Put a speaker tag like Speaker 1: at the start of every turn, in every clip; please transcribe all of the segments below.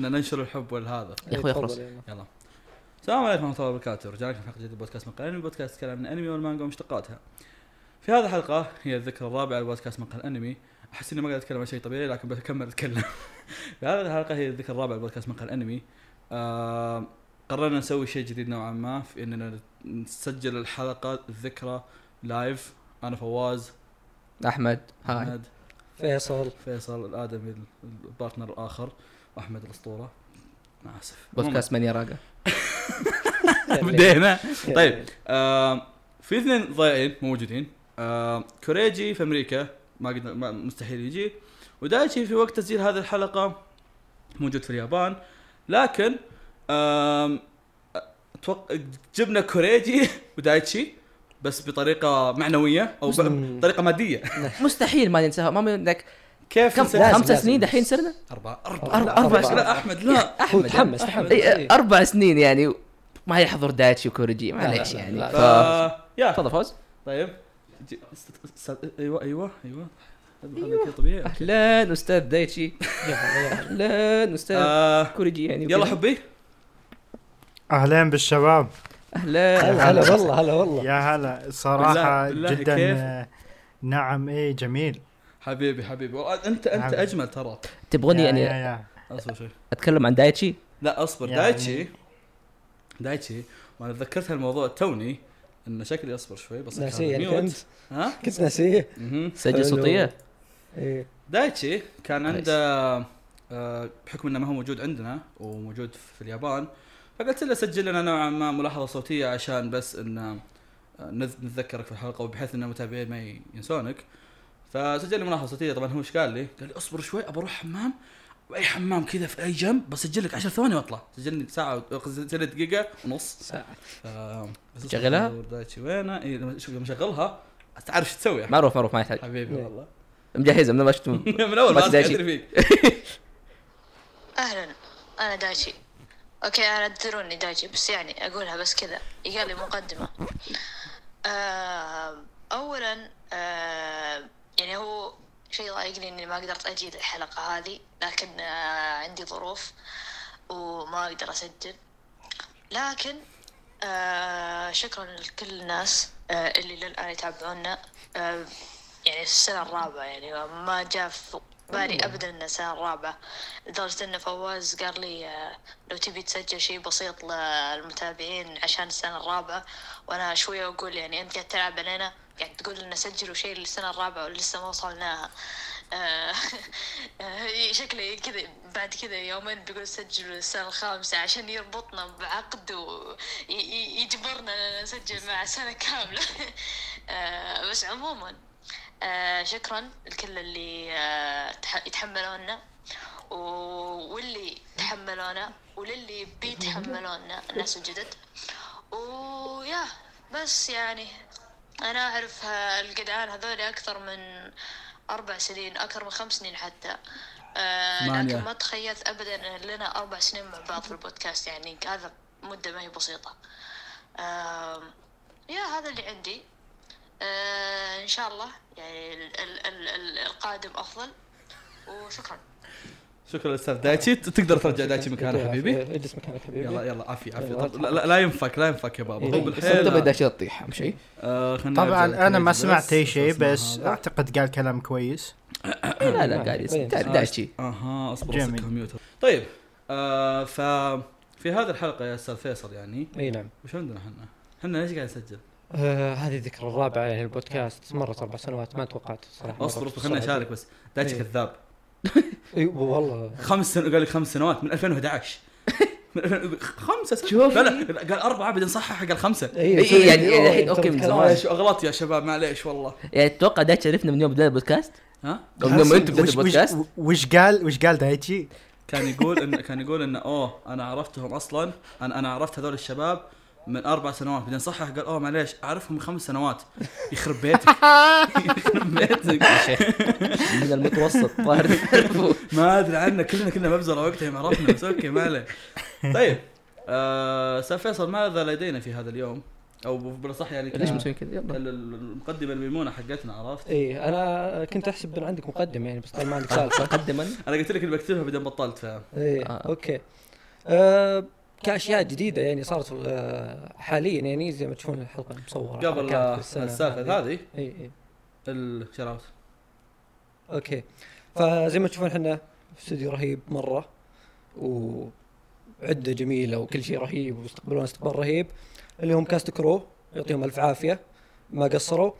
Speaker 1: ان ننشر الحب والهذا
Speaker 2: يا اخوي
Speaker 3: تفضل
Speaker 2: اخرس
Speaker 3: يلا.
Speaker 1: يلا السلام عليكم ورحمه الله وبركاته رجعنا لكم في حلقه جديده من بودكاست مقهى الانمي بودكاست كلام عن الانمي والمانجا ومشتقاتها في هذه الحلقه هي الذكرى الرابعه لبودكاست مقهى الانمي احس اني ما قاعد اتكلم عن شيء طبيعي لكن بكمل اتكلم في هذه الحلقه هي الذكرى الرابعه لبودكاست مقهى الانمي آه قررنا نسوي شيء جديد نوعا ما في اننا نسجل الحلقه الذكرى لايف انا فواز
Speaker 2: احمد هاي
Speaker 1: أحمد،
Speaker 3: فيصل
Speaker 1: فيصل الادمي البارتنر الاخر واحمد الاسطوره انا اسف
Speaker 2: بودكاست من يراقه
Speaker 1: بدينا طيب. آم، في اثنين ضايعين موجودين آم، كوريجي في امريكا ما قد ما مستحيل يجي ودايتشي في وقت تسجيل هذه الحلقه موجود في اليابان لكن آم، أتوقع- جبنا كوريجي ودايتشي بس بطريقه معنويه او ب-
Speaker 3: مم.
Speaker 1: بطريقه ماديه
Speaker 2: مستحيل ما ننساها ما منك
Speaker 1: كيف
Speaker 2: كم
Speaker 1: نسوي؟
Speaker 3: لازم،
Speaker 2: خمسة
Speaker 3: لازم.
Speaker 2: سنين دحين صرنا
Speaker 1: اربعه
Speaker 2: أربع-
Speaker 1: اربعه
Speaker 3: لا،
Speaker 2: أربع
Speaker 3: أربعة.
Speaker 2: سنين
Speaker 1: لا احمد لا
Speaker 3: هو تحمس تحمس
Speaker 2: إي،
Speaker 3: إيه.
Speaker 2: أربع سنين يعني ما يحضر دايتشي وكوريجي معليش
Speaker 3: لا، لا،
Speaker 2: يعني
Speaker 3: لا،
Speaker 1: ف...
Speaker 2: ف-
Speaker 1: آه، يا
Speaker 2: تفضل فوز
Speaker 1: طيب ج- س- س- ايوه ايوه ايوه ايوه طبيعي
Speaker 2: أهلا أستاذ دايتشي
Speaker 3: يلا، يلا.
Speaker 2: أهلا أستاذ
Speaker 1: آه،
Speaker 2: كوريجي يعني
Speaker 1: يلا
Speaker 2: وكذا.
Speaker 1: حبي
Speaker 4: اهلين بالشباب
Speaker 2: أهلا
Speaker 3: هلا هلا والله هلا والله
Speaker 4: يا هلا صراحه
Speaker 1: بالله- بالله
Speaker 4: جدا
Speaker 1: كيف؟
Speaker 4: آه، نعم ايه جميل
Speaker 1: حبيبي حبيبي والله انت انت
Speaker 4: حبيبي.
Speaker 1: اجمل ترى
Speaker 2: تبغوني
Speaker 4: يا-
Speaker 2: يعني
Speaker 4: يا- يا.
Speaker 1: اصبر شوي
Speaker 2: أتكلم عن دايتشي
Speaker 1: لا اصبر
Speaker 4: يعني-
Speaker 1: دايتشي دايتشي وانا تذكرت هالموضوع توني انه شكلي اصبر شوي بس
Speaker 3: ناسيه
Speaker 4: يعني
Speaker 1: أكتب
Speaker 3: انت
Speaker 1: mute. ها
Speaker 3: كنت ناسيه
Speaker 1: مهم.
Speaker 2: سجل
Speaker 3: حلو.
Speaker 2: صوتية
Speaker 3: إيه.
Speaker 1: دايتشي كان
Speaker 2: كويس.
Speaker 1: عنده آه، بحكم انه ما هو موجود عندنا وموجود في اليابان فقلت له سجل لنا نوعا ما ملاحظه صوتيه عشان بس ان آه، نذ- نتذكرك في الحلقه وبحيث ان المتابعين ما ي- ينسونك فسجل لي ملاحظه صوتيه طبعا هو ايش قال لي؟ قال لي اصبر شوي ابى اروح حمام اي حمام كذا في اي جنب بسجل لك 10 ثواني واطلع سجلني ساعه و- سجلني دقيقه ونص
Speaker 3: ساعة.
Speaker 1: ف- بس
Speaker 2: شغلها؟
Speaker 1: أصبر دايتشي وينه؟ اي لما شوف لما شغلها تعرف شو تسوي
Speaker 2: معروف معروف ما يحتاج
Speaker 1: حبيبي
Speaker 3: إيه.
Speaker 1: والله
Speaker 2: مجهزة من ما شفته
Speaker 1: من اول
Speaker 2: بس
Speaker 1: ما
Speaker 2: دايتشي.
Speaker 1: ادري فيك
Speaker 5: أهلا أنا دايتشي أوكي أنا تدروني دايتشي بس يعني أقولها بس كذا يقال لي مقدمة آه، أولا آه، يعني هو شيء ضايقني إني ما قدرت أجي للحلقة هذه لكن آه، عندي ظروف وما أقدر أسجل لكن آه، شكرا لكل الناس آه، اللي للآن يتابعونا آه، يعني السنة الرابعة يعني ما جاء في بالي أبدا إن السنة الرابعة لدرجة إن فواز قال لي آه، لو تبي تسجل شيء بسيط للمتابعين عشان السنة الرابعة وأنا شوية أقول يعني أنت قاعد تلعب علينا قاعد تقول لنا سجلوا شيء للسنة الرابعة ولسه ما وصلناها آه، آه، شكله كذا بعد كذا يومين بيقول سجلوا السنة الخامسة عشان يربطنا بعقد ويجبرنا نسجل مع سنة كاملة آه، بس عموما آه، شكرا لكل اللي آه، تح- يتحملونا و- واللي تحملونا وللي بيتحملونا الناس الجدد ويا بس يعني انا اعرف ها- الجدعان هذول اكثر من اربع سنين اكثر من خمس سنين حتى آه
Speaker 1: ثمانية.
Speaker 5: لكن ما تخيلت ابدا ان لنا اربع سنين مع بعض في البودكاست يعني هذا مده ما هي بسيطه آم، يا هذا اللي عندي آه ان شاء الله يعني ال- ال- ال- ال- القادم افضل وشكرا
Speaker 1: شكرا استاذ دايتشي ت- تقدر ترجع دايتشي مكانه
Speaker 3: إيه،
Speaker 1: حبيبي
Speaker 3: إيه، اجلس مكانك حبيبي
Speaker 1: يلا يلا عافية عافية
Speaker 3: يلا،
Speaker 1: طب- لا, لا- لا ينفك لا ينفك يا بابا هو
Speaker 3: إيه.
Speaker 1: بالحيل
Speaker 2: تبي دايتشي تطيح أهم شيء
Speaker 1: آه، خلنا نرجع
Speaker 4: طبعا انا ما
Speaker 1: لكريجي
Speaker 4: سمعت اي شيء
Speaker 1: أسمع
Speaker 4: بس
Speaker 1: هذا.
Speaker 4: اعتقد قال كلام كويس
Speaker 2: إي، لا لا قاعد
Speaker 3: طيب.
Speaker 2: تعرف دايتشي
Speaker 1: اها اصبر
Speaker 4: جميل.
Speaker 1: أصك ميوت طيب آه ف في هذه الحلقة يا استاذ فيصل يعني
Speaker 3: اي نعم
Speaker 1: وش عندنا احنا؟ احنا ليش قاعد نسجل؟
Speaker 3: آه هذه الذكرى الرابعه يعني البودكاست مرت اربع سنوات ما توقعت صراحه مرت
Speaker 1: اصبر اصبر خليني
Speaker 3: بسرعة.
Speaker 1: اشارك بس دايتشي
Speaker 3: إيه.
Speaker 1: كذاب
Speaker 3: اي والله
Speaker 1: خمس سنوات قال لك خمس سنوات من 2011 من 2000 خمسة سنوات
Speaker 2: شوف.
Speaker 1: لا لا قال أربعة بعدين صحح قال خمسة
Speaker 3: إيه،
Speaker 2: إيه،
Speaker 3: شوي-
Speaker 2: يعني إيه،
Speaker 3: أنت
Speaker 2: الحين أوكي من
Speaker 3: بتتكلم
Speaker 2: زمان.
Speaker 3: عن-
Speaker 1: معليش أغلط يا شباب معليش والله
Speaker 2: يعني تتوقع دايتشي عرفنا من يوم بدأنا البودكاست؟
Speaker 1: ها؟
Speaker 2: أو من يوم أنت بدأت
Speaker 4: وش- وش-
Speaker 2: البودكاست؟
Speaker 4: وش قال وش قال دايتشي؟
Speaker 1: كان يقول ان كان يقول ان اوه انا عرفتهم اصلا انا انا عرفت هذول الشباب من اربع سنوات بعدين صحح قال اوه معليش اعرفهم من خمس سنوات يخرب بيتك يخرب بيتك
Speaker 2: من المتوسط ظاهر تعرفوا.
Speaker 1: ما ادري عنه كلنا كنا مبزره وقتها ما عرفنا بس اوكي ما عليه طيب آه، استاذ فيصل ماذا لدينا في هذا اليوم؟ او بالاصح يعني
Speaker 2: ليش
Speaker 1: ال-
Speaker 2: مسوي كذا يلا
Speaker 1: ال- المقدمه الميمونه حقتنا عرفت؟
Speaker 3: اي انا إيه، كنت احسب ان عندك مقدمه يعني بس طيب ما عندك سالفه
Speaker 2: مقدما
Speaker 1: انا قلت لك اللي بكتبها بعدين بطلت فاهم
Speaker 3: اي
Speaker 2: آه.
Speaker 3: اوكي إيه، آه كاشياء جديده يعني صارت آه حاليا يعني زي ما تشوفون الحلقه المصوره
Speaker 1: قبل
Speaker 3: كانت
Speaker 1: آه،
Speaker 3: بالسنة
Speaker 1: السالفه هذه
Speaker 3: اي اي
Speaker 1: الشراوت
Speaker 3: اوكي فزي ما تشوفون احنا استوديو رهيب مره وعده جميله وكل شيء رهيب واستقبلونا استقبال رهيب اللي هم كاست كرو يعطيهم الف عافيه ما قصروا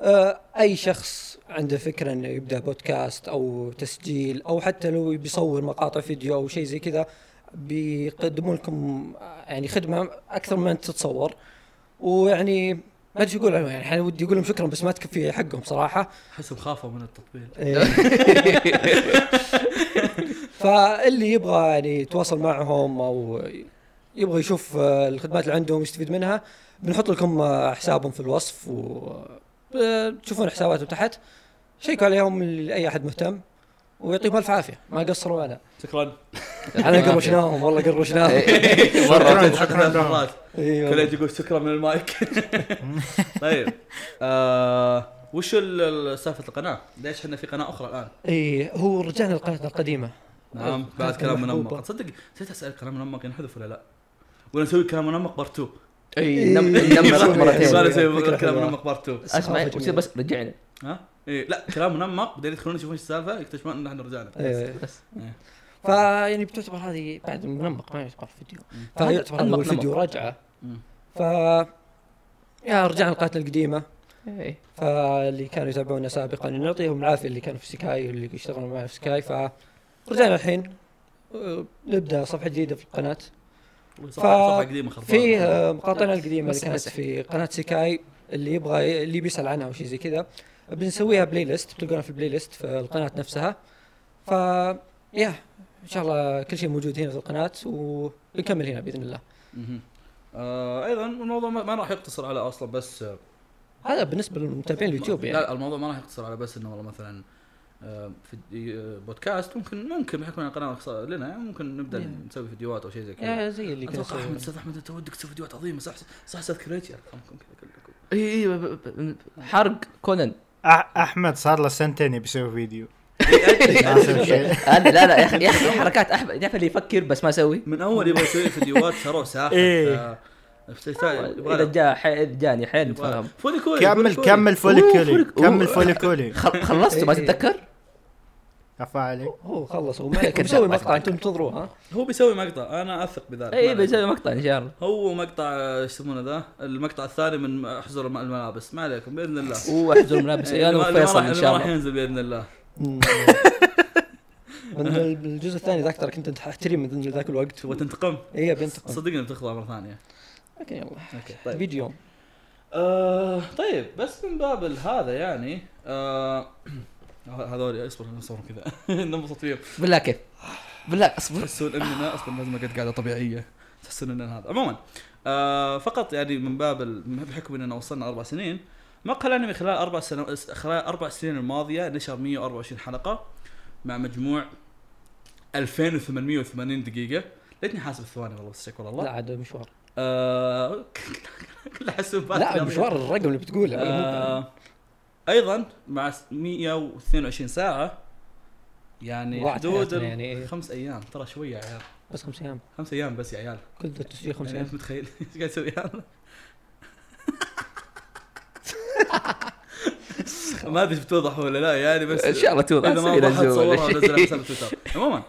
Speaker 3: آه، اي شخص عنده فكره انه يبدا بودكاست او تسجيل او حتى لو بيصور مقاطع فيديو او شيء زي كذا بيقدموا لكم آه، يعني خدمه اكثر من تتصور ويعني ما ادري شو اقول عنهم، يعني أنا ودي اقول لهم شكرا بس ما تكفي حقهم صراحه
Speaker 1: احسهم خافوا من التطبيل
Speaker 3: إيه. فاللي يبغى يعني يتواصل معهم او يبغى يشوف آه، الخدمات اللي عندهم يستفيد منها بنحط لكم آه، حسابهم في الوصف وتشوفون حساباتهم تحت شيكوا عليهم لاي احد مهتم ويعطيهم الف عافيه ما قصروا معنا
Speaker 1: شكرا
Speaker 3: انا قرشناهم والله قرشناهم
Speaker 4: شكرا
Speaker 1: شكرا
Speaker 4: شكرا لهم.
Speaker 1: مرات
Speaker 3: ايوه
Speaker 1: كليت يقول شكرا من المايك طيب آه وش ال- ال- سالفه القناه؟ ليش احنا في قناه اخرى الان؟
Speaker 3: اي إيه، هو رجعنا لقناتنا القديمه
Speaker 1: نعم
Speaker 3: كانت
Speaker 1: بعد كلام منمق
Speaker 3: محبوبة.
Speaker 1: تصدق نسيت اسال كلام منمق ينحذف ولا لا؟ ولا نسوي كلام منمق بارت 2
Speaker 2: اي نم-
Speaker 3: إيه.
Speaker 2: نمرة مرتين
Speaker 3: سؤال.
Speaker 1: ولا نسوي
Speaker 3: فكرة
Speaker 1: كلام
Speaker 3: حلوة.
Speaker 1: منمق بارت 2
Speaker 2: اسمع
Speaker 3: ثقافة
Speaker 2: وتصير بس رجعنا
Speaker 1: ها؟ ايه لا كلام منمق بعدين يدخلون يشوفون ايش السالفه يكتشفون ان احنا رجعنا
Speaker 3: إيه.
Speaker 2: بس
Speaker 3: فيعني يعني بتعتبر هذه بعد منمق ما يعتبر فيديو
Speaker 1: مم.
Speaker 3: فيعتبر هذا
Speaker 2: أنمق
Speaker 3: أول فيديو
Speaker 2: نمق.
Speaker 3: رجعه
Speaker 1: مم.
Speaker 3: ف يا رجعنا لقناتنا القديمه
Speaker 2: إيه.
Speaker 3: فاللي كانوا يتابعونا سابقا نعطيهم العافيه اللي كانوا في سكاي واللي يشتغلون معنا في سكاي فرجعنا الحين أه، نبدا صفحه جديده في القناه
Speaker 1: صفحه صفحة قديمه خربانه
Speaker 3: في أه، مقاطعنا القديمه اللي
Speaker 2: بس-
Speaker 3: كانت
Speaker 2: بس.
Speaker 3: في قناه سكاي اللي يبغى اللي بيسال عنها او شيء زي كذا بنسويها بلاي ليست بتلقونها في البلاي ليست في القناه نفسها ف يا ان شاء الله كل شيء موجود هنا في القناه وبنكمل هنا باذن الله
Speaker 1: مهم. آه ايضا الموضوع ما ما راح يقتصر على اصلا بس آه،
Speaker 3: هذا بالنسبه للمتابعين اليوتيوب يعني
Speaker 1: لا الموضوع ما راح يقتصر على بس انه والله مثلا آه، في آه، بودكاست ممكن ممكن بحكم ان القناه رخصة لنا يعني ممكن نبدا
Speaker 3: Yeah.
Speaker 1: نسوي فيديوهات او شيء زي كذا
Speaker 3: يا زي اللي
Speaker 1: اتوقع احمد
Speaker 3: كذا
Speaker 1: استاذ احمد انت ودك تسوي فيديوهات عظيمه صح صح استاذ كريتشي ارقامكم كذا كلكم
Speaker 2: اي اي ب- ب- ب- حرق كونان
Speaker 4: أح- احمد صار له سنتين يبي فيديو ما أسوي شيء.
Speaker 2: انا آه، لا لا يا اخي يا اخي حركات احمد تعرف اللي يفكر بس ما يسوي
Speaker 1: من اول يبغى يسوي فيديوهات ترى آه، ساحر
Speaker 4: إيه.
Speaker 2: اذا جاء حي- إذا جاني حيل تفهم
Speaker 1: فولي كولي
Speaker 4: كمل
Speaker 1: فولي كولي.
Speaker 2: أوه، فوليك-
Speaker 4: كمل فوليكولي كمل
Speaker 2: أوه.
Speaker 4: فوليكولي
Speaker 2: خل- خلصته ما
Speaker 3: إيه.
Speaker 2: تتذكر؟
Speaker 4: كفى عليك
Speaker 3: هو خلص هو ما عليكم مسوي مقطع انتم انتظروه ها
Speaker 1: هو بيسوي مقطع انا اثق بذلك ما
Speaker 2: اي
Speaker 1: عليك.
Speaker 2: إيه، بيسوي مقطع ان شاء الله
Speaker 1: هو مقطع آه، ايش يسمونه ذا المقطع الثاني من احزر الم- الملابس ما عليكم باذن الله
Speaker 2: واحجر ملابس
Speaker 1: اللي
Speaker 2: انا
Speaker 1: ما- اللي ما
Speaker 2: وفيصل
Speaker 1: راح-
Speaker 2: ان
Speaker 1: اللي ما
Speaker 2: شاء
Speaker 1: راح
Speaker 2: الله
Speaker 1: ينزل باذن الله
Speaker 3: من الجزء الثاني ذاك ترى كنت انت احترم من ذاك الوقت
Speaker 1: تبغى تنتقم
Speaker 3: اي بنتقم
Speaker 1: صدقني بتخضع مره ثانيه
Speaker 3: لكن يلا
Speaker 1: اوكي
Speaker 3: فيديو يوم
Speaker 1: آه طيب بس من باب هذا يعني آه هذول اصبر خلنا نصورهم كذا ننبسط فيهم
Speaker 2: بالله كيف بالله اصبر
Speaker 1: تحسون اننا اصلا لازم قد قاعده طبيعيه تحسون اننا هذا عموما آه فقط يعني من باب ال- بحكم اننا وصلنا اربع سنين مقهى الانمي خلال اربع سنوات خلال اربع سنين الماضيه نشر 124 حلقه مع مجموع 2880 دقيقه ليتني حاسب الثواني والله بس شكرا
Speaker 3: لا
Speaker 1: الله
Speaker 3: عاد مشوار
Speaker 1: آه كل حسبات
Speaker 3: لا
Speaker 1: رياضية.
Speaker 3: مشوار الرقم اللي بتقوله
Speaker 1: آه ايضا مع س- 122 ساعه يعني
Speaker 3: ضاعت
Speaker 1: حدود
Speaker 3: حياتنا
Speaker 1: ال-
Speaker 3: يعني إيه.
Speaker 1: خمس ايام ترى شويه يا عيال
Speaker 3: بس خمس ايام
Speaker 1: خمس ايام بس يا عيال
Speaker 3: كل ذا التسجيل خمس
Speaker 1: يعني
Speaker 3: ايام
Speaker 1: انت متخيل ايش قاعد يسوي هذا؟ ما ادري إيش بتوضح ولا لا يعني بس
Speaker 2: ان شاء الله توضح
Speaker 1: اذا ما
Speaker 2: أسوي
Speaker 1: وضحت
Speaker 2: لزوم ولا
Speaker 1: صورها ونزلها
Speaker 2: شيء.
Speaker 1: حساب تويتر عموما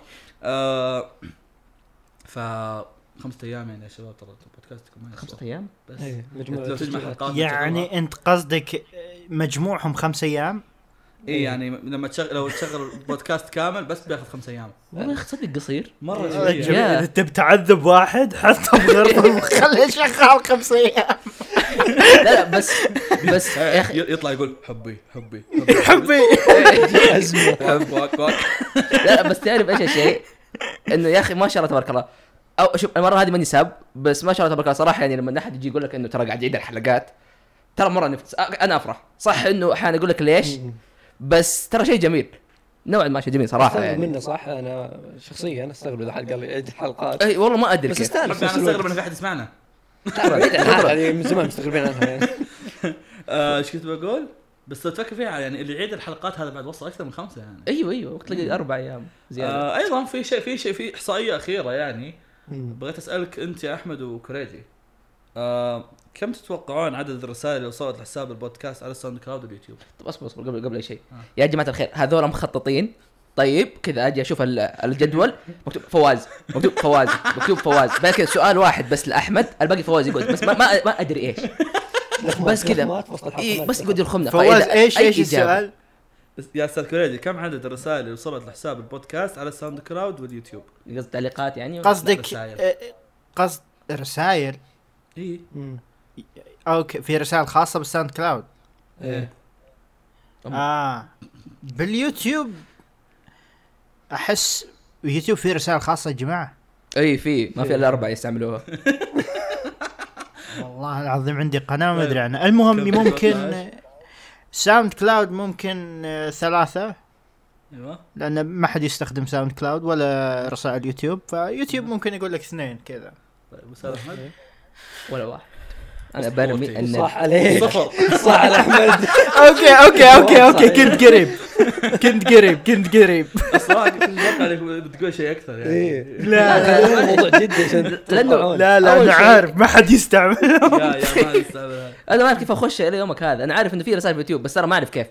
Speaker 1: آه، ف خمسة ايام يعني يا شباب ترى بودكاستكم ما يسوى.
Speaker 2: خمسة ايام
Speaker 1: بس
Speaker 3: إيه، مجموعة
Speaker 1: لو تجمع
Speaker 3: تسجيلات.
Speaker 1: حلقات
Speaker 4: يعني انت قصدك مجموعهم خمس ايام
Speaker 1: اي يعني لما تشغل لو تشغل بودكاست كامل بس بياخذ خمس ايام
Speaker 2: والله أخ، صدق قصير
Speaker 1: مره
Speaker 4: رجل،
Speaker 1: سريع.
Speaker 2: يا.
Speaker 4: اذا تبي تعذب واحد حطه بغرفه وخليه شغال خمس ايام
Speaker 2: لا لا بس بس يا اخي
Speaker 1: إيه، ي- يطلع يقول حبي حبي
Speaker 4: حبي
Speaker 3: ازمه
Speaker 1: حب واك واك
Speaker 2: لا لا بس تعرف ايش الشيء؟ انه يا اخي ما شاء الله تبارك الله او شوف المره هذه ماني ساب بس ما شاء الله تبارك الله صراحه يعني لما احد يجي يقول لك انه ترى قاعد يعيد الحلقات ترى مره نفس انا افرح صح انه احيانا اقول لك ليش بس ترى شيء جميل نوعا ما شيء جميل صراحه
Speaker 3: استغرب
Speaker 2: يعني
Speaker 3: منه صح انا شخصيا استغرب اذا حد قال لي عد حلقات
Speaker 2: اي والله ما ادري
Speaker 3: بس
Speaker 2: كيف أيوة،
Speaker 3: استانس
Speaker 1: انا
Speaker 3: في نفس
Speaker 1: استغرب
Speaker 3: الوقت.
Speaker 1: انه في احد يسمعنا
Speaker 2: بعيد عن الهضرة.
Speaker 3: هذه من زمان مستغربين عنها يعني
Speaker 1: آه، ايش كنت بقول؟ بس لو تفكر فيها يعني اللي يعيد الحلقات هذا بعد وصل اكثر من خمسه يعني
Speaker 2: ايوه ايوه تلاقي اربع ايام زياده
Speaker 1: آه ايضا في شيء في شيء في احصائيه اخيره يعني بغيت اسالك انت يا احمد وكريجي آه كم تتوقعون عدد الرسائل اللي وصلت لحساب البودكاست على ساوند كلاود واليوتيوب؟
Speaker 2: طب اصبر اصبر قبل قبل اي شيء يا جماعه الخير هذول مخططين طيب كذا اجي اشوف ال- الجدول مكتوب فواز مكتوب فواز مكتوب فواز بس كذا سؤال واحد بس لاحمد الباقي فواز يقول بس ما ما, ما ادري ايش بس كذا إيه بس يقعد يرخمنا
Speaker 4: فواز
Speaker 2: فإذا
Speaker 4: ايش
Speaker 2: أي
Speaker 4: ايش
Speaker 2: إجابة.
Speaker 4: السؤال؟
Speaker 1: بس يا استاذ كريجي كم عدد الرسائل اللي وصلت لحساب البودكاست على ساوند كلاود واليوتيوب؟
Speaker 2: قصد تعليقات يعني
Speaker 4: قصدك
Speaker 1: رسائل.
Speaker 4: آه، قصد رسائل
Speaker 1: اي
Speaker 4: اوكي في رسائل خاصه بالساوند كلاود
Speaker 3: إيه.
Speaker 2: أم.
Speaker 4: اه باليوتيوب احس يوتيوب فيه رسائل خاصه يا جماعه
Speaker 2: اي في ما في الا اربعه يستعملوها
Speaker 4: والله العظيم عندي قناه ما ادري عنها المهم
Speaker 1: إيه. كم-
Speaker 4: ممكن ساوند كلاود ممكن آه، ثلاثه
Speaker 3: أيوة.
Speaker 1: ايوه
Speaker 4: لان ما حد يستخدم ساوند كلاود ولا رسائل يوتيوب فيوتيوب ممكن يقول لك اثنين كذا
Speaker 1: طيب استاذ احمد
Speaker 2: ولا واحد انا برمي ان
Speaker 3: صح عليك
Speaker 1: صفر
Speaker 3: صح على احمد
Speaker 4: اوكي اوكي اوكي اوكي كنت قريب كنت قريب كنت قريب
Speaker 1: اصلا كنت متوقع انك بتقول شيء اكثر يعني
Speaker 3: إيه.
Speaker 4: لا
Speaker 3: هذا الموضوع جدا عشان
Speaker 2: لأنه-
Speaker 4: لا لا
Speaker 2: أول
Speaker 4: انا
Speaker 2: شيء-
Speaker 4: عارف ما حد يستعمل
Speaker 1: يا يا ما نستعملها.
Speaker 2: انا ما اعرف كيف اخش الى يومك هذا انا عارف انه في رسائل في اليوتيوب بس ترى ما اعرف كيف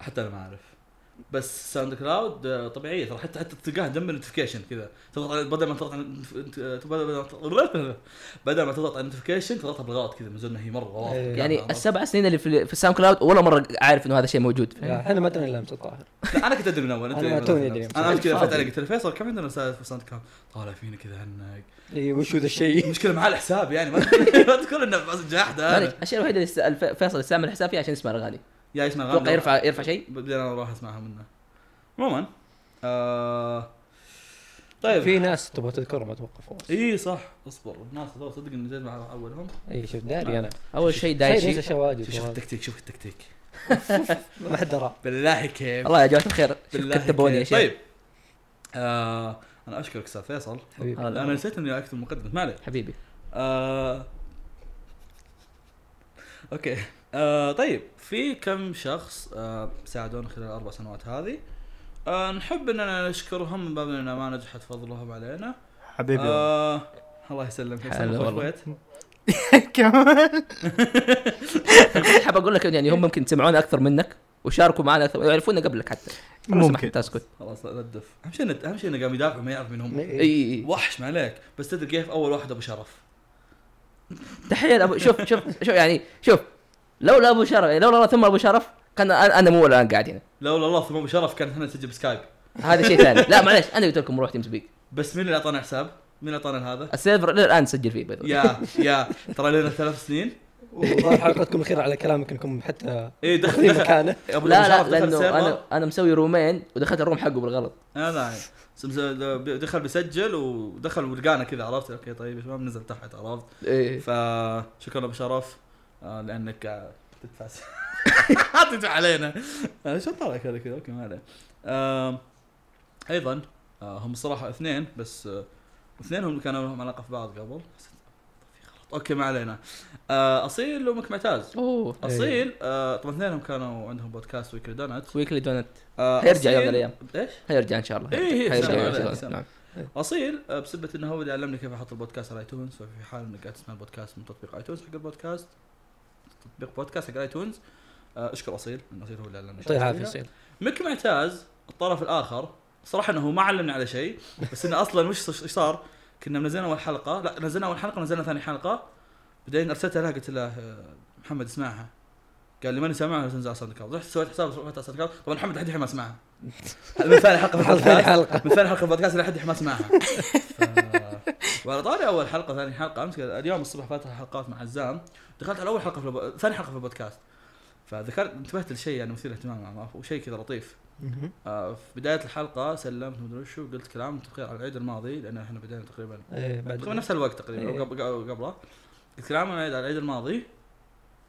Speaker 1: حتى انا ما اعرف بس ساوند كلاود آه، طبيعيه ترى حتى حتى تلقاها دم نوتيفيكيشن كذا تضغط على- بدل ما تضغط على نت- آه، بدل ما تضغط- بدل ما تضغط على نوتيفيكيشن تضغطها بالغلط كذا من زون ما هي مره واضحه
Speaker 3: إيه.
Speaker 2: يعني السبع سنين اللي في في الساوند كلاود ولا مره عارف انه هذا الشيء موجود
Speaker 3: لا، احنا ما درينا لمسه الظاهر
Speaker 1: لا، انا كنت ادري من اول انت
Speaker 3: أنا
Speaker 1: يعني
Speaker 3: توني
Speaker 1: مثلاً.
Speaker 3: أدري.
Speaker 1: انا أمس كذا فات
Speaker 2: فاضي.
Speaker 1: علي قلت له فيصل كم عندنا رسائل في ساوند كلاود طالع فينا كذا هنك
Speaker 3: إيه، وشو ذا الشيء
Speaker 1: المشكله معاه الحساب يعني ما ما تقول انه بس جاحده
Speaker 2: معليش
Speaker 1: أنا.
Speaker 2: الشيء الوحيد اللي الس- فيصل يستعمل الحساب فيه عشان يسمع الاغاني
Speaker 1: يا اسمع الغنى.
Speaker 2: اتوقع يرفع يرفع شيء
Speaker 1: بدي انا اروح اسمعها منه عموما آه... طيب
Speaker 3: في ناس تبغى تذكرهم اتوقع فوز
Speaker 1: اي صح اصبر الناس هذول صدق اني جيت مع اولهم
Speaker 3: اي إيه، شوف داري انا
Speaker 2: اول شيء
Speaker 3: خير ينسى
Speaker 2: دايشي
Speaker 3: شواجب
Speaker 1: شوف
Speaker 3: وهذا.
Speaker 1: التكتيك شوف التكتيك
Speaker 3: ما حد درى
Speaker 1: بالله كيف
Speaker 2: الله يا جماعه الخير شوف
Speaker 1: بالله
Speaker 2: كتبوني يا
Speaker 1: كيف.
Speaker 2: شيخ
Speaker 1: طيب آه... انا اشكرك استاذ فيصل
Speaker 3: حبيبي.
Speaker 1: انا نسيت اني اكتب مقدمه ما عليه
Speaker 2: حبيبي
Speaker 1: آه... اوكي آه طيب في كم شخص آه ساعدونا خلال الاربع سنوات هذه آه نحب اننا نشكرهم من باب اننا ما نجحت فضلهم علينا
Speaker 4: حبيبي
Speaker 1: آه الله يسلمك يسلمك
Speaker 2: هلا
Speaker 1: أخوي
Speaker 2: طيب، والله.
Speaker 1: كويت.
Speaker 4: كمان
Speaker 2: حاب اقول لك يعني هم ممكن يسمعونا اكثر منك وشاركوا معنا اكثر يعرفونا قبلك حتى لو
Speaker 4: ممكن.
Speaker 2: سمحت تسكت
Speaker 1: خلاص لا تدف اهم شيء إنه- اهم شيء انه قام يدافع ما يعرف من هم
Speaker 2: اي
Speaker 3: إيه.
Speaker 2: اي
Speaker 1: وحش ما عليك بس تدري كيف اول واحد ابو شرف
Speaker 2: تحيه ابو شوف شوف شوف يعني شوف لولا ابو شرف يعني لولا الله ثم ابو شرف كان انا أنا مو الان قاعد هنا
Speaker 1: لولا الله ثم ابو شرف كان هنا نسجل بسكايب
Speaker 2: هذا شيء ثاني لا معليش انا قلت لكم روح تيم سبيك
Speaker 1: بس مين اللي اعطانا حساب؟ مين اللي اعطانا هذا؟
Speaker 2: السيرفر للان سجل فيه باي ذا واي.
Speaker 1: يا يا ترى لنا ثلاث سنين
Speaker 3: وظهر حلقتكم الخير على كلامك انكم حتى
Speaker 1: اي
Speaker 3: في
Speaker 1: إيه، دخل دخل
Speaker 3: مكانه
Speaker 1: ابو
Speaker 2: لا لا
Speaker 1: شرف دخل
Speaker 2: لانه
Speaker 1: السيرفر.
Speaker 2: انا انا مسوي رومين ودخلت الروم حقه بالغلط
Speaker 1: لا لا سمس- دخل بيسجل ودخل ولقانا كذا عرفت اوكي طيب يا شباب نزل تحت عرفت
Speaker 2: ايه
Speaker 1: فشكرا ابو شرف آه، لانك آه، تدفع س- تدفع علينا آه، شو طالع كذا كذا اوكي ما عليه آم، ايضا آه، هم صراحه اثنين بس آه، اثنين هم اللي كانوا لهم علاقه في بعض قبل في غلط. اوكي ما علينا آه، اصيل ومك معتاز
Speaker 2: اوه
Speaker 1: اصيل آه، طبعا اثنينهم كانوا عندهم بودكاست ويكري دونات
Speaker 2: ويكلي دونت
Speaker 1: آه،
Speaker 2: حيرجع يوم من
Speaker 1: أصيل-
Speaker 2: الأيام.
Speaker 1: ايش؟
Speaker 2: حيرجع ان شاء الله
Speaker 1: إيه، إيه،
Speaker 2: حيرجع
Speaker 1: سلام
Speaker 2: يوم
Speaker 1: عليك،
Speaker 2: من الأيام.
Speaker 1: سلام.
Speaker 2: نعم.
Speaker 1: اصيل آه، بسبة انه هو اللي علمني كيف احط البودكاست على ايتونز ففي حال انك قاعد تسمع البودكاست من تطبيق ايتونز حق البودكاست تطبيق بودكاست حق ايتونز آه، اشكر اصيل لان اصيل هو اللي علمني
Speaker 3: يعطيه العافيه
Speaker 1: أسويها.
Speaker 3: يصير
Speaker 1: مك معتاز الطرف الاخر صراحه انه هو ما علمنا على شيء بس انه اصلا وش ايش صار؟ كنا منزلنا اول حلقه لا نزلنا اول حلقه ونزلنا ثاني حلقه بعدين ارسلتها له قلت له آه، محمد اسمعها قال لي ماني سامعها بس انزل على ساوند كلاود رحت سويت حساب رحت على ساوند كلاود طبعا محمد لحد الحين ما سمعها من ثاني حلقه في
Speaker 3: ثاني
Speaker 1: البودكاست
Speaker 3: حلقه
Speaker 1: من ثاني حلقه البودكاست لحد ما سمعها ف... وعلى طاري اول حلقه ثاني حلقه امس اليوم الصبح فاتح حلقات مع عزام دخلت على اول حلقه في الب... ثاني حلقه في البودكاست فذكرت انتبهت لشيء يعني مثير اهتمام وشيء كذا لطيف آه في بدايه الحلقه سلمت مدري وشو قلت كلام انتم بخير على العيد الماضي لان احنا بدينا تقريبا
Speaker 3: إيه،
Speaker 1: تقريبا
Speaker 3: بعد
Speaker 1: نفس الوقت تقريبا أو قبل أو قبله قلت كلام على العيد- على العيد الماضي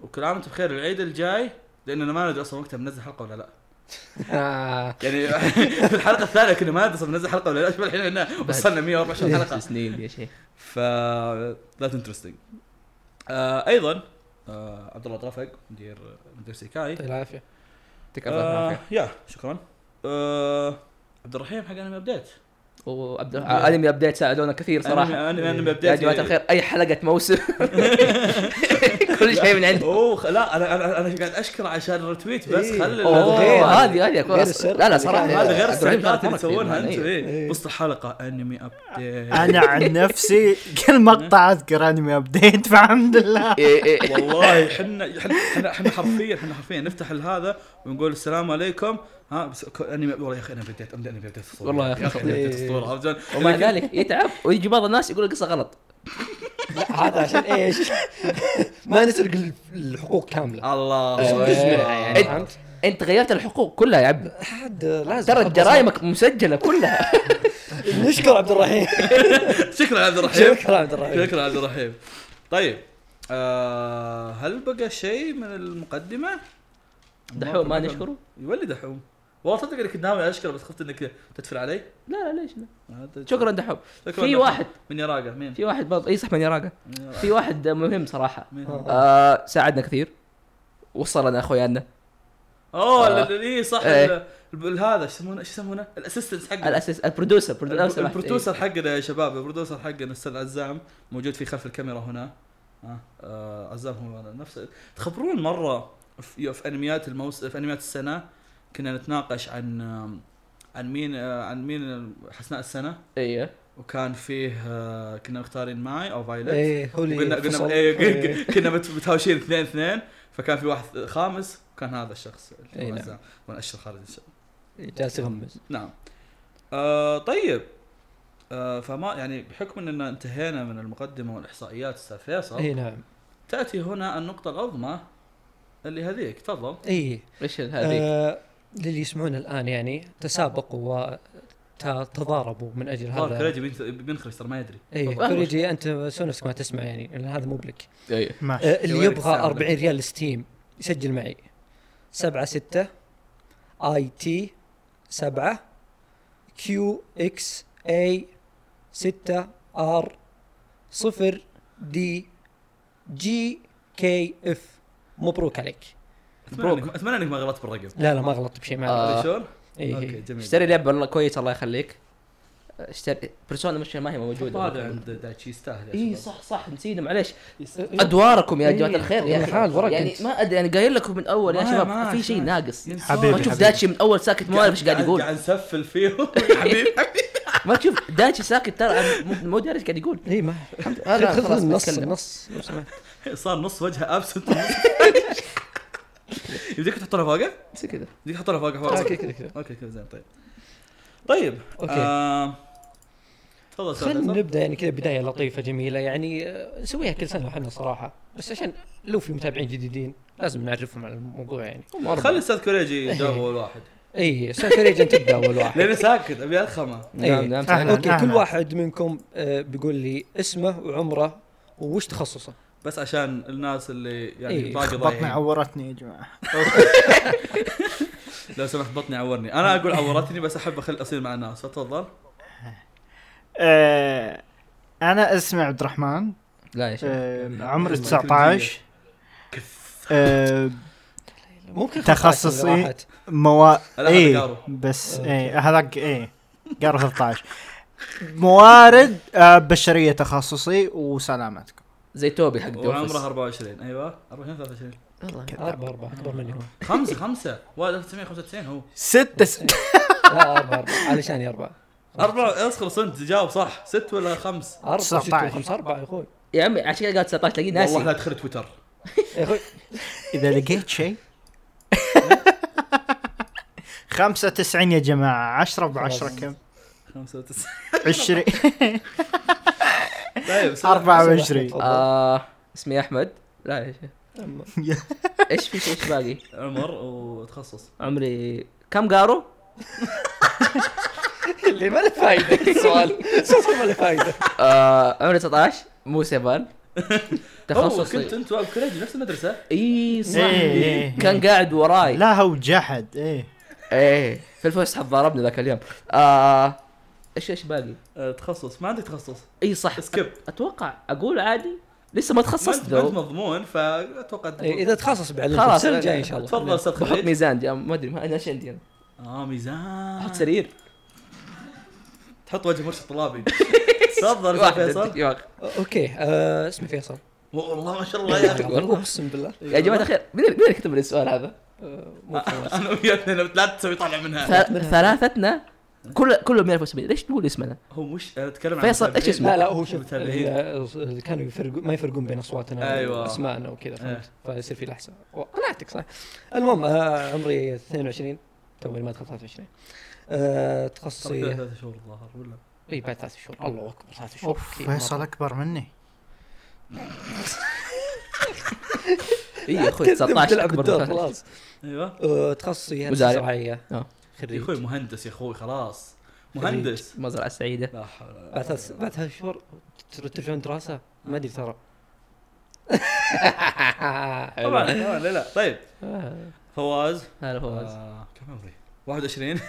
Speaker 1: وكلام انتم بخير العيد الجاي لاننا ما ندري اصلا وقتها بننزل حلقه ولا لا
Speaker 3: آه،
Speaker 1: يعني في الحلقه الثانيه كنا ما ندري اصلا بننزل حلقه ولا لا
Speaker 2: نعم.
Speaker 1: شوف الحين احنا وصلنا 124 حلقه
Speaker 2: سنين يا شيخ
Speaker 1: ف ذات انترستنج آه ايضا آه عبد الله طرفق مدير مدير سيكاي
Speaker 3: يعطيه العافيه
Speaker 2: طيب، يعطيك الف
Speaker 1: آه
Speaker 2: عافيه
Speaker 1: يا شكرا آه عبد الرحيم حق انمي ابديت
Speaker 2: وأبد- انمي ابديت ساعدونا كثير صراحه
Speaker 1: انمي انمي
Speaker 2: إيه. يا
Speaker 1: ابديت
Speaker 2: جماعه الخير اي حلقه موسم كل شيء من عندهم
Speaker 1: اوه خ- لا انا انا انا قاعد اشكر عشان الريتويت بس
Speaker 3: إيه.
Speaker 1: خلي
Speaker 3: أوه. غير-
Speaker 2: اوه هذه هذه
Speaker 3: غير
Speaker 2: أكو-
Speaker 3: السرقة
Speaker 2: لا لا
Speaker 3: اللي
Speaker 2: صراحه
Speaker 3: كانت-
Speaker 1: هذا غير
Speaker 2: عبد الرحيم
Speaker 1: السلبيات اللي
Speaker 2: مرة كثير
Speaker 1: تسوونها
Speaker 2: معنا،
Speaker 1: انتم
Speaker 2: إيه.
Speaker 1: إيه.
Speaker 3: إيه.
Speaker 1: وسط الحلقه انمي ابديت
Speaker 4: انا عن نفسي كل مقطع اذكر انمي ابديت فالحمد لله
Speaker 2: إيه، إيه.
Speaker 1: والله احنا احنا احنا حرفيا احنا حرفيا نفتح هذا ونقول السلام عليكم ها بس ك- انمي والله يا اخي انا بديت انمي بديت الصوره
Speaker 2: والله يا أخي إيه.
Speaker 1: انا بديت
Speaker 3: خطير.
Speaker 1: الصوره عرفت شلون؟
Speaker 2: ومع
Speaker 1: اللي كنت-
Speaker 2: ذلك يتعب ويجي بعض الناس يقول القصه غلط
Speaker 3: هذا عشان ايش؟ ما نسرق ال- الحقوق كامله
Speaker 1: الله
Speaker 3: أيوة.
Speaker 1: يسمعها
Speaker 3: إيه.
Speaker 1: يعني.
Speaker 3: فهمت؟
Speaker 2: انت غيرت الحقوق كلها يا عبد
Speaker 3: عاد لازم
Speaker 2: ترى جرائمك مسجله كلها
Speaker 3: نشكر عبد الرحيم
Speaker 1: شكرا عبد الرحيم
Speaker 3: شكرا عبد الرحيم
Speaker 1: شكرا عبد الرحيم طيب آه هل بقى شيء من المقدمه؟
Speaker 2: دحوم ما نشكره
Speaker 1: يولي دحوم والله صدق اني كنت ناوي اشكره بس خفت انك تدفل علي
Speaker 2: لا لا ليش لا
Speaker 1: هذا-
Speaker 2: شكرا دحوم
Speaker 1: شكراً
Speaker 2: في
Speaker 1: دحوم.
Speaker 2: واحد
Speaker 1: من يراقه مين؟
Speaker 2: في واحد برضه اي صح من يراقه
Speaker 1: من يراقة؟
Speaker 2: في واحد مهم صراحه
Speaker 1: مين؟
Speaker 3: آه.
Speaker 2: آه ساعدنا كثير وصلنا اخويانا
Speaker 1: اوه
Speaker 2: آه.
Speaker 1: ال- ال- اي صح
Speaker 2: إيه.
Speaker 1: ال- ال- هذا ايش يسمونه ايش يسمونه؟ الاسيستنت حقنا
Speaker 2: الاساس البرودوسر
Speaker 1: البر-
Speaker 2: برودوسر واحد،
Speaker 1: البرودوسر حقنا يا شباب البرودوسر حقنا الاستاذ عزام موجود في خلف الكاميرا هنا ها آه عزام هو نفسه تخبرون مره في, في انميات الموس في انميات السنه كنا نتناقش عن آم، عن مين آه، عن مين حسناء السنه
Speaker 2: إيه. ايه
Speaker 1: وكان فيه آه، كنا مختارين معي او فايلت
Speaker 3: ايه هو اللي
Speaker 1: قلنا
Speaker 3: فصل.
Speaker 1: قلنا إيه، ق- ق- كنا مت- متهاوشين اثنين اثنين فكان في واحد خامس وكان هذا الشخص
Speaker 3: إي نعم.
Speaker 1: عزام. وانا اشر خارج ان شاء الله
Speaker 3: جالس يغمز
Speaker 1: نعم آه طيب آه فما يعني بحكم اننا انتهينا من المقدمه والاحصائيات استاذ فيصل
Speaker 3: اي نعم
Speaker 1: تاتي هنا النقطه العظمى اللي هذيك تفضل
Speaker 3: اي
Speaker 2: ايش هذيك؟
Speaker 3: إيه. آه للي يسمعون الان يعني تسابقوا وتضاربوا من اجل
Speaker 1: الظاهر
Speaker 3: هذا
Speaker 1: كريجي بينت- بينخرج ترى ما يدري
Speaker 3: اي
Speaker 2: تفضل.
Speaker 3: كوريجي انت سوى نفسك ما تسمع يعني لان هذا مو بلك
Speaker 2: ايه
Speaker 4: ماشي
Speaker 3: آه، اللي
Speaker 1: جوالك
Speaker 3: يبغى
Speaker 1: ساعة
Speaker 3: 40 ريال ستيم يسجل معي 7 6 اي تي 7 كيو اكس اي 6 ار 0 دي جي كي اف مبروك عليك
Speaker 1: اتمنى انك اتمنى انك ما غلطت بالرقم
Speaker 3: لا لا ما غلطت بشيء ما عليك.
Speaker 2: آه.
Speaker 1: آه. شلون؟
Speaker 3: إيه،
Speaker 1: اوكي
Speaker 3: إيه.
Speaker 1: جميل
Speaker 2: اشتري لعبه والله كويس الله يخليك اشتري بيرسونا مش ما هي
Speaker 1: هذا
Speaker 2: موجوده
Speaker 1: عند دايتشي يستاهل يا
Speaker 2: اي
Speaker 1: شباب.
Speaker 2: صح صح نسينا معليش
Speaker 3: إيه.
Speaker 2: ادواركم يا
Speaker 3: إيه،
Speaker 2: جماعه الخير يا
Speaker 3: تعال
Speaker 2: اخي
Speaker 3: ورا
Speaker 2: يعني
Speaker 3: كنت.
Speaker 2: ما ادري يعني قايل لكم من اول يا
Speaker 1: ما-
Speaker 2: شباب
Speaker 1: ما-
Speaker 2: في شيء
Speaker 1: ما-
Speaker 2: ناقص
Speaker 1: ينسون.
Speaker 4: حبيبي.
Speaker 2: ما تشوف داتشي من اول ساكت ما اعرف ايش قاعد يقول
Speaker 1: قاعد نسفل فيهم حبيبي
Speaker 2: ما تشوف داتشي ساكت ترى مو- مو داري ايش قاعد يقول
Speaker 3: اي إيه، ما
Speaker 2: أنا
Speaker 3: خذ
Speaker 2: خلاص
Speaker 3: النص
Speaker 2: بتكلم.
Speaker 3: النص لو سمحت.
Speaker 1: صار نص وجهه ابسنت يمديك تحط له فوقه؟
Speaker 2: بس كذا
Speaker 1: يمديك تحط له فوقه فوق
Speaker 3: اوكي كذا كذا
Speaker 1: اوكي كذا زين طيب طيب
Speaker 3: أوكي.
Speaker 1: آم، تفضل أستاذ
Speaker 3: خلينا
Speaker 1: فيصل.
Speaker 3: نبدا يعني كذا بدايه لطيفه جميله يعني آه، نسويها كل سنه احنا صراحه بس عشان لو في متابعين جديدين لازم نعرفهم على الموضوع يعني إيه،
Speaker 1: خلي استاذ كوريجي يجاوب اول واحد
Speaker 3: اي سكريج انت تبدا اول واحد
Speaker 1: لانه ساكت ابي الخمه
Speaker 2: نعم
Speaker 3: إيه.
Speaker 2: نعم
Speaker 4: أهلاً.
Speaker 2: صحيح.
Speaker 3: اوكي كل واحد منكم آه، بيقول لي اسمه وعمره وش تخصصه
Speaker 1: بس عشان الناس اللي يعني
Speaker 3: إيه،
Speaker 1: باقي
Speaker 4: بطني
Speaker 1: ضايعين
Speaker 4: عورتني يا جماعه
Speaker 1: لو سمحت بطني عورني انا اقول عورتني بس احب اخل اصير مع الناس فتفضل
Speaker 4: آه، انا اسمي عبد الرحمن
Speaker 2: لا يا شيخ
Speaker 4: آه، عمري 19 آه،
Speaker 3: ممكن
Speaker 4: تخصصي.
Speaker 3: 15 إذا راحت.
Speaker 4: موا
Speaker 1: لا، هذا
Speaker 4: ايه
Speaker 1: قارو.
Speaker 4: بس ايه هذاك ايه قارو 13 موارد آه، بشريه تخصصي وسلامتكم
Speaker 2: زي توبي حق The Office.
Speaker 1: وعمره 24 ايوه 24 23
Speaker 2: والله
Speaker 3: اربع اربع اكبر مني هو
Speaker 1: خمسة خمسة والد 1995 هو
Speaker 4: ستة ستة
Speaker 3: لا اربع اربع علشاني اربع
Speaker 1: أربعة اصغر صنت جاوب صح ست ولا خمس
Speaker 3: اربع ستة
Speaker 4: 19.
Speaker 3: وخمسة اربع يا اخوي
Speaker 2: يا عمي عشان كذا قاعد 19 تلاقيه
Speaker 1: والله لا
Speaker 2: ناسي
Speaker 1: تدخل تويتر
Speaker 3: يا اخوي
Speaker 4: إذا لقيت شيء 95 يا جماعة 10 ب 10 كم؟
Speaker 1: 95
Speaker 4: 20
Speaker 1: طيب سلام.
Speaker 4: 24
Speaker 2: آه اسمي احمد لا يا شيخ
Speaker 3: أما-
Speaker 2: ايش في ايش باقي
Speaker 1: عمر وتخصص
Speaker 2: عمري كم قارو
Speaker 3: اللي ما له فايده السؤال السؤال ما له فايده
Speaker 2: آه عمري 19 مو سيفان
Speaker 1: تخصص كنت
Speaker 2: تخصصي
Speaker 1: انت وابو كريجي نفس المدرسه
Speaker 2: اي صح
Speaker 4: إيه، إيه.
Speaker 2: كان قاعد
Speaker 3: طيب.
Speaker 2: وراي
Speaker 4: لا هو جحد ايه
Speaker 2: ايه في الفسحه ضربنا ذاك اليوم آه ايش ايش باقي
Speaker 1: آه، أه، تخصص ما عندك تخصص
Speaker 2: اي صح
Speaker 1: سكيب
Speaker 2: اتوقع اقول عادي لسه ما
Speaker 1: ما
Speaker 2: تخصصت
Speaker 1: انت ما أنت
Speaker 2: ذو
Speaker 1: مضمون فاتوقع
Speaker 3: إيه، اذا تخصص بعلمك
Speaker 2: خلاص.
Speaker 3: السنه الجايه ان شاء الله
Speaker 1: تفضل استاذ
Speaker 2: بحط
Speaker 1: خليل
Speaker 2: ميزان جا- ما ادري ما- انا ايش عندي انا
Speaker 1: اه ميزان
Speaker 2: احط سرير
Speaker 1: تحط وجه مرشد طلابي تفضل استاذ
Speaker 2: واحد
Speaker 1: فيصل
Speaker 2: يا أخي.
Speaker 3: اوكي آه، اسمي فيصل
Speaker 1: والله ما شاء الله يا اخي
Speaker 3: والله اقسم بالله
Speaker 2: يا جماعه الخير مين مين اللي كتب لي السؤال هذا؟
Speaker 3: آه، مو فواز.
Speaker 1: انا وياك أنا لا تسوي طالع منها
Speaker 2: ثل- ثلاثتنا كل كلهم يعرفوا اسمي ليش تقول اسمنا؟
Speaker 1: هو مش انا اتكلم عن
Speaker 2: فيصل، إيش
Speaker 1: المتابعين.
Speaker 2: اسمه؟
Speaker 3: لا لا هو شوف
Speaker 1: متابعين.
Speaker 3: ال- ال- كانوا يفرقوا ما يفرقون بين اصواتنا
Speaker 1: أيوة.
Speaker 3: واسمائنا وكذا
Speaker 1: إيه.
Speaker 3: فهمت فيصير في لحسه قناعتك صح المهم آه، عمري 22 توني ما دخلت 23 آه،
Speaker 1: ترى
Speaker 3: تخصصي
Speaker 1: كذا ثلاث شهور الظاهر ولا
Speaker 3: اي
Speaker 2: إيه،
Speaker 3: بعد ثلاث شهور الله اكبر ثلاث شهور
Speaker 4: اوف
Speaker 3: كثير مرة.
Speaker 4: فيصل اكبر مني
Speaker 2: اي إيه، يا اخوي 19
Speaker 3: تلعب
Speaker 2: اكبر
Speaker 3: الدور
Speaker 2: من 19.
Speaker 3: خلاص
Speaker 1: ايوه
Speaker 3: آه، تخصصي هندسه
Speaker 2: مزارع.
Speaker 3: زراعيه
Speaker 2: آه.
Speaker 1: يا
Speaker 3: خريج
Speaker 1: اخوي مهندس يا اخوي خلاص مهندس
Speaker 2: المزرعه السعيده
Speaker 1: لا حول ولا قوة.
Speaker 3: بعد ثلاث بعد ثلاث شهور ترتجون دراسه ما ادري ترى
Speaker 1: طبعا طبعا لا لا طيب
Speaker 3: آه،
Speaker 1: فواز
Speaker 2: هلا فواز
Speaker 1: آه، كم عمري؟ 21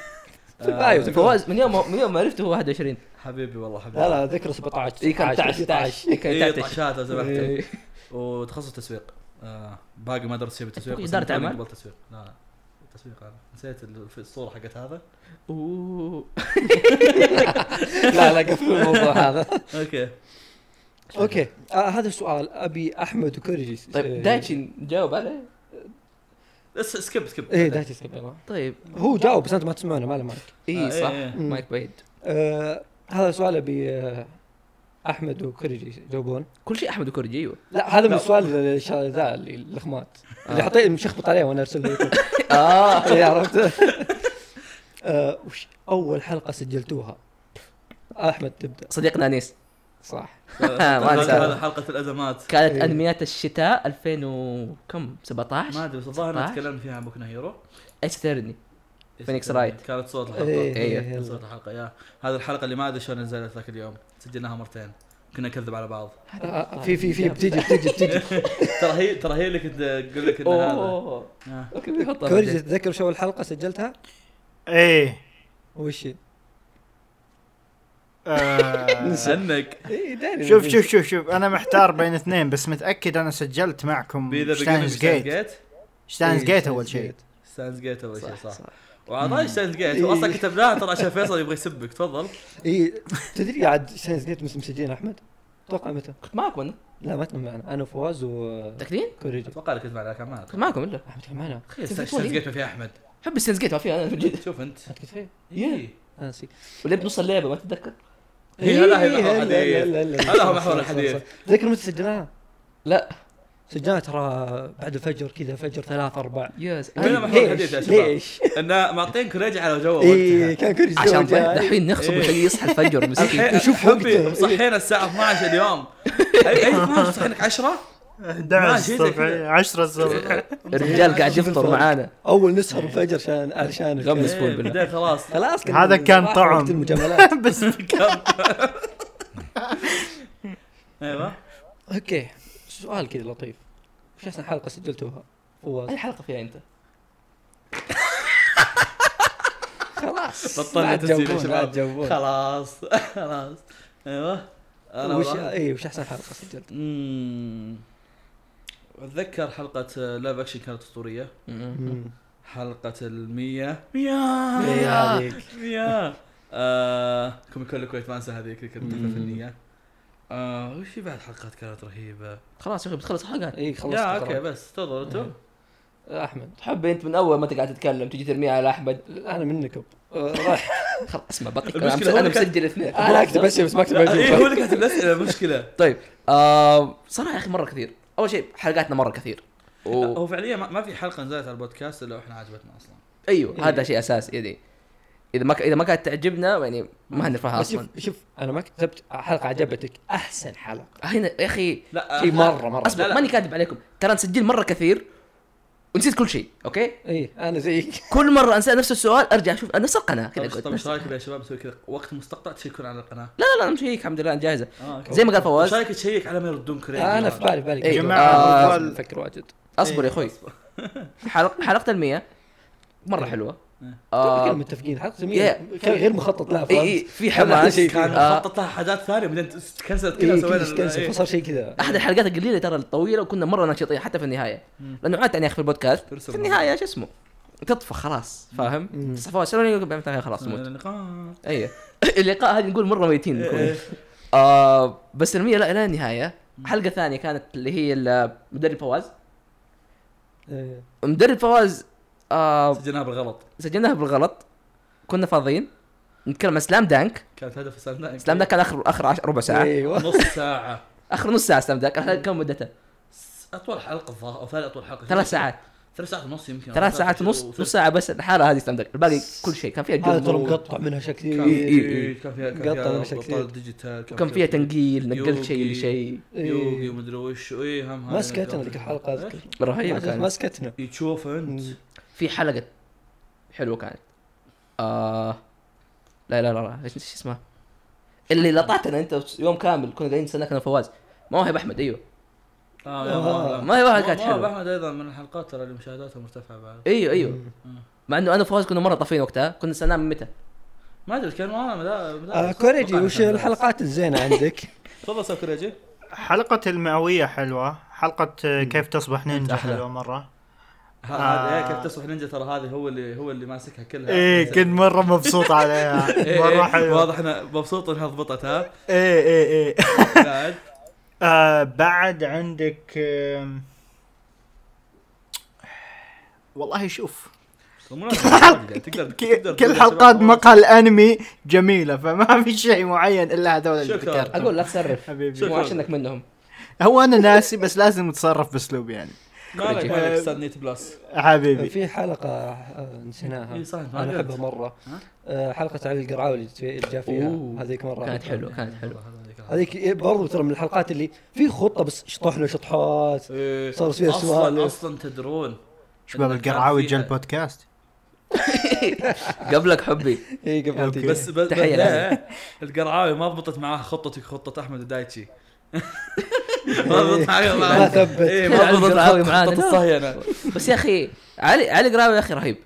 Speaker 3: أيوة.
Speaker 1: آه،
Speaker 2: فواز من يوم من يوم ما عرفته هو 21
Speaker 1: حبيبي والله حبيبي
Speaker 3: لا لا ذكر 17
Speaker 2: اي إيه، كان
Speaker 3: 19
Speaker 2: تعش تعش اي كان
Speaker 1: إيه،
Speaker 2: تعش
Speaker 1: طشات لو سمحت
Speaker 2: إيه.
Speaker 1: وتخصص تسويق آه، باقي ما درست شيء بالتسويق
Speaker 2: إدارة
Speaker 1: بس أنا
Speaker 2: أعمال؟
Speaker 1: قبل تسويق لا لا تسويق انا نسيت ال- في الصوره حقت هذا
Speaker 2: أوه.
Speaker 3: لا لا قفل الموضوع هذا
Speaker 1: اوكي
Speaker 3: اوكي آه هذا السؤال ابي احمد وكورجي
Speaker 2: طيب دايتشي جاوب عليه
Speaker 1: بس سكيب سكيب
Speaker 2: إيه،
Speaker 3: ايه دايتشي سكيب
Speaker 2: طيب
Speaker 3: هو جاوب بس انت ما تسمعنا ما له مالك
Speaker 2: اي
Speaker 1: آه،
Speaker 2: صح
Speaker 1: إيه، إيه.
Speaker 2: مايك بعيد
Speaker 3: آه هذا السؤال ابي آه احمد وكورجي يجاوبون
Speaker 2: كل شيء احمد وكورجي ايوه
Speaker 3: لا هذا من السؤال ال- الش- ذا اللي اللخمات اللي
Speaker 2: آه.
Speaker 3: حطيت مشخبط عليه وانا ارسل لكم
Speaker 2: اه
Speaker 3: إيه، عرفت آه وش اول حلقه سجلتوها احمد تبدا
Speaker 2: صديقنا انيس
Speaker 3: صح
Speaker 2: ما
Speaker 1: هذا- هذا
Speaker 2: انسى
Speaker 1: حلقه الازمات
Speaker 2: كانت
Speaker 3: إيه.
Speaker 2: انميات الشتاء 2000 وكم
Speaker 1: ما
Speaker 2: 17
Speaker 1: ادري بس الظاهر إن
Speaker 2: 16.
Speaker 1: تكلمنا فيها عن بوكنا هيرو
Speaker 2: استرني Phoenix Wright.
Speaker 1: كانت صوت الحلقه
Speaker 3: إيه، إيه،
Speaker 2: إيه.
Speaker 1: كانت
Speaker 3: يلا.
Speaker 1: صوت الحلقه يا هذه الحلقه اللي ما ادري شلون نزلت ذاك اليوم سجلناها مرتين كنا نكذب على بعض
Speaker 3: آه، في في في بتجي بتجي بتجي
Speaker 1: ترى هي ترى هي اللي كنت اقول لك ان هذا
Speaker 2: اوه
Speaker 1: آه.
Speaker 2: اوكي بيحطها
Speaker 3: كورجي
Speaker 2: بعدين.
Speaker 3: تتذكر شو اول حلقه سجلتها؟
Speaker 4: ايه
Speaker 3: وش هي؟
Speaker 4: آه،
Speaker 1: انك
Speaker 3: إيه، داري
Speaker 4: شوف
Speaker 3: إنه
Speaker 4: شوف شوف شوف انا محتار بين اثنين بس متاكد انا سجلت معكم
Speaker 1: بإذا
Speaker 4: شتاينز جيت
Speaker 1: جيت
Speaker 4: شتاينز
Speaker 3: إيه،
Speaker 4: جيت اول شيء
Speaker 1: ستانز جيت اول شيء صح,
Speaker 2: صح.
Speaker 1: وعطاني ستانز جيت واصلا كتبناها ترى عشان فيصل يبغى يسبك تفضل
Speaker 3: اي إيه، تدري عاد ساينس جيت مس- مسجلين احمد؟ اتوقع متى؟
Speaker 2: كنت معكم انا
Speaker 3: لا ما كنا معنا انا وفواز وكوريجي
Speaker 2: متاكدين؟
Speaker 1: اتوقع انك كنت معنا كان معنا
Speaker 2: كنت معكم الا
Speaker 3: احمد كان معنا
Speaker 2: أخي،
Speaker 1: ستانز
Speaker 3: إيه؟
Speaker 2: استهزئتوني.
Speaker 1: جيت إيه، ما فيها احمد
Speaker 2: حب السينز جيت ما فيها انا في الجد
Speaker 1: شوف انت
Speaker 3: انت كنت فين؟
Speaker 1: إيه.
Speaker 3: أنا نسيت
Speaker 2: ولعبت نص اللعبه ما تتذكر؟
Speaker 1: هي هلا هي
Speaker 3: آه، إيه،
Speaker 1: محور الحديث.
Speaker 3: لا، لا، لا.
Speaker 1: هلا هو محور
Speaker 3: صح، صح،
Speaker 1: الحديث.
Speaker 3: صح. تذكر متى سجلناها؟
Speaker 2: لا
Speaker 3: سجلناها ترى بعد الفجر كذا فجر ثلاث اربع
Speaker 2: يس
Speaker 1: كنا
Speaker 2: أنا-
Speaker 1: محور إيه، الحديث يا شباب.
Speaker 3: ليش؟
Speaker 1: انه معطين كوريج على جوه
Speaker 3: اي
Speaker 1: وقتها
Speaker 3: كان كوريجي
Speaker 2: عشان
Speaker 3: زوجة.
Speaker 2: دحين نخصب
Speaker 1: إيه.
Speaker 2: وتلاقيه يصحى الفجر مسكين
Speaker 1: الحين
Speaker 3: شوف
Speaker 1: شوف
Speaker 3: وقته.
Speaker 1: حبي صحينا الساعه 12 اليوم اي اي 12 صحينك 10 11 ماشي، زي الصبح، كذا. إيه.
Speaker 4: 10 الصبح
Speaker 2: الرجال قاعد يفطر معانا إيه،
Speaker 3: اول نسهر الفجر عشان عشان
Speaker 2: غمس.
Speaker 3: الكلام.
Speaker 2: مسؤول بالله.
Speaker 1: بدأ إيه، خلاص
Speaker 3: خلاص كنا
Speaker 4: هذا كان
Speaker 3: راح
Speaker 4: طعم.
Speaker 3: وقت المجاملات
Speaker 4: بس
Speaker 1: ايوه
Speaker 3: اوكي سؤال كذا لطيف وش احسن حلقه سجلتوها؟ فواز
Speaker 2: اي حلقه فيها انت؟
Speaker 3: خلاص
Speaker 1: بطلنا
Speaker 3: لا
Speaker 1: تسجيل يا
Speaker 3: تجاوبون، لا
Speaker 1: شباب
Speaker 3: تجاوبون.
Speaker 1: خلاص خلاص ايوه انا
Speaker 3: وش
Speaker 1: والله-
Speaker 3: اي وش احسن حلقه سجلت؟
Speaker 1: أمم. اتذكر حلقه لايف اكشن آه، كانت اسطوريه حلقه المية مية
Speaker 3: إيه
Speaker 1: مية
Speaker 3: عليك.
Speaker 1: مية آه كومي كول الكويت ما انسى هذيك اللي كانت تحفه
Speaker 2: مم.
Speaker 1: فنيه آه وش في بعد حلقات كانت رهيبه
Speaker 2: خلاص يا اخي بتخلص الحلقات
Speaker 3: اي خلصت
Speaker 1: يا اوكي
Speaker 3: خلاص.
Speaker 1: بس تفضل
Speaker 2: إيه.
Speaker 1: آه، انتم
Speaker 3: احمد
Speaker 2: تحب انت من اول ما انت قاعد تتكلم تجي ترميها على احمد
Speaker 3: انا منكم آه، راح
Speaker 2: خلاص اسمع بعطيك
Speaker 1: المشكلة
Speaker 2: انا مس-
Speaker 1: هو
Speaker 2: أنا
Speaker 1: اللي كان-
Speaker 2: مسجل الاثنين
Speaker 3: انا اكتب اسئله بس ما اكتب
Speaker 1: اي إيه، هو
Speaker 3: اجوبه
Speaker 1: اللي كاتب الاسئله المشكله
Speaker 2: طيب آه صراحه يا اخي مره كثير اول شيء حلقاتنا مره كثير و...
Speaker 1: هو فعليا ما ما في حلقه نزلت على البودكاست الا واحنا عجبتنا اصلا
Speaker 2: ايوه
Speaker 1: إيه.
Speaker 2: هذا شيء اساسي يعني اذا ما ك... اذا ما كانت تعجبنا يعني ما هنرفعها
Speaker 3: بس
Speaker 2: اصلا
Speaker 3: شوف شوف انا ما كتبت حلقه عجبتك احسن حلقه
Speaker 2: هنا يا اخي
Speaker 1: لا
Speaker 3: شيء
Speaker 1: أحنا-
Speaker 3: مره مره
Speaker 2: اصبر ماني كاذب عليكم ترى نسجل مره كثير ونسيت كل شيء اوكي
Speaker 3: اي انا زيك
Speaker 2: كل مره انسى نفس السؤال ارجع اشوف نفس القناه
Speaker 1: طب
Speaker 2: كذا
Speaker 1: إيش-
Speaker 2: أقعد
Speaker 1: طب ايش
Speaker 2: نفس-
Speaker 1: رايكم يا شباب نسوي كذا وقت مستقطع تشيكون على القناه؟
Speaker 2: لا لا لا مش هيك الحمد لله انا جاهزه
Speaker 1: اه اوكي
Speaker 2: زي ما قال
Speaker 1: ايش
Speaker 2: فواز
Speaker 1: رايك تشيك على ما يردون كريم
Speaker 3: انا في بالي في بالي
Speaker 2: إيه.
Speaker 4: جماعة،
Speaker 3: آه،
Speaker 4: الأطفال-
Speaker 3: افكر واجد
Speaker 1: طيب.
Speaker 2: اصبر يا اخوي حلق... حلقه المية مره حلوه
Speaker 1: إيه.
Speaker 3: آه
Speaker 2: آه
Speaker 3: متفقين حلقه
Speaker 2: يا.
Speaker 3: جميله كان غير مخطط لها فهمت؟
Speaker 2: اي اي في
Speaker 1: كان
Speaker 2: حماس
Speaker 1: كان
Speaker 2: آه،
Speaker 1: مخطط لها حاجات ثانيه بعدين تكنسلت كذا
Speaker 3: إيه
Speaker 1: وسوينا
Speaker 3: كذا كنسل، فصار شيء كذا
Speaker 2: احد الحلقات القليله ترى الطويله وكنا مره نشيطين حتى في النهايه لانه عادة يعني اخي في البودكاست
Speaker 1: ترسم.
Speaker 2: في النهايه شو اسمه تطفى خلاص فاهم
Speaker 3: مم.
Speaker 2: تصحى فوق السلم يقول بعد النهاية خلاص
Speaker 1: إيه،
Speaker 2: موت
Speaker 1: اللقاء
Speaker 2: اي اللقاء هذه نقول مره ميتين نكون
Speaker 1: إيه.
Speaker 2: آه بس المية لا الى النهايه حلقه ثانيه كانت اللي هي ال- مدرب فواز
Speaker 3: إيه.
Speaker 2: مدرب فواز آه
Speaker 1: سجلناها بالغلط
Speaker 2: سجلناها بالغلط كنا فاضيين نتكلم عن سلام دانك
Speaker 1: كانت هدف سلام دانك
Speaker 2: سلام دانك كان اخر اخر عش- ربع ساعه
Speaker 3: ايوه
Speaker 1: نص ساعه
Speaker 2: اخر نص ساعه سلام دانك الحلقة كم مدتها؟
Speaker 1: اطول حلقه الظاهر او ثاني اطول حلقه
Speaker 2: ثلاث ساعات
Speaker 1: ثلاث ساعات ونص يمكن
Speaker 2: ثلاث ساعات ونص نص ساعه بس الحاله هذه سلام دانك الباقي كل شيء كان فيها
Speaker 3: هذا
Speaker 2: جلد
Speaker 3: ترى مقطع منها شكل إيه.
Speaker 1: كان
Speaker 2: إي- إي-
Speaker 1: إي- كان فيها كان
Speaker 3: قطع
Speaker 1: فيها
Speaker 3: بشكل
Speaker 1: أبطال
Speaker 3: كثير.
Speaker 1: ديجيتال
Speaker 2: وكان فيها إيه. تنقيل نقلت شيء
Speaker 1: يوغي.
Speaker 2: لشيء
Speaker 1: يوغي ومدري وش اي هم هذه
Speaker 3: إيه. ما سكتنا
Speaker 1: الأشياء.
Speaker 3: ذيك الحلقه اذكر
Speaker 2: رهيب
Speaker 3: ما- ما
Speaker 2: طيب، كان
Speaker 3: سكتنا
Speaker 1: إي، تشوف انت
Speaker 3: مم.
Speaker 2: في حلقه حلوه كانت آه لا لا لا, لا. ايش ايش اسمها؟ اللي لطعتنا انت يوم كامل كنا قاعدين نستناك انا فواز مواهب احمد ايوه
Speaker 1: اه
Speaker 3: آه،
Speaker 1: يا
Speaker 2: ما هي واحد كانت
Speaker 1: حلوه
Speaker 2: حلوة.
Speaker 1: احمد ايضا من الحلقات ترى اللي مشاهداتها مرتفعه بعد
Speaker 2: ايوه ايوه مع انه انا وفواز كنا مره طافين وقتها كنا نستناه من متى؟
Speaker 1: ما ادري كان وانا مدا- مدا-
Speaker 3: آه، كوريجي
Speaker 1: أتوقع
Speaker 3: وش
Speaker 1: إنه كان-
Speaker 3: الحلقات الزينه عندك؟
Speaker 1: تفضل سو كوريجي
Speaker 4: حلقة المئوية حلوة حلقة آه، كيف تصبح نينجا
Speaker 2: أحلى.
Speaker 4: حلوة مرة
Speaker 1: ه- هذا
Speaker 4: آه.
Speaker 1: إيه، كيف تصبح نينجا ترى هذه هو اللي هو اللي ماسكها كلها
Speaker 4: ايه كنت مرة مبسوط عليها
Speaker 1: إيه، إيه،
Speaker 4: مرة حلوة
Speaker 1: واضح انا مبسوط انها ضبطت ها
Speaker 4: ايه ايه ايه
Speaker 1: بعد
Speaker 4: آه بعد عندك آم، والله شوف
Speaker 1: بالمناسبة، تقدر
Speaker 4: ك-
Speaker 1: تقدر
Speaker 4: كل حلقات مقهى الانمي جميله فما في شيء معين الا هذول اللي
Speaker 1: شكراً.
Speaker 4: ذكرتهم.
Speaker 2: اقول لا تصرف
Speaker 4: حبيبي
Speaker 1: شكراً.
Speaker 2: مو عشانك منهم
Speaker 4: هو انا ناسي بس لازم اتصرف باسلوب يعني
Speaker 1: مالك
Speaker 2: كوريجي.
Speaker 1: مالك استاذ نيت بلس
Speaker 4: حبيبي
Speaker 3: في حلقة آه، نسيناها
Speaker 1: إي صح، ما
Speaker 3: أنا
Speaker 1: قلت.
Speaker 3: أحبها مرة
Speaker 1: ها؟
Speaker 3: آه، حلقة علي القرعاوي اللي تفي- اللي جاء
Speaker 2: أوه.
Speaker 3: فيها هذيك مرة
Speaker 2: كانت حلوه كانت حلوه
Speaker 3: هذيك إيه، برضو ترى من الحلقات اللي في خطة بس شطحنا شطحات صار فيها
Speaker 1: اصلا
Speaker 2: إيه.
Speaker 3: سوالف.
Speaker 1: اصلا إيه، تدرون
Speaker 4: شباب
Speaker 1: إن كان
Speaker 4: القرعاوي
Speaker 1: فيها-
Speaker 4: جا البودكاست
Speaker 2: قبلك حبي
Speaker 3: اي قبل
Speaker 4: أوكي.
Speaker 3: تيجي.
Speaker 1: بس بس بس-
Speaker 2: تحية
Speaker 1: لا القرعاوي ما ضبطت معاه خطتك خطة احمد
Speaker 2: إيه.
Speaker 1: ودايتشي ما ضبطت معاه
Speaker 3: ما ثبت.
Speaker 1: إيه، ما
Speaker 2: علي
Speaker 1: ضبطت
Speaker 2: القرعاوي معانا.
Speaker 1: معاه خطة الصهينة
Speaker 2: بس يا اخي علي علي قراوي يا اخي رهيب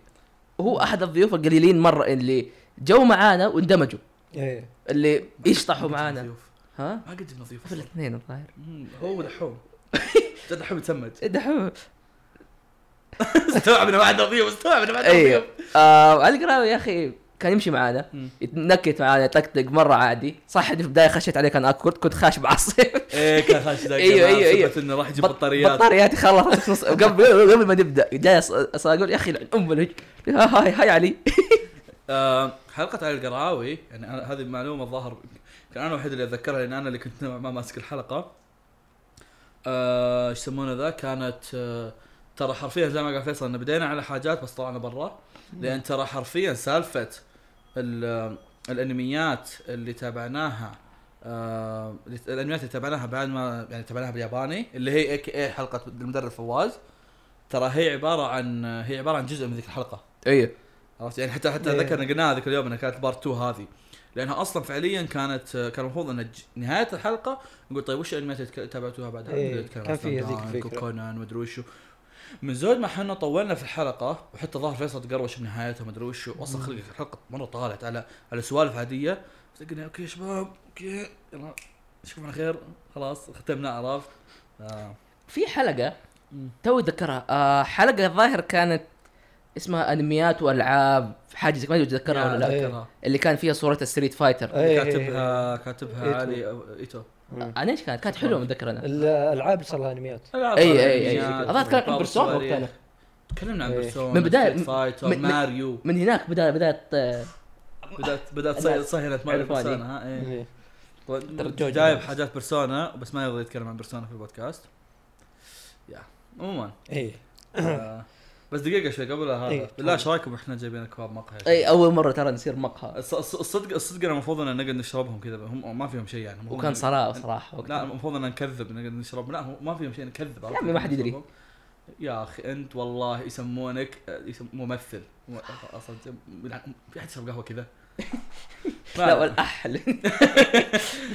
Speaker 2: هو احد الضيوف القليلين مره اللي جو معانا واندمجوا
Speaker 3: إيه.
Speaker 2: اللي يشطحوا معانا ها
Speaker 1: ما قد جبنا ضيوف
Speaker 2: في
Speaker 1: أصلاً.
Speaker 2: الاثنين الظاهر
Speaker 1: مم، هو دحوم جد دحوم يتسمج
Speaker 2: دحوم
Speaker 1: استوعبنا ما عندنا ضيوف استوعبنا ما عندنا
Speaker 2: ايوه
Speaker 1: ضيوف
Speaker 2: آه علي قراوي يا اخي كان يمشي معانا
Speaker 1: مم.
Speaker 2: يتنكت معانا يطقطق مره عادي صح إني في البدايه خشيت عليه كان اكورد كنت خاش بعصير
Speaker 1: ايه كان خاش ذاك
Speaker 2: أيوه،
Speaker 1: الزمان،
Speaker 2: أيوه، أيوه.
Speaker 1: سبت انه راح يجيب
Speaker 2: بط-
Speaker 1: بطاريات
Speaker 2: بطاريات خلص في نص قبل قبل ما نبدا جاي أص- أص- اقول يا اخي لعن ام الهج هاي هاي علي
Speaker 1: آه، حلقة علي القرعاوي يعني أنا- هذه معلومة الظاهر كان انا الوحيد اللي اتذكرها لان انا اللي كنت نوعاً ما ماسك الحلقة. آه، ايش يسمونه ذا؟ كانت آه، ترى حرفيا زي ما قال فيصل ان بدينا على حاجات بس طلعنا برا لان ترى حرفيا سالفة ال- الانميات اللي تابعناها آه، الانميات اللي تابعناها بعد ما يعني تابعناها بالياباني اللي هي اي كي اي حلقة المدرب فواز ترى هي عبارة عن هي عبارة عن جزء من ذيك الحلقة.
Speaker 2: ايوه
Speaker 1: عرفت يعني حتى حتى
Speaker 3: إيه.
Speaker 1: ذكرنا قلناها ذاك اليوم انها كانت بارت 2 هذه لانها اصلا فعليا كانت كان المفروض ان ج- نهايه الحلقه نقول طيب وش الانميات اللي تك- تابعتوها بعد
Speaker 3: إيه،
Speaker 1: نبدأ نتكلم
Speaker 3: كان
Speaker 1: عن
Speaker 3: في هذيك
Speaker 1: سلام دانك
Speaker 3: الفكرة.
Speaker 1: وكونان مدري وشو من زود ما احنا طولنا في الحلقه وحتى ظهر فيصل تقروش بنهايتها مدري وشو اصلا خلق الحلقه مره طالت على على سوالف عاديه بس قلنا اوكي يا شباب اوكي يلا نشوفكم على خير خلاص ختمنا عرفت آه.
Speaker 2: في حلقه
Speaker 1: مم.
Speaker 2: تو اتذكرها آه حلقه الظاهر كانت اسمها انميات والعاب حاجه زي ما ادري اتذكرها ولا لا
Speaker 3: إيه.
Speaker 1: أتذكرها.
Speaker 2: اللي كان فيها صوره الستريت
Speaker 1: آه.
Speaker 2: فايتر
Speaker 3: إيه.
Speaker 1: كاتبها كاتبها
Speaker 3: إيتو.
Speaker 1: علي أو- ايتو
Speaker 3: مم.
Speaker 2: انا ايش آه، كانت كانت حلوه متذكر انا
Speaker 3: الالعاب صار لها انميات
Speaker 1: العاب
Speaker 2: اي اي اي
Speaker 1: عالميات،
Speaker 2: اظن تكلم عن
Speaker 1: بابا
Speaker 2: برسونا
Speaker 1: الصغير.
Speaker 2: وقتها
Speaker 1: تكلمنا عن
Speaker 3: إيه.
Speaker 1: برسونا
Speaker 2: من بداية-
Speaker 1: ستريت فايتر
Speaker 2: من- من-
Speaker 1: ماريو
Speaker 2: من هناك بدا بدات آه،
Speaker 1: بدات بدات صي-
Speaker 2: الناس
Speaker 1: صهيلة ماريو
Speaker 2: يعرفوني.
Speaker 1: برسونا ها ايه
Speaker 3: إيه.
Speaker 2: ترى
Speaker 1: طيب،
Speaker 2: جوجو
Speaker 1: جايب
Speaker 2: بس.
Speaker 1: حاجات برسونا بس ما يرضى يتكلم عن برسونا في البودكاست يا عموما
Speaker 3: ايه
Speaker 1: آه، بس دقيقة شوي قبل
Speaker 3: إيه،
Speaker 1: هذا
Speaker 3: تفضل.
Speaker 1: بالله ايش رايكم احنا جايبين اكواب مقهى
Speaker 2: اي اول مره ترى نصير مقهى
Speaker 1: الص- الص- الصدق الصدق انا المفروض ان نقعد نشربهم كذا هم ما فيهم شيء يعني المفروض
Speaker 2: وكان
Speaker 1: إن-
Speaker 2: صراحه صراحه
Speaker 1: لا
Speaker 2: وقتها
Speaker 1: المفروض ان نكذب نقعد نشرب لا هو ما فيهم شيء نكذب
Speaker 2: يا عمي ما حد يدري.
Speaker 1: يا اخي انت والله يسمونك آه، يسم ممثل مو- اصلا في احد يشرب قهوه كذا ما
Speaker 2: لا
Speaker 1: أعرف.
Speaker 2: والاح اللي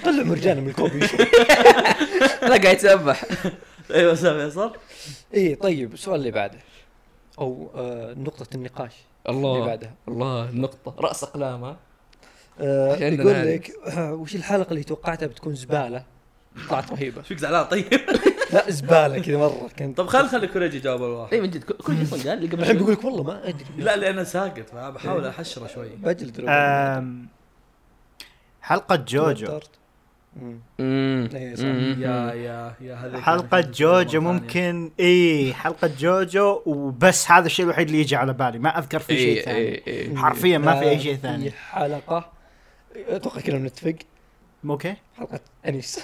Speaker 3: طلع مرجانه من الكوبي
Speaker 2: لا قاعد يتسبح
Speaker 1: ايوه سامع صار
Speaker 3: إيه، اي طيب السؤال اللي بعده او آه نقطة النقاش
Speaker 2: الله
Speaker 3: اللي بعدها.
Speaker 2: الله النقطة رأس أقلام ها
Speaker 3: آه
Speaker 2: عشان
Speaker 3: يقول
Speaker 2: نعرف.
Speaker 3: لك آه، وش الحلقه اللي توقعتها بتكون زباله طلعت رهيبه
Speaker 1: ايش فيك زعلان طيب؟
Speaker 3: لا زباله كذا مره كانت
Speaker 1: طب خل خلي كوريجي جاوب الواحد
Speaker 2: اي من جد كل شيء صدق قال لي قبل
Speaker 3: الحين
Speaker 2: شوي.
Speaker 3: بيقول لك والله ما ادري
Speaker 1: لا لانه ساقط
Speaker 2: أيوة.
Speaker 1: فبحاول احشره شوي
Speaker 3: بجلد ربع.
Speaker 4: أم، حلقة آه، جوجو
Speaker 3: توترت. مم.
Speaker 2: أمم.
Speaker 1: أيوة،
Speaker 3: إيه صح.
Speaker 2: أمم.
Speaker 1: يا يا يا هذه
Speaker 4: حلقة جوجو ممكن اي حلقة جوجو وبس هذا الشيء الوحيد اللي يجي على بالي ما اذكر في شيء
Speaker 2: إيه،
Speaker 4: ثاني
Speaker 2: إيه، إيه.
Speaker 4: حرفيا ما في اي
Speaker 3: آه،
Speaker 4: شيء ثاني
Speaker 3: في حلقه اتوقع كلنا بنتفق
Speaker 4: اوكي
Speaker 3: حلقه انيس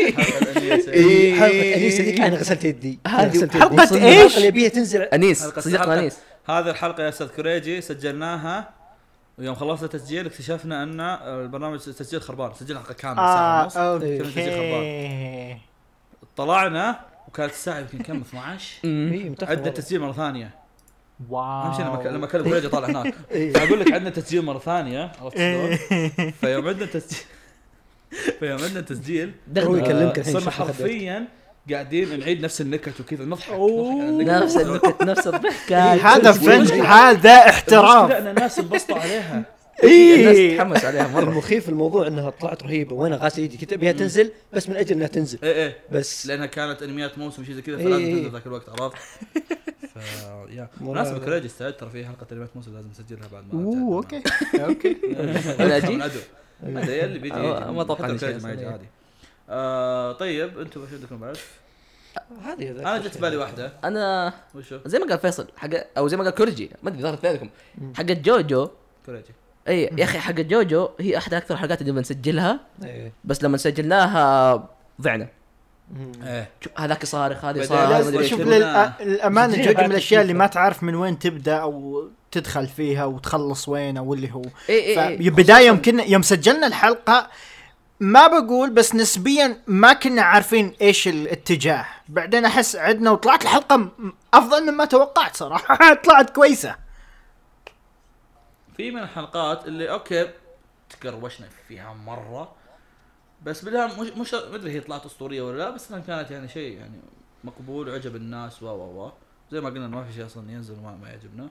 Speaker 1: إيه.
Speaker 2: إيه.
Speaker 3: حلقه انيس هذيك انا غسلت يدي أنا
Speaker 2: هذه
Speaker 3: غسلت يدي.
Speaker 4: حلقة
Speaker 3: وصلنا
Speaker 4: إيش؟
Speaker 3: الحلقة اللي ابيها تنزل
Speaker 2: انيس
Speaker 1: حلقة-
Speaker 2: صديقنا
Speaker 1: حلقة-
Speaker 2: انيس
Speaker 1: هذه الحلقة يا استاذ كوريجي سجلناها ويوم خلصنا التسجيل اكتشفنا ان البرنامج تسجيل خربان سجلنا حلقة كاملة ساعة
Speaker 4: اه
Speaker 1: ونص
Speaker 4: اوكي
Speaker 1: طلعنا وكانت الساعة يمكن كم 12
Speaker 3: إيه، متأخر
Speaker 1: عدنا
Speaker 3: والله.
Speaker 1: التسجيل مرة ثانية اهم شيء لما ك-
Speaker 4: واو
Speaker 1: لما كلم كوريجي طالع هناك
Speaker 3: إيه.
Speaker 1: فاقول لك عندنا تسجيل مرة ثانية عرفت شلون؟
Speaker 4: إيه.
Speaker 1: فيوم عندنا تسجيل فيوم عندنا تسجيل
Speaker 3: هو
Speaker 2: دغدغة.
Speaker 3: يكلمك الحين
Speaker 1: صرنا
Speaker 3: شوف أخذت.
Speaker 1: حرفيا قاعدين نعيد نفس النكت وكذا نضحك
Speaker 4: أوه.
Speaker 1: نضحك على النكت.
Speaker 2: نفس النكت نفس الضحكة
Speaker 4: هذا فن
Speaker 1: المشكلة-
Speaker 4: هذا
Speaker 1: المشكلة
Speaker 4: احترام
Speaker 1: ان الناس انبسطوا عليها
Speaker 2: الناس
Speaker 4: اي
Speaker 2: تتحمس عليها مرة
Speaker 3: المخيف الموضوع انها طلعت رهيبه وانا غاسل يدي كنت ابيها تنزل بس من اجل انها تنزل
Speaker 1: ايه ايه
Speaker 3: بس
Speaker 1: لانها كانت انميات موسم شيء زي كذا
Speaker 3: إيه
Speaker 1: فلازم
Speaker 3: إيه.
Speaker 1: تنزل ذاك الوقت عرفت؟ ف يا مناسبة كوريجي استعد ترى في حلقة انميات موسم لازم نسجلها بعد ما أرجع.
Speaker 4: اوه اوكي اوكي
Speaker 1: أنا
Speaker 2: أنا
Speaker 1: أجي؟
Speaker 2: أجي؟
Speaker 1: هذا اللي بيجي
Speaker 2: آه،
Speaker 1: يجي.
Speaker 2: ما أتوقع
Speaker 1: حتى
Speaker 2: إن شيء
Speaker 1: كوريجي ما يجي
Speaker 2: أصلاً.
Speaker 1: عادي آه طيب انتم وش عندكم بعد؟
Speaker 3: هذه
Speaker 1: انا جت بالي واحده
Speaker 2: انا
Speaker 1: وشو؟
Speaker 2: زي ما قال فيصل حق او زي ما قال كورجي ما ادري ظهرت بينكم حق جوجو
Speaker 1: كوريجي
Speaker 2: اي يا اخي حق جوجو هي احد اكثر الحلقات اللي بنسجلها
Speaker 3: إيه.
Speaker 2: بس لما سجلناها ضعنا
Speaker 3: إيه.
Speaker 1: ايه
Speaker 2: شوف هذاك صارخ هذه
Speaker 1: بدأ-
Speaker 2: صارخ ما أدري
Speaker 4: لازم
Speaker 2: إيش.
Speaker 4: شوف
Speaker 1: يكتبون-
Speaker 4: للأ- للامانه
Speaker 3: جديد
Speaker 4: جوجو
Speaker 3: بعد
Speaker 4: من الاشياء اللي
Speaker 3: كثير.
Speaker 4: ما تعرف من وين تبدا او تدخل فيها وتخلص وين او اللي هو
Speaker 2: اي اي اي
Speaker 4: فبدايه يوم كنا يوم سجلنا الحلقه ما بقول بس نسبيا ما كنا عارفين ايش الاتجاه بعدين احس عدنا وطلعت الحلقه م- افضل مما توقعت صراحه طلعت كويسه
Speaker 1: في من الحلقات اللي اوكي تقروشنا فيها مره بس بالله مش مش ما ادري هي طلعت اسطوريه ولا لا بس انها كانت يعني شيء يعني مقبول وعجب الناس و و و زي ما قلنا إنه ما في شيء اصلا ينزل ما, ما يعجبنا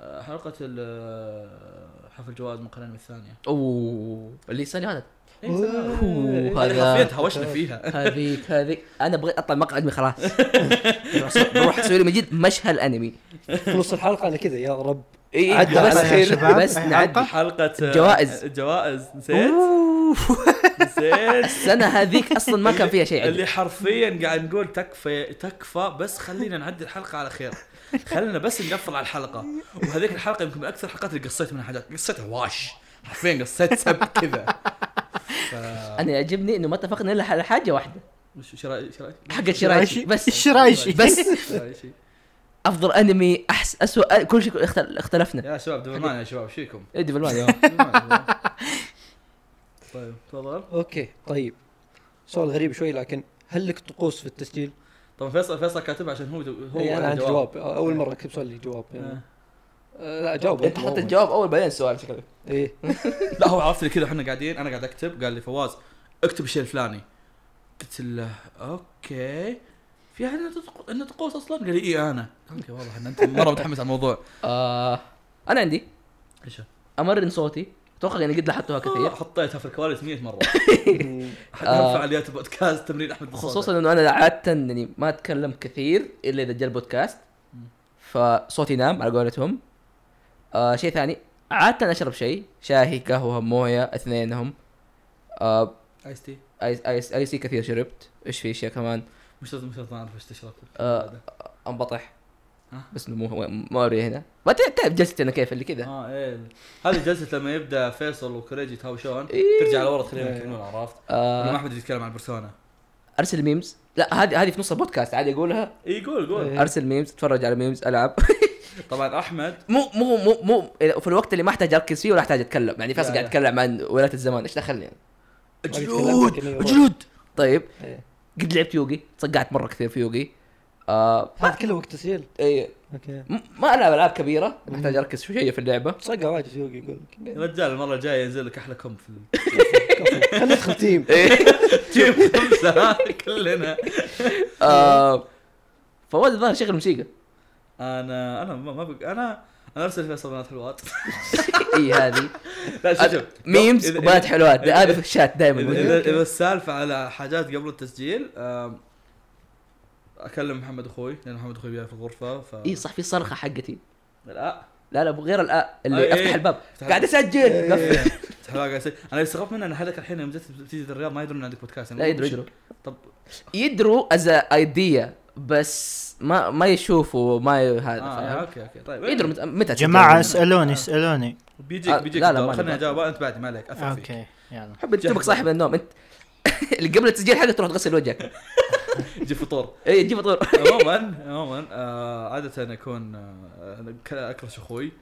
Speaker 1: آه، حلقه ال- حفل جوائز مقرن الثانيه
Speaker 2: اوه اللي السنه هذا
Speaker 1: إيه، سلام.
Speaker 2: أوه،
Speaker 1: هذه
Speaker 2: هذا-
Speaker 1: حرفيا تهاوشنا فيها
Speaker 2: هذيك هذيك انا بغيت اطلع مقعد من خلاص بروح اسوي لي من جد مشهى الانمي
Speaker 3: في نص الحلقه انا كذا يا رب
Speaker 2: اي
Speaker 3: عدى
Speaker 2: إي، إيه، بس
Speaker 3: عليها يا
Speaker 4: شباب.
Speaker 2: بس
Speaker 4: أي
Speaker 2: نعدي
Speaker 4: حلقة؟
Speaker 1: حلقه آه،
Speaker 2: الجوائز.
Speaker 1: الجوائز نسيت نسيت
Speaker 2: السنه هذيك اصلا ما كان فيها شيء عدل
Speaker 1: اللي حرفيا قاعد نقول تكفى تكفى بس خلينا نعدي الحلقه على خير خلينا بس نقفل على الحلقه وهذيك الحلقه يمكن من اكثر الحلقات اللي قصيت منها حاجات قصيتها واش حرفيا قصيت سب كذا ف
Speaker 2: انا يعجبني انه ما اتفقنا الا على حاجه واحده
Speaker 1: وش شو رايك شو رايك؟
Speaker 2: حق شرايشي بس
Speaker 4: شرايشي
Speaker 2: بس
Speaker 1: شو رأيك شي؟
Speaker 2: افضل انمي احس اسوء كل شيء اختل- اختلفنا
Speaker 1: يا شباب دبلمان يا شباب شيكم
Speaker 2: ادي بالوان
Speaker 1: دبلمان. طيب تفضل
Speaker 3: اوكي طيب سؤال غريب شوي لكن هل لك طقوس في التسجيل؟
Speaker 1: طبعا فيصل فيصل كاتبها عشان هو هو
Speaker 3: إيه، انا
Speaker 1: عنده
Speaker 3: عندي جواب اول مره كتب سؤال لي جواب
Speaker 1: آه.
Speaker 3: يعني. آه، لا جاوب
Speaker 2: انت حطيت الجواب اول بعدين السؤال شكلك
Speaker 3: ايه
Speaker 1: لا هو عرفت لي كذا احنا قاعدين انا قاعد اكتب قال لي فواز اكتب الشيء الفلاني قلت له اوكي في احد عنده طقو- عنده طقوس اصلا؟ قال لي اي انا اوكي والله ان انت مره متحمس على الموضوع
Speaker 2: آه انا عندي
Speaker 1: ايش
Speaker 2: امرن صوتي اتوقع اني قد لاحظتها
Speaker 1: كثير
Speaker 2: كثير
Speaker 1: حطيتها في الكواليس 100 مره
Speaker 3: مم.
Speaker 1: احد اهم
Speaker 2: آه.
Speaker 1: فعاليات البودكاست تمرين احمد بالصوت.
Speaker 2: خصوصا انه انا عاده اني ما اتكلم كثير الا اذا جاء البودكاست فصوتي نام على قولتهم آه شيء ثاني عاده اشرب شيء شاهي قهوه مويه اثنينهم آه
Speaker 1: ايس تي
Speaker 2: ايس ايس ايسي كثير شربت ايش في اشياء كمان
Speaker 1: مش لازم مش لازم اعرف ايش تشرب
Speaker 2: آه. انبطح
Speaker 1: ها؟
Speaker 2: بس إنه مو هو- ما اوري هنا ما تعرف تعرف جلستي انا كيف اللي كذا
Speaker 1: اه ايه هذه جلسه لما يبدا فيصل وكوريجي يتهاوشون
Speaker 2: إيه.
Speaker 1: ترجع لورا تخليهم يكملون عرفت؟ ما
Speaker 2: آه
Speaker 1: احمد يتكلم عن بيرسونا
Speaker 2: ارسل ميمز لا هذه هذه في نص البودكاست عادي اقولها
Speaker 1: اي قول قول
Speaker 3: إيه.
Speaker 2: ارسل ميمز اتفرج على ميمز العب
Speaker 1: طبعا احمد
Speaker 2: مو مو مو مو في الوقت اللي ما احتاج اركز فيه ولا احتاج اتكلم يعني فيصل
Speaker 1: لا،
Speaker 2: قاعد
Speaker 1: لا.
Speaker 2: يتكلم عن ولايه الزمان ايش دخلني يعني؟
Speaker 1: جلود
Speaker 3: كأني أول.
Speaker 1: جلود
Speaker 2: طيب
Speaker 3: إيه.
Speaker 2: قد لعبت يوغي تصقعت مره كثير في يوغي آه
Speaker 3: هذا كله وقت تسجيل
Speaker 2: إيه
Speaker 3: اوكي
Speaker 2: م- ما العب العاب كبيره محتاج اركز شويه في اللعبه
Speaker 3: صقع واجد يوقي يقول
Speaker 1: يا رجال المره الجايه ينزل لك احلى كم في
Speaker 3: كفو. خلينا ندخل تيم
Speaker 1: الجيم خمسه كلنا إيه.
Speaker 2: آه فواد الظاهر شغل موسيقى
Speaker 1: انا انا ما ما بق... انا انا ارسل فيصل بنات حلوات
Speaker 2: اي إيه، هذه
Speaker 1: لا شوف شوف
Speaker 2: ميمز
Speaker 1: إذا-
Speaker 2: وبنات حلوات
Speaker 1: إذا-
Speaker 2: هذا في الشات دائما
Speaker 1: اذا اذا اذا السالفه على حاجات قبل التسجيل آم، اكلم محمد اخوي لان محمد اخوي بيعرف الغرفه ف
Speaker 2: اي إيه صح في صرخه حقتي
Speaker 1: لا إيه،
Speaker 2: لا لا غير الآ اللي
Speaker 1: أي- أي.
Speaker 2: افتح الباب
Speaker 1: افتح
Speaker 2: قاعد اسجل قفل.
Speaker 1: حلقة أسي- انا اللي استغربت منه ان هذاك الحين يوم جت بتيجي الرياض ما يدرون إن عندك بودكاست يعني
Speaker 2: لا يدروا يدروا
Speaker 1: طب
Speaker 2: يدروا از ايديا بس ما ما يشوفوا ما ي... هذا
Speaker 1: آه
Speaker 2: آه
Speaker 1: اوكي اوكي طيب
Speaker 2: يدروا مت... متى
Speaker 4: جماعه
Speaker 2: تتكلم.
Speaker 4: اسالوني اسالوني
Speaker 1: بيجيك
Speaker 2: آه،
Speaker 1: بيجيك
Speaker 2: لا، لا،
Speaker 1: الدور.
Speaker 2: ما
Speaker 1: خليني
Speaker 2: نبغى.
Speaker 1: اجاوب انت بعد ما عليك افهم فيك
Speaker 4: اوكي يلا
Speaker 2: حب تشوفك صاحب النوم انت اللي قبل التسجيل حقك تروح تغسل وجهك إيه،
Speaker 1: جيب فطور
Speaker 2: اي تجيب طول
Speaker 1: عموما عموما آه عادة اكون آه أنا ك- اكرش اخوي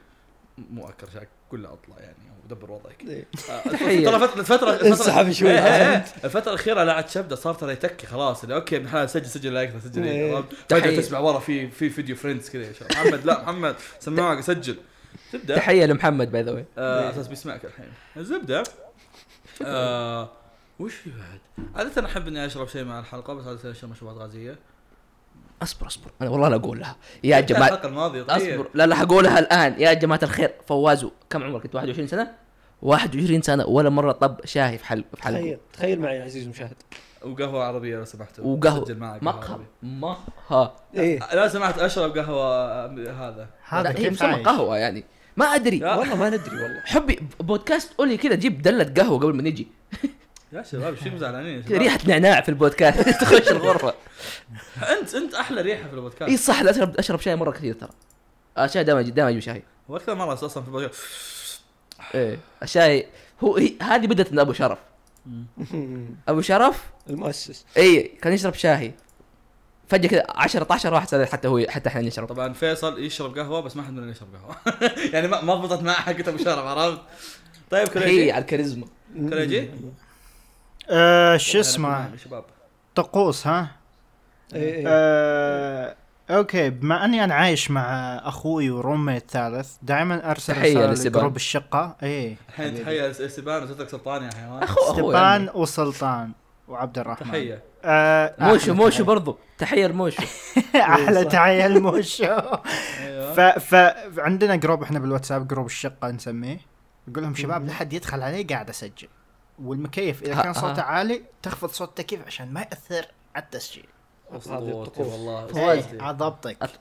Speaker 1: مو اكرش اقول له اطلع يعني ودبر وضعك
Speaker 3: إيه.
Speaker 1: آه،
Speaker 2: تحية.
Speaker 1: ترى فترة الفترة الفترة-
Speaker 3: انسحب شوي.
Speaker 1: إيه، إيه، إيه. الفترة الأخيرة لا عاد شبدة صار ترى يتكي خلاص اللي اوكي ابن حلال سجل سجل لا يكثر سجل
Speaker 3: إيه.
Speaker 1: عرفت؟
Speaker 2: تحية.
Speaker 1: فجأة تسمع ورا في في فيديو فريندز كذا يا شباب. محمد لا محمد سماعك سجل تبدا
Speaker 2: تحيه لمحمد باي ذا واي
Speaker 3: إيه.
Speaker 1: آه، اساس بيسمعك الحين الزبده آه وش في بعد؟ عادة أنا أحب إني أشرب شيء مع الحلقة بس عادة أشرب مشروبات غازية.
Speaker 2: اصبر اصبر انا والله لا اقول لها يا جماعه
Speaker 1: الحلقة الماضية طيب.
Speaker 2: اصبر لا لا حقولها الان يا جماعه الخير فواز كم عمرك انت 21 سنه 21 سنه ولا مره طب شاهي في حل في حلقه
Speaker 3: تخيل تخيل معي يا عزيز المشاهد
Speaker 1: وقهوه عربيه لو سمحت
Speaker 2: وقهوه
Speaker 1: سجل معك قهوة
Speaker 2: مقهى
Speaker 1: عربية.
Speaker 2: مقهى
Speaker 3: ايه
Speaker 1: لو سمحت اشرب قهوه آه، هذا
Speaker 2: لا
Speaker 4: هذا
Speaker 2: هي
Speaker 4: كيف
Speaker 2: إيه، مسمى
Speaker 4: عايش؟
Speaker 2: قهوه يعني ما ادري
Speaker 1: لا.
Speaker 3: والله ما ندري والله
Speaker 2: حبي بودكاست قولي كذا جيب دله قهوه قبل ما نجي
Speaker 1: يا شباب شو زعلانين يا
Speaker 2: كذا
Speaker 1: شباب؟
Speaker 2: ريحه نعناع في البودكاست تخش الغرفه
Speaker 1: انت انت احلى ريحه في
Speaker 2: اي
Speaker 1: البودكاست
Speaker 2: صح لا اشرب اشرب شاي مره كثير ترى الشاي دائما دائما اجيب شاي
Speaker 1: واكثر مره اصلا في البودكاست
Speaker 2: ايه الشاي هو هي- هذه بدت من ابو شرف ابو شرف
Speaker 3: المؤسس
Speaker 2: اي كان يشرب شاي فجاه كذا 10 12 واحد صار حتى هو حتى احنا نشرب
Speaker 1: طبعا فيصل يشرب قهوه بس ما حد مننا يشرب قهوه يعني ما ما ضبطت مع حقته ابو شرف عرفت؟ طيب
Speaker 2: هي
Speaker 1: كريجي
Speaker 2: على الكاريزما
Speaker 1: كريجي
Speaker 3: إيه،
Speaker 4: آه، شو
Speaker 1: معنا
Speaker 4: اسمه
Speaker 1: يا شباب
Speaker 4: طقوس ها
Speaker 3: إيه، إيه.
Speaker 4: آه، اوكي بما اني انا عايش مع اخوي ورومي الثالث دائما ارسل
Speaker 2: تحية
Speaker 4: رسالة
Speaker 2: لسبان.
Speaker 4: لجروب إيه، الشقه اي
Speaker 1: الحين تحيه استبان وستك سلطان يا حيوان
Speaker 2: اخو اخو يعني.
Speaker 4: سبان وسلطان وعبد الرحمن
Speaker 1: تحيه
Speaker 4: آه،
Speaker 2: يعني. موشو
Speaker 4: أحلى
Speaker 2: موشو برضو تحيه لموشو
Speaker 4: تحية. احلى تحيه الموشو
Speaker 1: ايوه
Speaker 4: ف... فعندنا جروب احنا بالواتساب جروب الشقه نسميه نقول لهم شباب لا حد يدخل علي قاعد اسجل والمكيف اذا
Speaker 2: ها-
Speaker 4: كان صوته
Speaker 2: ها.
Speaker 4: عالي تخفض صوت التكييف عشان ما ياثر على التسجيل
Speaker 1: اسطورتي والله
Speaker 4: إيه،
Speaker 1: اسطورتي
Speaker 4: على ضبطك
Speaker 2: اي
Speaker 4: بس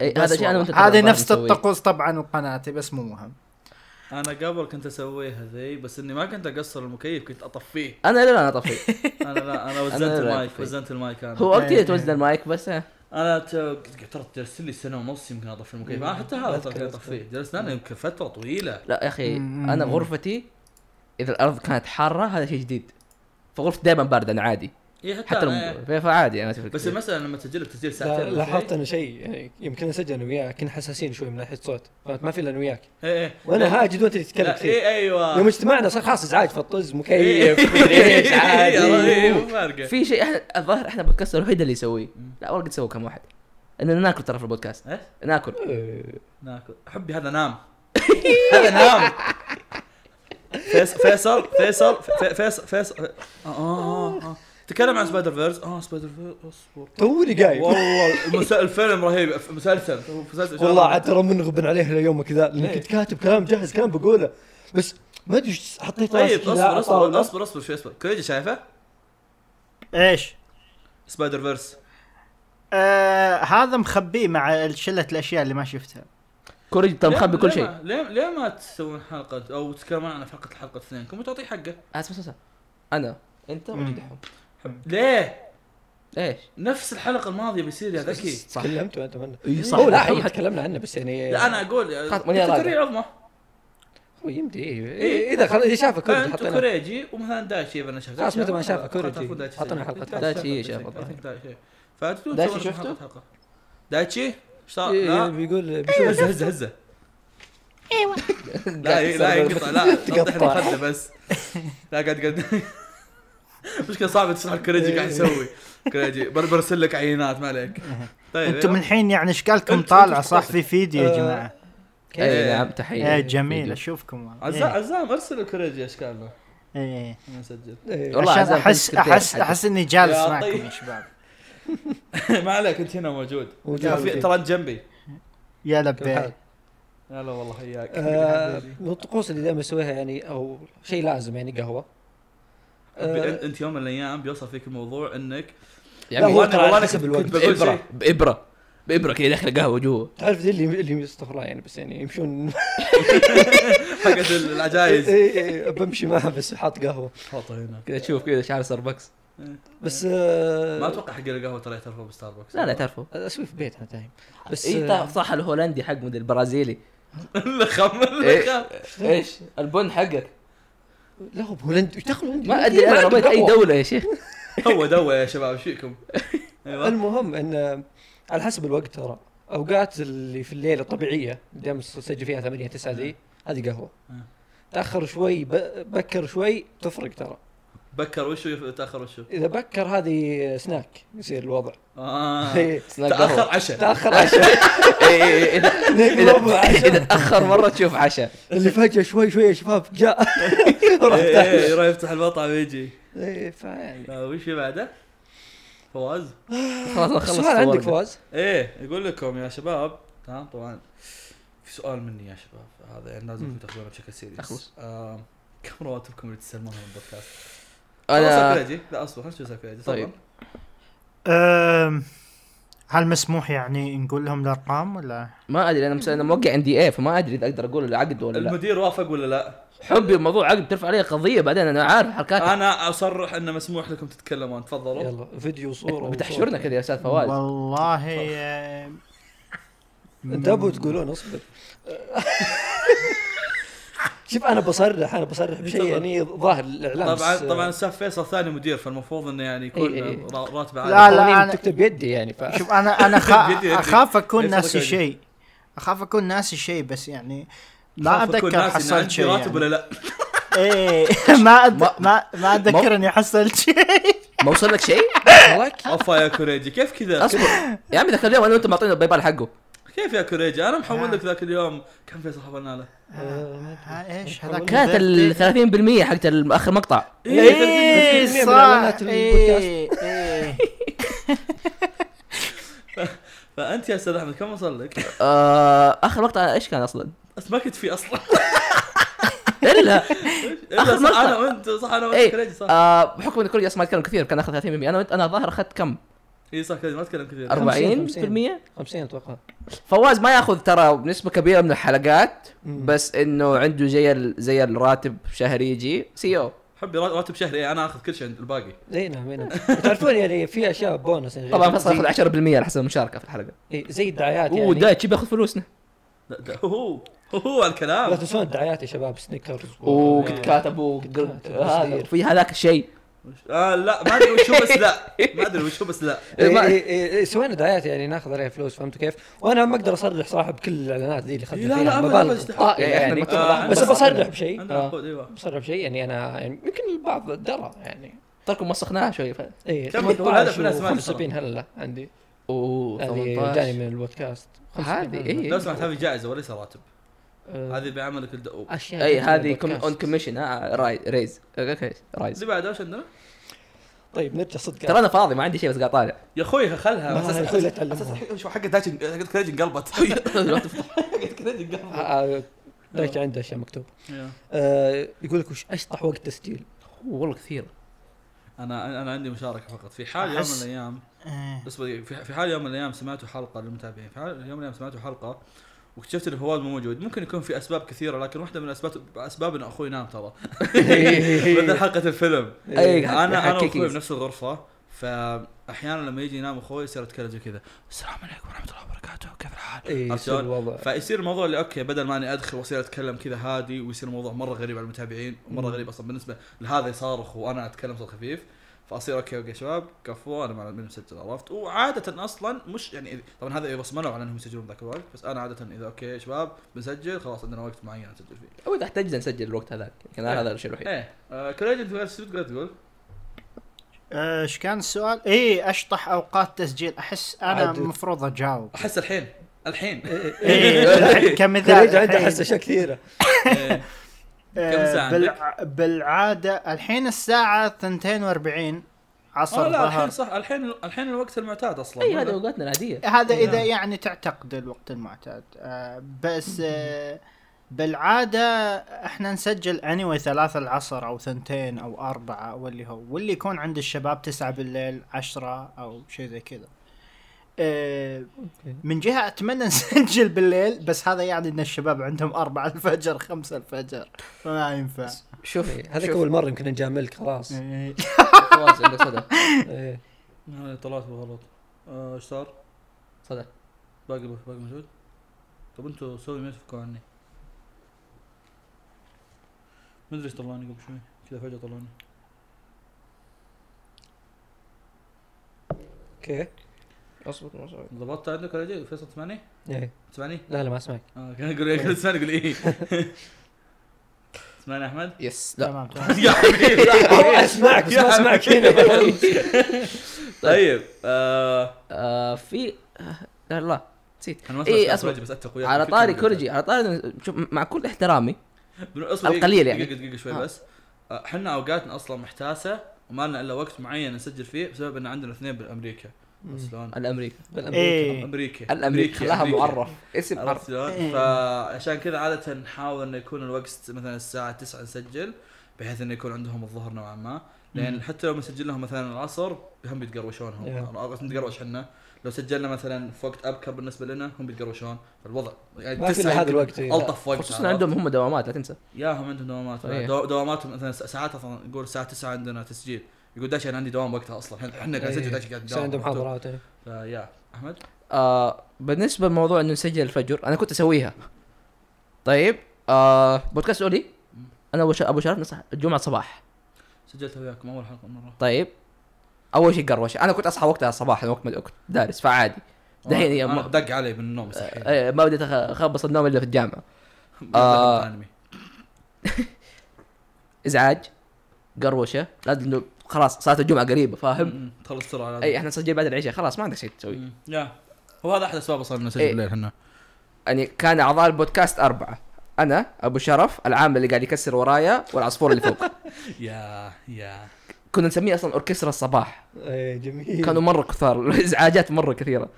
Speaker 2: إيه، هذا شيء انا وانت
Speaker 4: والله. هذه
Speaker 2: ترى
Speaker 4: نفس
Speaker 2: نسويه.
Speaker 4: الطقوس طبعا وقناتي بس مو مهم
Speaker 1: انا قبل كنت اسويها ذي بس اني ما كنت اقصر المكيف كنت اطفيه
Speaker 2: انا لا لا انا طفي
Speaker 1: انا لا انا وزنت
Speaker 2: لا
Speaker 1: المايك
Speaker 2: أطفي.
Speaker 1: وزنت المايك انا
Speaker 2: هو
Speaker 4: إيه.
Speaker 2: وقتي توزن المايك بس آه.
Speaker 1: انا ت- قلت ترى جلست لي سنه ونص يمكن اطفي المكيف انا حتى هذا ترى كنت اطفيه جلست انا يمكن فتره طويله
Speaker 2: لا يا اخي
Speaker 4: مم.
Speaker 2: انا غرفتي اذا الارض كانت حاره هذا شيء جديد فغرفتي دائما بارده انا عادي
Speaker 1: اي إيه، حتى,
Speaker 2: حتى
Speaker 1: أنا
Speaker 2: لما- فعادي انا أتفرق.
Speaker 1: بس المساله لما تسجل لك تسجيل
Speaker 3: لا-
Speaker 1: ساعتين
Speaker 3: لاحظت انا شيء يعني يمكن اسجل انا وياك كنا حساسين شوي من ناحيه صوت فهمت؟ ما في الا انا وياك
Speaker 1: ايه
Speaker 3: وانا هاجد وانت اللي تتكلم كثير
Speaker 1: اي ايوه
Speaker 3: يوم اجتمعنا صار خلاص ازعاج فطز
Speaker 1: إيه.
Speaker 3: مكيف مدري ايش عادي
Speaker 1: إيه، مو فارقه
Speaker 2: في شيء احنا الظاهر احنا بودكاست الوحيد اللي يسويه لا والله قد سووا كم واحد اننا ناكل ترى في البودكاست
Speaker 1: إيش؟
Speaker 2: ناكل
Speaker 3: إيه.
Speaker 1: ناكل حبي هذا نام هذا نام فيصل فيصل فيصل في- فيصل فيصل آه، آه، آه. تكلم عن سبايدر فيرز اه سبايدر فيرز اصبر
Speaker 3: توني قايم
Speaker 1: والله المس- الفيلم رهيب مسلسل مسلسل
Speaker 3: والله عاد ترى منغب عليه ليوم كذا
Speaker 1: إيه.
Speaker 3: لان كنت كاتب كلام جاهز كلام بقوله بس ما ادري إيش حطيت راسي
Speaker 1: طيب
Speaker 3: كذا
Speaker 1: اصبر
Speaker 3: على
Speaker 1: اصبر
Speaker 3: الطاولة.
Speaker 1: اصبر اصبر شوي اصبر كوريجي شايفه؟
Speaker 4: ايش؟
Speaker 1: سبايدر فيرس
Speaker 4: آه هذا مخبيه مع شله الاشياء اللي ما شفتها
Speaker 2: كوريج ترى
Speaker 1: ليه-
Speaker 2: مخبي
Speaker 1: ليه
Speaker 2: كل شيء
Speaker 1: ما- ليه ليه ما تسوون حلقه او تتكلمون عن حلقه الحلقه اثنينكم وتعطيه حقه؟
Speaker 2: اسمع اسمع انا انت
Speaker 4: مم.
Speaker 2: ومدحهم
Speaker 1: ليه؟
Speaker 2: ليش؟
Speaker 1: نفس الحلقه الماضيه بيصير يا ذكي
Speaker 2: صح
Speaker 3: تكلمت وانت منه
Speaker 2: اي صح
Speaker 3: هو لا
Speaker 2: لا
Speaker 3: احنا
Speaker 2: حقيقة.
Speaker 3: تكلمنا عنه بس يعني
Speaker 1: إيه، لا انا اقول
Speaker 2: خلاص، ماني راضي.
Speaker 1: تكرير عظمه
Speaker 3: هو يمدي إيه. إيه، اذا خلاص اذا شافك كوريجي
Speaker 1: انت
Speaker 3: حطينا
Speaker 1: كوريجي ومثلا دايتشي اذا انا شفت
Speaker 3: خلاص، متى ما
Speaker 1: دايتشي،
Speaker 3: شافه كوريجي.
Speaker 1: تعرفون دايتشي
Speaker 3: حطنا
Speaker 1: زي-
Speaker 3: حلقة.
Speaker 2: دايتشي شافه.
Speaker 1: دايتشي- دايتشي. فتدون
Speaker 2: دايتشي
Speaker 1: تسوون
Speaker 2: شفته؟
Speaker 1: حلقة. دايتشي ايش صار؟
Speaker 3: إيه،
Speaker 1: لا.
Speaker 3: إيه، بيقول بيشوف
Speaker 1: هزه هزه هزه ايوه لا لا ينقطع لا تقطع الخده بس لا قاعد قاعد مشكله صعبه تشرح الكريجي قاعد
Speaker 3: إيه.
Speaker 1: يسوي كريجي بر- برسل لك عينات ما عليك طيب
Speaker 4: انتم
Speaker 1: يلا.
Speaker 4: الحين يعني اشكالكم
Speaker 1: أنت-
Speaker 4: طالعه
Speaker 1: أنت
Speaker 4: صح في فيديو يا
Speaker 3: آه،
Speaker 4: جماعه
Speaker 2: اي
Speaker 1: إيه.
Speaker 2: نعم تحيه
Speaker 4: يا جميل
Speaker 2: فيديو.
Speaker 4: اشوفكم
Speaker 3: إيه.
Speaker 1: عزام
Speaker 4: والله.
Speaker 1: عزام ارسل الكريجي اشكالنا
Speaker 4: إيه، إيه.
Speaker 1: نسجل
Speaker 3: إيه.
Speaker 2: والله
Speaker 4: عشان
Speaker 2: عزام
Speaker 4: احس
Speaker 2: كنت كثير
Speaker 4: احس
Speaker 2: حاجة.
Speaker 4: احس اني جالس
Speaker 1: يا
Speaker 4: معكم
Speaker 1: طيب.
Speaker 4: يا شباب
Speaker 1: ما عليك انت هنا موجود
Speaker 3: موجود.
Speaker 1: ترى في- ترى أنت جنبي
Speaker 4: يا
Speaker 3: كيف
Speaker 4: لبيك
Speaker 3: حالك؟
Speaker 1: لا والله اياك
Speaker 3: آه، من الطقوس اللي دائما اسويها يعني او شيء لازم يعني قهوه آه،
Speaker 1: انت يوم من الايام بيوصل فيك الموضوع انك
Speaker 2: يا
Speaker 3: لا،
Speaker 2: عمي
Speaker 3: هو
Speaker 1: والله-
Speaker 3: ترى
Speaker 1: والله
Speaker 3: على
Speaker 1: أنا
Speaker 3: حسب
Speaker 1: كنت-
Speaker 3: الوقت.
Speaker 1: كنت بقول شيء.
Speaker 2: بابره بابره بابره يعني كذا داخله قهوه جوه
Speaker 3: تعرف ذي اللي اللي استغفر الله يعني بس يعني يمشون
Speaker 1: حقت العجايز
Speaker 3: إي- إي- إي، إيه، بمشي معها بس حاط قهوه
Speaker 1: حطه هنا
Speaker 2: كذا تشوف كذا شعر ستاربكس
Speaker 3: بس
Speaker 1: ما
Speaker 3: آه،
Speaker 1: اتوقع حق القهوه ترى يعترفوا بستاربكس
Speaker 2: لا لا تعرفه
Speaker 3: اسوي في بيتها دايم بس
Speaker 2: بس اي
Speaker 3: آه،
Speaker 2: إيه، طا- صح الهولندي حق مدري البرازيلي
Speaker 1: اللخم اللخم
Speaker 2: إيه. ايش البن حقك
Speaker 3: لا هو بهولندي تاخذ هولندي
Speaker 2: ما ادري انا رميت اي دوله يا شيخ
Speaker 1: هو دوه يا شباب ايش فيكم؟
Speaker 2: أيوة.
Speaker 1: ايوه
Speaker 3: المهم ان آه، على حسب الوقت ترى اوقات اللي في الليل الطبيعيه دائما تسجل فيها 8 9
Speaker 2: نعم.
Speaker 3: ذي هذه قهوه
Speaker 1: آه.
Speaker 3: تاخر شوي ب- بكر شوي تفرق ترى
Speaker 1: بكر وشو تاخر وشو؟
Speaker 3: اذا بكر هذه سناك يصير الوضع إيه.
Speaker 1: اه
Speaker 2: آه.
Speaker 3: إي،
Speaker 2: سناك
Speaker 1: تاخر
Speaker 2: قهوة.
Speaker 1: عشاء
Speaker 3: تاخر عشاء
Speaker 2: إي، إي، إي، اذا
Speaker 3: ربع
Speaker 2: اذا
Speaker 3: عشاء.
Speaker 2: إيه، إذا تاخر مره تشوف عشاء
Speaker 3: اللي فجاه شوي شوي يا شباب جاء
Speaker 2: إيه،
Speaker 1: إي،
Speaker 3: رحت
Speaker 1: إي، إيه، يروح يفتح المطعم ويجي
Speaker 3: إيه، فيعني.
Speaker 1: آه، وش في بعده؟ فواز؟
Speaker 2: خلاص أنا خلصت
Speaker 3: سؤال عندك
Speaker 2: الورقة.
Speaker 3: فواز
Speaker 1: ايه يقول لكم يا شباب تمام طبعا في سؤال مني يا شباب هذا يعني لازم
Speaker 3: مم.
Speaker 1: تاخذونه بشكل سيريس
Speaker 2: أخلص.
Speaker 1: آم، كم رواتبكم اللي تستلمونها من البودكاست؟ انا
Speaker 2: انا
Speaker 1: سكريجي لا اصبر خلنا نشوف سكريجي
Speaker 2: طيب.
Speaker 1: طبعا
Speaker 4: أم، هل مسموح يعني نقول لهم الارقام ولا
Speaker 2: ما ادري انا مس- انا موقع عندي ايه فما ادري اذا اقدر اقول العقد ولا لا
Speaker 1: المدير وافق ولا لا؟
Speaker 2: حبي بموضوع عقد ترفع علي قضيه بعدين انا عارف حركات
Speaker 1: انا اصرح انه مسموح لكم تتكلمون تفضلوا
Speaker 3: يلا فيديو وصوره
Speaker 2: إيه، بتحشرنا كذا يا استاذ فواز
Speaker 4: والله أم،
Speaker 3: انتبهوا تقولون اصبر شوف انا بصرح انا بصرح بشيء يعني ظاهر الاعلام
Speaker 1: طبعا
Speaker 3: بس-
Speaker 1: طبعا الاستاذ فيصل ثاني مدير فالمفروض انه يعني يكون
Speaker 2: إي، إي.
Speaker 1: را- راتبه
Speaker 4: لا،
Speaker 1: عالي
Speaker 3: قوانين
Speaker 4: أنا-
Speaker 3: تكتب يدي يعني ف
Speaker 4: شوف انا انا خا-
Speaker 1: بدي- بدي.
Speaker 4: اخاف اكون
Speaker 1: ليش
Speaker 4: ناسي
Speaker 1: صدق
Speaker 4: شيء اخاف اكون ناسي شيء بس يعني
Speaker 1: خاف
Speaker 4: ما
Speaker 1: أكون ناسي
Speaker 4: اتذكر
Speaker 1: إن
Speaker 4: حصلت
Speaker 1: عندي
Speaker 4: شيء
Speaker 1: راتب ولا
Speaker 4: يعني.
Speaker 1: لا
Speaker 4: ايه ما
Speaker 2: ما-
Speaker 4: أد- ما ما اتذكر اني حصلت شيء
Speaker 2: ما وصل لك شيء؟
Speaker 1: اوفا يا كوريجي كيف كذا؟
Speaker 2: اصبر يا عمي ذاك اليوم انا وانت معطينا الباي بال حقه
Speaker 1: كيف يا كوريجي؟ انا محول لك ذاك اليوم كم فيصل حولنا له؟
Speaker 4: ها، ايش هذاك
Speaker 2: كانت ال 30% حقت ال- اخر مقطع
Speaker 4: إيه.
Speaker 1: إيه،
Speaker 4: ايه
Speaker 3: 30% من
Speaker 4: صح
Speaker 3: إعلانات البودكاست.
Speaker 4: ايه إيه.
Speaker 1: فانت يا استاذ احمد كم وصل لك؟
Speaker 2: آه، اخر مقطع ايش كان اصلا؟
Speaker 1: بس ما كنت فيه اصلا
Speaker 2: الا
Speaker 1: الا
Speaker 2: آخر
Speaker 1: صح
Speaker 2: مرة.
Speaker 1: انا وانت صح انا وانت
Speaker 2: ايه
Speaker 1: كريجي صح
Speaker 2: آه، بحكم ان كل ما اتكلم كثير كان اخذ 30% انا وانت انا الظاهر اخذت كم؟
Speaker 1: اي إيه، صح كريجي ما اتكلم كثير
Speaker 2: 40%
Speaker 3: 50 اتوقع
Speaker 2: فواز ما ياخذ ترى بنسبه كبيره من الحلقات
Speaker 3: مم.
Speaker 2: بس انه عنده زي ال- زي الراتب شهري يجي E سي او
Speaker 1: حبي رات- راتب شهري إيه، انا اخذ كل شيء عند الباقي
Speaker 3: اي نعم اي نعم تعرفون يعني في اشياء بونس يعني غير-
Speaker 2: طبعا فيصل
Speaker 3: زي-
Speaker 2: ياخذ 10% على حسب المشاركه في الحلقه
Speaker 3: إيه، زي الدعايات يعني
Speaker 2: اوه دايتشي بياخذ فلوسنا
Speaker 1: لا، ده- هو هو هو على
Speaker 3: لا
Speaker 1: الكلام
Speaker 3: تنسون الدعايات يا شباب سنيكرز
Speaker 2: اوه كنت كاتب
Speaker 3: كات،
Speaker 2: هذا
Speaker 3: تصدير.
Speaker 2: في هذاك الشيء
Speaker 1: آه لا ما ادري وش هو بس لا ما ادري وش هو بس لا
Speaker 3: إيه
Speaker 2: ما-
Speaker 3: إيه إيه إيه سوينا دعايات يعني ناخذ عليها فلوس فهمتوا كيف؟ وانا ما اقدر اصرح صراحه بكل الاعلانات ذي اللي
Speaker 1: إيه، لا
Speaker 3: خدنا فيها
Speaker 1: لا
Speaker 3: ما
Speaker 1: ابدا
Speaker 3: بلغ.
Speaker 1: بس-
Speaker 2: آه،
Speaker 3: يعني
Speaker 2: يعني
Speaker 3: إحنا
Speaker 2: مكتوب
Speaker 1: آه،
Speaker 2: ضحك.
Speaker 1: عندنا
Speaker 3: بس
Speaker 1: بس-
Speaker 3: بصرح بشيء
Speaker 1: عندنا
Speaker 3: آه،
Speaker 1: خود ايوه
Speaker 3: بصرح بشيء يعني انا يعني يمكن البعض درى يعني
Speaker 2: تركم وسخناها شوي ف...
Speaker 3: ايه
Speaker 1: كم هو الهدف من
Speaker 3: 18 و
Speaker 1: الأسماء
Speaker 3: 75 هلا عندي
Speaker 2: اوه
Speaker 3: هذه جاني
Speaker 2: 18
Speaker 3: من البودكاست
Speaker 2: هذه
Speaker 3: إيه.
Speaker 2: اي
Speaker 1: لو سمحت هذه جائزه وليس راتب
Speaker 3: آه،
Speaker 1: هذه إيه، بعملك الدؤوب
Speaker 3: اشياء
Speaker 2: اي
Speaker 3: جاني من
Speaker 2: إيه، هذه
Speaker 3: البودكاست.
Speaker 2: اون كوميشن ريز اوكي رايز
Speaker 1: اللي بعده وش عندنا؟
Speaker 3: طيب نرجع صدق
Speaker 2: ترى انا فاضي ما عندي شيء بس قاعد طالع
Speaker 1: يا اخوي خلها
Speaker 3: ما
Speaker 1: أساس-
Speaker 3: هي- لا
Speaker 1: أساس-
Speaker 3: تعلمها.
Speaker 1: أساس- شو حقت دايتشن- حقت كريجي انقلبت حقت كريجي انقلبت
Speaker 3: آه، آه، ليش عنده اشياء مكتوب
Speaker 1: يا.
Speaker 3: آه، يقول لك وش اشطح وقت تسجيل
Speaker 2: أوه، والله كثير
Speaker 1: انا انا عندي مشاركه فقط في حال يوم من
Speaker 4: أحس-
Speaker 1: الايام
Speaker 4: إيه.
Speaker 1: بس بدقيقة، في في حال يوم من الايام سمعتوا حلقه للمتابعين في حال يوم من الايام سمعتوا حلقه واكتشفت ان فواز مو موجود ممكن يكون في اسباب كثيره لكن واحده من الاسباب اسباب ان اخوي نام ترى
Speaker 3: إيه.
Speaker 1: مثل حلقه الفيلم
Speaker 2: اي
Speaker 1: انا انا واخوي
Speaker 2: حكيكي
Speaker 1: بنفس الغرفه فاحيانا لما يجي ينام اخوي يصير اتكلم زي كذا السلام عليكم ورحمه الله وبركاته كيف الحال؟
Speaker 3: اي
Speaker 1: عرفت
Speaker 3: يصير
Speaker 1: شلون؟
Speaker 3: الوضع
Speaker 1: فيصير الموضوع اللي اوكي بدل ما اني ادخل واصير اتكلم كذا هادي ويصير الموضوع مره غريب على المتابعين ومره
Speaker 3: مم.
Speaker 1: غريب اصلا بالنسبه لهذا يصارخ وانا اتكلم صوت خفيف فاصير اوكي اوكي شباب كفو انا ما من مسجل عرفت وعاده اصلا مش يعني إذ- طبعا هذا اذا صمنوا على انهم يسجلون ذاك الوقت بس انا عاده اذا اوكي شباب بنسجل خلاص عندنا وقت معين نسجل فيه.
Speaker 2: او اذا احتجنا نسجل الوقت هذاك كان
Speaker 1: إيه.
Speaker 2: هذا الشيء الوحيد
Speaker 1: ايه آه كريج انت ايش تقدر تقول؟
Speaker 4: آه، ايش كان السؤال؟ ايه اشطح اوقات تسجيل احس انا
Speaker 3: عدد.
Speaker 4: المفروض اجاوب
Speaker 1: احس الحين الحين
Speaker 4: إيه،
Speaker 3: إيه،
Speaker 4: ايه
Speaker 3: كريج
Speaker 4: كمثال
Speaker 3: عنده
Speaker 4: الحين. آه،
Speaker 3: احس اشياء كثيره
Speaker 1: إيه. كم ساعة
Speaker 4: بالع... بالعاده الحين الساعه 42
Speaker 1: اه
Speaker 4: عصر
Speaker 1: لا الحين
Speaker 4: ظهر
Speaker 1: صح الحين الحين الوقت المعتاد اصلا
Speaker 2: اي إيه، هذا اوقاتنا العاديه
Speaker 4: هذا
Speaker 1: إيه.
Speaker 4: اذا يعني تعتقد الوقت المعتاد آه، بس آه، بالعاده احنا نسجل انيوي ثلاثة العصر او ثنتين او اربعة واللي هو واللي يكون عند الشباب تسعة بالليل عشرة او شيء زي كذا آه، من جهه اتمنى نسجل بالليل بس هذا يعني ان الشباب عندهم أربعة الفجر خمسة الفجر فما ينفع
Speaker 2: إيه، شوف
Speaker 3: هذيك اول مره يمكن نجاملك خلاص
Speaker 4: إيه.
Speaker 2: فواز عندك صدى
Speaker 3: إيه.
Speaker 1: هذا طلعت بغلط آه، ايش صار؟
Speaker 2: صدى
Speaker 1: باقي باقي موجود؟ طب انتوا سوي ميوت فكوا عني ما ادري ايش طلعني قبل شوي كذا فجاه طلعني
Speaker 3: اوكي
Speaker 2: اصبر اصبر
Speaker 1: ضبطت عندك ولا شيء؟ فيصل تسمعني؟
Speaker 3: إيه.
Speaker 1: تسمعني؟
Speaker 3: لا لا ما اسمعك
Speaker 1: اه كان اقول ايه كنت تسمعني اقول ايه تسمعني احمد؟
Speaker 2: يس لا
Speaker 4: تمام تمام
Speaker 1: يا حبيبي
Speaker 3: والله اسمعك بس ما اسمعك هنا
Speaker 1: طيب آه،
Speaker 2: آه، في آه، لا لا نسيت
Speaker 1: انا ما
Speaker 2: إيه،
Speaker 1: سمعت
Speaker 2: أصبر.
Speaker 1: وجهي، بس اتفق وياك
Speaker 2: على
Speaker 1: في
Speaker 2: طاري
Speaker 1: كلمة.
Speaker 2: كورجي على طاري شوف مع كل احترامي
Speaker 1: بن- اصبر دقيقة-
Speaker 2: القليل يعني.
Speaker 1: دقيقه دقيقه شوي
Speaker 2: آه.
Speaker 1: بس آه، احنا اوقاتنا اصلا محتاسه وما لنا الا وقت معين نسجل فيه بسبب ان عندنا اثنين بامريكا عرفت شلون؟
Speaker 2: الامريكي
Speaker 4: ايه
Speaker 1: امريكا
Speaker 2: الامريكي خلاها
Speaker 1: أمريكا.
Speaker 2: معرف اسم
Speaker 1: عرفت
Speaker 2: معرف
Speaker 1: شلون؟
Speaker 4: إيه.
Speaker 1: فعشان كذا عاده نحاول انه يكون الوقت مثلا الساعه 9 نسجل بحيث انه يكون عندهم الظهر نوعا ما لان حتى لو مسجل لهم مثلا العصر هم بيتقروشون هم
Speaker 3: إيه.
Speaker 1: أو- نتقروش احنا لو سجلنا مثلا في وقت ابكر بالنسبه لنا هم بيتقروشون فالوضع يعني
Speaker 3: ما في
Speaker 1: تسعة
Speaker 3: إلا هذا
Speaker 1: يمكن
Speaker 3: الوقت، إيه.
Speaker 1: الطف وقت
Speaker 2: خصوصا
Speaker 1: عرفت؟
Speaker 2: عندهم هم دوامات لا تنسى
Speaker 1: يا هم عندهم دوامات
Speaker 2: صحيح.
Speaker 1: دو دواماتهم مثلا س- ساعات اصلا نقول الساعه 9 عندنا تسجيل يقول داش انا عندي دوام وقتها اصلا احنا احنا قاعد نسجل داش قاعد
Speaker 3: قاعد إيه. عندهم محاضرات إيه.
Speaker 1: يا احمد
Speaker 2: آه بالنسبه لموضوع انه نسجل الفجر انا كنت اسويها طيب آه بودكاست اولي انا أبو ش- ابو شرف نصح الجمعه صباح
Speaker 1: سجلت وياكم اول حلقه مره
Speaker 2: طيب اول شيء قروشه انا كنت اصحى وقتها الصباح أنا وقت ما كنت دارس فعادي
Speaker 1: آه،
Speaker 2: دحين يا
Speaker 1: أنا
Speaker 2: م-
Speaker 1: دق علي من النوم صحيح
Speaker 2: آه، ما بديت أخ- اخبص النوم الا في الجامعه آه.
Speaker 1: آه. انمي
Speaker 2: ازعاج قروشه لازم إنه خلاص صلاه الجمعه قريبه فاهم
Speaker 1: م- م. تخلص بسرعه لازم.
Speaker 2: اي احنا نسجل بعد العشاء خلاص ما عندك شيء تسوي
Speaker 1: م. يا هو هذا احد اسباب اصلا نسجل
Speaker 2: إيه.
Speaker 1: الليل احنا
Speaker 2: يعني كان اعضاء البودكاست اربعه انا ابو شرف العامل اللي قاعد يكسر ورايا والعصفور اللي فوق
Speaker 1: يا يا
Speaker 2: كنا نسميه اصلا اوركسترا الصباح
Speaker 3: ايه
Speaker 1: إيه.
Speaker 3: جميل
Speaker 2: كانوا مره كثار الازعاجات مره كثيره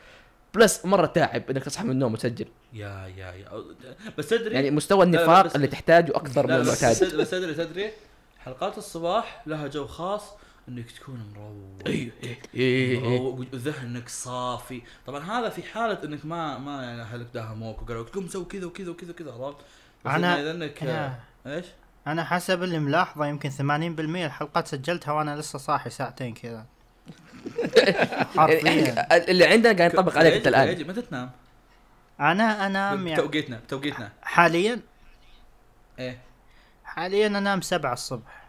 Speaker 2: بلس مره تعب انك تصحى من النوم وتسجل
Speaker 1: يا يا يا أو- بس تدري
Speaker 2: يعني مستوى
Speaker 1: إيه. لا، لا،
Speaker 2: النفاق
Speaker 1: بس-
Speaker 2: اللي تحتاجه اكثر من
Speaker 1: لا بس, بس
Speaker 2: المعتاد
Speaker 1: بس تدري تدري حلقات الصباح لها جو خاص انك تكون مروق
Speaker 2: إيه،
Speaker 1: مروق وذهنك صافي طبعا هذا في حاله انك ما ما يعني اهلك داهموك وقالوا لك قوم سوي كذا وكذا وكذا وكذا عرفت بس
Speaker 4: أنا-
Speaker 1: إنه اذا انك
Speaker 4: أنا-
Speaker 1: ايش
Speaker 4: انا حسب اللي ملاحظه يمكن 80% الحلقات سجلتها وانا لسه صاحي ساعتين كذا حرفيا
Speaker 2: يعني اللي عندنا قاعد ينطبق عليك انت
Speaker 1: يجي-
Speaker 2: الان
Speaker 1: يجي، متى تنام
Speaker 4: انا انام يعني
Speaker 1: بتوقيتنا بتوقيتنا
Speaker 4: حاليا
Speaker 1: ايه
Speaker 4: حاليا انام سبعة الصبح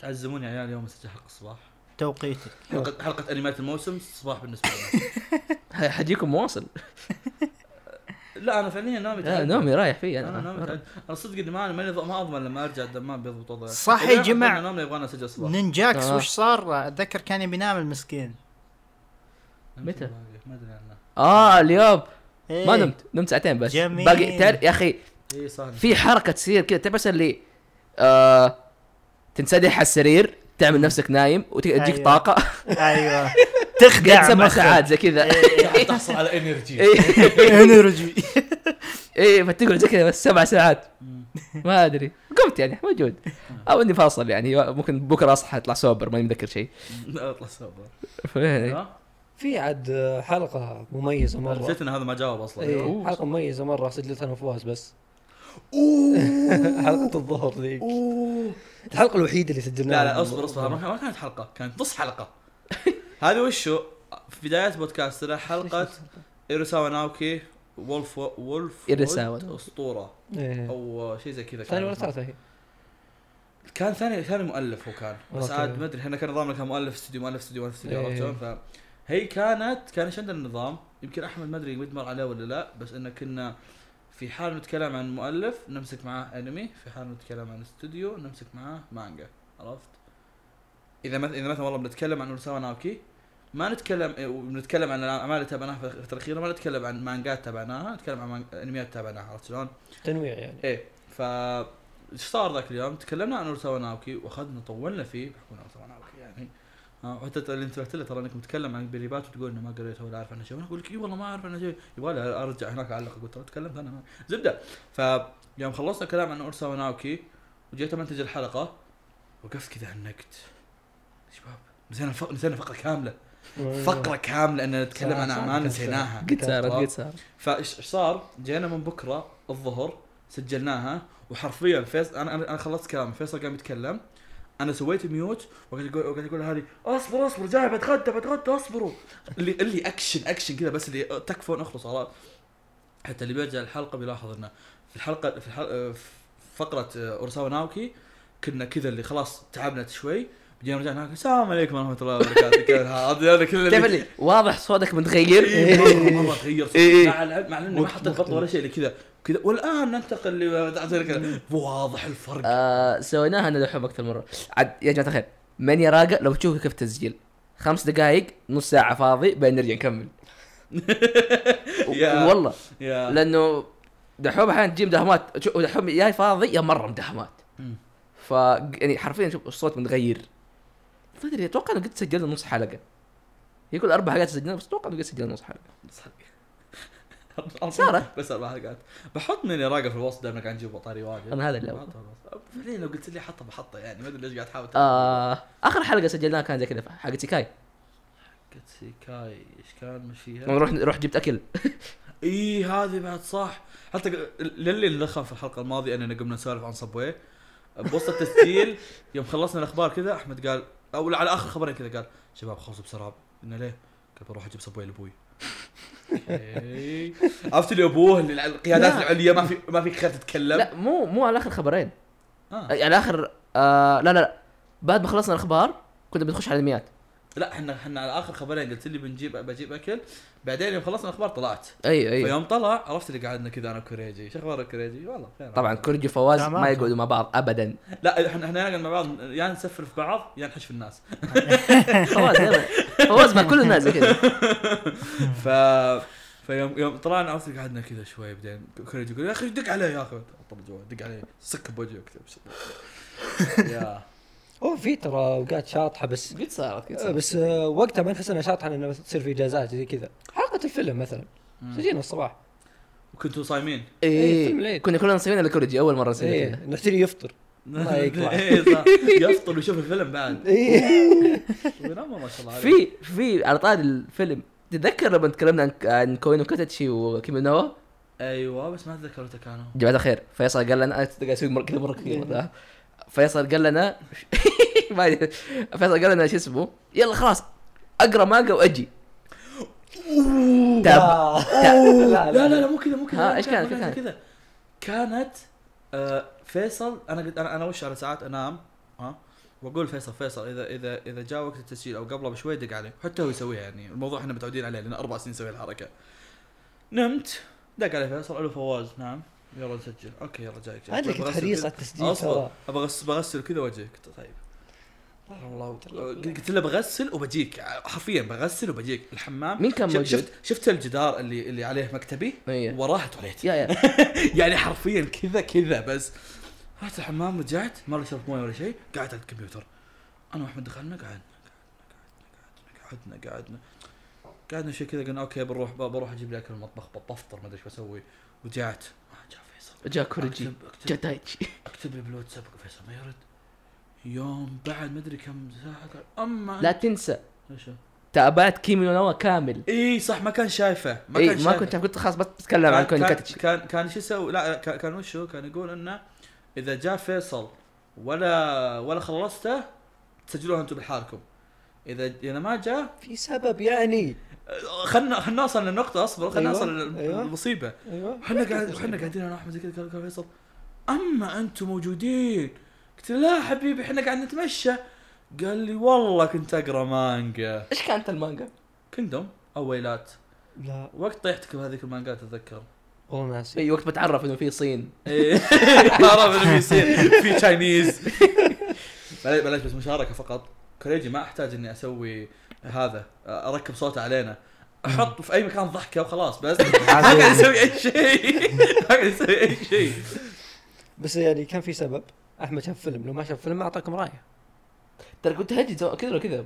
Speaker 1: تعزموني يعني يا عيال يوم اسجل حلقه الصباح
Speaker 4: توقيتي
Speaker 1: حلقه حلقه انميات الموسم الصباح بالنسبه لنا
Speaker 2: ه- حجيكم مواصل
Speaker 1: لا انا فعليا نومي
Speaker 2: آه،
Speaker 1: تعبان.
Speaker 2: نومي رايح فيه
Speaker 1: انا
Speaker 2: انا
Speaker 1: نومي تعبان. انا صدق اني ما ما ما اضمن لما ارجع الدمام بيضبط وضعي
Speaker 4: صح يا
Speaker 1: إذا أحد
Speaker 4: جماعة.
Speaker 1: مننا نومنا يبغانا اسجل الصباح
Speaker 4: نينجاكس
Speaker 2: آه.
Speaker 4: وش صار اتذكر كان بينام المسكين
Speaker 2: متى؟
Speaker 1: ما ادري عنه
Speaker 2: اه اليوم
Speaker 4: إيه.
Speaker 2: ما نمت نمت ساعتين بس
Speaker 4: جميل.
Speaker 2: باقي تعرف يا اخي
Speaker 1: اي إيه، صح
Speaker 2: في حركه تصير كذا تعرف بس اللي آه تنسدح على السرير تعمل نفسك نايم وتجيك
Speaker 4: أيوه.
Speaker 2: طاقه
Speaker 4: ايوه
Speaker 2: قعدت
Speaker 4: تخدع
Speaker 2: سبع
Speaker 4: مخك.
Speaker 2: ساعات زي كذا
Speaker 1: قاعد تحصل على انرجي
Speaker 2: إيه.
Speaker 4: انرجي
Speaker 2: ايه فتقعد زي كذا بس سبع ساعات ما ادري قمت يعني موجود او اني فاصل يعني ممكن بكره اصحى اطلع سوبر ماني مذكر شيء
Speaker 1: اطلع سوبر
Speaker 2: ف-
Speaker 1: ها؟
Speaker 3: في عاد آه، حلقه مميزه مره
Speaker 1: نسيت ان هذا ما جاوب اصلا
Speaker 3: ايه
Speaker 2: أوه.
Speaker 3: حلقه مميزه مره سجلتها انا وفواز بس حلقه الظهر ذيك الحلقه الوحيده اللي سجلناها
Speaker 1: لا لا اصبر اصبر ما ما كانت حلقه كانت نص حلقه هذه وشو في بدايه بودكاستنا حلقه ايروساوا ناوكي وولف وولف
Speaker 2: إيروساوا.
Speaker 1: وود اسطوره
Speaker 3: إيه.
Speaker 1: او شيء زي كذا
Speaker 3: ثاني
Speaker 1: كان
Speaker 3: ولا
Speaker 1: اسمه.
Speaker 3: ثالثة هي
Speaker 1: كان ثاني ثاني مؤلف هو كان بس
Speaker 3: أوكي.
Speaker 1: عاد ما ادري احنا كان نظامنا كان مؤلف استوديو مؤلف استوديو مؤلف استوديو
Speaker 3: إيه.
Speaker 1: عرفت شلون ف هي كانت كان ايش عندنا النظام يمكن احمد ما ادري قد مر عليه ولا لا بس ان كنا في حال نتكلم عن مؤلف نمسك معاه انمي في حال نتكلم عن استوديو نمسك معاه مانجا عرفت اذا مثلا اذا مثلا والله بنتكلم عن اورساوا ناوكي ما نتكلم إيه، وبنتكلم عن الاعمال اللي تابعناها في الفتره الاخيره ما نتكلم عن مانجات تابعناها نتكلم عن مانج- انميات تابعناها عرفت شلون؟
Speaker 3: تنويع يعني
Speaker 1: ايه ف ايش صار ذاك اليوم؟ تكلمنا عن اورساوا ناوكي واخذنا طولنا فيه بحكم إن اورساوا ناوكي يعني آه، وحتى اللي انتبهت له ترى انك متكلم عن بريبات وتقول انه ما قريتها ولا اعرف عنها شيء انا اقول لك اي والله ما اعرف عنها شيء يبغى لي ارجع هناك اعلق اقول ترى تكلمت انا ما- زبده ف يوم خلصنا كلام عن اورسا وناوكي وجيت منتج الحلقه وقفت كذا هنكت شباب نسينا فق... نسينا فقره كامله فقره كامله ان نتكلم عن
Speaker 3: صح،
Speaker 1: اعمال
Speaker 3: صح.
Speaker 1: نسيناها
Speaker 2: قد صارت
Speaker 1: طب.
Speaker 2: قد صارت
Speaker 1: فايش إيش صار؟ جينا من بكره الظهر سجلناها وحرفيا فيصل انا انا أنا خلصت كلامي فيصل قام يتكلم انا سويت ميوت وقاعد يقول وقاعد يقول هذه اصبر اصبر جاي بتغدى بتغدى اصبروا اللي اللي اكشن اكشن كذا بس اللي تكفون اخلص خلاص حتى اللي بيرجع الحلقه بيلاحظ انه في الحلقه في, الحلقة في فقره اورساوا ناوكي كنا كذا اللي خلاص تعبنا شوي جينا رجعنا هناك، السلام عليكم ورحمه الله وبركاته كيف الحال؟ هذا كل اللي-
Speaker 2: تعرف اللي واضح صوتك متغير
Speaker 1: إيه، مرة- مره تغير
Speaker 2: إيه.
Speaker 1: مع العلم- مع انه ما حطيت خطه ولا شيء اللي كذا كذا والان ننتقل ل واضح الفرق
Speaker 2: آه، سويناها انا دحوم اكثر مره عاد يا جماعه الخير من يراقب لو تشوفوا كيف تسجيل خمس دقائق نص ساعه فاضي بعدين نرجع نكمل
Speaker 1: يا-
Speaker 2: والله
Speaker 1: يا
Speaker 2: لانه دحوم احيانا تجيب دهمات شوف دحوم يا فاضي يا مره مدهمات
Speaker 1: مم.
Speaker 2: ف يعني حرفيا شوف الصوت متغير ما ادري اتوقع انه قد سجلنا نص حلقه هي كل اربع حلقات سجلنا بس اتوقع انه قد سجلنا نص حلقه صارت.
Speaker 1: بس اربع حلقات بحط من راقه في الوسط دائما قاعد نجيب طاري واجد
Speaker 2: أنا هذا اللي
Speaker 1: ما أحطه في الوسط. فعليا لو قلت لي حطه بحطه يعني ما ادري ليش قاعد تحاول
Speaker 2: آه اخر حلقه سجلناها كان زي كذا حلقه سيكاي
Speaker 1: قلت سيكاي ايش كان مش فيها؟
Speaker 2: لما نروح نروح جبت اكل
Speaker 1: اي هذه بعد صح حتى ق- للي لخى في الحلقه الماضيه اننا قمنا نسولف عن صبوي بوسط التسجيل يوم خلصنا الاخبار كذا احمد قال او على اخر خبرين كذا قال شباب خلصوا بسرعه قلنا ليه؟ قال بروح اجيب صبوي لابوي أوكي. عرفت اللي ابوه اللي الع- القيادات
Speaker 2: لا.
Speaker 1: العليا ما في ما في خير تتكلم
Speaker 2: لا مو مو على اخر خبرين
Speaker 1: آه.
Speaker 2: على اخر آه لا لا لا بعد ما خلصنا الاخبار كنا بنخش على الانميات
Speaker 1: لا احنا احنا على اخر خبرين قلت لي بنجيب بجيب اكل بعدين يوم خلصنا الاخبار طلعت
Speaker 2: اي اي
Speaker 1: فيوم طلع عرفت اللي قعدنا كذا انا وكوريجي شو اخبارك كوريجي؟ والله بخير
Speaker 2: طبعا كوريجي وفواز
Speaker 4: تمام.
Speaker 2: ما يقعدوا مع بعض ابدا
Speaker 1: لا احنا احنا نقعد مع بعض يا نسفل في بعض يا نحش في الناس
Speaker 2: فواز يلا. فواز مع كل الناس زي كذا
Speaker 1: ف فيوم يوم طلعنا عرفت قعدنا كذا شوي بعدين كوريج يقول يا اخي دق عليه يا اخي طب جوا دق عليه سك بوجهه اكتب يا
Speaker 3: اوه في ترى اوقات شاطحه بس
Speaker 2: قد صارت قد
Speaker 3: آه،
Speaker 2: صارت
Speaker 3: بس آه، وقتها ما نحس انها شاطحه لانه بس تصير في اجازات زي كذا حلقه الفيلم مثلا سجلنا الصباح
Speaker 1: وكنتوا صايمين
Speaker 3: إيه، فيلم
Speaker 2: اي
Speaker 3: العيد.
Speaker 2: كنا كلنا مسويين لكوريجي اول مره نسوي
Speaker 3: ايه
Speaker 2: كذا
Speaker 3: نحتري يفطر الله يقطع.
Speaker 1: إيه، صح. يفطر ويشوف الفيلم بعد
Speaker 3: ايه
Speaker 1: بنام ما شاء الله عليه.
Speaker 2: في في على طاري الفيلم تتذكر لما تكلمنا عن عن كوينو كاتشي وكيمي نوا
Speaker 1: ايوه بس ما اتذكر متى كانوا
Speaker 2: جماعه الخير فيصل قال لنا أنا قاعد اسوي مره كذا مره كثير فيصل قال لنا ما أدري. فيصل قال لنا شو اسمه يلا خلاص اقرا مانجا واجي تاب
Speaker 3: لا
Speaker 1: لا لا لا مو كذا مو كذا
Speaker 2: ها،
Speaker 1: لا،
Speaker 2: إيش
Speaker 1: لا،
Speaker 2: كانت-
Speaker 1: ما
Speaker 2: كانت؟
Speaker 1: كذا كانت آه، فيصل انا قلت انا انا وش انا ساعات انام ها واقول فيصل فيصل اذا اذا اذا جاء وقت التسجيل او قبله بشوي دق عليه حتى هو يسويها يعني الموضوع احنا متعودين عليه لان اربع سنين نسوي الحركه نمت دق علي فيصل الو فواز نعم يلا نسجل اوكي يلا جايك جايك.
Speaker 3: عندك
Speaker 1: بغسل
Speaker 3: حريص
Speaker 1: كذا.
Speaker 3: على التسجيل
Speaker 1: اصبر
Speaker 3: ترى
Speaker 1: ابغى أغسل- بغسل كذا وجهك قلت طيب والله قلت له بغسل وبجيك حرفيا بغسل وبجيك الحمام
Speaker 2: مين كان
Speaker 1: شف-
Speaker 2: موجود؟
Speaker 1: شفت شفت الجدار اللي اللي عليه مكتبي
Speaker 2: إيه.
Speaker 1: وراه تواليت
Speaker 2: يا يا
Speaker 1: يعني حرفيا كذا كذا بس رحت الحمام رجعت مره شربت مويه ولا شيء قعدت على الكمبيوتر انا واحمد دخلنا قعدنا قعدنا قعدنا قعدنا قعدنا قعدنا شيء كذا قلنا اوكي بنروح بروح اجيب لي اكل من المطبخ بفطر ما ادري ايش بسوي ورجعت ما جاء فيصل
Speaker 2: جا كوريجي
Speaker 1: أكتب- أكتب.
Speaker 2: جا دايتشي
Speaker 1: اكتب لي بالواتساب فيصل ما يرد يوم بعد ما ادري كم ساعه قال اما
Speaker 2: لا تنسى
Speaker 1: ايش هو؟
Speaker 2: تابعت كيمي نو نوا كامل
Speaker 1: اي صح ما كان شايفه ما
Speaker 2: اي
Speaker 1: كان
Speaker 2: ما
Speaker 1: شايفه
Speaker 2: كنت قلت خلاص بس بتكلم عن كوني
Speaker 1: كان
Speaker 2: كاتشي
Speaker 1: كان, كان شو يسوي لا كان, كان وشو كان يقول انه اذا جاء فيصل ولا ولا خلصته تسجلوها انتم بحالكم اذا اذا ما جاء
Speaker 3: في سبب يعني
Speaker 1: خلنا خلنا نوصل للنقطه اصبر خلنا
Speaker 3: أيوة،
Speaker 1: نوصل لل-
Speaker 3: أيوة.
Speaker 1: للمصيبه
Speaker 3: ايوه
Speaker 1: احنا قاعد احنا قاعدين انا واحمد زي كذا قال- قال فيصل اما انتم موجودين قلت له لا حبيبي احنا قاعد نتمشى قال لي والله كنت اقرا مانجا
Speaker 2: ايش كانت المانجا؟
Speaker 1: كندوم او ويلات
Speaker 3: لا
Speaker 1: وقت طيحتك بهذيك المانجات اتذكر
Speaker 3: والله ناسي
Speaker 2: اي إيه، وقت بتعرف انه في صين
Speaker 1: إيه. عرف انه بيصير في تشاينيز بلاش بلاش بس مشاركه فقط كوريجي ما احتاج اني اسوي هذا اركب صوته علينا احط في اي مكان ضحكه وخلاص بس ما قاعد اسوي اي شيء ما قاعد اسوي اي شيء
Speaker 3: بس يعني كان في سبب احمد شاف فيلم لو ما شاف فيلم ما اعطاكم رايه
Speaker 2: ترى كنت هجي زو- كذا ولا كذا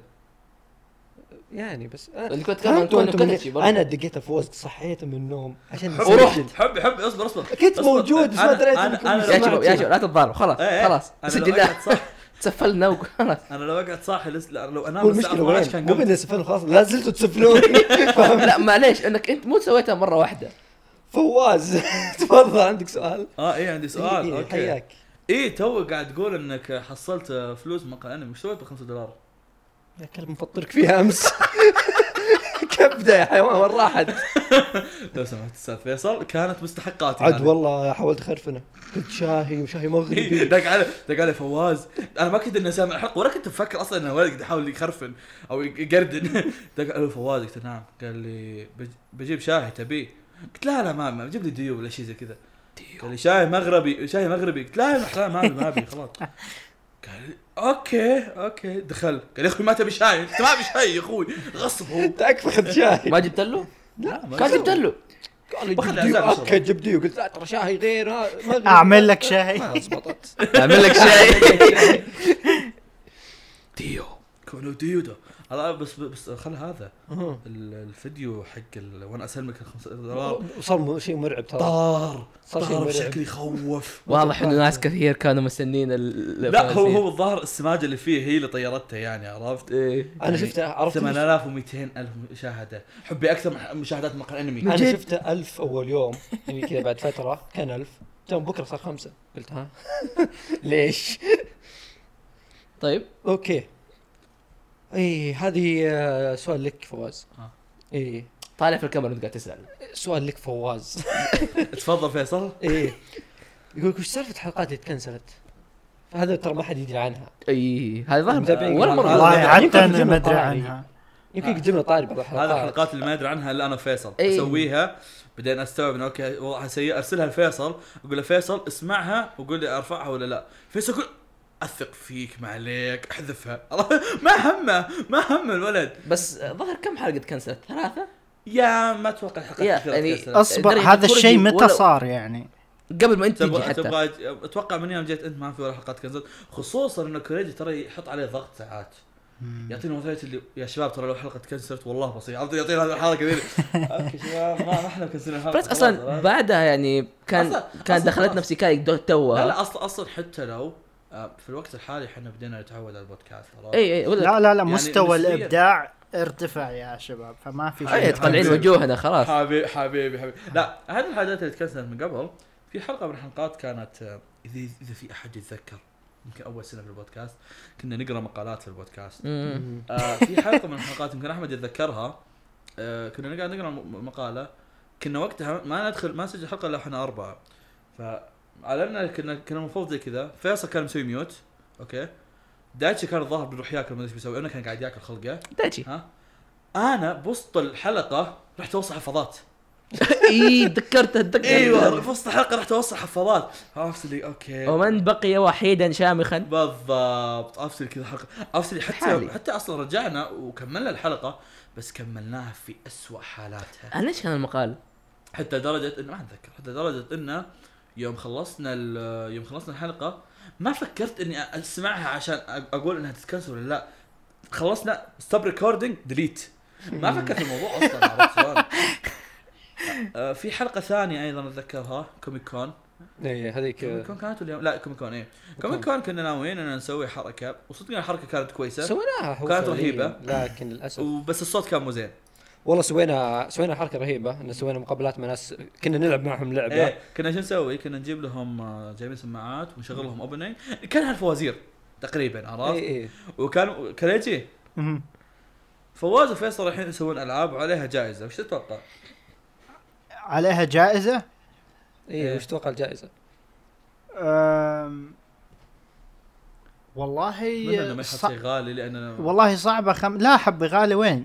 Speaker 3: يعني بس
Speaker 2: اللي كنت
Speaker 3: فهمتوا
Speaker 2: قبل تكون
Speaker 3: أنتم اللي-
Speaker 2: كونتشي برضه.
Speaker 3: انا دقيت في وسط صحيت من النوم عشان
Speaker 1: ورحت
Speaker 3: نسجل.
Speaker 1: حبي حبي اصبر اصبر
Speaker 3: كنت
Speaker 1: أصبر.
Speaker 3: موجود، بس ما
Speaker 1: أنا-
Speaker 3: دريت
Speaker 1: أنا-
Speaker 3: إنكم
Speaker 1: أنا لو
Speaker 2: يا شباب
Speaker 1: وقعت-
Speaker 2: يا شباب لا تتضاربوا خلاص
Speaker 1: إيه، إيه.
Speaker 2: خلاص
Speaker 1: أنا لو
Speaker 2: سجلنا
Speaker 1: وقعت صح
Speaker 2: تسفلنا وخلاص
Speaker 1: انا لو قعدت صاحي لس... لا، لو انام
Speaker 3: هو
Speaker 1: الساعه
Speaker 3: المشكله وين؟
Speaker 1: 12 كان
Speaker 3: مو
Speaker 1: قمت
Speaker 3: بالنسبه لنا خلاص لا زلتوا تسفلون
Speaker 2: لا معليش انك انت مو سويتها مره واحده
Speaker 3: فواز تفضل عندك سؤال
Speaker 1: اه اي عندي سؤال
Speaker 3: إيه،
Speaker 1: اوكي
Speaker 3: حياك
Speaker 1: اي تو قاعد تقول انك حصلت فلوس من مقال انمي وش سويت ب 5 دولار؟
Speaker 3: يا كلب مفطرك فيها امس كبده يا حيوان وين راحت؟
Speaker 1: لو سمحت استاذ فيصل كانت مستحقاتي
Speaker 3: عاد
Speaker 1: أنا.
Speaker 3: والله حاولت اخرفنه قلت شاهي وشاهي
Speaker 1: إيه،
Speaker 3: مغربي
Speaker 1: دق علي دق علي فواز انا ما كنت اني سامع الحلقه ولا كنت مفكر اصلا انه ولد قاعد يحاول يخرفن او يقردن دق علي فواز قلت له نعم قال لي بج- بجيب شاهي تبيه قلت لا لا ما ما بجيب لي ديو ولا شيء زي كذا قال لي شاي مغربي شاي مغربي قلت لا يا محرام ما ابي ما ابي خلاص قال لي اوكي اوكي دخل قال يا اخوي ما تبي شاي انت ما ابي شاي يا اخوي غصب هو
Speaker 3: تعرف خذ شاهي
Speaker 2: ما جبت له؟
Speaker 1: لا ما
Speaker 2: كان جبت له
Speaker 3: قال لي
Speaker 1: باخذ
Speaker 3: جبدي
Speaker 1: عزام إن شاء
Speaker 3: اوكي جبدي قلت لا ترى شاهي غير ها- مغربي.
Speaker 4: أعمل لك شاهي.
Speaker 3: ما زبطت
Speaker 2: اعمل لك شيء
Speaker 1: ديو كونو ديو ده هذا بس بس خل هذا ال- الفيديو حق ال- وانا اسلمك الخمسة دولار
Speaker 3: صار شيء مرعب ترى
Speaker 1: طار
Speaker 3: صار شيء
Speaker 1: طار
Speaker 3: مرعب.
Speaker 1: بشكل يخوف
Speaker 2: واضح انه ناس كثير كانوا مستنين ال-
Speaker 1: لا هو
Speaker 2: الفوازير.
Speaker 1: هو الظاهر السماجه اللي فيه هي اللي طيرته يعني عرفت؟
Speaker 2: إيه.
Speaker 1: يعني
Speaker 3: انا شفته عرفت ليش؟
Speaker 1: 8200 الف مشاهده حبي اكثر من مشاهدات مقال انمي
Speaker 3: انا شفته ألف اول يوم يعني كذا بعد فتره كان ألف جم بكره صار خمسه قلت ها ليش؟
Speaker 2: طيب
Speaker 3: اوكي اي إيه، هذه آه، سؤال لك فواز
Speaker 1: آه.
Speaker 3: اي
Speaker 2: طالع في الكاميرا وانت قاعد تسال
Speaker 3: سؤال لك فواز
Speaker 1: تفضل فيصل
Speaker 3: اي يقول لك وش سالفه حلقات اللي تكنسلت؟ هذا ترى ما حد يدري عنها
Speaker 2: اي هذا ظاهر
Speaker 3: متابعين
Speaker 2: ولا
Speaker 3: كمان.
Speaker 2: مره
Speaker 4: والله حتى
Speaker 3: يمكن
Speaker 4: انا ما ادري
Speaker 3: طاري.
Speaker 4: عنها
Speaker 3: يمكن
Speaker 1: آه.
Speaker 3: قدمنا طاري بعض
Speaker 1: هذه
Speaker 3: الحلقات
Speaker 1: الحلقات اللي ما ادري عنها الا انا فيصل
Speaker 2: إيه.
Speaker 1: اسويها بعدين استوعب انه اوكي وضعها سيء ارسلها لفيصل اقول له فيصل اسمعها وقول لي ارفعها ولا لا فيصل يقول اثق فيك ما عليك احذفها ما همه ما هم الولد
Speaker 2: بس ظهر كم حلقه تكنسلت ثلاثه
Speaker 1: يا ما اتوقع
Speaker 2: يا،
Speaker 1: الحلقات كثيرة
Speaker 2: يعني
Speaker 1: تكسر.
Speaker 4: اصبر
Speaker 2: درجة
Speaker 4: هذا الشيء
Speaker 2: كوريجي
Speaker 4: متى
Speaker 2: ولا-
Speaker 4: صار يعني؟
Speaker 2: قبل ما انت تجي
Speaker 1: تبغى
Speaker 2: حتى
Speaker 1: تبغى اتوقع من يوم جيت انت ما في ولا حلقات كنزل خصوصا ان كوريجي ترى يحط عليه ضغط ساعات يعطينا وثائق اللي يا شباب ترى لو حلقه تكنسلت والله بسيط عرفت يعطينا هذه الحلقه كذي اوكي شباب ما ما احنا مكنسلين الحلقه
Speaker 2: بس اصلا
Speaker 1: خلاص،
Speaker 2: بعدها يعني كان
Speaker 1: أصلاً-
Speaker 2: كان
Speaker 1: أصلاً
Speaker 2: دخلتنا
Speaker 1: خلاص.
Speaker 2: في سكاي
Speaker 1: لا
Speaker 2: توها
Speaker 1: لا اصلا اصلا حتى لو آه، في الوقت الحالي احنا بدينا نتعود على البودكاست خلاص
Speaker 2: اي اي ولا
Speaker 4: لا لا لا
Speaker 1: يعني
Speaker 4: مستوى
Speaker 1: نسبياً.
Speaker 4: الابداع ارتفع يا شباب فما في
Speaker 2: اي
Speaker 1: أيوة،
Speaker 4: شيء أمم.
Speaker 2: تطلعين
Speaker 1: حبيبي.
Speaker 2: وجوهنا خلاص
Speaker 1: حبيبي حبيبي حبيبي لا هذه الحاجات اللي تكنسلت من قبل في حلقه من الحلقات كانت آه، اذا اذا في احد يتذكر يمكن اول سنه في البودكاست كنا نقرا مقالات في البودكاست
Speaker 2: مم.
Speaker 1: آه، في حلقه من الحلقات يمكن احمد يتذكرها آه، كنا نقعد نقرا م- مقاله كنا وقتها ما ندخل ما نسجل حلقه الا احنا اربعه فعلمنا كنا كنا المفروض زي كذا فيصل كان مسوي ميوت اوكي دايتشي كان الظاهر بيروح ياكل ما ادري ايش بيسوي انا كان قاعد ياكل خلقه
Speaker 2: دايتشي
Speaker 1: ها انا بوسط الحلقه رحت اوصل حفاضات
Speaker 2: اي تذكرت تذكرت
Speaker 1: ايوه في وسط الحلقه رحت اوصل حفاضات عرفت اللي اوكي
Speaker 2: ومن بقي وحيدا شامخا
Speaker 1: بالضبط افصل كذا حلقه افصل حتى
Speaker 2: حالي.
Speaker 1: حتى اصلا رجعنا وكملنا الحلقه بس كملناها في أسوأ حالاتها
Speaker 2: انا ايش كان المقال؟
Speaker 1: حتى درجه انه ما اتذكر حتى درجه انه يوم خلصنا ال- يوم خلصنا الحلقه ما فكرت اني أ- اسمعها عشان أ- اقول انها تتكنسل ولا لا خلصنا ستوب ريكوردينج ديليت ما فكرت في الموضوع اصلا عرفت شلون؟ آه، في حلقه ثانيه ايضا اتذكرها كوميك كون
Speaker 3: اي هذيك
Speaker 1: كوميك
Speaker 3: آه،
Speaker 1: كون كانت ولا لا كوميك كون ايه كوميك كون كنا ناويين اننا نسوي حركه وصدقنا الحركه كانت كويسه
Speaker 3: سويناها هو
Speaker 1: كانت
Speaker 3: فعلياً،
Speaker 1: رهيبة.
Speaker 3: لكن للاسف
Speaker 1: وبس الصوت كان مو زين
Speaker 3: والله سوينا سوينا حركه رهيبه ان سوينا مقابلات مع ناس كنا نلعب معهم لعبه
Speaker 1: ايه كنا شو نسوي؟ كنا نجيب لهم آه، جايبين سماعات ونشغل لهم اوبننج كانها الفوازير تقريبا عرفت؟
Speaker 3: اي اي
Speaker 1: وكان كريجي
Speaker 4: مم.
Speaker 1: فواز وفيصل الحين يسوون العاب وعليها جائزه وش تتوقع؟
Speaker 4: عليها جائزه
Speaker 3: اي إيه،
Speaker 1: إيه.
Speaker 3: وش تتوقع الجائزه؟
Speaker 4: أم،
Speaker 1: اتمنى انه ما يحط
Speaker 4: والله إيه، ص...
Speaker 1: شيء غالي لاننا
Speaker 4: والله صعبه خم... لا حبي غالي وين؟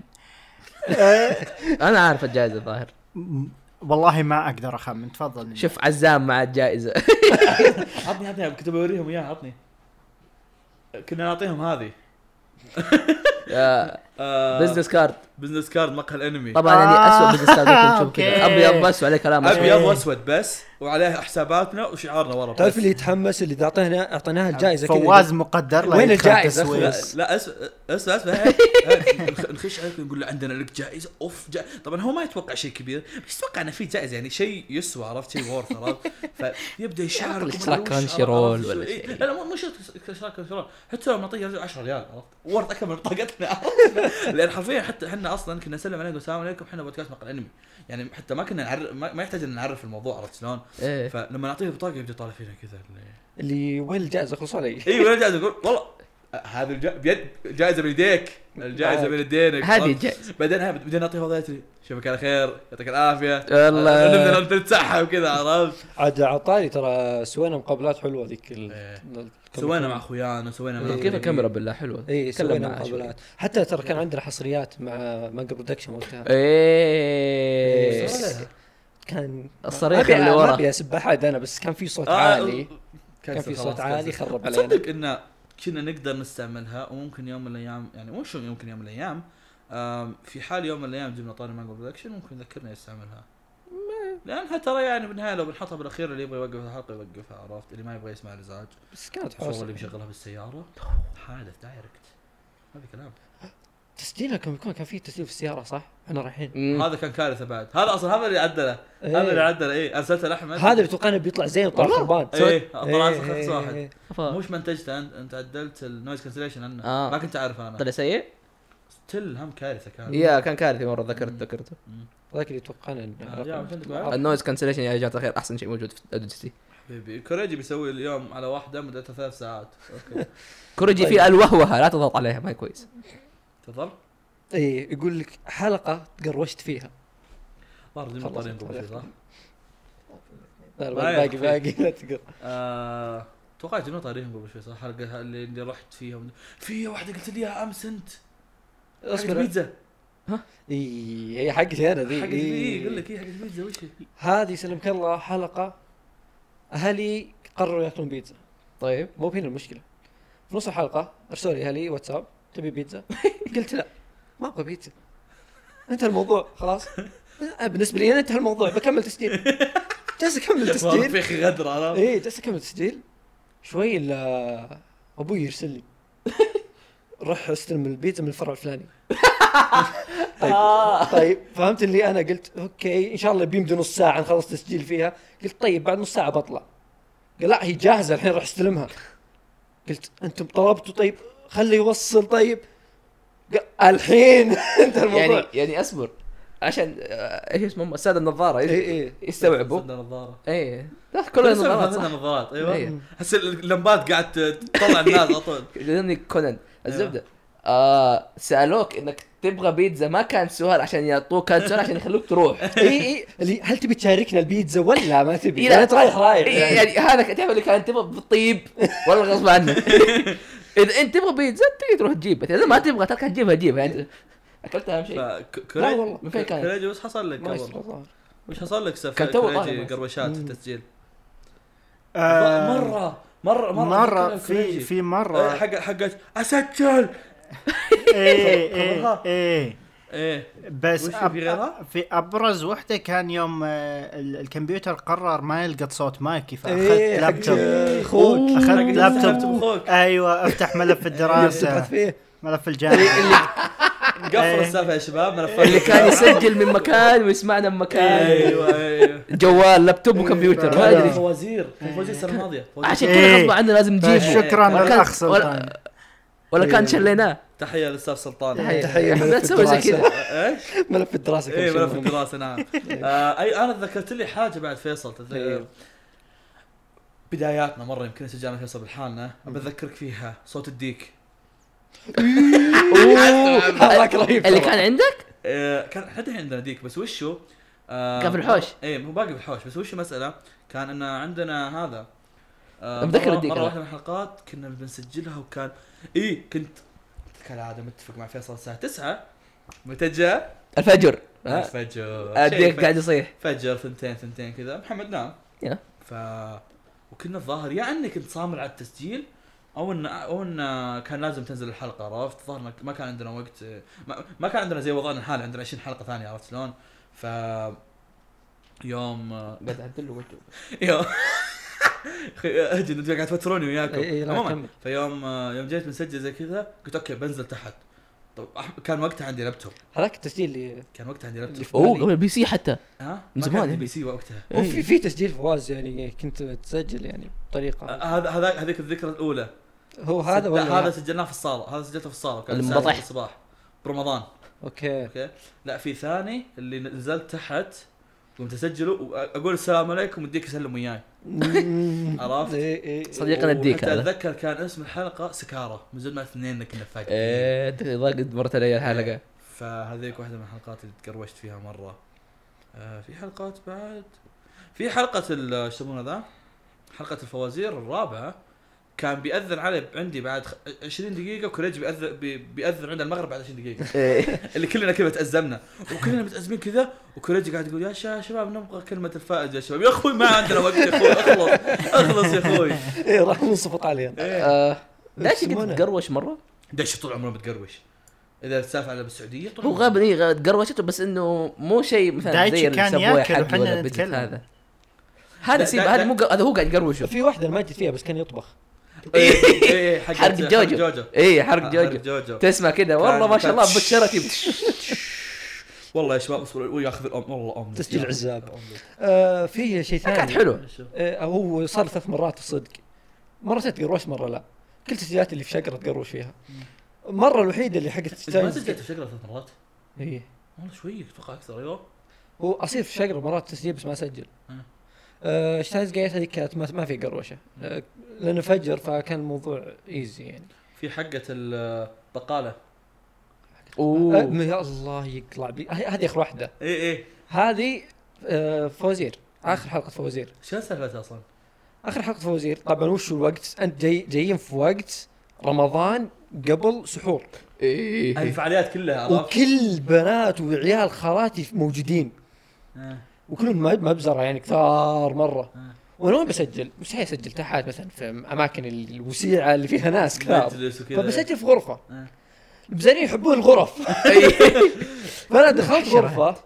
Speaker 2: انا عارف الجائزه الظاهر
Speaker 4: م- والله ما اقدر اخمن تفضل
Speaker 2: شوف عزام مع الجائزه
Speaker 1: عطني عطني كنت بوريهم اياها عطني كنا نعطيهم هذه آه،
Speaker 2: بزنس كارد
Speaker 1: بزنس كارد آه، مقهى الانمي
Speaker 2: طبعا يعني
Speaker 4: آه،
Speaker 2: اسوء بزنس كارد ممكن تشوف كذا
Speaker 4: أوكي.
Speaker 2: ابيض بس وعليه كلام
Speaker 1: ابيض
Speaker 4: إيه.
Speaker 1: واسود بس وعليه حساباتنا وشعارنا ورا
Speaker 3: تعرف
Speaker 1: بس.
Speaker 3: اللي يتحمس اللي اعطينا اعطيناها الجائزه كذا
Speaker 4: فواز مقدر له
Speaker 3: وين
Speaker 4: يدخل
Speaker 3: الجائزة؟
Speaker 4: تسويق.
Speaker 1: لا
Speaker 3: بس.
Speaker 1: لا اسمع اسمع اسمع هاي- هاي، نخ- نخش عليك ونقول له عندنا لك جائزه اوف جا... طبعا هو ما يتوقع شيء كبير بس يتوقع انه في جائزه يعني شيء يسوى عرفت شيء وورث عرفت فيبدا يشارك
Speaker 2: لك
Speaker 1: وما
Speaker 2: اشتراك
Speaker 1: أدري وش،
Speaker 2: كرانشي
Speaker 1: عرفت؟
Speaker 2: رول
Speaker 1: شو-
Speaker 2: ولا
Speaker 1: إيه،
Speaker 2: شيء.
Speaker 1: لا لا مو- مو شرط اشتراك كرانشي رول حتى لو معطيه رجل 10 ريال عرفت ورث اكثر من طاقتنا عرفت؟ لان حرفيا حتى احنا اصلا كنا نسلم عليكم السلام عليكم احنا بودكاست مقال انمي يعني حتى ما كنا نعرف ما ما يحتاج ان نعرف الموضوع عرفت شلون
Speaker 2: إيه.
Speaker 1: فلما نعطيه بطاقه يبدا يطالع فينا كذا
Speaker 3: اللي وين الجائزه خلصوا علي
Speaker 1: ايوه انا جالس اقول والله هذا الج... بيد جائزه بين يديك الجائزه بين يدينك
Speaker 2: هذه الجائزة.
Speaker 1: بعدين ها- بعدين نعطيه وضعيتي شوفك على خير يعطيك العافيه
Speaker 2: والله.
Speaker 1: نبدا نتسحب وكذا عرفت
Speaker 3: عاد عطاري ترى سوينا مقابلات حلوه ذيك ال-
Speaker 1: إيه.
Speaker 3: ال-
Speaker 1: سوينا مع اخويانا سوينا مع
Speaker 2: كيف الكاميرا بالله حلوه
Speaker 3: اي
Speaker 2: تكلم
Speaker 3: إيه، سوينا
Speaker 2: معها شوي.
Speaker 3: مقابلات حتى ترى كان عندنا حصريات مع مانجا برودكشن وقتها
Speaker 1: إيه.
Speaker 2: ايه
Speaker 3: كان
Speaker 2: الصريخ
Speaker 3: ما أبي-
Speaker 2: اللي
Speaker 3: ما
Speaker 2: ورا.
Speaker 3: ابي اسب احد انا بس كان في صوت
Speaker 1: آه،
Speaker 3: عالي
Speaker 1: كان
Speaker 3: كان في صوت عالي خرب علينا
Speaker 1: تصدق ان كنا نقدر نستعملها وممكن يوم من الايام يعني مو شو يمكن يوم من الايام آم، في حال يوم من الايام جبنا طاري مانجا برودكشن ممكن ذكرنا يستعملها لانها ترى يعني بالنهايه لو بنحطها بالاخير اللي يبغى يوقف الحلقه يوقفها عرفت اللي ما يبغى يسمع الازعاج
Speaker 3: بس كانت
Speaker 1: الصوره اللي
Speaker 3: حوسه
Speaker 1: مشغلها بالسياره حادث دايركت هذا كلام
Speaker 3: تسجيلها كان يكون كان في تسجيل في السياره صح؟ احنا رايحين
Speaker 2: مم.
Speaker 1: هذا كان كارثه بعد هذا اصلا هذا اللي عدله هذا اللي
Speaker 3: إيه.
Speaker 1: عدله ايه ارسلته لاحمد
Speaker 3: هذا اللي توقعنا بيطلع زين طلع خربان
Speaker 1: ايه
Speaker 3: إيه،
Speaker 1: طلع
Speaker 3: إيه،
Speaker 1: خمسة واحد
Speaker 3: إيه.
Speaker 1: مش ما انتجته انت انت عدلت النويز كانسليشن عنه
Speaker 2: آه.
Speaker 1: ما كنت اعرف انا
Speaker 3: طيب،
Speaker 2: طلع سيء؟
Speaker 1: تل هم كارثه كانت
Speaker 2: يا كان كارثي مره ذكرت ذكرته
Speaker 3: ذاك اللي توقعنا انه
Speaker 1: آه، يا عشان تكون عارف.
Speaker 2: النويز كانسليشن يا جماعه الخير احسن شيء موجود في ادوجستي
Speaker 1: حبيبي كوريجي بيسوي اليوم على واحده مدتها ثلاث ساعات اوكي
Speaker 2: كوريجي
Speaker 3: طيب.
Speaker 2: في الوهوه لا تضغط عليها ما هي كويس
Speaker 1: تفضل
Speaker 3: اي إيه، يقول لك حلقه تقروشت فيها
Speaker 1: ظهر دي
Speaker 3: خلاص.
Speaker 1: مطارين قبل شوي، صح؟
Speaker 3: لا، لا،
Speaker 1: ما
Speaker 3: باقي
Speaker 1: يخفي.
Speaker 3: باقي لا تقر
Speaker 1: آه، اتوقع جبنا طاريهم قبل شوي صح حلقه اللي اللي رحت فيها ون- في واحده قلت لي اياها امس انت حقت
Speaker 3: اصبر
Speaker 1: بيتزا
Speaker 3: اي هي حقتي انا ذي
Speaker 1: حقت
Speaker 3: إي.
Speaker 1: بي- يقول لك ايه حقت بيتزا وش هي؟
Speaker 3: هذه سلمك الله حلقه اهلي قرروا ياكلون بيتزا
Speaker 2: طيب
Speaker 3: مو بهنا المشكله في نص الحلقه ارسلوا لي اهلي واتساب تبي بيتزا؟ قلت لا ما ابغى بيتزا انتهى الموضوع خلاص أنا بالنسبه لي انا انتهى الموضوع بكمل تسجيل جالس اكمل
Speaker 1: والله
Speaker 3: تسجيل
Speaker 1: في اخي غدر عرفت؟
Speaker 3: ايه جالس اكمل تسجيل شوي الا ابوي يرسل لي روح استلم البيتزا من الفرع الفلاني طيب طيب فهمت اللي انا قلت اوكي ان شاء الله بيمدي نص ساعه نخلص تسجيل فيها قلت طيب بعد نص ساعه بطلع قال لا هي جاهزه الحين راح استلمها قلت انتم طلبتوا طيب خليه يوصل طيب قال الحين انت الموضوع
Speaker 2: يعني
Speaker 3: يعني
Speaker 2: يعني اصبر عشان آه، ايش اسمهم الساده النظاره
Speaker 3: إيه، إيه.
Speaker 2: يستوعبوا
Speaker 1: صدنا نظاره
Speaker 2: ايه لا
Speaker 1: كلنا
Speaker 2: كلنا نظارات
Speaker 1: صدنا
Speaker 2: صح
Speaker 1: نظارات ايوه
Speaker 2: إيه.
Speaker 1: هسه اللمبات قاعد تطلع الناس على طول
Speaker 2: لاني كونان
Speaker 3: أيوه.
Speaker 2: الزبده آه سالوك انك تبغى بيتزا ما كان سؤال عشان يعطوك كان سؤال عشان يخلوك تروح
Speaker 3: اي اي اللي هل تبي تشاركنا البيتزا ولا ما تبي؟
Speaker 2: إيه،
Speaker 3: إيه، يعني انت رايح رايح
Speaker 2: إيه، يعني, هذا تعرف اللي كان تبغى بالطيب والله غصب عنك اذا انت تبغى بيتزا تقدر تروح تجيبها اذا ما تبغى تركها تجيبها تجيبها يعني اكلتها اهم شيء
Speaker 3: لا والله،
Speaker 2: من فين كانت؟
Speaker 1: كوريجي وش حصل لك
Speaker 3: ما
Speaker 1: قبل؟
Speaker 3: يصير
Speaker 1: وش حصل لك سف
Speaker 2: كان تو طالع
Speaker 1: كوريجي
Speaker 2: بس.
Speaker 1: قروشات في
Speaker 3: مم.
Speaker 1: التسجيل؟
Speaker 4: آه،
Speaker 1: مره مره مره
Speaker 4: مره
Speaker 1: أتذكر كوريجي.
Speaker 4: في في
Speaker 1: آه،
Speaker 4: مره
Speaker 1: حق حقت اسجل
Speaker 4: ايه
Speaker 1: خبرها.
Speaker 4: ايه ايه
Speaker 1: ايه
Speaker 4: بس
Speaker 1: وش في
Speaker 4: أب-
Speaker 1: غيرها؟
Speaker 4: في ابرز وحده كان يوم آه، ال- الكمبيوتر قرر ما يلقط صوت مايكي
Speaker 3: إيه،
Speaker 4: فاخذت
Speaker 3: حق
Speaker 4: لابتوب
Speaker 3: اخوك
Speaker 1: حق
Speaker 4: اخذت
Speaker 1: لابتوب
Speaker 4: لابتوب
Speaker 1: اخوك
Speaker 4: ايوه افتح ملف
Speaker 3: تبحث
Speaker 4: الدراسه
Speaker 3: فيه
Speaker 4: ملف الجامعه
Speaker 1: قفل السالفه يا شباب ملفات
Speaker 2: إيه. اللي كان يسجل من مكان ويسمعنا من
Speaker 3: إيه.
Speaker 2: مكان
Speaker 1: ايوه ايوه
Speaker 2: جوال لابتوب وكمبيوتر ما
Speaker 1: كان
Speaker 2: ادري
Speaker 1: فوازير كان فوازير السنه الماضيه فوازير.
Speaker 2: عشان كذا غصب عننا لازم نجيبه
Speaker 4: شكرا
Speaker 2: ولا كان-
Speaker 4: للاخ إيه. طيب، سلطان إيه.
Speaker 2: ولا, ولا كان شليناه
Speaker 1: تحيه للاستاذ سلطان إيه.
Speaker 2: تحية.
Speaker 3: تحيه
Speaker 2: إحنا
Speaker 3: ملف
Speaker 2: نسوي زي
Speaker 3: الدراسة.
Speaker 2: كذا.
Speaker 1: ايش؟
Speaker 3: ملف الدراسه كان
Speaker 1: اي
Speaker 3: شيء
Speaker 1: إيه، ملف
Speaker 3: مهم.
Speaker 1: الدراسه نعم آه، اي انا ذكرت لي حاجه بعد فيصل تتذكر
Speaker 3: إيه.
Speaker 1: بداياتنا مره يمكن سجلنا فيصل بالحالنا بذكرك فيها صوت الديك
Speaker 3: هذاك رهيب
Speaker 2: اللي
Speaker 3: ترى.
Speaker 2: كان عندك
Speaker 1: آه، كان حتى الحين عندنا ديك بس وشو آه،
Speaker 2: كان في الحوش.
Speaker 1: اي مو باقي في الحوش بس وشو مساله كان ان عندنا هذا آه،
Speaker 2: متذكر
Speaker 1: مرة-
Speaker 2: الديك
Speaker 1: مره
Speaker 2: أنا.
Speaker 1: واحده من الحلقات كنا بنسجلها وكان اي كنت كالعاده متفق مع فيصل الساعه 9 متى جاء؟
Speaker 2: الفجر ها؟
Speaker 1: الفجر أه. شيء
Speaker 2: اديك
Speaker 1: فجر.
Speaker 2: قاعد يصيح
Speaker 1: فجر ثنتين ثنتين كذا محمد نام
Speaker 2: يا.
Speaker 1: ف وكنا الظاهر يا اني كنت صامل على التسجيل او ان او ان كان لازم تنزل الحلقه عرفت ظهر ما- ما كان عندنا وقت ما, ما كان عندنا زي وضعنا الحالي عندنا 20 حلقه ثانيه عرفت شلون؟ ف يوم آه،
Speaker 2: قاعد اعدل له وجهه
Speaker 1: يوم اخي اهجد انتم قاعد تفتروني وياكم
Speaker 3: إي- إي، لا،
Speaker 1: عموما
Speaker 3: كمل.
Speaker 1: فيوم آه، يوم جيت بنسجل زي كذا قلت اوكي بنزل تحت طب أح- كان وقتها عندي لابتوب
Speaker 3: هذاك التسجيل اللي
Speaker 1: كان وقتها عندي لابتوب
Speaker 2: اوه قبل البي سي حتى
Speaker 1: ها
Speaker 2: من
Speaker 1: ما كان
Speaker 2: زمان.
Speaker 1: عندي بي سي وقتها
Speaker 2: إيه.
Speaker 3: وفي في تسجيل فواز يعني كنت تسجل يعني
Speaker 1: آه،
Speaker 3: بطريقه
Speaker 1: هذا هذا هذيك الذكرى الاولى
Speaker 3: هو هذا
Speaker 1: سج-
Speaker 3: ولا
Speaker 1: هذا سجلناه في الصاله هذا سجلته في الصاله كان الساعة
Speaker 2: المبطح.
Speaker 1: ستة الصباح برمضان
Speaker 3: اوكي
Speaker 1: اوكي لا في ثاني اللي نزلت تحت قمت اسجله واقول السلام عليكم وديك يسلم وياي عرفت؟
Speaker 3: إيه، إيه، إيه.
Speaker 2: صديقنا الديك
Speaker 1: وحتى
Speaker 2: هذا
Speaker 1: اتذكر كان اسم الحلقه سكاره من زمان ما اثنين كنا فاكرين
Speaker 2: ايه ضاقت مرت علي الحلقه
Speaker 1: فهذيك واحده من الحلقات اللي تقروشت فيها مره آه في حلقات بعد في حلقه ال- ايش يسمونه ذا حلقه الفوازير الرابعه كان بيأذن علي عندي بعد خ- 20 دقيقة وكريج بيأذن بي- بيأذن عند المغرب بعد 20 دقيقة
Speaker 2: إيه.
Speaker 1: اللي كلنا كذا تأزمنا وكلنا متأزمين كذا وكريج قاعد يقول يا شا- شباب نبغى كلمة الفائز يا شباب يا اخوي ما عندنا وقت يا اخوي اخلص اخلص يا اخوي
Speaker 3: إيه، راح ننصفط عليه
Speaker 2: آه، داش
Speaker 3: يسمونه؟
Speaker 2: كنت تقروش مره
Speaker 1: دش طول عمره متقروش اذا السالفة على بالسعودية طول
Speaker 2: هو
Speaker 1: عمره
Speaker 2: غاب اي تقروشته بس انه مو شيء مثلا
Speaker 4: دايتشي
Speaker 2: زي
Speaker 4: كان
Speaker 2: السبوي
Speaker 4: ياكل
Speaker 2: حق
Speaker 4: وحنا
Speaker 2: ولا بيتزا
Speaker 4: نتكلم.
Speaker 2: هذا
Speaker 1: دا-
Speaker 2: هذا سيب
Speaker 1: دا-
Speaker 2: هذا
Speaker 1: دا-
Speaker 2: مو قا- هذا هو قاعد يقروشه
Speaker 3: في واحده ما جيت فيها بس كان يطبخ
Speaker 1: إيه، إيه، إيه، حق
Speaker 2: حرق جوجو اي إيه، حرق جوجو
Speaker 1: آه، جوجو
Speaker 2: تسمع كذا والله
Speaker 1: كان-
Speaker 2: ما شاء الله
Speaker 1: كان-
Speaker 2: بكشرتي
Speaker 1: والله يا شباب اصبروا وياخذ الام والله ام
Speaker 3: تسجيل عزاب. آه، في شيء ثاني
Speaker 2: كانت حلوه
Speaker 3: آه، هو صار ثلاث مرات الصدق مرة تقروش مرة لا كل التسجيلات اللي في شقرة تقروش فيها المرة الوحيدة اللي حقت
Speaker 1: انت ما
Speaker 3: ستاينز-
Speaker 1: سجلت في شقره ثلاث مرات
Speaker 3: إيه.
Speaker 1: والله شوي اتوقع اكثر ايوه
Speaker 3: هو اصير في الشقرة مرات تسجيل بس ما اسجل
Speaker 1: آه.
Speaker 3: آه شتاينز جيت هذيك كانت ما, ما في قروشة آه لانه فجر فكان الموضوع ايزي يعني
Speaker 1: في حقه البقاله
Speaker 3: آه
Speaker 2: اوه
Speaker 3: يا الله يطلع بي ه- هذه اخر واحدة
Speaker 1: اي اي
Speaker 3: هذه آه فوزير اخر حلقة فوزير
Speaker 1: شو سالفتها اصلا؟
Speaker 3: اخر حلقة فوزير طبعا وش الوقت انت جاي جايين في وقت رمضان قبل سحور
Speaker 2: إيه.
Speaker 1: الفعاليات كلها عرفت؟
Speaker 3: وكل بنات وعيال خالاتي موجودين
Speaker 1: آه،
Speaker 3: وكلهم ما مبزره يعني كثار مره
Speaker 1: آه.
Speaker 3: وانا وين بسجل؟ مستحيل اسجل تحت مثلا في اماكن الوسيعه اللي فيها ناس كثار
Speaker 1: مجلس وكذا
Speaker 3: فبسجل في غرفه
Speaker 1: آه.
Speaker 3: البزارين يحبون الغرف فانا دخلت غرفه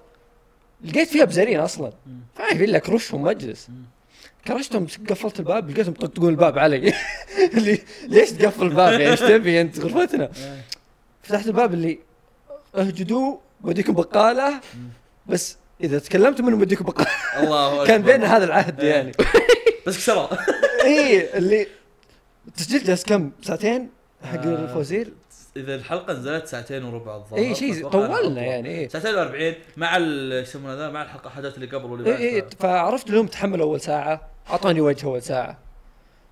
Speaker 3: لقيت فيها بزارين اصلا فعارف الا كرشهم واجلس كرشتهم قفلت الباب لقيتهم يطقطقون الباب علي اللي ليش تقفل الباب يعني ايش تبي انت غرفتنا
Speaker 1: آه.
Speaker 3: فتحت الباب اللي اهجدوا بديكم بقاله بس اذا تكلمت منهم بديكم بقاله
Speaker 1: الله
Speaker 3: كان
Speaker 1: أكبر.
Speaker 3: بيننا هذا العهد
Speaker 1: إيه.
Speaker 3: يعني
Speaker 1: بس كسرها
Speaker 3: اي اللي التسجيل جلس كم ساعتين حق
Speaker 1: آه.
Speaker 3: الفوزير
Speaker 1: اذا الحلقه نزلت ساعتين وربع الظاهر
Speaker 3: اي إيه، شيء
Speaker 1: أتوقع
Speaker 3: طولنا
Speaker 1: أطول.
Speaker 3: يعني اي
Speaker 1: ساعتين و40 مع ال- ايش يسمونه ذا مع الحلقه حاجات اللي قبل واللي بعد
Speaker 3: اي اي إيه، فعرفت لهم تحمل اول ساعه اعطوني وجه اول ساعه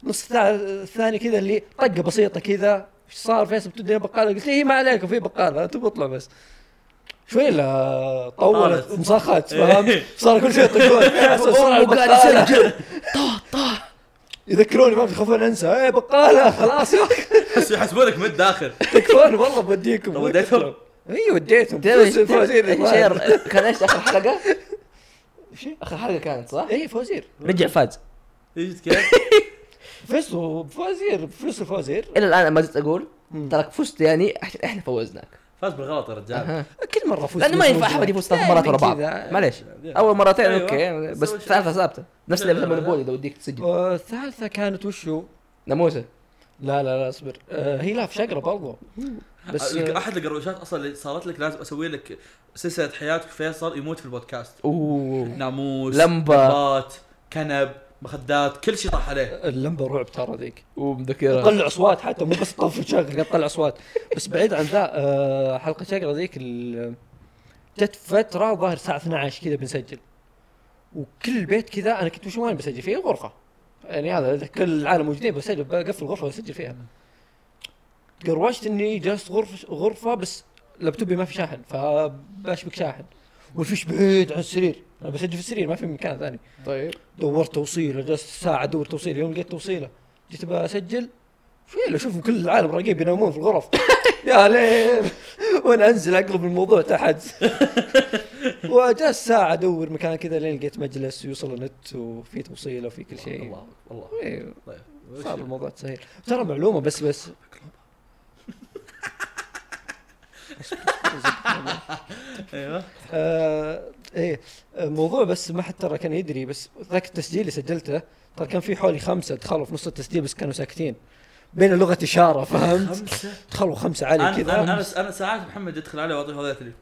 Speaker 3: نص ساعه الثاني كذا اللي طقه بسيطه كذا ايش صار فيصل بتدني بقاله قلت لي ما عليكم في بقاله انتم اطلع بس شوي لا طولت
Speaker 1: طالت.
Speaker 3: ومسخت فهمت
Speaker 1: إيه.
Speaker 3: صار كل شيء يطقون صار
Speaker 2: أمه قاعد
Speaker 3: البقالة.
Speaker 2: يسجل
Speaker 3: يذكروني ما يخافون انسى ايه بقاله خلاص يا أخي،
Speaker 1: بس يحسبونك من الداخل
Speaker 3: تكفون والله بوديكم
Speaker 1: طب وديتهم؟
Speaker 3: اي وديتهم
Speaker 2: تدري إيش-
Speaker 3: فوزير- فوزير
Speaker 2: إيش
Speaker 3: الظاهر.
Speaker 2: شير- كان ايش اخر حلقه؟ اخر حلقه كانت صح؟
Speaker 3: اي إيه، فوزير
Speaker 2: رجع فاز
Speaker 1: ايش كيف؟
Speaker 3: فزتوا فوزير فزتوا فوزير
Speaker 2: الى الان ما زلت اقول
Speaker 3: مم.
Speaker 2: تراك فزت يعني عشان احنا فوزناك
Speaker 1: فاز بالغلط يا رجال
Speaker 2: أها.
Speaker 3: كل مره فوز يعني
Speaker 2: لانه ما ينفع احد يفوز ثلاث مرات ورا بعض
Speaker 3: كذا.
Speaker 2: معليش اول مرتين
Speaker 1: أيوة.
Speaker 2: اوكي بس
Speaker 1: سوي شيء.
Speaker 2: ثالثه ثابته نفس
Speaker 1: لا، لا،
Speaker 2: لعبه
Speaker 1: لا.
Speaker 2: المونوبولي اذا وديك تسجل
Speaker 3: والثالثه آه، كانت وشو؟
Speaker 2: ناموسه
Speaker 3: لا لا لا اصبر آه هي لا في شقره برضو بس
Speaker 1: بس
Speaker 3: آه
Speaker 1: احد القروشات اصلا اللي صارت لك لازم اسوي لك سلسله حياتك فيصل يموت في البودكاست
Speaker 2: اوه
Speaker 1: ناموس
Speaker 2: لمبة.
Speaker 1: نبات كنب مخدات كل شيء طاح عليه
Speaker 3: اللمبه رعب ترى ذيك
Speaker 2: ومذكره
Speaker 3: تطلع اصوات حتى مو بس تطفل شقره قاعد تطلع اصوات بس بعيد عن ذا آه حلقه شقره ذيك ال- جت فتره ظاهر الساعه 12 كذا بنسجل وكل بيت كذا انا كنت وش وين بسجل فيه غرفه يعني هذا كل العالم موجودين بسجل بقفل الغرفه واسجل فيها قروشت اني جلست غرفه غرفه بس لابتوبي ما في شاحن فبشبك شاحن والفيش بعيد عن السرير انا بسجل في السرير ما في مكان ثاني
Speaker 2: طيب
Speaker 3: دورت توصيله جلست ساعه ادور توصيله يوم لقيت توصيله جيت بسجل شوي اشوف كل العالم راقيب ينامون في الغرف يا ليل وانا انزل اقلب الموضوع تحت وجلست ساعه ادور مكان كذا لين لقيت مجلس يوصل النت وفي توصيله وفي كل شيء
Speaker 1: الله الله
Speaker 3: إيه.
Speaker 1: طيب.
Speaker 3: صار الموضوع سهل ترى معلومه بس بس
Speaker 1: ايوه
Speaker 3: آه ايه آه، موضوع بس ما حد ترى كان يدري بس ذاك التسجيل اللي سجلته ترى كان في حوالي خمسه دخلوا في نص التسجيل بس كانوا ساكتين بين لغه اشاره فهمت؟ دخلوا خمسه
Speaker 1: انا
Speaker 3: علي
Speaker 1: انا
Speaker 3: كذا
Speaker 1: انا انا ساعات محمد يدخل علي واعطيه وضعيه لي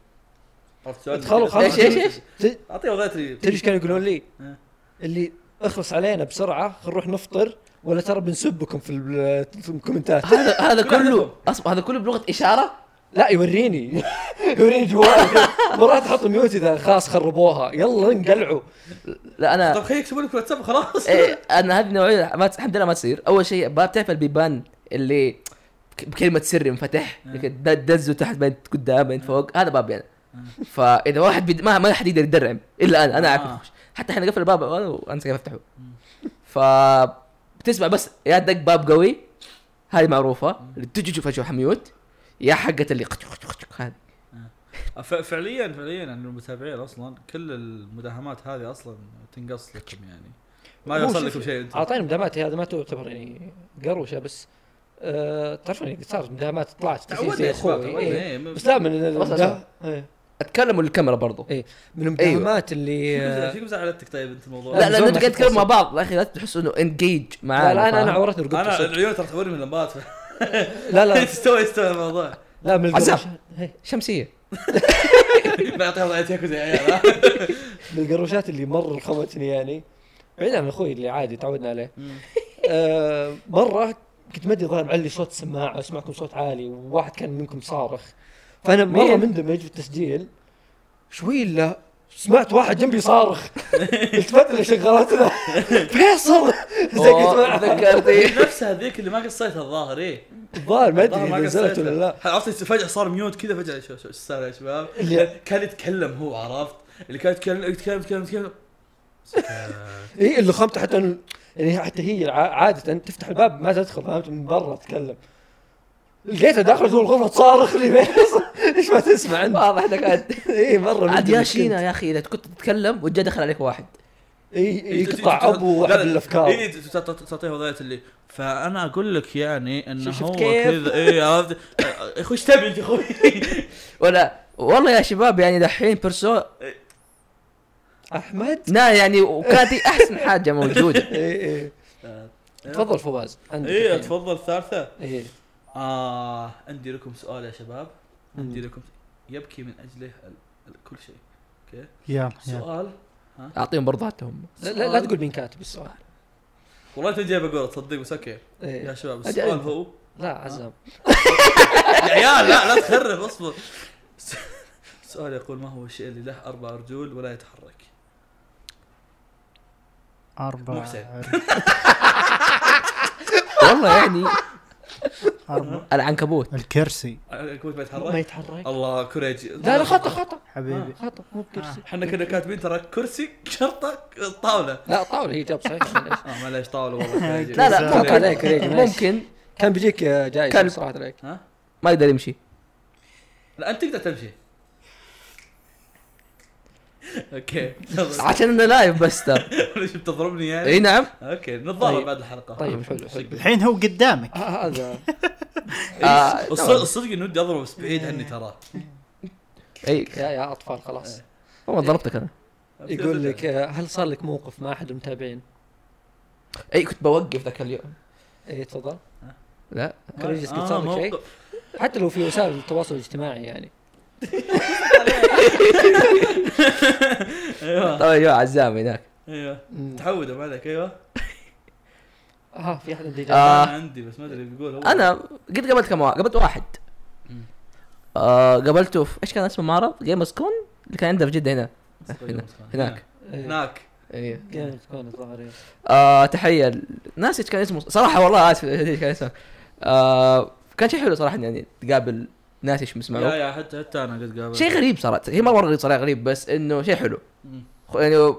Speaker 1: عرفت شلون؟
Speaker 3: دخلوا
Speaker 1: كذا.
Speaker 3: خلاص.
Speaker 2: ايش ايش ايش؟
Speaker 3: ت-
Speaker 1: اعطيه وضعيه لي
Speaker 3: تدري ايش كانوا يقولون لي؟
Speaker 1: إيه.
Speaker 3: اللي اخلص علينا بسرعه خل نروح نفطر ولا ترى بنسبكم في ال- في الكومنتات
Speaker 2: هذا هذا
Speaker 1: كل
Speaker 2: كله اصبر هذا كله بلغه اشاره
Speaker 3: لا يوريني يوريني جوالي مرات احط ميوت اذا خلاص خربوها يلا انقلعوا
Speaker 2: لا انا
Speaker 1: طب خليه يكتبوا لك واتساب خلاص
Speaker 2: إيه انا هذه النوعيه ما تس- الحمد لله ما تصير اول شيء باب تعرف البيبان اللي ك- بكلمه سر انفتح لك د- دزه تحت بعدين قدام بعدين فوق هذا بابي انا فاذا واحد بيد... ما ما حد يقدر يدرعم الا انا انا اعرف
Speaker 1: آه.
Speaker 2: اخش حتى احنا قفل الباب أنا وانسى كيف افتحه ف بتسمع بس يا دق باب قوي هذه معروفه اللي تجي تشوف فجاه حميوت يا حقة اللي قطش قطش قطش هذه
Speaker 1: ف- فعليا فعليا ان المتابعين اصلا كل المداهمات هذه اصلا تنقص لكم يعني ما
Speaker 3: هو
Speaker 1: يوصل
Speaker 3: شوف،
Speaker 1: لكم شيء انت
Speaker 3: اعطيني مدامات هذا ما تعتبر يعني قروشه بس أه تعرفون يعني صارت مدامات طلعت تصير
Speaker 1: تعودنا
Speaker 3: زي
Speaker 1: يا شباب
Speaker 3: اخوي
Speaker 1: تعودنا
Speaker 3: إيه.
Speaker 1: إيه، م-
Speaker 3: بس لا من
Speaker 2: بس
Speaker 3: المدا-
Speaker 2: أسمع. أيوة.
Speaker 3: إيه.
Speaker 2: اتكلم للكاميرا برضو
Speaker 3: إيه. من المداهمات اللي
Speaker 1: شو قمزة-
Speaker 3: آه،
Speaker 1: شو قمزة علتك طيب انت الموضوع
Speaker 2: لا
Speaker 1: لا
Speaker 2: لا
Speaker 3: زول
Speaker 2: انتوا
Speaker 3: ما
Speaker 2: قاعد تتكلموا مع
Speaker 3: تتواصل.
Speaker 2: بعض لا اخي لا تحسوا انه انجيج
Speaker 3: لا
Speaker 2: معانا
Speaker 3: لا انا انا
Speaker 2: فاهم؟
Speaker 3: عورتني رقبتي
Speaker 1: انا
Speaker 3: صدق.
Speaker 1: العيون ترى تخبرني من اللمبات ف-
Speaker 3: لا لا
Speaker 1: تستوي يستوي الموضوع
Speaker 3: لا من
Speaker 2: عزام.
Speaker 3: القروشات إيه.
Speaker 2: شمسيه
Speaker 1: ما يعطيها وضعية ياكوزا طيب، يا عيال
Speaker 3: من القروشات اللي مره خمتني يعني بعيد عن اخوي اللي عادي تعودنا عليه
Speaker 1: مم.
Speaker 3: آه، مره كنت مدري ظاهر معلي صوت السماعه اسمعكم صوت عالي وواحد كان منكم صارخ فانا مره
Speaker 2: مين؟
Speaker 3: مندمج في التسجيل شوي الا سمعت واحد جنبي صارخ التفت اللي شغلت له فيصل زقت
Speaker 2: أوه،
Speaker 3: معه
Speaker 2: تذكرتي
Speaker 1: نفسها هذيك اللي ما قصيتها الظاهر ايه
Speaker 3: الظاهر طيب. ما ادري
Speaker 1: الظاهر
Speaker 3: إذا نزلت ولا لا
Speaker 1: عرفت فجأة صار ميوت كذا فجأة شو شو- شو السالفة يا شباب
Speaker 3: اللي-
Speaker 1: كان يتكلم هو عرفت اللي كان يتكلم يتكلم يتكلم يتكلم سكت.
Speaker 3: اي إيه، اللي خمت حتى أنا- يعني حتى هي عا- عاده تفتح الباب ما تدخل فهمت من برا تتكلم لقيتها داخله جوا الغرفه تصارخ لي فيصل ليش ما تسمع انت؟
Speaker 2: واضح انك عاد
Speaker 3: اي مره
Speaker 2: عاد
Speaker 3: مندمج
Speaker 2: يا
Speaker 3: كنت.
Speaker 2: شينا يا اخي اذا كنت تتكلم وجا دخل عليك واحد
Speaker 3: اي
Speaker 1: إيه،
Speaker 3: يقطع
Speaker 1: تت- تت-
Speaker 3: ابو
Speaker 1: لا،
Speaker 3: واحد
Speaker 1: لا،
Speaker 3: الافكار
Speaker 1: إيه، تت- تت- تت- تعطيه وضعيه اللي فانا اقول لك يعني انه
Speaker 2: شفت
Speaker 1: هو
Speaker 2: كيف؟
Speaker 1: كذا اي عرفت أه، يا اخوي ايش تبي انت يا اخوي؟
Speaker 2: ولا والله يا شباب يعني دحين بيرسو
Speaker 3: احمد
Speaker 2: نا يعني وكانت دي احسن حاجه موجوده
Speaker 3: اي اي تفضل فواز عندك
Speaker 1: اي
Speaker 3: الحين.
Speaker 1: إيه، تفضل الثالثه
Speaker 3: اي
Speaker 1: اه عندي لكم سؤال يا شباب عندي
Speaker 3: مم.
Speaker 1: لكم يبكي من اجله ال- ال- كل شيء اوكي
Speaker 4: يلا يلا.
Speaker 1: سؤال
Speaker 2: اعطيهم برضاتهم
Speaker 3: لا, لا, لا تقول مين كاتب السؤال
Speaker 1: والله انت جايب اقول تصدق بس اوكي يا
Speaker 3: إيه.
Speaker 1: شباب
Speaker 2: أجل.
Speaker 1: السؤال هو
Speaker 3: لا عزام
Speaker 1: يا عيال لا لا تخرب اصبر السؤال يقول ما هو الشيء اللي له اربع رجول ولا يتحرك؟ مو
Speaker 4: أربع
Speaker 1: حسين.
Speaker 2: والله يعني آه.
Speaker 4: أربع
Speaker 2: العنكبوت
Speaker 4: الكرسي
Speaker 1: الكويت ما يتحرك؟
Speaker 3: ما يتحرك
Speaker 1: الله كوريجي
Speaker 3: آه. لا آه. لا خطا خطا
Speaker 4: حبيبي
Speaker 3: خطا مو بكرسي
Speaker 1: احنا كنا كاتبين ترى كرسي شرطه طاوله
Speaker 3: لا طاوله هي جاب صحيح معليش.
Speaker 1: اه معليش طاوله والله كوريجي.
Speaker 2: لا لا
Speaker 4: بالظبط.
Speaker 2: ممكن
Speaker 3: عليك، عليك، معليش.
Speaker 2: ممكن
Speaker 3: كان بيجيك آه، جايزه
Speaker 2: كلب.
Speaker 3: صراحه عليك
Speaker 1: ها
Speaker 2: ما يقدر يمشي
Speaker 1: لا انت تقدر تمشي اوكي تفضل.
Speaker 2: عشان انا لايف بس ترى
Speaker 1: ليش بتضربني يعني؟
Speaker 2: اي نعم
Speaker 1: اوكي نتضارب
Speaker 3: طيب.
Speaker 1: بعد الحلقه
Speaker 3: طيب حلو حلو
Speaker 4: الحين هو قدامك
Speaker 3: آه، هذا
Speaker 2: آه، إيه.
Speaker 1: الصدق إيه، الصدق اني ودي اضربه بس بعيد عني تراه
Speaker 2: اي
Speaker 3: يا يا اطفال خلاص
Speaker 2: والله ضربتك انا
Speaker 3: يقول
Speaker 2: إيه،
Speaker 3: لك آه، هل صار لك موقف مع احد المتابعين؟
Speaker 2: اي كنت بوقف ذاك اليوم
Speaker 3: اي تفضل
Speaker 2: لا
Speaker 3: كوريجيس قد
Speaker 1: آه،
Speaker 3: صار لك شيء؟
Speaker 1: موقف.
Speaker 3: حتى لو في وسائل التواصل الاجتماعي يعني
Speaker 1: ايوه
Speaker 2: طبعا طيب، يا عزام هناك
Speaker 1: ايوه
Speaker 3: مم.
Speaker 1: تعودوا ما عليك ايوه
Speaker 3: اه في احد عنده
Speaker 2: آه.
Speaker 3: اجابه؟
Speaker 1: انا عندي بس ما ادري بيقول هو
Speaker 2: انا قد قابلت كم واحد قابلت واحد آه قابلته في ايش كان اسمه معرض جيمز كون اللي كان عندنا في جده هنا هنا- هناك
Speaker 3: إيه.
Speaker 1: هناك
Speaker 2: إيه.
Speaker 3: جامد تكون الظاهر إيه.
Speaker 2: آه تحيه ناسي ايش كان اسمه صراحه والله اسف ايش كان اسمه آه كان شيء حلو صراحه يعني تقابل ناس ايش
Speaker 1: يا
Speaker 2: بيسمعوا
Speaker 1: يا حتى حتى انا قد قابلت
Speaker 2: شيء غريب صارت هي مره غريب صراحه غريب بس انه شيء حلو
Speaker 1: مم.
Speaker 2: خ- يعني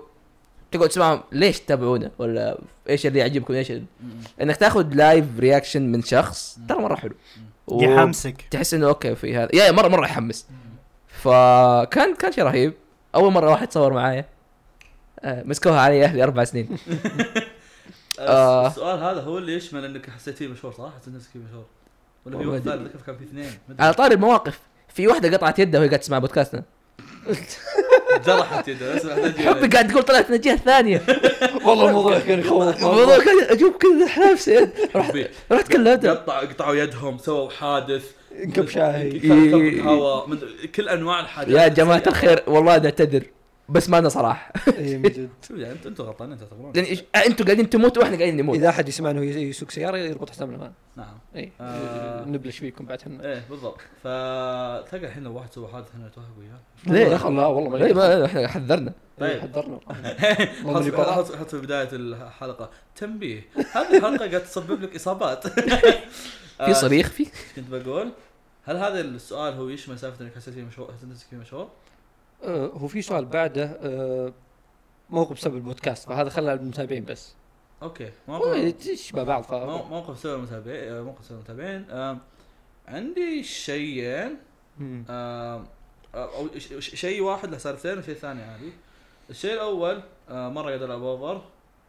Speaker 2: تقعد تسمعهم ليش تتابعونا ولا ايش اللي يعجبكم ايش ال-
Speaker 1: مم.
Speaker 2: انك تاخذ لايف رياكشن من شخص ترى مره حلو و-
Speaker 4: يحمسك
Speaker 2: تحس انه اوكي في هذا يا يا مره مره يحمس فكان كان شيء رهيب اول مره واحد صور معايا آه، مسكوها علي اهلي اربع سنين آه.
Speaker 1: السؤال هذا هو اللي يشمل انك حسيت فيه مشهور صح؟ حسيت نفسك فيه مشهور ولا في
Speaker 2: والله
Speaker 1: واحد
Speaker 2: أدري. آه.
Speaker 1: ثاني ذكر كان في اثنين ما أدري.
Speaker 2: على طاري المواقف في واحده قطعت يدها وهي قاعده تسمع بودكاستنا
Speaker 1: جرحت يده بس أحتاج إلى-
Speaker 2: حبي قاعد تقول طلعت من الجهه الثانيه
Speaker 3: والله الموضوع كان يخوف
Speaker 2: الموضوع كان اجيب كذا نفسي رحت
Speaker 1: حبي.
Speaker 2: رحت كلمتها
Speaker 1: قطع قطعوا يدهم سووا حادث
Speaker 3: انكب شاهي
Speaker 1: كبك هواء من- كل انواع الحاجات
Speaker 2: إيه. يا جماعه الخير والله نعتذر بس ما لنا صلاح
Speaker 3: اي إيه، من جد
Speaker 1: شوف يعني انتم انتم غلطانين انتم تعتبرون
Speaker 2: لان يعني إيش- انتوا قاعدين تموتوا واحنا قاعدين نموت
Speaker 3: اذا احد يسمع انه يسوق سياره يربط حسابنا معنا
Speaker 1: نعم
Speaker 3: اي
Speaker 1: آه.
Speaker 3: إيه. نبلش فيكم بعد حنا
Speaker 1: ايه بالضبط فتلقى الحين لو واحد سوى حادث هنا يتوهق وياه
Speaker 2: ليه؟
Speaker 3: دخل لا والله
Speaker 2: إيه،
Speaker 3: ما
Speaker 2: ما احنا حذرنا
Speaker 1: طيب.
Speaker 3: طيب حذرنا والله
Speaker 1: حط-
Speaker 3: اللي برا.
Speaker 1: حط حط في بدايه الحلقه تنبيه هذه الحلقه قاعده تسبب لك اصابات
Speaker 2: في صريخ في
Speaker 1: آه، كنت بقول هل هذا السؤال هو يشمل سالفه انك حسيت فيه مشهور حسيت نفسك فيه مشهور؟
Speaker 3: آه، هو في سؤال بعده آه، موقف بسبب البودكاست فهذا خلى المتابعين بس
Speaker 1: اوكي
Speaker 3: هو
Speaker 2: يعني-
Speaker 1: موقف
Speaker 3: تشبه بعض ف
Speaker 1: مو- موقف سوى المتابعين آه، موقف سوى المتابعين آم، عندي شيئين
Speaker 3: مم.
Speaker 1: آم، او ش- ش- شيء واحد له سالفتين وشيء ثاني عادي الشيء الاول آه، مره قاعد العب اوفر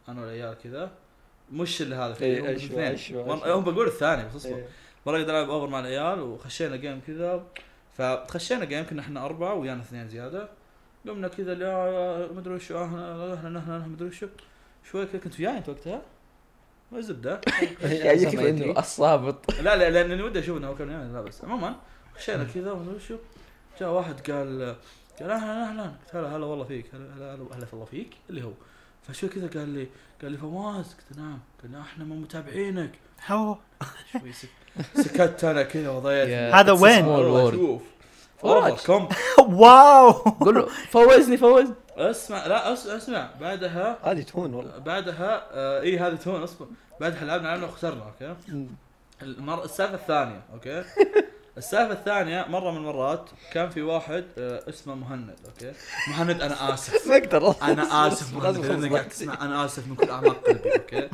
Speaker 1: انا والعيال كذا مش اللي هذا
Speaker 3: إيه،
Speaker 1: فيه هم
Speaker 3: أشوى-
Speaker 1: الاثنين.
Speaker 3: أشوى-
Speaker 1: مرة-
Speaker 3: أشوى.
Speaker 1: هم بقول الثاني بس اصبر
Speaker 3: إيه.
Speaker 1: مره قاعد العب اوفر مع العيال وخشينا جيم كذا فتخشينا جيم كنا احنا اربعه ويانا اثنين زياده قمنا كذا لا لا، ما ادري وش آه، احنا احنا احنا ما ادري وش شوي كذا كنت وياي انت وقتها ما الزبده
Speaker 3: إيه،
Speaker 2: يعني
Speaker 3: أسامة
Speaker 2: يكفي
Speaker 3: يدري.
Speaker 2: انه الصابط
Speaker 1: لا لا لاني ودي اشوف انه هو كان يعني لا بس عموما خشينا كذا وما ادري شو جاء واحد قال قال اهلا اهلا قلت هلا هلا والله فيك هلا هلا هلا- هلا والله فيك اللي هو فشو كذا قال لي قال لي فواز قلت نعم قال لا، احنا ما متابعينك
Speaker 4: هو
Speaker 1: شوي سك- سكت انا كذا وضيعت
Speaker 4: هذا وين؟
Speaker 2: small
Speaker 1: والله
Speaker 2: world.
Speaker 1: شوف
Speaker 2: فواز.
Speaker 1: فواز كم
Speaker 4: واو
Speaker 2: قول له فوزني فوزني
Speaker 1: اسمع لا أس- اسمع بعدها
Speaker 3: هذه تهون والله
Speaker 1: بعدها آه اي هذا تون اصبر بعدها لعبنا لعبنا وخسرنا اوكي المر... السالفه الثانيه اوكي السالفه الثانيه مره من المرات كان في واحد آه اسمه مهند اوكي مهند انا اسف
Speaker 3: ما اقدر
Speaker 1: انا اسف
Speaker 3: لازم
Speaker 1: مهند لأنك قاعد تسمع انا اسف من كل اعماق قلبي اوكي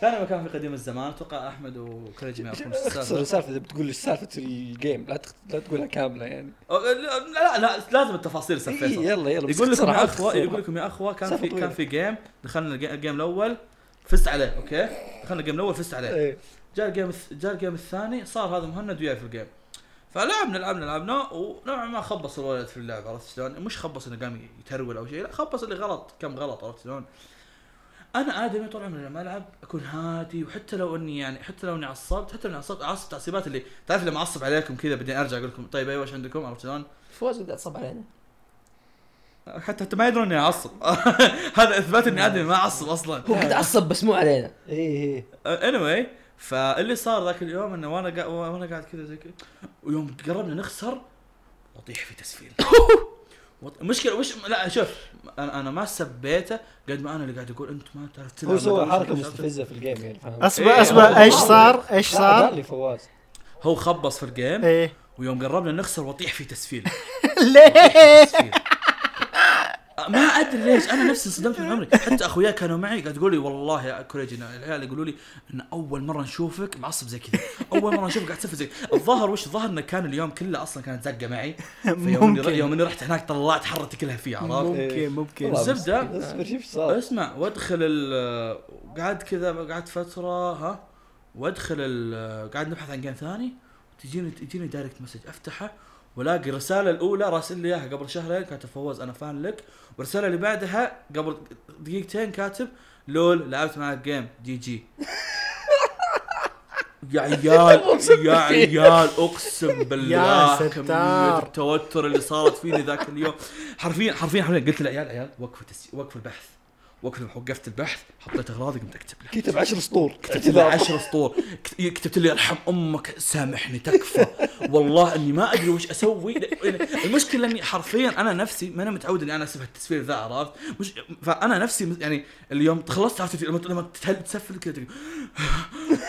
Speaker 1: كان مكان في قديم الزمان اتوقع احمد وكريجي ما يعرفون إيش
Speaker 3: اختصر
Speaker 1: السالفه
Speaker 3: السالفه اذا بتقول لي سالفه الجيم لا تخ... لا تقولها كامله يعني
Speaker 1: أو- لا لا لا لازم التفاصيل
Speaker 3: إي،
Speaker 1: استاذ فيصل
Speaker 3: يلا يلا
Speaker 1: يقول لكم
Speaker 3: باختصار،
Speaker 1: يا اخوه
Speaker 3: باختصار.
Speaker 1: يقول لكم يا اخوه كان
Speaker 3: سالفة
Speaker 1: في كان
Speaker 3: طويلة.
Speaker 1: في جيم دخلنا الج- الجيم الاول فزت عليه اوكي دخلنا الجيم الاول فزت عليه
Speaker 3: إيه.
Speaker 1: جاء الجيم الث- جاء الجيم الثاني صار هذا مهند وياي في الجيم فلعبنا لعبنا لعبنا ونوعا ما خبص الولد في اللعبه عرفت شلون؟ مش خبص انه قام يترول او شيء لا خبص اللي غلط كم غلط عرفت شلون؟ انا ادمي طول عمري لما العب اكون هادي وحتى لو اني يعني حتى لو اني عصبت حتى لو اني عصبت اعصب تعصيبات اللي تعرف لما اعصب عليكم كذا بعدين ارجع اقول لكم طيب ايوه ايش عندكم عرفت شلون؟
Speaker 2: فوز قاعد تصب علينا
Speaker 1: حتى حتى ما يدرون اني اعصب هذا اثبات اني ادمي ما اعصب اصلا
Speaker 2: هو قاعد عصب بس مو علينا
Speaker 3: ايه ايه
Speaker 1: anyway فاللي صار ذاك اليوم انه وانا قاعد وانا قاعد كذا زي كذا ويوم قربنا نخسر اطيح في تسفيل وط- مشكله مش لا شوف انا انا ما سبيته قد ما انا اللي قاعد اقول انت ما تعرف تلعب
Speaker 3: هو
Speaker 1: ما
Speaker 3: سوى
Speaker 1: تعرف شو
Speaker 3: حركه
Speaker 1: تعرف-
Speaker 3: مستفزه في الجيم يعني فاهم
Speaker 4: اصبر اصبر ايش صار؟ ايش
Speaker 3: لا، قال
Speaker 4: صار؟
Speaker 3: لي فواز
Speaker 1: هو خبص في الجيم
Speaker 4: ايه
Speaker 1: ويوم قربنا نخسر واطيح في تسفيل
Speaker 4: ليه؟
Speaker 1: ما ادري ليش انا نفسي انصدمت من عمري حتى اخوياي كانوا معي قاعد تقول لي والله يا كوريجي إن العيال يقولوا لي ان اول مره نشوفك معصب زي كذا اول مره نشوفك قاعد تسفل زي كذا. الظاهر وش الظاهر انه كان اليوم كله اصلا كانت زقه معي فيوم
Speaker 4: ممكن.
Speaker 1: اني يوم اني رحت هناك طلعت حرتي كلها فيه عرفت
Speaker 4: ممكن ممكن
Speaker 3: والله
Speaker 1: الزبدة-
Speaker 3: مسكين. اصبر شوف ايش صار
Speaker 1: اسمع وادخل ال قعدت كذا قعدت فتره ها وادخل ال قاعد نبحث عن جيم ثاني تجيني تجيني دايركت مسج افتحه والاقي الرساله الاولى راسل لي اياها قبل شهرين كاتب فوز انا فان لك والرساله اللي بعدها قبل دقيقتين كاتب لول لعبت معك جيم جي جي يا عيال يا عيال اقسم بالله كمية
Speaker 4: ستار.
Speaker 1: التوتر اللي صارت فيني ذاك اليوم حرفيا حرفيا حرفيا قلت للعيال عيال وقفوا تس... وقفوا البحث وقفوا وقفت البحث حطيت اغراضي قمت اكتب له
Speaker 3: كتب عشر سطور
Speaker 1: كتبت لي 10 سطور كت- إيه، كتبت لي ارحم امك سامحني تكفى والله اني ما ادري وش اسوي ل- المشكله اني حرفيا انا نفسي ما انا متعود اني انا اسف التسفير ذا عرفت مش فانا نفسي مس- يعني اليوم تخلصت عرفت لما لما تتهل- تسفل كذا تقول
Speaker 2: اللي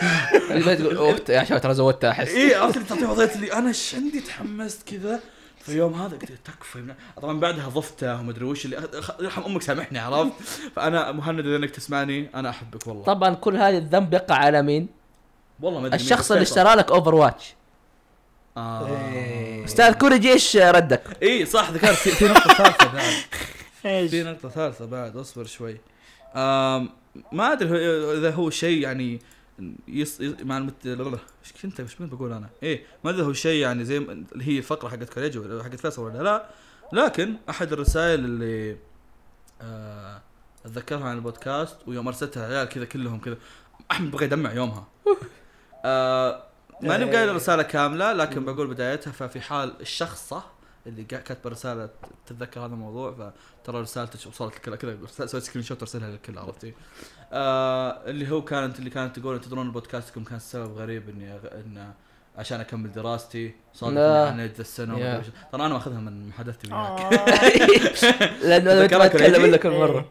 Speaker 2: يعني ما تقول اوه يا شباب ترى زودت احس
Speaker 1: اي إيه، عرفت اللي تعطيه وضعيه اللي انا ايش عندي تحمست كذا في يوم هذا قلت تكفى يا ابن- طبعا بعدها ضفته ومدري وش اللي أخ- أخ- يرحم امك سامحني عرفت فانا مهند اذا انك تسمعني انا احبك والله
Speaker 2: طبعا كل هذا الذنب يقع على مين؟
Speaker 1: والله ما ادري مين،
Speaker 2: الشخص
Speaker 1: بس إيه.
Speaker 2: اللي
Speaker 1: فيصل.
Speaker 2: اشترى إيه. لك اوفر واتش
Speaker 1: آه.
Speaker 2: استاذ كوريجي ايش ردك؟
Speaker 1: اي صح ذكرت في في نقطه ثالثه بعد
Speaker 4: ايش؟
Speaker 1: في نقطه ثالثه بعد اصبر شوي أم ما ادري هو- اذا هو شيء يعني يص... يص... مع المت... ايش كنت ايش كنت بقول انا؟ ايه ما ادري هو شيء يعني زي ما- اللي هي الفقره حقت كوليج ولا حقت فيصل ولا لا لكن احد الرسائل اللي آه اتذكرها عن البودكاست ويوم ارسلتها العيال كذا كلهم كذا احمد بغى يدمع يومها آه ماني بقايل الرساله كامله لكن بقول بدايتها ففي حال الشخص صح اللي قا- كاتب رساله تتذكر هذا الموضوع فترى رسالتك وصلت الكل كذا سويت سكرين شوت ارسلها للكل عرفتي؟ آه اللي هو كانت اللي كانت تقول تدرون بودكاستكم كان سبب غريب اني أغ... ان عشان اكمل دراستي صادفني
Speaker 2: لا.
Speaker 1: عن عند السنه
Speaker 2: يا.
Speaker 1: وما أدري وش- ترى انا ماخذها من محادثتي وياك
Speaker 2: لانه انا ما
Speaker 1: تذكرها كوريجي؟
Speaker 2: اتكلم الا كل مره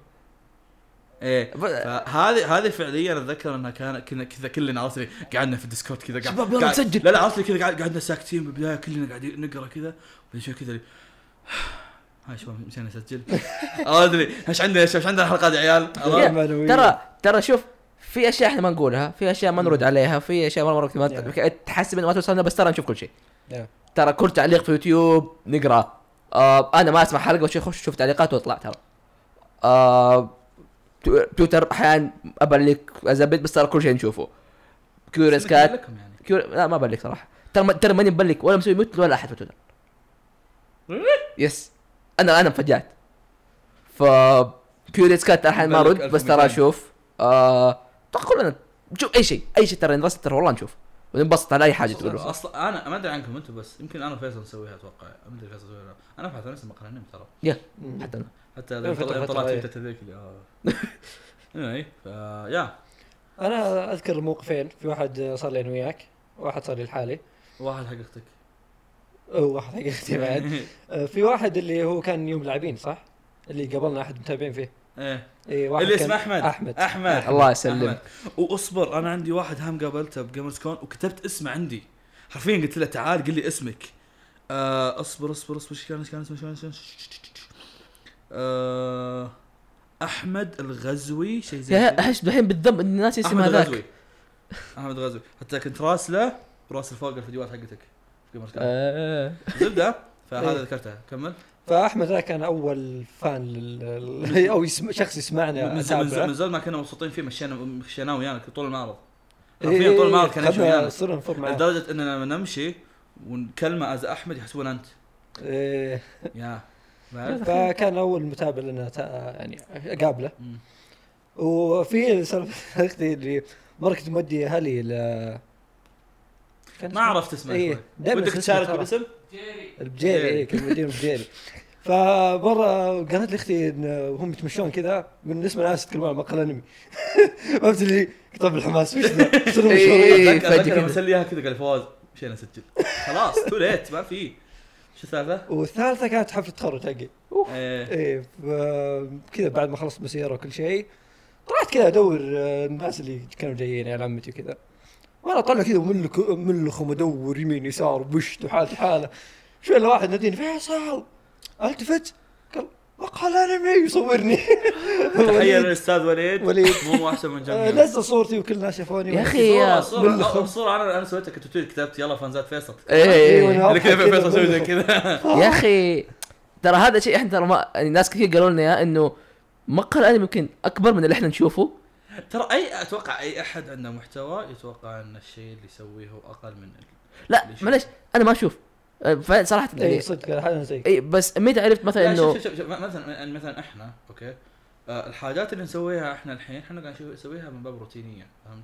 Speaker 1: ايه
Speaker 2: ب- آه.
Speaker 1: فهذه هذه فعليا اتذكر انها كان كنا كذا كلنا عرفت لي قعدنا في الديسكورد كذا قاعد-
Speaker 2: شباب يلا
Speaker 1: قاعد-
Speaker 2: نسجل.
Speaker 1: لا لا عرفت لي كذا قاعد- قعدنا ساكتين بالبدايه كلنا قاعدين نقرا كذا بعدين شوي كذا لي، هاي شباب مشينا نسجل عرفت لي ايش عندنا ايش عندنا حلقات يا عيال
Speaker 2: يا،
Speaker 1: عرفت؟
Speaker 2: ترى ترى شوف في اشياء احنا ما نقولها في اشياء ما نرد عليها في اشياء مره مره ما تحسب انه ما توصلنا بس ترى نشوف كل شيء
Speaker 3: يا.
Speaker 2: ترى كل تعليق في يوتيوب نقراه آه انا ما اسمع حلقه بس اخش اشوف تعليقات واطلع ترى آه تو- تويتر احيانا ابلك ازبد بس ترى كل شيء نشوفه كيوريس كات
Speaker 1: لكم يعني
Speaker 2: كيور... لا ما بلك صراحه ترى ما- ترى ماني مبلك ولا مسوي ميوت ولا احد في تويتر يس انا انا انفجعت ف كيوريس كات احيانا ما
Speaker 1: مبلك
Speaker 2: ارد بس ترى
Speaker 1: 1200.
Speaker 2: اشوف آه... ترى كلنا نشوف اي شيء اي شيء ترى نرسل ترى والله نشوف وننبسط على اي حاجه تقولوا
Speaker 1: اصلا انا ما ادري عنكم انتم بس يمكن انا وفيصل نسويها اتوقع ما ادري فيصل يسويها ولا لا. انا ابحث عن اسم مقرنين ترى
Speaker 2: يا حتى انا
Speaker 1: حتى
Speaker 3: إيه، فترة-
Speaker 1: يوم
Speaker 3: فترة،
Speaker 1: طلعت
Speaker 3: إيه.
Speaker 1: تويتر هذيك اللي اه اي فا يا
Speaker 3: انا اذكر موقفين في واحد صار لي انا وياك واحد صار لي لحالي
Speaker 1: واحد حقيقتك
Speaker 3: وواحد حقيقتي بعد آه، في واحد اللي هو كان يوم لاعبين صح؟ اللي قابلنا احد متابعين فيه
Speaker 1: ايه
Speaker 3: اي واحد
Speaker 1: اللي
Speaker 3: كان-
Speaker 1: اسمه احمد
Speaker 3: احمد
Speaker 1: احمد
Speaker 2: الله يسلمك.
Speaker 1: أحمد. واصبر انا عندي واحد هم قابلته بجيمرز كون وكتبت اسمه عندي حرفيا قلت له تعال قل لي اسمك آه، اصبر اصبر اصبر ايش كان ايش كان اسمه إيش كان اسمه آه، احمد الغزوي شيء زي
Speaker 2: يا
Speaker 1: كذا.
Speaker 2: احس الحين بالذنب ان الناس
Speaker 1: احمد
Speaker 2: يسمع
Speaker 1: الغزوي
Speaker 2: ذاك
Speaker 1: احمد الغزوي حتى كنت راسله وراسل فوق الفيديوهات حقتك في جيمرز كون
Speaker 2: آه.
Speaker 1: زبده فهذا
Speaker 3: إيه.
Speaker 1: ذكرتها كمل
Speaker 3: فاحمد ذا كان اول فان لل... او يسم... شخص يسمعنا
Speaker 1: من زمان- من زمان- من
Speaker 3: اتابعه
Speaker 1: زمان ما كنا مبسوطين فيه مشينا مشيناه وياك طول المعرض حرفيا
Speaker 3: إيه،
Speaker 1: طول المعرض كان يمشي
Speaker 3: خدنا-
Speaker 1: ويانا
Speaker 3: صرنا نفر معاه
Speaker 1: لدرجه اننا لما نمشي ونكلمه از احمد يحسبون انت
Speaker 3: إيه،
Speaker 1: يا بعد؟
Speaker 3: فكان اول متابع لنا تا... يعني قابله
Speaker 1: مم.
Speaker 3: وفي سالفه اختي اللي مره كنت مودي اهلي ل كان
Speaker 1: ما عرفت اسمه
Speaker 3: إيه،
Speaker 1: إيه.
Speaker 3: دايماً
Speaker 1: ودك
Speaker 3: اسمه
Speaker 1: تشارك
Speaker 3: ترى.
Speaker 1: بالاسم؟
Speaker 3: البجيري
Speaker 1: إيه.
Speaker 3: إيه، كان موديهم بجيري فمره قالت لي اختي إن وهم يتمشون كذا بالنسبه للناس يتكلمون عن مقال انمي فهمت اللي طب الحماس وش ذا؟ صرنا
Speaker 2: إيه.
Speaker 3: مشهورين
Speaker 1: أتذكر-
Speaker 2: فجأة
Speaker 1: أتذكر لما
Speaker 2: كده.
Speaker 1: سلي اياها كذا قال فواز مشينا نسجل خلاص تو ليت ما في شو السالفه؟
Speaker 3: والثالثه كانت حفله تخرج حقي
Speaker 1: إيه.
Speaker 3: ايه ف- كذا بعد ما خلصت مسيره وكل شيء طلعت كذا ادور آه، الناس اللي كانوا جايين يعني عمتي وكذا وانا طلع كذا ملخ ملخم ادور يمين يسار بشت وحالتي حاله شو الا واحد ناديني فيصل التفت قال مقهى الانمي يصورني
Speaker 1: تحيه
Speaker 3: وليد-
Speaker 1: للاستاذ وليد
Speaker 3: وليد.
Speaker 1: مو احسن من
Speaker 3: آه،
Speaker 1: جنبي إيه،
Speaker 3: نزل صورتي وكل الناس شافوني
Speaker 2: يا
Speaker 3: وأنا-
Speaker 2: أخي.
Speaker 1: صورة
Speaker 2: يا-
Speaker 1: صورة صورة انا انا سويتها كنت تويتر كتبت يلا فانزات فيصل
Speaker 3: إيه،
Speaker 2: ايه
Speaker 3: وأنا
Speaker 1: اللي كذا
Speaker 3: أضحك
Speaker 1: فيصل يسوي زي
Speaker 3: ملخم.
Speaker 1: كذا
Speaker 2: يا اخي ترى هذا شيء احنا ترى ما يعني ناس كثير قالوا لنا اياه انه مقهى الانمي يمكن اكبر من اللي احنا نشوفه
Speaker 1: ترى اي اتوقع اي احد عنده محتوى يتوقع ان الشيء اللي يسويه هو اقل من
Speaker 2: لا
Speaker 1: ليش؟
Speaker 2: معلش انا ما اشوف أه، فعلا صراحه
Speaker 3: اي
Speaker 2: يعني
Speaker 3: إيه، صدق حالا زي
Speaker 2: اي بس متى عرفت مثلا
Speaker 1: لا شوف
Speaker 2: انه
Speaker 1: شوف شوف م- مثلا م- مثلا احنا اوكي آه الحاجات اللي نسويها احنا الحين احنا قاعد نشوف- نسويها من باب روتينيه فهمت؟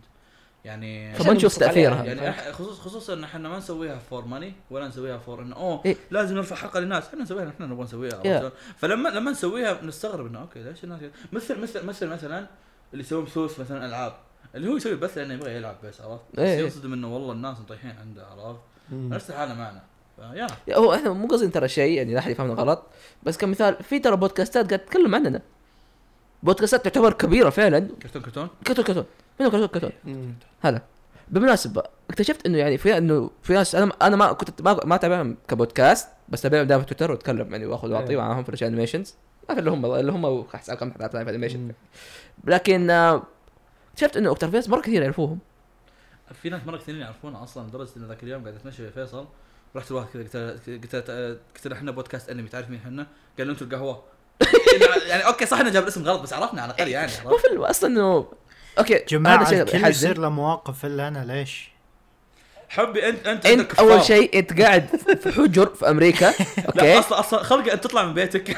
Speaker 1: يعني
Speaker 2: فما نشوف
Speaker 3: نبسط عليها
Speaker 2: تاثيرها
Speaker 1: يعني إح- خصوص خصوصا ان احنا ما نسويها فور ماني ولا نسويها فور انه اوه
Speaker 2: إيه.
Speaker 1: لازم نرفع حلقه للناس احنا نسويها احنا نبغى نسويها
Speaker 2: Yeah.
Speaker 1: عرفت؟ فلما لما نسويها نستغرب انه اوكي ليش الناس كده؟ مثل مثل مثل مثلا اللي يسوي بثوث مثلا العاب اللي هو يسوي بث لانه يبغى يلعب بس عرفت؟ بس
Speaker 2: إيه.
Speaker 1: ينصدم انه والله الناس مطيحين عنده عرفت؟ نفس الحاله معنا فيا
Speaker 2: يا هو احنا مو قصدي ترى شيء يعني لا احد يفهمنا غلط بس كمثال في ترى بودكاستات قاعد تتكلم عننا بودكاستات تعتبر كبيره فعلا
Speaker 1: كرتون كرتون
Speaker 2: كتون كتون منو كتون كتون
Speaker 3: مم.
Speaker 2: هلا بالمناسبه اكتشفت انه يعني في انه في ناس انا انا ما كنت ما ما اتابعهم كبودكاست بس اتابعهم دائما في تويتر واتكلم يعني واخذ واعطي
Speaker 3: إيه.
Speaker 2: معاهم في الاشياء انيميشنز ما في اللي هم اللي هم احسن كم حلقات في انيميشن
Speaker 3: مم.
Speaker 2: لكن آه، اكتشفت انه اكتر فيس مره كثير يعرفوهم
Speaker 1: في ناس مره كثيرين يعرفونه اصلا لدرجه ان ذاك اليوم قاعد اتمشى في فيصل رحت لواحد كذا قلت له قلت له قلت له احنا بودكاست انمي تعرف مين احنا؟ قال له انتم القهوه يعني اوكي صح انه جاب الاسم غلط بس عرفنا على الاقل يعني
Speaker 3: آه.
Speaker 2: ما في ال- اصلا انه اوكي
Speaker 4: جماعه
Speaker 2: شيء
Speaker 4: الكل
Speaker 2: يحزن.
Speaker 4: يصير له مواقف الا انا ليش؟
Speaker 1: حبي انت انت عندك
Speaker 2: انت
Speaker 1: كفار.
Speaker 2: اول شيء انت قاعد في حجر في امريكا
Speaker 1: لا
Speaker 2: اوكي
Speaker 1: اصلا اصلا خلق انت تطلع من بيتك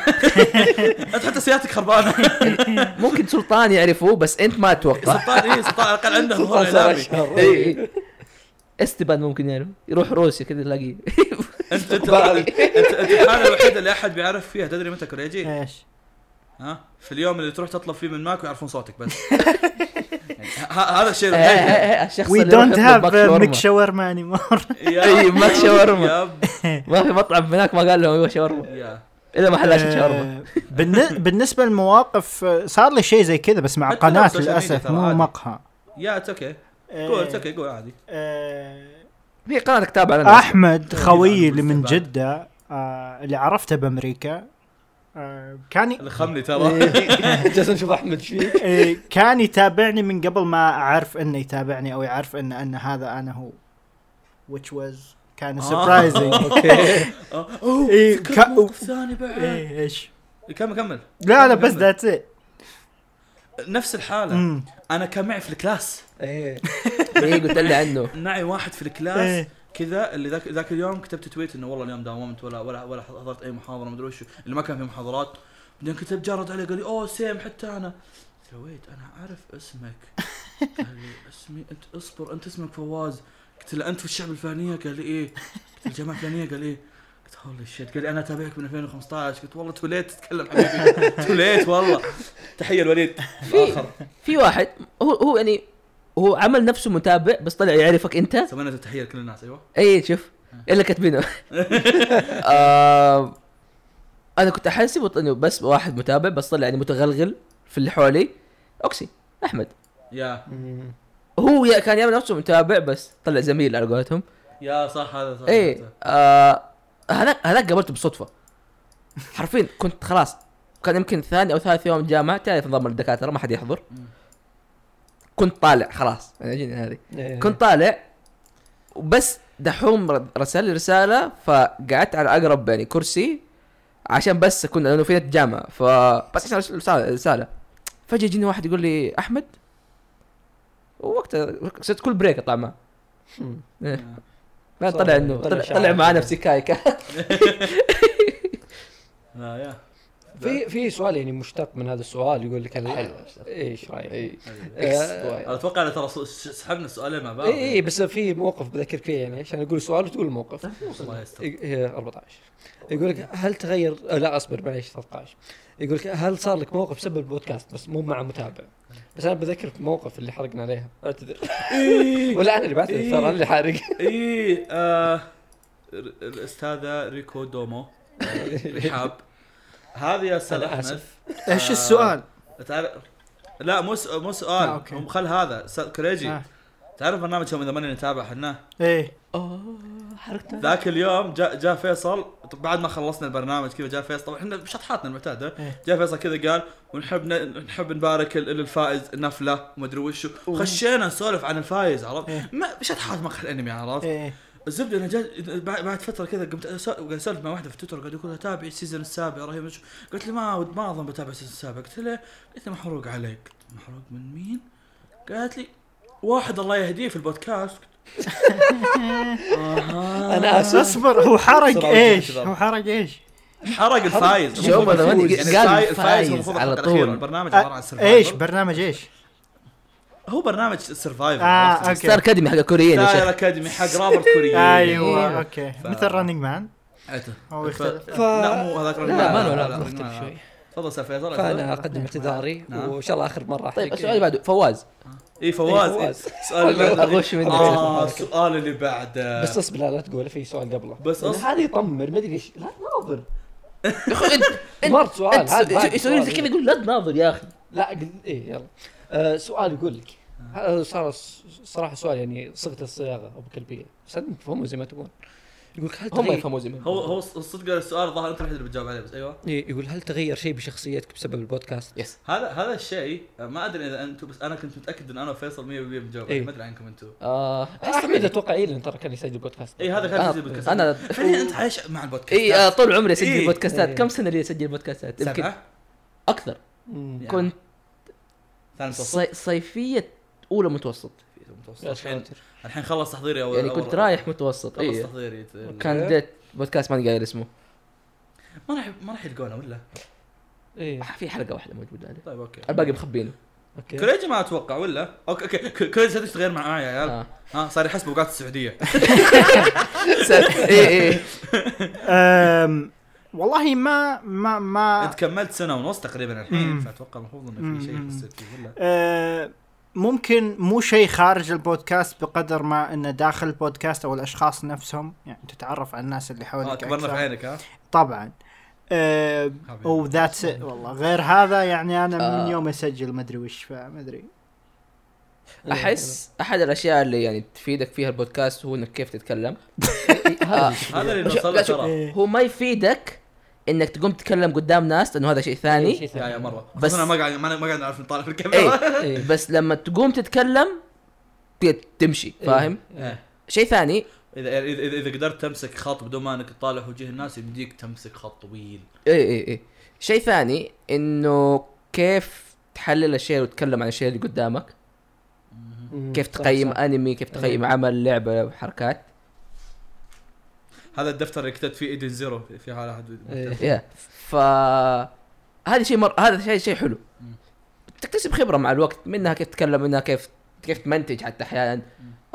Speaker 1: انت حتى سيارتك خربانه
Speaker 2: ممكن سلطان يعرفوه بس انت ما تتوقع
Speaker 1: سلطان اي سلطان على الاقل عنده ظهور
Speaker 3: صار
Speaker 1: اعلامي
Speaker 3: أشهر.
Speaker 1: إيه.
Speaker 2: إي. استبان ممكن يعرف يروح روسيا كذا تلاقيه
Speaker 1: انت انت انت انت الحاله الوحيده اللي احد بيعرف فيها تدري متى كوريجي؟
Speaker 2: إيه.
Speaker 4: ايش؟
Speaker 1: ها؟ في اليوم اللي تروح تطلب فيه من ماك ويعرفون صوتك بس يعني ه- هذا الشيء
Speaker 2: إيه،
Speaker 1: الوحيد.
Speaker 2: إيه، إيه، الشخص
Speaker 4: وي
Speaker 2: اللي يروح
Speaker 4: دونت
Speaker 2: يطلب
Speaker 4: هاف
Speaker 2: باك شاورما.
Speaker 4: ميك شاورما اني مور
Speaker 1: يا-
Speaker 4: إيه،
Speaker 2: إي، ماك شاورما.
Speaker 1: يب.
Speaker 2: ما في مطعم هناك ما قال لهم ايوه شاورما
Speaker 1: يا.
Speaker 2: الا محل
Speaker 4: إيه.
Speaker 2: عشان شاورما
Speaker 4: بالن- بالنسبه للمواقف آه، صار لي شيء زي كذا بس مع
Speaker 1: حتى لو
Speaker 4: قناه
Speaker 1: سوشيال ميديا
Speaker 4: للاسف
Speaker 1: ترى
Speaker 4: مو
Speaker 1: عادي.
Speaker 4: مقهى
Speaker 1: يا اتس اوكي
Speaker 4: آه،
Speaker 1: قول اتس اوكي قول عادي
Speaker 4: آه،
Speaker 2: في قناه كتاب على
Speaker 4: احمد خويي اللي من
Speaker 1: بعد.
Speaker 4: جده آه، اللي عرفته بامريكا آه، كان ي-
Speaker 1: اللي خمني ترى
Speaker 4: إيه.
Speaker 3: جالس نشوف احمد فيه
Speaker 4: آه، كان يتابعني من قبل ما اعرف انه يتابعني او يعرف ان ان هذا انا هو which was كان
Speaker 1: آه.
Speaker 4: سربرايزنج
Speaker 3: اوكي
Speaker 1: آه، اوه
Speaker 4: إيه،
Speaker 1: فكرة
Speaker 4: كا-
Speaker 1: موقف ثاني بعد
Speaker 4: ايش
Speaker 1: كمل كمل
Speaker 4: لا لا بس
Speaker 1: كمل.
Speaker 4: ذاتس ات
Speaker 1: نفس الحاله انا كان معي في الكلاس
Speaker 3: إيه.
Speaker 2: اي قلت لي عنه
Speaker 1: معي واحد في الكلاس
Speaker 4: إيه.
Speaker 1: كذا اللي ذاك ذاك اليوم كتبت تويت انه والله اليوم داومت ولا ولا ولا حضرت اي محاضره مدري وش اللي ما كان في محاضرات بعدين كتب جرد علي قال لي اوه سيم حتى انا قلت له ويت انا اعرف اسمك قال لي اسمي انت اصبر انت اسمك فواز قلت له انت في الشعب الفلانيه قال لي ايه قلت له الجماعه الفلانيه قال ايه قلت هولي شيت قال لي انا اتابعك من 2015 قلت والله توليت تتكلم حبيبي توليت والله تحيه الوليد الاخر
Speaker 2: في واحد هو هو يعني هو عمل نفسه متابع بس طلع يعرفك انت
Speaker 1: سوينا له تحيه لكل الناس ايوه
Speaker 2: اي شوف الا كاتبينه آه، انا كنت احسب انه بس واحد متابع بس طلع يعني متغلغل في اللي حوالي اوكسي احمد
Speaker 1: يا
Speaker 2: هو يا- كان يعمل نفسه متابع بس طلع زميل على قولتهم
Speaker 1: يا صح هذا صح
Speaker 3: ايه،
Speaker 2: اي آه، هذاك هذاك قابلته بالصدفه حرفيا كنت خلاص كان يمكن ثاني او ثالث يوم جامعه تعرف نظام الدكاتره ما حد يحضر كنت طالع خلاص انا جيني هذه
Speaker 3: إيه.
Speaker 2: كنت طالع وبس دحوم ر- رسل لي رساله فقعدت على اقرب يعني كرسي عشان بس كنا لانه في جامعه فبس عشان ارسل رساله رساله فجاه يجيني واحد يقول لي احمد ووقتها صرت كل بريك اطلع معه
Speaker 3: مم.
Speaker 2: إيه. بعد طلع انه
Speaker 3: طلع
Speaker 2: طلع,
Speaker 3: شعار.
Speaker 2: طلع معانا في سكايكا
Speaker 1: لا يا
Speaker 3: في في سؤال يعني مشتق من هذا السؤال يقول لك هل إيه،
Speaker 2: حلو.
Speaker 3: ايش رايك؟
Speaker 2: إكس،
Speaker 3: اي
Speaker 1: اتوقع إن ترى س- سحبنا السؤالين مع بعض
Speaker 3: اي إيه، بس في موقف بذكرك فيه يعني عشان اقول سؤال وتقول الموقف
Speaker 1: الله يستر
Speaker 3: إيه، إيه، 14 يقول لك هل تغير آه، لا اصبر معليش 13 يقول لك هل صار لك موقف بسبب البودكاست بس مو مع متابع بس انا بذكر في موقف اللي حرقنا عليها اعتذر ولا انا اللي بعتذر ترى انا اللي حارق
Speaker 1: اي آه، ر- الاستاذه ريكو دومو رحاب هذه يا استاذ
Speaker 3: أنا
Speaker 1: احمد
Speaker 3: آسف.
Speaker 4: ايش السؤال؟
Speaker 1: تعرف لا مو س- مو
Speaker 4: آه،
Speaker 1: سؤال
Speaker 4: أوكي.
Speaker 1: هم خل هذا استاذ كريجي
Speaker 4: آه.
Speaker 1: تعرف برنامج يوم اذا ماني نتابع حنا
Speaker 4: ايه
Speaker 1: ذاك اليوم جاء جاء فيصل طب بعد ما خلصنا البرنامج كذا جاء فيصل طبعا احنا بشطحاتنا المعتاده
Speaker 4: إيه.
Speaker 1: جاء فيصل كذا قال ونحب ن- نحب نبارك ال- للفائز نفله ومدري وشو خشينا نسولف عن الفايز عرفت؟ ما بشطحات مقهى الانمي عرفت؟
Speaker 4: ايه
Speaker 1: الزبده انا جا بعد بعد فتره كذا قمت أس- قاعد اسولف مع واحده في تويتر قاعد يقول لها تابعي السيزون السابع رهيب مش- قلت لي ما ود- ما اظن بتابع السيزون السابع قلت لها قلت لها محروق عليك قلت محروق من مين؟ قالت لي واحد الله يهديه في البودكاست قلت- آها.
Speaker 3: انا اسف
Speaker 4: اصبر هو حرق
Speaker 1: بسرعة
Speaker 4: ايش؟
Speaker 1: بسرعة.
Speaker 4: هو حرق ايش؟
Speaker 1: حرق الفايز
Speaker 2: شو ما
Speaker 1: يعني
Speaker 2: ذمني قال
Speaker 1: الفايز- الفايز هو
Speaker 2: فايز
Speaker 1: المفروض
Speaker 2: على
Speaker 1: الحلقة الأخيرة.
Speaker 2: طول
Speaker 1: البرنامج عباره عن
Speaker 4: أ-
Speaker 1: سرفايفل
Speaker 4: ايش برنامج ايش؟
Speaker 1: هو برنامج سرفايفل
Speaker 4: اه
Speaker 2: ستار
Speaker 4: اوكي
Speaker 2: اكاديمي حق كوريين يا
Speaker 1: داير
Speaker 2: يعني شيخ
Speaker 1: اكاديمي حق رابرت كوريين
Speaker 4: ايوه اوكي مثل رننج مان
Speaker 1: أت-
Speaker 4: هو يختلف.
Speaker 1: إيه، ف... لا مو هذاك
Speaker 3: لا،
Speaker 2: لا، ما له
Speaker 1: لا، لا،
Speaker 3: مختلف
Speaker 1: لا.
Speaker 3: شوي.
Speaker 1: تفضل استاذ فيصل
Speaker 3: فانا
Speaker 1: أتفضل.
Speaker 3: اقدم اعتذاري
Speaker 1: نعم.
Speaker 3: وان شاء الله اخر مره
Speaker 2: طيب
Speaker 3: أحرق.
Speaker 2: السؤال اللي بعده فواز
Speaker 1: اي فواز
Speaker 3: إيه،
Speaker 1: إيه،
Speaker 3: فواز.
Speaker 1: سؤال اللي بعده.
Speaker 2: اغش منك
Speaker 1: اه السؤال اللي بعده
Speaker 3: بس اصبر لا لا تقول في سؤال قبله
Speaker 1: بس
Speaker 3: لأن
Speaker 1: أصبر.
Speaker 3: هذا يطمر ما ادري ايش لا ناظر
Speaker 2: يا اخوي انت
Speaker 3: مرت سؤال
Speaker 2: انت
Speaker 3: هذا بعد
Speaker 2: يسوي
Speaker 3: سؤال.
Speaker 2: زي كذا يقول لا تناظر يا اخي
Speaker 3: لا قل... ايه يلا آه سؤال يقول لك هذا صار صراحه سؤال يعني صيغه الصياغه ابو كلبيه بس أنا مفهومه زي ما تقول يقول هل
Speaker 2: هم
Speaker 3: تغير
Speaker 2: يفهموا زي ما
Speaker 1: هو هو الصدق السؤال الظاهر انت الوحيد اللي بتجاوب عليه بس ايوه
Speaker 3: إيه، يقول هل تغير شيء بشخصيتك بسبب البودكاست؟
Speaker 2: يس
Speaker 1: هذا هذا الشيء ما ادري اذا انتم بس انا كنت متاكد ان انا وفيصل 100% بنجاوب عليه
Speaker 3: إيه.
Speaker 1: ما ادري عنكم انتم
Speaker 2: آه
Speaker 3: حميد اتوقع اي لان إيه، ترى كان يسجل بودكاست
Speaker 1: اي إيه، هذا كان
Speaker 2: أنا-
Speaker 1: تسجيل بودكاست
Speaker 2: آه، أنا-
Speaker 1: فعليا انت عايش مع البودكاست
Speaker 2: اي آه، طول عمري اسجل
Speaker 1: إيه.
Speaker 2: بودكاستات
Speaker 3: إيه.
Speaker 2: كم سنه لي اسجل بودكاستات يمكن
Speaker 1: سبعه
Speaker 2: اكثر
Speaker 3: مم.
Speaker 1: يعني
Speaker 2: كنت
Speaker 1: ثاني متوسط
Speaker 2: صي... صيفيه اولى متوسط
Speaker 1: متوسط.
Speaker 3: يا
Speaker 1: الحين
Speaker 3: ساتر.
Speaker 1: الحين خلص تحضيري اول
Speaker 2: يعني
Speaker 1: أول-
Speaker 2: كنت رايح متوسط
Speaker 1: خلص
Speaker 2: اي
Speaker 1: تحضيري ال-
Speaker 2: كان ديت بودكاست ماني قايل اسمه
Speaker 1: ما راح ما راح يلقونه ولا
Speaker 3: ايه
Speaker 2: في حلقه واحده موجوده عليه
Speaker 1: طيب اوكي
Speaker 2: الباقي مخبينه
Speaker 3: اوكي
Speaker 1: كريجي ما اتوقع ولا اوكي اوكي ك- كريجي هذا تغير معاه يا عيال
Speaker 2: آه.
Speaker 1: ها صار يحسب اوقات السعوديه إيه،
Speaker 2: اي اي
Speaker 4: أم، والله ما ما ما
Speaker 2: آه.
Speaker 1: انت كملت سنه ونص تقريبا الحين
Speaker 4: مم.
Speaker 1: فاتوقع المفروض انه في شيء
Speaker 4: مم.
Speaker 1: حسيت فيه ولا
Speaker 4: أه، ممكن مو شيء خارج البودكاست بقدر ما انه داخل البودكاست او الاشخاص نفسهم يعني تتعرف على الناس اللي
Speaker 1: آه،
Speaker 4: حولك
Speaker 1: كبرنا في
Speaker 4: أكثر.
Speaker 1: عينك ها
Speaker 4: طبعا أه،
Speaker 1: حبيبي.
Speaker 4: وذاتس it والله غير هذا يعني انا
Speaker 2: آه.
Speaker 4: من يوم اسجل ما ادري وش فما ادري
Speaker 2: احس احد الاشياء اللي يعني تفيدك فيها البودكاست هو انك كيف تتكلم آه،
Speaker 1: هذا اللي
Speaker 2: شوف-
Speaker 1: نوصل له
Speaker 2: لا، إيه، شوف،
Speaker 1: ترى
Speaker 2: هو ما يفيدك انك تقوم تتكلم قدام ناس لانه هذا شيء ثاني
Speaker 1: يا يا مره
Speaker 2: بس- إيه.
Speaker 1: بس انا ما قاعد ما ما قاعد نعرف نطالع في الكاميرا
Speaker 2: اي بس لما تقوم تتكلم ت- تمشي فاهم
Speaker 1: إيه.
Speaker 2: شيء ثاني
Speaker 1: اذا اذا إذا- اذا قدرت تمسك خط بدون ما انك تطالع وجه الناس يمديك تمسك خط طويل
Speaker 2: اي اي اي إيه، شيء ثاني انه كيف تحلل الشيء وتتكلم عن الشيء اللي قدامك
Speaker 3: مم. طيب،
Speaker 2: كيف
Speaker 3: صح،
Speaker 2: تقيم
Speaker 3: صح.
Speaker 2: انمي كيف تقيم عمل لعبه وحركات
Speaker 1: هذا الدفتر اللي كتبت فيه ايدن زيرو في حال احد
Speaker 3: إيه.
Speaker 2: يا ف هذا شيء مر... هذا شيء شيء حلو
Speaker 1: مم.
Speaker 2: تكتسب خبره مع الوقت منها كيف تتكلم منها كيف كيف تمنتج حتى احيانا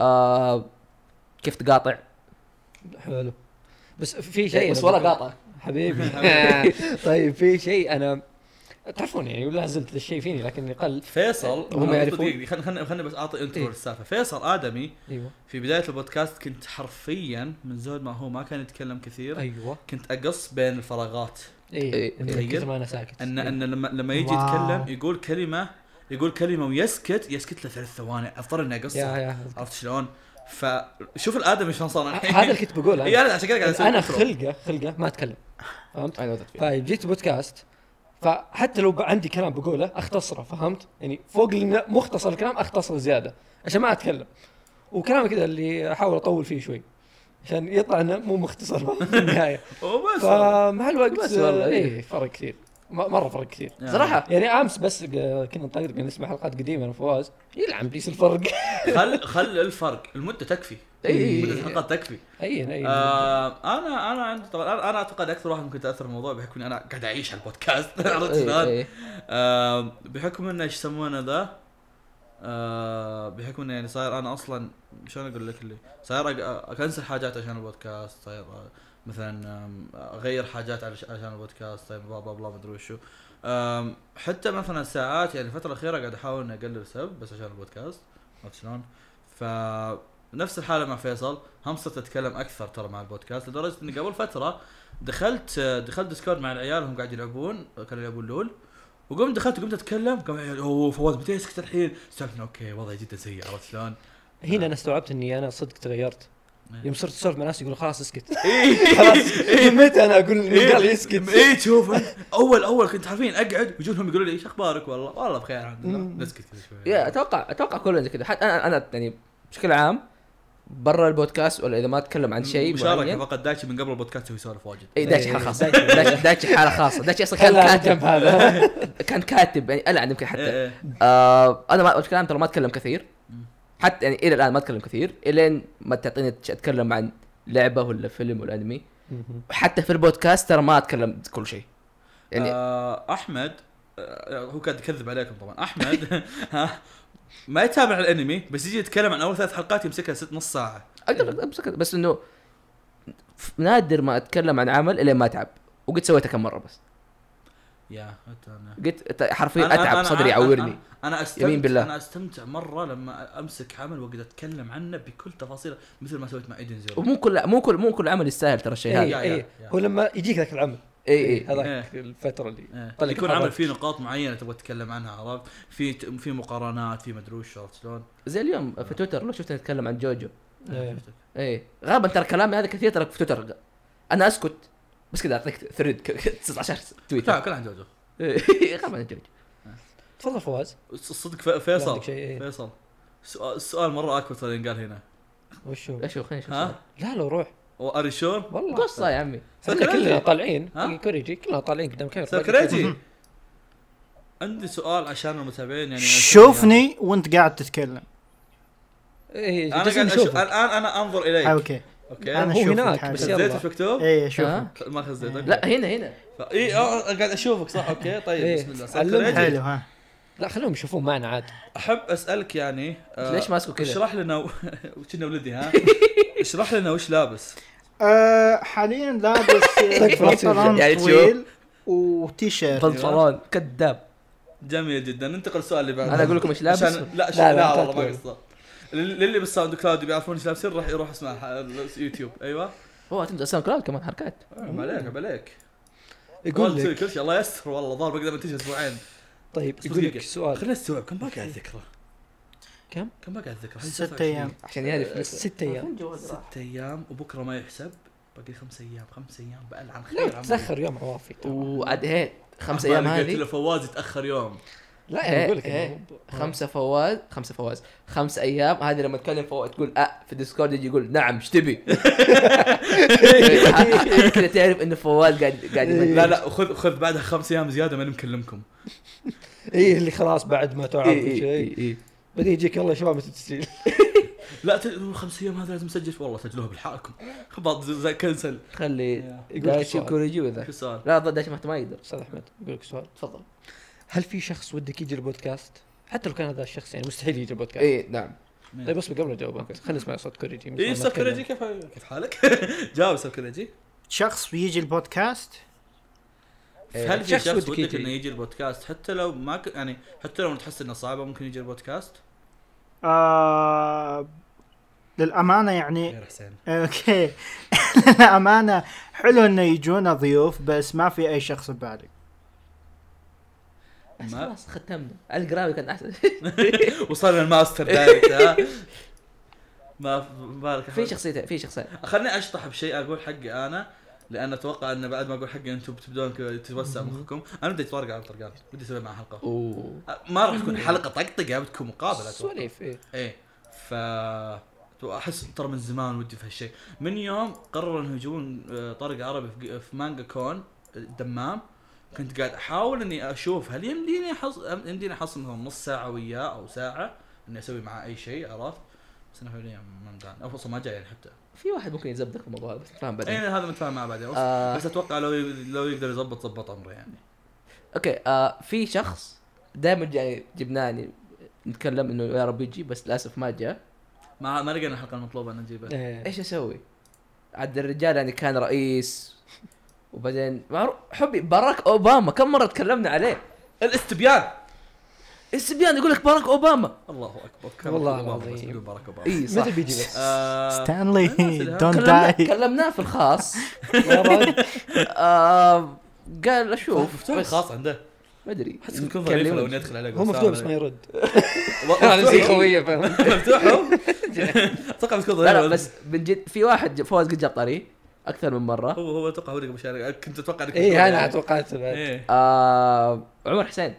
Speaker 2: آه... كيف تقاطع
Speaker 3: حلو بس في شيء
Speaker 2: بس
Speaker 3: أنا
Speaker 2: ولا
Speaker 3: بقول-
Speaker 2: قاطع
Speaker 3: حبيبي طيب في شيء انا تعرفون يعني ولا زلت ذا الشيء فيني لكني قل
Speaker 1: فيصل
Speaker 3: هم
Speaker 1: أنا-
Speaker 3: يعرفون.
Speaker 1: دقيقة، خلنا خلنا خلنا بس اعطي انترو
Speaker 3: إيه.
Speaker 1: للسالفه فيصل ادمي
Speaker 3: ايوه
Speaker 1: في بدايه البودكاست كنت حرفيا من زود ما هو ما كان يتكلم كثير
Speaker 3: ايوه
Speaker 1: كنت اقص بين الفراغات
Speaker 2: أيوه. إيه.
Speaker 3: ايه من
Speaker 1: تخيل.
Speaker 3: كثر ما انا ساكت
Speaker 1: ان
Speaker 3: إيه.
Speaker 1: ان لما لما يجي
Speaker 4: واو.
Speaker 1: يتكلم يقول كلمه يقول كلمه ويسكت يسكت له ثلاث ثواني اضطر اني
Speaker 3: يا
Speaker 1: اقصها
Speaker 3: يا أذكر.
Speaker 1: عرفت شلون؟ فشوف الادمي شلون صار الحين
Speaker 3: هذا اللي كنت بقوله
Speaker 1: اي
Speaker 3: انا
Speaker 1: انا عشان كذا قاعد اسوي
Speaker 3: انا
Speaker 1: intro.
Speaker 3: خلقه خلقه ما اتكلم فهمت؟
Speaker 2: انا وضعت فيه
Speaker 3: فجيت بودكاست فحتى لو بقى عندي كلام بقوله اختصره فهمت؟ يعني فوق الن- مختصر الكلام اختصره زياده عشان ما اتكلم وكلامي كذا اللي احاول اطول فيه شوي عشان يطلع انه مو مختصر في النهايه
Speaker 1: وبس
Speaker 3: فمع
Speaker 2: بس
Speaker 3: الوقت
Speaker 2: والله،
Speaker 3: آه،
Speaker 2: إيه. نعم.
Speaker 3: ايه فرق كثير م- مره فرق كثير
Speaker 1: يعني
Speaker 2: صراحه
Speaker 3: يعني امس بس آه، كنا نطقطق نسمع حلقات قديمه انا وفواز يلعن بيس الفرق
Speaker 1: خل خل الفرق المده تكفي
Speaker 2: إي.
Speaker 3: إيه.
Speaker 1: مده الحلقات تكفي
Speaker 3: اي
Speaker 2: إيه،
Speaker 3: اي
Speaker 1: آه انا انا عندي طبعا أنا- انا اعتقد اكثر واحد ممكن تاثر الموضوع بحكم إني انا قاعد اعيش على البودكاست عرفت
Speaker 2: إيه،
Speaker 1: شلون؟
Speaker 2: إيه.
Speaker 1: آه، بحكم انه ايش يسمونه ذا آه، بحكم انه يعني صاير انا اصلا شلون اقول لك اللي صاير أق- اكنسل حاجات عشان البودكاست صاير آه، مثلا آم، اغير حاجات علش- عشان البودكاست طيب بلا بلا بلا ما ادري وشو آم، حتى مثلا ساعات يعني الفتره الاخيره قاعد احاول اني اقلل سب بس عشان البودكاست عرفت شلون؟ ف نفس الحاله مع فيصل هم صرت اتكلم اكثر ترى مع البودكاست لدرجه اني قبل فتره دخلت آه، دخلت ديسكورد مع العيال هم قاعد يلعبون كانوا يلعبون لول وقمت دخلت وقمت اتكلم قام العيال اوه فواز متى يسكت الحين؟ سالفنا اوكي وضعي جدا سيء عرفت شلون؟
Speaker 3: هنا انا استوعبت اني انا صدق تغيرت
Speaker 1: إيه.
Speaker 3: يوم صرت اسولف مع ناس يقولوا خلاص اسكت
Speaker 2: إيه،
Speaker 1: اي
Speaker 3: خلاص من متى انا اقول
Speaker 1: إيه.
Speaker 3: من قال يسكت
Speaker 1: اي تشوف أنت. اول اول كنت حرفيا اقعد ويجونهم يقولوا لي ايش اخبارك والله والله بخير الحمد لله
Speaker 3: مم.
Speaker 1: نسكت كذا شوي
Speaker 2: يا اتوقع اتوقع كلنا زي كذا حتى انا انا يعني بشكل عم برا البودكاست ولا اذا ما اتكلم عن شيء
Speaker 1: مشاركه
Speaker 2: معين
Speaker 1: فقط دايتشي من قبل البودكاست هو يسولف واجد
Speaker 2: اي داش
Speaker 3: إيه،
Speaker 2: حاله خاصه
Speaker 3: دايتشي.
Speaker 2: داش داش حاله خاصه داش اصلا كان
Speaker 3: خلها
Speaker 2: كاتب
Speaker 3: جنب هذا
Speaker 2: كان كاتب يعني العن يمكن حتى
Speaker 1: إيه، إيه.
Speaker 2: آه انا ما الكلام ترى ما اتكلم كثير حتى يعني الى الان ما اتكلم كثير الين ما تعطيني تش- اتكلم عن لعبه ولا فيلم ولا انمي وحتى في البودكاست ترى ما اتكلم كل شيء يعني
Speaker 1: آه، احمد آه، هو كان يكذب عليكم طبعا احمد ها، ما يتابع الانمي بس يجي يتكلم عن اول ثلاث حلقات يمسكها ست نص ساعه
Speaker 2: اقدر امسك بس انه ف- نادر ما اتكلم عن عمل الين ما اتعب وقد سويتها كم مره بس
Speaker 1: يا حتى انا
Speaker 2: قلت حرفيا اتعب صدري يعورني
Speaker 1: أنا- انا استمتع
Speaker 2: يمين بالله.
Speaker 1: انا استمتع مره لما امسك عمل واقعد اتكلم عنه بكل تفاصيله مثل ما سويت مع ايدن زيرو
Speaker 2: ومو كل مو كل مو كل عمل يستاهل ترى الشيء هذا إيه،
Speaker 1: يا-
Speaker 3: اي
Speaker 1: يا-
Speaker 3: اي
Speaker 1: يا.
Speaker 3: إيه، هو لما يجيك ذاك العمل
Speaker 2: اي اي
Speaker 3: هذاك الفتره اللي
Speaker 1: إيه.
Speaker 3: طلع
Speaker 1: يكون
Speaker 3: كحرات.
Speaker 1: عمل فيه نقاط معينه تبغى تتكلم عنها عرفت في في مقارنات في مدري وش عرفت شلون
Speaker 2: زي اليوم في تويتر لو شفت اتكلم عن جوجو
Speaker 3: إيه.
Speaker 2: ايه غالبا ترى كلامي هذا كثير ترى في تويتر انا اسكت بس كذا اعطيك ثريد ك- 19 تويت
Speaker 1: لا كلها عن جوجو
Speaker 2: إيه، غالبا أجرب.
Speaker 3: تفضل فواز
Speaker 1: الصدق ف-
Speaker 3: ما
Speaker 1: فيصل
Speaker 3: عندك شيء، إيه.
Speaker 1: فيصل السؤال- السؤال مره اكبر ترى ينقال هنا
Speaker 3: وش هو؟
Speaker 2: اشوف خليني اشوف
Speaker 1: ها
Speaker 3: لا لو روح
Speaker 1: وار شور
Speaker 3: والله
Speaker 2: قصه يا عمي
Speaker 3: احنا كلنا طالعين إيه،
Speaker 1: ها؟ إيه،
Speaker 3: كوريجي كلنا طالعين قدام كاميرا
Speaker 1: سكريتي عندي سؤال عشان المتابعين يعني
Speaker 4: شوفني وانت قاعد تتكلم
Speaker 3: ايه
Speaker 1: انا قاعد أشوف الان انا انظر اليك
Speaker 4: اوكي
Speaker 1: اوكي
Speaker 4: أنا إيه.
Speaker 3: هو
Speaker 4: أشوفك
Speaker 3: هناك
Speaker 4: حاجة.
Speaker 3: بس
Speaker 1: خزيت
Speaker 3: يلا
Speaker 1: ايش مكتوب؟
Speaker 4: اي شوف
Speaker 2: ها؟
Speaker 1: ما خزيت أوكي.
Speaker 2: لا هنا هنا
Speaker 1: ف- اي آه، قاعد اشوفك صح اوكي طيب
Speaker 3: إيه.
Speaker 1: بسم الله
Speaker 3: علمها.
Speaker 1: سكريتي
Speaker 4: حلو ها
Speaker 3: لا خلوهم يشوفون معنا عاد
Speaker 1: احب اسالك يعني آه،
Speaker 2: ليش ماسكه كذا؟
Speaker 1: اشرح لنا و- كنا ولدي ها اشرح لنا وش لابس
Speaker 4: أه، حاليا لابس
Speaker 1: طيب،
Speaker 3: تكفى.
Speaker 2: يعني
Speaker 4: بنطلون
Speaker 2: تشوف.
Speaker 4: طويل وتيشيرت
Speaker 2: بنطلون كذاب
Speaker 1: جميل جدا ننتقل للسؤال اللي بعده
Speaker 2: انا اقول لكم ايش لابس
Speaker 1: عشان لا
Speaker 3: لا،
Speaker 1: عشان لا
Speaker 3: لا،
Speaker 1: والله ما
Speaker 3: تقول.
Speaker 1: قصدت لل- للي بالساوند كلاود بيعرفون ايش لابسين راح يروح يسمع ح- اليوتيوب ايوه
Speaker 2: هو تمزح ساوند كلاود كمان حركات
Speaker 1: عيب عليك عيب عليك
Speaker 3: يقول
Speaker 1: والله
Speaker 3: لك
Speaker 1: كل شيء الله يستر والله ظهر بقدر انتج اسبوعين
Speaker 3: طيب يقول
Speaker 1: دقيقة.
Speaker 3: لك السؤال
Speaker 1: خلينا نستوعب كم باقي على الذكرى
Speaker 3: كم؟
Speaker 1: كم باقي على الذكرى
Speaker 4: ست ايام
Speaker 2: عشان
Speaker 3: يعني
Speaker 2: يعرف لسه
Speaker 3: ست ايام
Speaker 1: ست ايام وبكره ما يحسب باقي خمس ايام خمس ايام بألعن خير
Speaker 3: لا
Speaker 1: عمري.
Speaker 3: تتاخر يوم عوافي
Speaker 2: آه،
Speaker 3: ترى.
Speaker 2: وعاد هي خمس
Speaker 1: أحمد
Speaker 2: ايام
Speaker 1: قلت له
Speaker 2: هذه
Speaker 1: فواز يتاخر يوم
Speaker 3: لا
Speaker 2: إيه،
Speaker 3: يعني يقول لك
Speaker 2: إيه.
Speaker 3: إنه مو ب-
Speaker 2: خمسة فواز خمسة فواز خمس ايام هذه لما تكلم فواز تقول أه في الديسكورد يجي يقول نعم ايش تبي؟ كذا تعرف انه فواز قاعد قاعد
Speaker 3: إيه.
Speaker 1: يعني
Speaker 2: يمنتج.
Speaker 1: لا لا خذ خذ بعدها خمس ايام زياده ماني مكلمكم
Speaker 3: ايه اللي خلاص بعد ما تعرف
Speaker 2: إيه، إيه،
Speaker 3: شيء
Speaker 2: إيه، إيه.
Speaker 3: بعدين يجيك يلا يا شباب متى تسجيل
Speaker 1: لا تدرون خمس ايام هذا لازم اسجل والله سجلوها بالحالكم خبط زي- زي كنسل إيه.
Speaker 2: خلي
Speaker 3: يقول
Speaker 2: دايتش
Speaker 3: سؤال.
Speaker 2: وكوريجي وذا
Speaker 1: شو السؤال؟
Speaker 2: لا ضد دايتش ما ما يقدر
Speaker 3: استاذ احمد يقول لك سؤال
Speaker 2: تفضل
Speaker 3: هل في شخص ودك يجي البودكاست؟ حتى لو كان هذا الشخص يعني مستحيل يجي البودكاست
Speaker 2: اي نعم
Speaker 3: طيب اصبر قبل اجاوبك خلينا نسمع إيه، صوت كوريجي من
Speaker 1: اي
Speaker 3: قبل ما نتكلم.
Speaker 1: سكرجي كيف كيف حالك؟ جاوب سكرجي
Speaker 4: شخص بيجي البودكاست
Speaker 2: إيه.
Speaker 1: هل في
Speaker 3: شخص
Speaker 1: شخص
Speaker 3: ودك
Speaker 1: ودك
Speaker 3: يجي؟
Speaker 1: انه يجي البودكاست حتى لو ما ك... يعني حتى لو تحس انه صعبه ممكن يجي البودكاست؟
Speaker 4: آه للامانه يعني
Speaker 1: غير حسين
Speaker 4: اوكي للامانه حلو انه يجونا ضيوف بس ما في اي شخص ببالي
Speaker 2: بس
Speaker 1: ما-
Speaker 2: خلاص ختمنا القراوي كان احسن
Speaker 1: وصلنا الماستر دايركت ها ما بالك
Speaker 2: في شخصيتين في شخصين
Speaker 1: خليني اشطح بشيء اقول حقي انا لان اتوقع ان بعد ما اقول حقي انتم بتبدون ك- تتوسع مخكم انا بدي اتطرق على طرقان بدي اسوي معه حلقه
Speaker 2: اوه
Speaker 1: ما راح تكون حلقه طقطقه بتكون مقابله اتوقع
Speaker 3: سواليف ايه
Speaker 1: ايه ف احس ترى من زمان ودي في هالشيء من يوم قرروا انه يجيبون آه، طارق عربي في- في مانجا كون الدمام كنت قاعد احاول اني اشوف هل يمديني حص... يمديني احصل مثلا نص ساعه وياه او ساعه اني اسوي معاه اي شيء عرفت بس انا فعليا ما مدان او اصلا ما جاي يعني حتى
Speaker 2: في واحد ممكن يزبدك في الموضوع بس فاهم
Speaker 1: اي
Speaker 2: بعدين
Speaker 1: إيه، هذا متفاهم معاه بعدين
Speaker 2: آه.
Speaker 1: بس اتوقع لو ي- لو يقدر يظبط ظبط امره يعني
Speaker 2: اوكي آه في شخص دائما يعني جبناه يعني نتكلم انه يا رب يجي بس للاسف ما جاء
Speaker 1: ما ما لقينا الحلقه المطلوبه إن نجيبها
Speaker 3: إيه.
Speaker 2: ايش اسوي؟ عاد الرجال يعني كان رئيس وبعدين معروف حبي باراك اوباما كم مره تكلمنا عليه
Speaker 1: الاستبيان
Speaker 2: السبيان يقول لك باراك اوباما
Speaker 1: الله اكبر كم
Speaker 3: والله
Speaker 1: أوباما
Speaker 3: العظيم.
Speaker 1: بس يقول بارك اوباما
Speaker 2: اي صح
Speaker 3: متى بيجي بس؟
Speaker 1: آه،
Speaker 4: ستانلي دونت
Speaker 2: كلمنا-
Speaker 4: داي
Speaker 2: كلمناه في الخاص
Speaker 3: مرة.
Speaker 2: آه قال اشوف
Speaker 1: طيب، مفتوح
Speaker 2: بس
Speaker 1: خاص عنده
Speaker 2: ما ادري
Speaker 1: احس بيكون ظريف لو اني ادخل عليه
Speaker 3: هو مفتوح بس ما يرد
Speaker 1: يخوي
Speaker 3: فاهم
Speaker 1: مفتوح اتوقع بتكون ظريف
Speaker 2: لا لا بس من جد في واحد جا- فوز قد جاب طريق اكثر من مره
Speaker 1: هو هو اتوقع هو اللي قبل شوي كنت اتوقع انك
Speaker 3: ايه انا
Speaker 1: بتقول
Speaker 3: توقعت بعد
Speaker 1: يعني. إيه.
Speaker 2: آه عمر حسين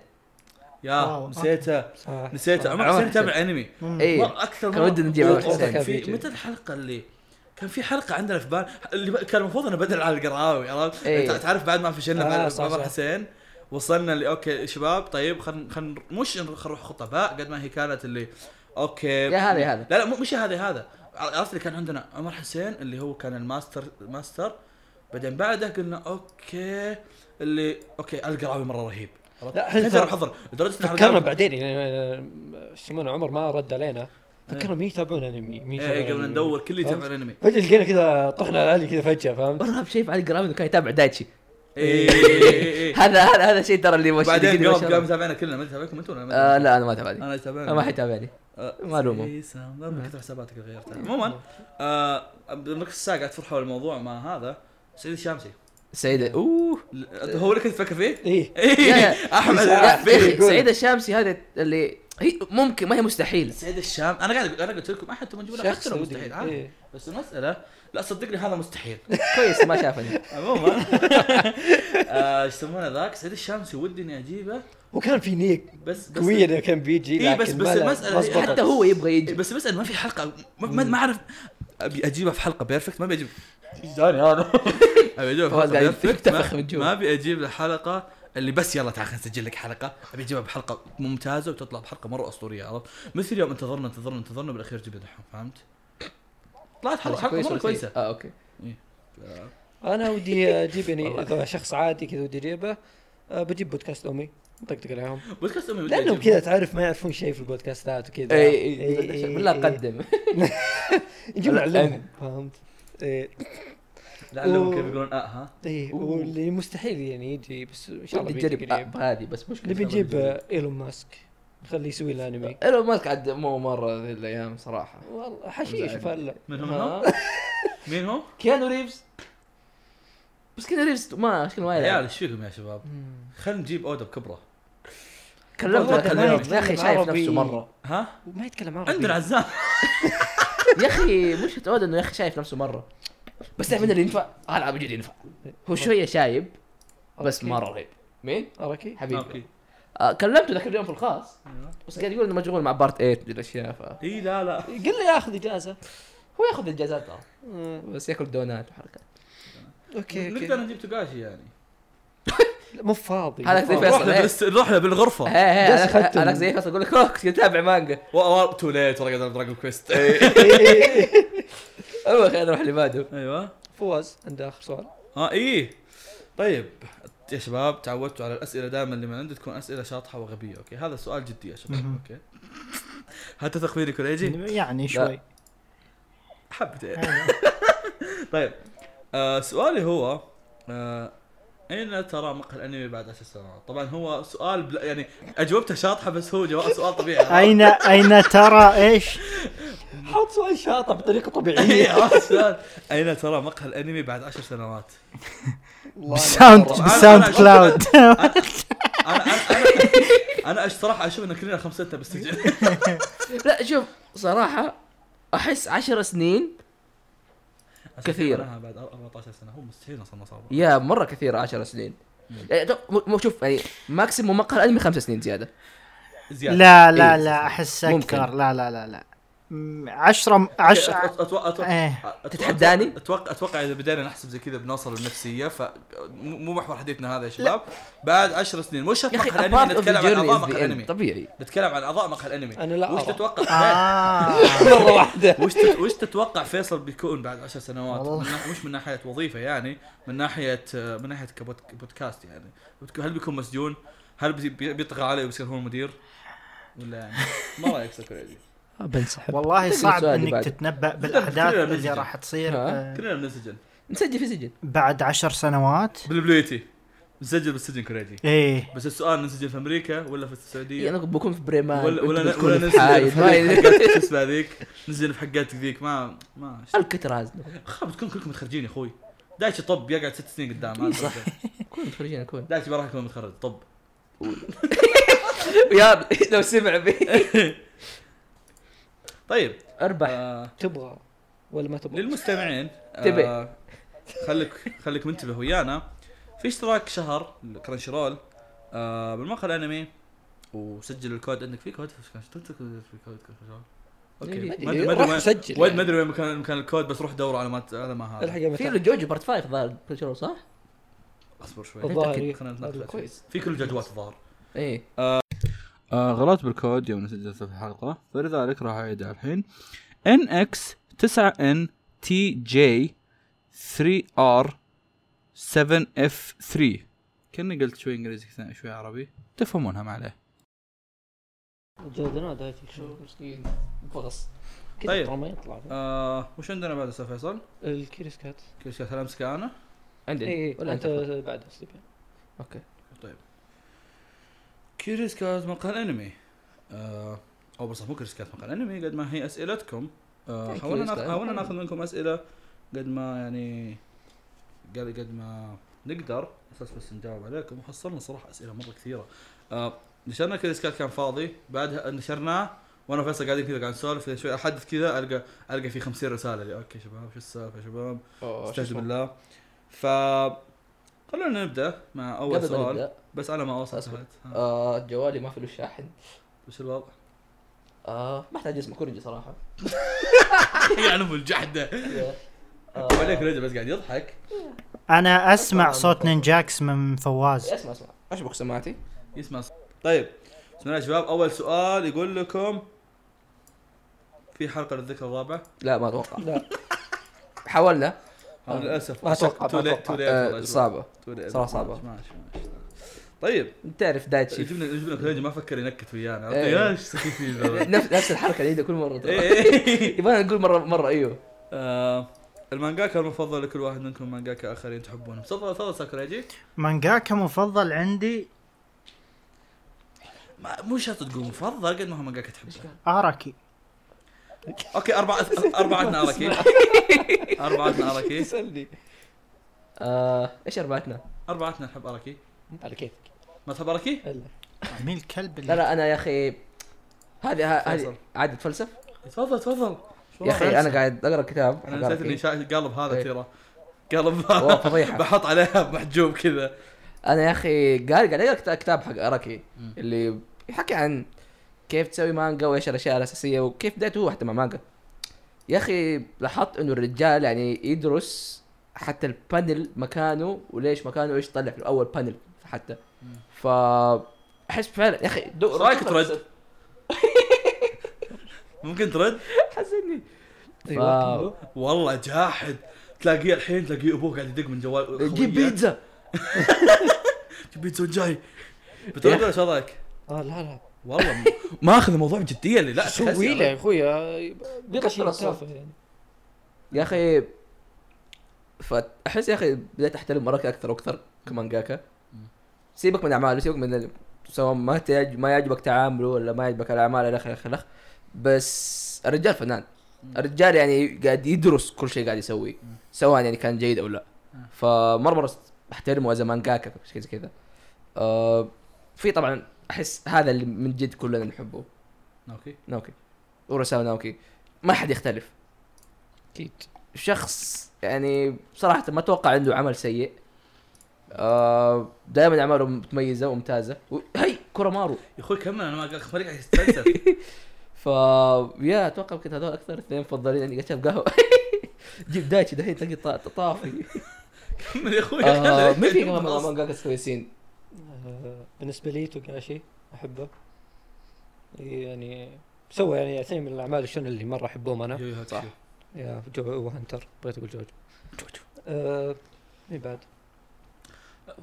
Speaker 1: يا
Speaker 4: واو.
Speaker 1: نسيته
Speaker 3: صح.
Speaker 1: نسيته عمر
Speaker 2: عمر
Speaker 1: حسين تابع انمي
Speaker 2: اي
Speaker 1: مرة اكثر
Speaker 2: كان
Speaker 1: مرة-
Speaker 2: ودنا إيه. نجيب عمر
Speaker 1: أوه، أوه،
Speaker 2: حسين.
Speaker 1: في متى الحلقه اللي كان في حلقه عندنا في بال اللي ب- كان المفروض انه بدل على القراوي عرفت يعني
Speaker 2: إيه.
Speaker 1: تع- تعرف بعد ما فشلنا
Speaker 3: آه،
Speaker 1: مع
Speaker 3: صح،
Speaker 1: عمر
Speaker 3: صح.
Speaker 1: حسين وصلنا اللي اوكي شباب طيب خلينا خلينا مش إن خلينا نروح خطباء قد ما هي كانت اللي اوكي
Speaker 2: يا هذا يا هذا.
Speaker 1: لا لا مو- مش يا هذا يا هذا عرفت اللي كان عندنا عمر حسين اللي هو كان الماستر ماستر بعدين بعده قلنا اوكي اللي اوكي القراوي مره رهيب عرفت؟
Speaker 3: لا، إحنا
Speaker 1: خلينا نجرب
Speaker 3: ترى-
Speaker 1: حضر لدرجه إن
Speaker 3: فكرنا
Speaker 1: القراوي-
Speaker 3: بعدين يعني ايش يسمونه عمر ما رد علينا فكرنا مين يتابعون انمي مين
Speaker 1: إيه،
Speaker 3: يتابعون
Speaker 1: إيه، قبل
Speaker 3: أنمي.
Speaker 1: ندور كل اللي يتابع الانمي
Speaker 3: فجاه لقينا كذا طحنا على الالي كذا فجاه فهمت؟
Speaker 2: والله بشيء في علي قرامي انه كان يتابع دايتشي
Speaker 1: إيه، إيه، إيه، إيه.
Speaker 2: هذا هذا هذا شيء ترى اللي وش
Speaker 1: بعدين
Speaker 2: اللي-
Speaker 1: قام قام تابعنا كلنا ما تابعكم انتم ولا ما
Speaker 2: آه لا انا ما تابعني
Speaker 1: انا تابعنا
Speaker 2: ما حد يتابعني
Speaker 1: آه،
Speaker 2: ما ألومه.
Speaker 1: في سام، لا، من كثر حساباتك اللي غيرتها عموما آه، بنفس الساعه قاعد تفر حول الموضوع مع هذا سعيد الشامسي
Speaker 2: سعيد اوه
Speaker 1: ل- هو اللي كنت تفكر فيه؟
Speaker 3: ايه
Speaker 2: يا-
Speaker 1: ايه
Speaker 2: يا.
Speaker 1: احمد
Speaker 2: لا،
Speaker 1: عرف
Speaker 2: يا أخي،
Speaker 1: فيه
Speaker 2: سعيد الشامسي هذا اللي هي ممكن ما هي مستحيله
Speaker 1: سعيد الشام انا قاعد اقول انا قلت لكم احد تبون تجيبون
Speaker 3: شخص
Speaker 1: حتى لو
Speaker 3: سعودي.
Speaker 1: مستحيل عارف؟
Speaker 3: إيه.
Speaker 1: بس المساله لا صدقني هذا مستحيل
Speaker 2: كويس ما شافني
Speaker 1: عموما آه، ايش يسمونه ذاك سعيد الشامسي ودي اني اجيبه
Speaker 3: وكان في نيك
Speaker 1: بس بس
Speaker 3: قوية إذا كان بيجي
Speaker 1: إيه،
Speaker 3: لكن
Speaker 1: بس- بس
Speaker 3: ما لا-
Speaker 1: المسألة
Speaker 3: ما
Speaker 1: هي
Speaker 3: زبطت.
Speaker 2: حتى هو يبغى يجي
Speaker 1: إيه، بس المساله ما في حلقه ما- ما ما اعرف ابي اجيبها في حلقه بيرفكت ما ابي اجيب جاني انا ابي اجيبها في
Speaker 2: فواز
Speaker 1: حلقه
Speaker 2: قاعد
Speaker 1: بيرفكت
Speaker 2: يتفخ من
Speaker 1: ما-
Speaker 2: جوا.
Speaker 1: ما ابي اجيب الحلقه اللي بس يلا تعال خلينا نسجل لك حلقه ابي اجيبها بحلقه ممتازه وتطلع بحلقه مره اسطوريه عرفت مثل يوم انتظرنا انتظرنا انتظرنا بالاخير جبنا دحوم فهمت؟ طلعت حلقه, حلقة مره
Speaker 2: ولا
Speaker 1: كويسه
Speaker 2: اه اوكي
Speaker 3: انا ودي اجيب يعني
Speaker 2: والله.
Speaker 3: اذا شخص عادي كذا ودي اجيبه آه، بجيب بودكاست امي طقطق عليهم
Speaker 1: بودكاست امي ودي
Speaker 3: لانهم
Speaker 1: أجيبه. إيه،
Speaker 3: كذا تعرف ما يعرفون شيء في البودكاستات وكذا إيه،
Speaker 2: اي
Speaker 3: إي، إي،
Speaker 2: اي
Speaker 3: إي،
Speaker 2: إيه، بالله
Speaker 3: إي.
Speaker 2: قدم
Speaker 3: نجيب نعلمهم فهمت؟ إيه، اي
Speaker 1: لعلهم
Speaker 3: و-
Speaker 1: كيف يقولون اه ها
Speaker 3: اي
Speaker 1: أوه.
Speaker 3: إيه، واللي مستحيل يعني يجي بس ان شاء الله
Speaker 2: ودي
Speaker 3: بيجي
Speaker 2: اجرب آه،
Speaker 3: قريب
Speaker 2: هذه بس مشكله
Speaker 3: نبي نجيب آه، ايلون ماسك خليه يسوي لنا انمي
Speaker 2: ايلون آه، ماسك عاد مو مره ذي الايام صراحه
Speaker 3: والله حشيش
Speaker 2: مزعج.
Speaker 3: فلا
Speaker 1: من هم
Speaker 2: ها؟
Speaker 1: هم؟ مين هم؟
Speaker 2: كيانو ريفز بس كيانو ريفز ما شكله ما
Speaker 1: عيال
Speaker 2: يلعب
Speaker 1: ايش فيكم يا شباب؟ خلينا نجيب اودا بكبره
Speaker 2: كلمته
Speaker 1: والله ما
Speaker 2: كلمته
Speaker 3: يتكلم
Speaker 2: يا اخي شايف
Speaker 3: عربي.
Speaker 2: نفسه مره
Speaker 1: ها؟
Speaker 3: ما يتكلم عربي
Speaker 1: عندنا عزام
Speaker 2: يا اخي مش تعود انه يا اخي شايف نفسه مره بس تعرف من اللي ينفع؟ آه، لا ابو جد ينفع هو شويه شايب بس
Speaker 3: أوكي.
Speaker 2: مره رهيب مين؟
Speaker 3: اراكي
Speaker 2: حبيبي
Speaker 1: اوكي
Speaker 2: آه كلمته ذاك اليوم في الخاص بس قاعد يقول انه مشغول مع بارت 8 ودي الاشياء ف
Speaker 1: اي لا لا
Speaker 3: قل لي ياخذ اجازه
Speaker 2: هو ياخذ الجازات ترى
Speaker 3: آه،
Speaker 2: بس ياكل دونات وحركات
Speaker 3: اوكي
Speaker 1: نقدر
Speaker 3: اوكي
Speaker 1: نجيب توغاشي يعني
Speaker 3: لا، مو فاضي
Speaker 2: هذا
Speaker 3: مو
Speaker 2: زي
Speaker 3: فاضي.
Speaker 2: فيصل.
Speaker 1: نروح له آه، بالست- نروح له بالغرفه
Speaker 2: هي هي
Speaker 3: جالس
Speaker 2: انا
Speaker 3: أختم.
Speaker 2: أنا زي فيصل اقول لك اوه كنت اتابع مانجا
Speaker 1: تو ليت والله قاعد دراجون كويست
Speaker 2: اول خلينا نروح اللي بعده
Speaker 1: ايوه
Speaker 3: فواز عنده اخر سؤال
Speaker 1: اه ايه طيب يا شباب تعودتوا على الاسئله دائما اللي من عندي تكون اسئله شاطحه وغبيه اوكي هذا سؤال جدي يا شباب اوكي هل تثق فيني كوريجي؟
Speaker 4: يعني شوي
Speaker 1: حبتين طيب آه سؤالي هو آه اين ترى مقهى الانمي بعد عشر سنوات؟ طبعا هو سؤال بلا يعني اجوبته شاطحه بس هو جواب سؤال طبيعي
Speaker 4: اين اين ترى ايش؟
Speaker 3: حط سؤال شاطح بطريقه طبيعيه
Speaker 1: إيه، عرفت السؤال؟ اين ترى مقهى الانمي بعد عشر سنوات؟
Speaker 4: بالساوند
Speaker 1: مرة.
Speaker 4: بالساوند
Speaker 1: أنا- أنا-
Speaker 4: كلاود
Speaker 1: انا انا انا, أنا الصراحه اشوف ان كلنا خمسه بالسجن
Speaker 2: لا شوف صراحه احس عشر سنين كثير.
Speaker 1: أنا بعد 14 سنه هو مستحيل نصل نصابه
Speaker 2: يا مره كثير 10 سنين يعني طب- مو- مو شوف يعني ماكسيموم مقهى الانمي خمس سنين زياده
Speaker 1: زياده
Speaker 4: لا لا
Speaker 2: إيه.
Speaker 4: لا احس
Speaker 2: ممكن.
Speaker 4: اكثر لا لا لا لا م- عشرة عشرة
Speaker 1: أتوقع- أتوقع- أتوقع-
Speaker 4: إيه.
Speaker 1: أتوقع-
Speaker 2: تتحداني؟
Speaker 1: اتوقع اتوقع اذا بدينا نحسب زي كذا بنوصل للنفسيه ف مو مو محور حديثنا هذا يا شباب بعد 10 سنين مش
Speaker 2: يا اخي
Speaker 1: هتمقهى
Speaker 2: apart
Speaker 1: الانمي نتكلم عن اعضاء مقهى الانمي
Speaker 2: of the journey is the end. طبيعي
Speaker 1: نتكلم عن اعضاء مقهى الانمي
Speaker 3: أنا لا
Speaker 1: وش
Speaker 3: أرى.
Speaker 1: تتوقع إيه.
Speaker 4: آه.
Speaker 3: مره واحده
Speaker 1: وش تت- وش تتوقع فيصل بيكون بعد 10 سنوات
Speaker 4: والله.
Speaker 1: من ناح- مش من ناحيه وظيفه يعني من ناحيه من ناحيه كبود- كبودكاست يعني بتك- هل بيكون مسجون هل بي- بي- بيطغى عليه وبيصير هو المدير ولا يعني ما رايك سكريدي
Speaker 3: بنسحب
Speaker 4: والله
Speaker 2: نجلس
Speaker 4: صعب
Speaker 2: سؤالي
Speaker 4: انك
Speaker 2: بعد.
Speaker 4: تتنبأ
Speaker 1: كلنا
Speaker 4: بالاحداث اللي
Speaker 1: بنسجل.
Speaker 4: راح تصير
Speaker 2: ها؟
Speaker 4: آه،
Speaker 1: كلنا بنسجن
Speaker 2: نسجل في سجن
Speaker 4: بعد عشر سنوات
Speaker 1: بالبلويتي نسجل بالسجن كريدي
Speaker 4: ايه
Speaker 1: بس السؤال نسجل في امريكا ولا في
Speaker 2: إيه،
Speaker 1: السعوديه
Speaker 2: انا بكون في بريمان
Speaker 1: ولا ولا
Speaker 2: وأنت
Speaker 1: ولا,
Speaker 2: بتكون
Speaker 1: ولا
Speaker 2: في
Speaker 1: نسجل
Speaker 2: حايد،
Speaker 1: في
Speaker 2: ما
Speaker 1: حقات-
Speaker 2: يدري.
Speaker 1: شو اسمه ذيك نسجل في حقاتك ذيك ما ما
Speaker 2: الكتر هذا
Speaker 1: خاب تكون كلكم متخرجين يا اخوي دايتش طب يقعد ست سنين قدام
Speaker 2: صح. كون متفرجين اكون
Speaker 1: دايتش ما راح يكون متخرج طب
Speaker 2: يا لو سمع بي
Speaker 1: طيب
Speaker 2: اربح
Speaker 1: آه
Speaker 3: تبغى ولا ما تبغى؟
Speaker 1: للمستمعين
Speaker 2: تبي.
Speaker 1: آه خليك خليك منتبه ويانا في اشتراك شهر كرانشي رول آه بالمقهى الانمي وسجل الكود عندك في كود في في كود كرانشي رول اوكي ما ادري ما ادري
Speaker 3: روح
Speaker 1: وين-
Speaker 3: سجل
Speaker 1: وين
Speaker 3: يعني.
Speaker 1: ما ادري وين مكان مكان الكود بس روح دور على ما على ما هذا
Speaker 3: الحق يا
Speaker 2: في
Speaker 3: متى.
Speaker 2: له جوجو بارت 5 ظاهر كل شهر صح؟
Speaker 1: اصبر شوي
Speaker 3: الظاهر
Speaker 2: متأكد.
Speaker 3: إيه.
Speaker 1: خلينا
Speaker 3: هذا
Speaker 1: نتناقش
Speaker 3: كويس
Speaker 1: في كل جدوات الظاهر
Speaker 2: ايه
Speaker 1: آه غلطت بالكود يوم سجلت في الحلقه فلذلك راح اعيدها الحين ان اكس 9 ان تي جي 3 ار 7 اف 3 كاني قلت شوي انجليزي ثاني- شوي عربي تفهمونها ما عليه
Speaker 3: جاد انا دايتك شو مسكين بغص كذا
Speaker 1: طيب.
Speaker 3: ترى ما يطلع
Speaker 1: آه وش عندنا بعد استاذ فيصل؟
Speaker 3: الكيريسكات
Speaker 1: كل شيء امسكها انا
Speaker 2: عندي
Speaker 1: إيه.
Speaker 3: اي
Speaker 2: إيه. ولا
Speaker 3: انت
Speaker 2: انت أخذ؟
Speaker 3: إيه، بعد أسلوبين.
Speaker 2: اوكي
Speaker 1: كيريس كات مقهى الانمي آه او بس مو كيريس كات مقهى الانمي قد ما هي اسئلتكم آه
Speaker 2: أي
Speaker 1: حاولنا
Speaker 2: كيريس
Speaker 1: ناخ-
Speaker 2: كات.
Speaker 1: حاولنا ناخذ منكم اسئله قد ما يعني قد قد ما نقدر اساس بس نجاوب عليكم وحصلنا صراحه اسئله مره كثيره آه نشرنا كذا سكات كان فاضي بعدها نشرناه وانا وفيصل قاعدين كذا قاعد نسولف بعدين شوي احدث كذا القى القى في 50 رساله لي اوكي شباب شو السالفه يا شباب استهزئ بالله ف خلونا نبدا مع اول
Speaker 2: قبل ما
Speaker 1: سؤال
Speaker 2: نبدا
Speaker 1: بس على ما اوصل
Speaker 2: أصبر.
Speaker 1: سهلت. ها،
Speaker 2: آه، جوالي ما في له شاحن
Speaker 1: وش الوضع؟
Speaker 2: آه، ما احتاج اسمه كوريجي صراحه
Speaker 1: يعلم الجحده
Speaker 2: آه،
Speaker 1: عليك رجع بس قاعد يضحك
Speaker 4: انا اسمع صوت نينجاكس من فواز
Speaker 2: اسمع اسمع اشبك سماعتي
Speaker 1: يسمع صوت. طيب بسم الله يا شباب اول سؤال يقول لكم في حلقه للذكر الرابع
Speaker 2: لا ما اتوقع
Speaker 3: لا
Speaker 2: حاولنا
Speaker 1: أنا للاسف
Speaker 3: ما أتوقع، ما
Speaker 1: تو ليت-
Speaker 3: أتوقع.
Speaker 1: تو ليت
Speaker 2: آه،
Speaker 1: والله يا شباب.
Speaker 2: صعبه
Speaker 1: تو ليت.
Speaker 2: صراحة صعبة.
Speaker 1: ماشي ماشي طيب
Speaker 2: تعرف دايت شيف
Speaker 1: جبنا جبنا خليجي ما فكر ينكت ويانا عرفت؟
Speaker 2: إيه.
Speaker 1: يا ايش سخيف فيه ذا.
Speaker 2: نفس نفس الحركه اللي عندي كل مره ترى.
Speaker 1: إيه.
Speaker 2: يبغى نقول مره مره ايوه
Speaker 1: آه، المانجاكا المفضل لكل واحد منكم مانجاكا اخرين تحبونهم تفضل تفضل ساكوراجي
Speaker 4: مانجاكا مفضل عندي
Speaker 1: ما- مو شرط تقول مفضل قد ما هو مانجاكا تحبه
Speaker 4: اراكي
Speaker 1: اوكي اربعة اربعتنا اراكي اربعتنا اراكي
Speaker 3: تسالني
Speaker 2: آه، ايش اربعتنا؟
Speaker 1: اربعتنا نحب اراكي
Speaker 3: على كيفك
Speaker 1: ما تحب اراكي؟
Speaker 3: الا
Speaker 4: مين الكلب
Speaker 2: لا
Speaker 4: اللي
Speaker 2: لا انا يا اخي هذه ه-
Speaker 1: فيصل.
Speaker 2: هذه عادة فلسف
Speaker 1: تفضل تفضل شو
Speaker 2: يا اخي
Speaker 1: رأيك؟
Speaker 2: انا قاعد اقرا كتاب
Speaker 1: انا نسيت اني شا- قالب هذا
Speaker 2: إيه.
Speaker 1: ترى قالب
Speaker 2: والله فضيحه
Speaker 1: بحط عليها محجوب كذا
Speaker 2: انا يا اخي قاعد قاعد اقرا كتا- كتاب حق اراكي اللي يحكي عن كيف تسوي مانجا وايش الاشياء الاساسيه وكيف بدايته هو حتى مع مانجا يا اخي لاحظت انه الرجال يعني يدرس حتى البانل مكانه وليش مكانه وايش طلع في الاول بانل حتى ف احس فعلا يا اخي
Speaker 1: إيش رأيك ترد؟ ممكن ترد؟
Speaker 2: حزني
Speaker 3: ايوه
Speaker 1: والله جاحد تلاقيه الحين تلاقيه ابوه قاعد يدق من جوال
Speaker 2: جيب بيتزا
Speaker 1: جيب بيتزا جاي
Speaker 2: إيه.
Speaker 1: بترد ولا شو رايك؟
Speaker 3: اه لا لا
Speaker 1: والله م- ما اخذ الموضوع بجديه اللي لا تحس
Speaker 3: سوي له يا اخوي بيضا شيء
Speaker 2: كسر الصوت.
Speaker 3: تافه يعني
Speaker 2: يا اخي فاحس يا اخي بديت احترم مراكي اكثر واكثر كمانجاكا سيبك من اعماله سيبك من ال- سواء ما تعج... ما يعجبك تعامله ولا ما يعجبك الاعمال الى اخره إلى آخره. بس الرجال فنان الرجال يعني قاعد يدرس كل شيء قاعد يسويه سواء يعني كان جيد او لا فمره مره احترمه از مانجاكا شيء زي كذا آه في طبعا احس هذا اللي من جد كلنا نحبه
Speaker 1: اوكي
Speaker 2: ناوكي ورساو ناوكي ما حد يختلف
Speaker 3: اكيد
Speaker 2: شخص يعني بصراحة ما اتوقع عنده عمل سيء. آه دائما اعماله متميزة وممتازة. و- هي كورامارو
Speaker 1: يا اخوي كمل انا ما قاعد خبرك قاعد يستنسف
Speaker 2: ف يا اتوقع يمكن هذول اكثر اثنين مفضلين عندي قاعد أشرب قهوة. جيب دايتشي دحين تلقى طا- طافي.
Speaker 1: كمل يا اخوي
Speaker 2: آه ما في كمان
Speaker 1: خلاص.
Speaker 2: مانجاكاس كويسين.
Speaker 3: آه، بالنسبه لي توغاشي احبه يعني سوى يعني اثنين من الاعمال الشون اللي مره احبهم انا
Speaker 1: يو يو هاكشو.
Speaker 3: يا جو وهنتر بغيت اقول جوجو آه، مين بعد؟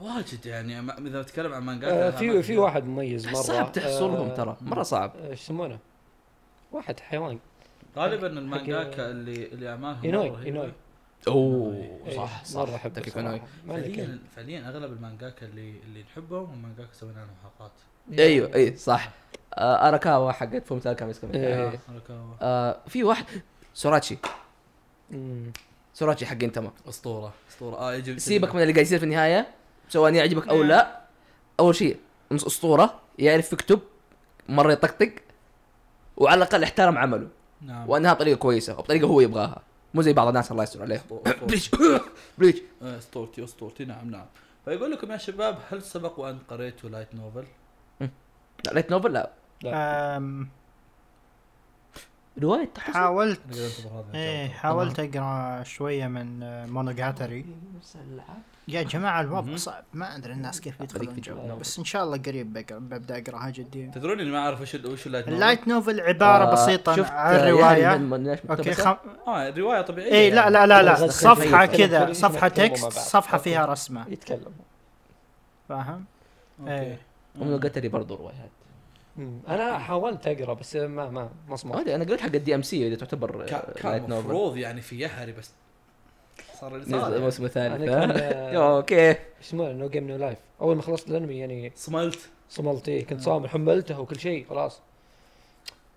Speaker 1: واجد يعني ما- اذا بتكلم عن مانجا
Speaker 3: آه، في في واحد مميز مره
Speaker 2: صعب تحصرهم
Speaker 3: آه،
Speaker 2: ترى مرة صعب.
Speaker 3: آه، ايش يسمونه؟ واحد حيوان
Speaker 1: غالبا
Speaker 3: حق-
Speaker 1: المانجاكا اللي اللي اعمالهم مرة
Speaker 3: اينوي
Speaker 1: رهيبة.
Speaker 3: اينوي
Speaker 2: اوه
Speaker 3: إيه،
Speaker 2: صح صح
Speaker 3: مره احبه
Speaker 2: تكيف
Speaker 3: صراحة.
Speaker 2: إنوي.
Speaker 3: ما عليك يعني.
Speaker 1: فعليا فعليا اغلب المانجاكا اللي اللي نحبهم والمانجاكا سوينا لهم حلقات
Speaker 2: ايوه اي صح. آه اراكاوا حقت فومتال كاميس
Speaker 3: إيه.
Speaker 1: آه، أراكاوا.
Speaker 2: آه في واحد سوراتشي
Speaker 3: مم.
Speaker 2: سوراتشي حق انتما
Speaker 1: اسطوره اسطوره اه يجي
Speaker 2: سيبك من اللي قاعد يصير في النهايه سواء يعني يعجبك او لا اول شيء مس- اسطوره يعرف يكتب مره يطقطق وعلى الاقل احترم عمله
Speaker 1: نعم
Speaker 2: وانهاها بطريقه كويسه وبطريقه هو يبغاها مو زي بعض الناس الله يستر عليهم بليش بليش
Speaker 1: اسطورتي اسطورتي آه، نعم نعم فيقول لكم يا شباب هل سبق وان قريتوا لايت نوفل؟
Speaker 2: لا ليت نوفل لا
Speaker 4: أم،
Speaker 2: روايه تحس
Speaker 4: حاولت
Speaker 1: انا قاعد انتظر هذا
Speaker 4: ايه
Speaker 1: الجواب.
Speaker 4: حاولت اقرا شويه من مونوجاتري يا جماعه الوضع صعب ما ادري الناس كيف يدخلون جو بس ان شاء الله قريب بقرا ببدا اقراها جديا
Speaker 1: تدرون اللي ما اعرف وش ال- وش اللايت نوفل؟
Speaker 4: اللايت نوفل
Speaker 3: آه،
Speaker 4: عباره
Speaker 2: آه،
Speaker 4: بسيطه عن
Speaker 2: يعني
Speaker 3: يعني
Speaker 4: روايه اوكي خم...
Speaker 1: اه روايه طبيعيه
Speaker 4: ايه لا لا لا لا
Speaker 3: يعني.
Speaker 4: صفحه
Speaker 3: يتكلم
Speaker 4: كذا
Speaker 3: كل-
Speaker 4: صفحه
Speaker 3: يتكلموا
Speaker 4: تكست
Speaker 3: مع بعض.
Speaker 4: صفحه
Speaker 3: أوكي.
Speaker 4: فيها رسمه
Speaker 3: يتكلم
Speaker 4: فاهم
Speaker 1: اوكي
Speaker 4: إيه.
Speaker 2: ومن قتري برضه روايات
Speaker 3: مم. انا حاولت اقرا بس ما ما ما
Speaker 2: ما
Speaker 3: صمت
Speaker 2: ادري انا قريت حق الدي ام سي اذا تعتبر
Speaker 1: كا-
Speaker 2: آه،
Speaker 1: كان
Speaker 2: لايت نوفل
Speaker 1: المفروض يعني في يهري بس صار اللي
Speaker 2: نزل
Speaker 1: صار يعني.
Speaker 2: الموسم الثالث
Speaker 3: أنا كان-
Speaker 2: آه. يو، كيف
Speaker 3: اسمه نو جيم نو لايف اول ما خلصت الانمي يعني
Speaker 1: صملت
Speaker 3: صملت إيه
Speaker 4: آه.
Speaker 3: كنت صامل حملته وكل شيء خلاص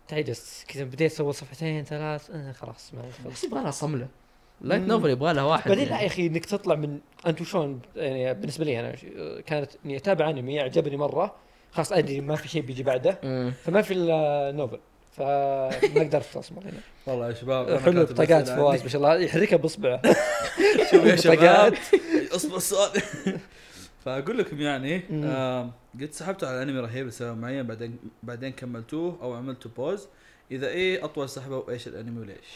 Speaker 3: تعجزت كذا بديت اسوي صفحتين ثلاث آه خلاص ما خلاص.
Speaker 2: بس يبغى لها صمله لايت
Speaker 3: مم.
Speaker 2: نوفل يبغى لها واحد
Speaker 3: بعدين لا
Speaker 4: يعني.
Speaker 3: يا اخي انك يعني تطلع من انت وشون يعني بالنسبه لي انا ش- كانت اني اتابع انمي عجبني مره خلاص ادري ما في شيء بيجي بعده
Speaker 2: مم.
Speaker 3: فما في الا نوبل فما قدرت اصبر هنا
Speaker 1: والله يا شباب أنا
Speaker 3: حلو
Speaker 1: كاتب
Speaker 3: بطاقات
Speaker 1: أسئلة
Speaker 3: فواز ما شاء الله يحركها باصبعه
Speaker 1: عندي. شوف يا شباب
Speaker 3: بطاقات.
Speaker 1: اصبر السؤال فاقول لكم يعني
Speaker 3: مم.
Speaker 1: آم، قد سحبتوا على انمي رهيب لسبب معين بعدين بعدين كملتوه او عملتوا بوز اذا ايه اطول سحبه وايش الانمي وليش؟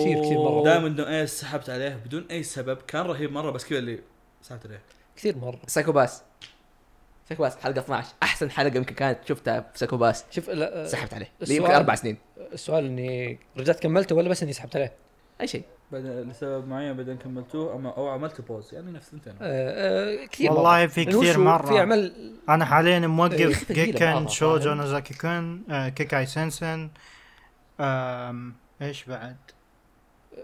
Speaker 3: كثير كثير مرة.
Speaker 1: دائما انه ايه سحبت عليه بدون اي سبب كان رهيب مره بس كذا اللي سحبت عليه
Speaker 3: كثير مره
Speaker 2: سايكو باس سايكو باس حلقه 12 احسن حلقه يمكن كانت شفتها في سايكو باس
Speaker 3: شوف لا آه،
Speaker 2: سحبت عليه
Speaker 3: السؤال-
Speaker 2: يمكن اربع سنين
Speaker 3: السؤال اني رجعت كملته ولا بس اني سحبت عليه؟
Speaker 2: اي شيء
Speaker 1: بعدين لسبب معين بعدين كملتوه أما- او عملت بوز يعني نفس الاثنين
Speaker 3: آه، آه، كثير
Speaker 4: والله
Speaker 3: مرة.
Speaker 4: في
Speaker 3: لأن هو
Speaker 4: كثير
Speaker 3: شو،
Speaker 4: مرة.
Speaker 3: في اعمال
Speaker 4: انا حاليا
Speaker 3: إيه،
Speaker 4: موقف
Speaker 2: يختفي لما
Speaker 4: جيكن
Speaker 2: أضغط
Speaker 4: شوجو
Speaker 2: عليه.
Speaker 4: نوزاكي كون آه، كيكاي سنسن آم، ايش بعد؟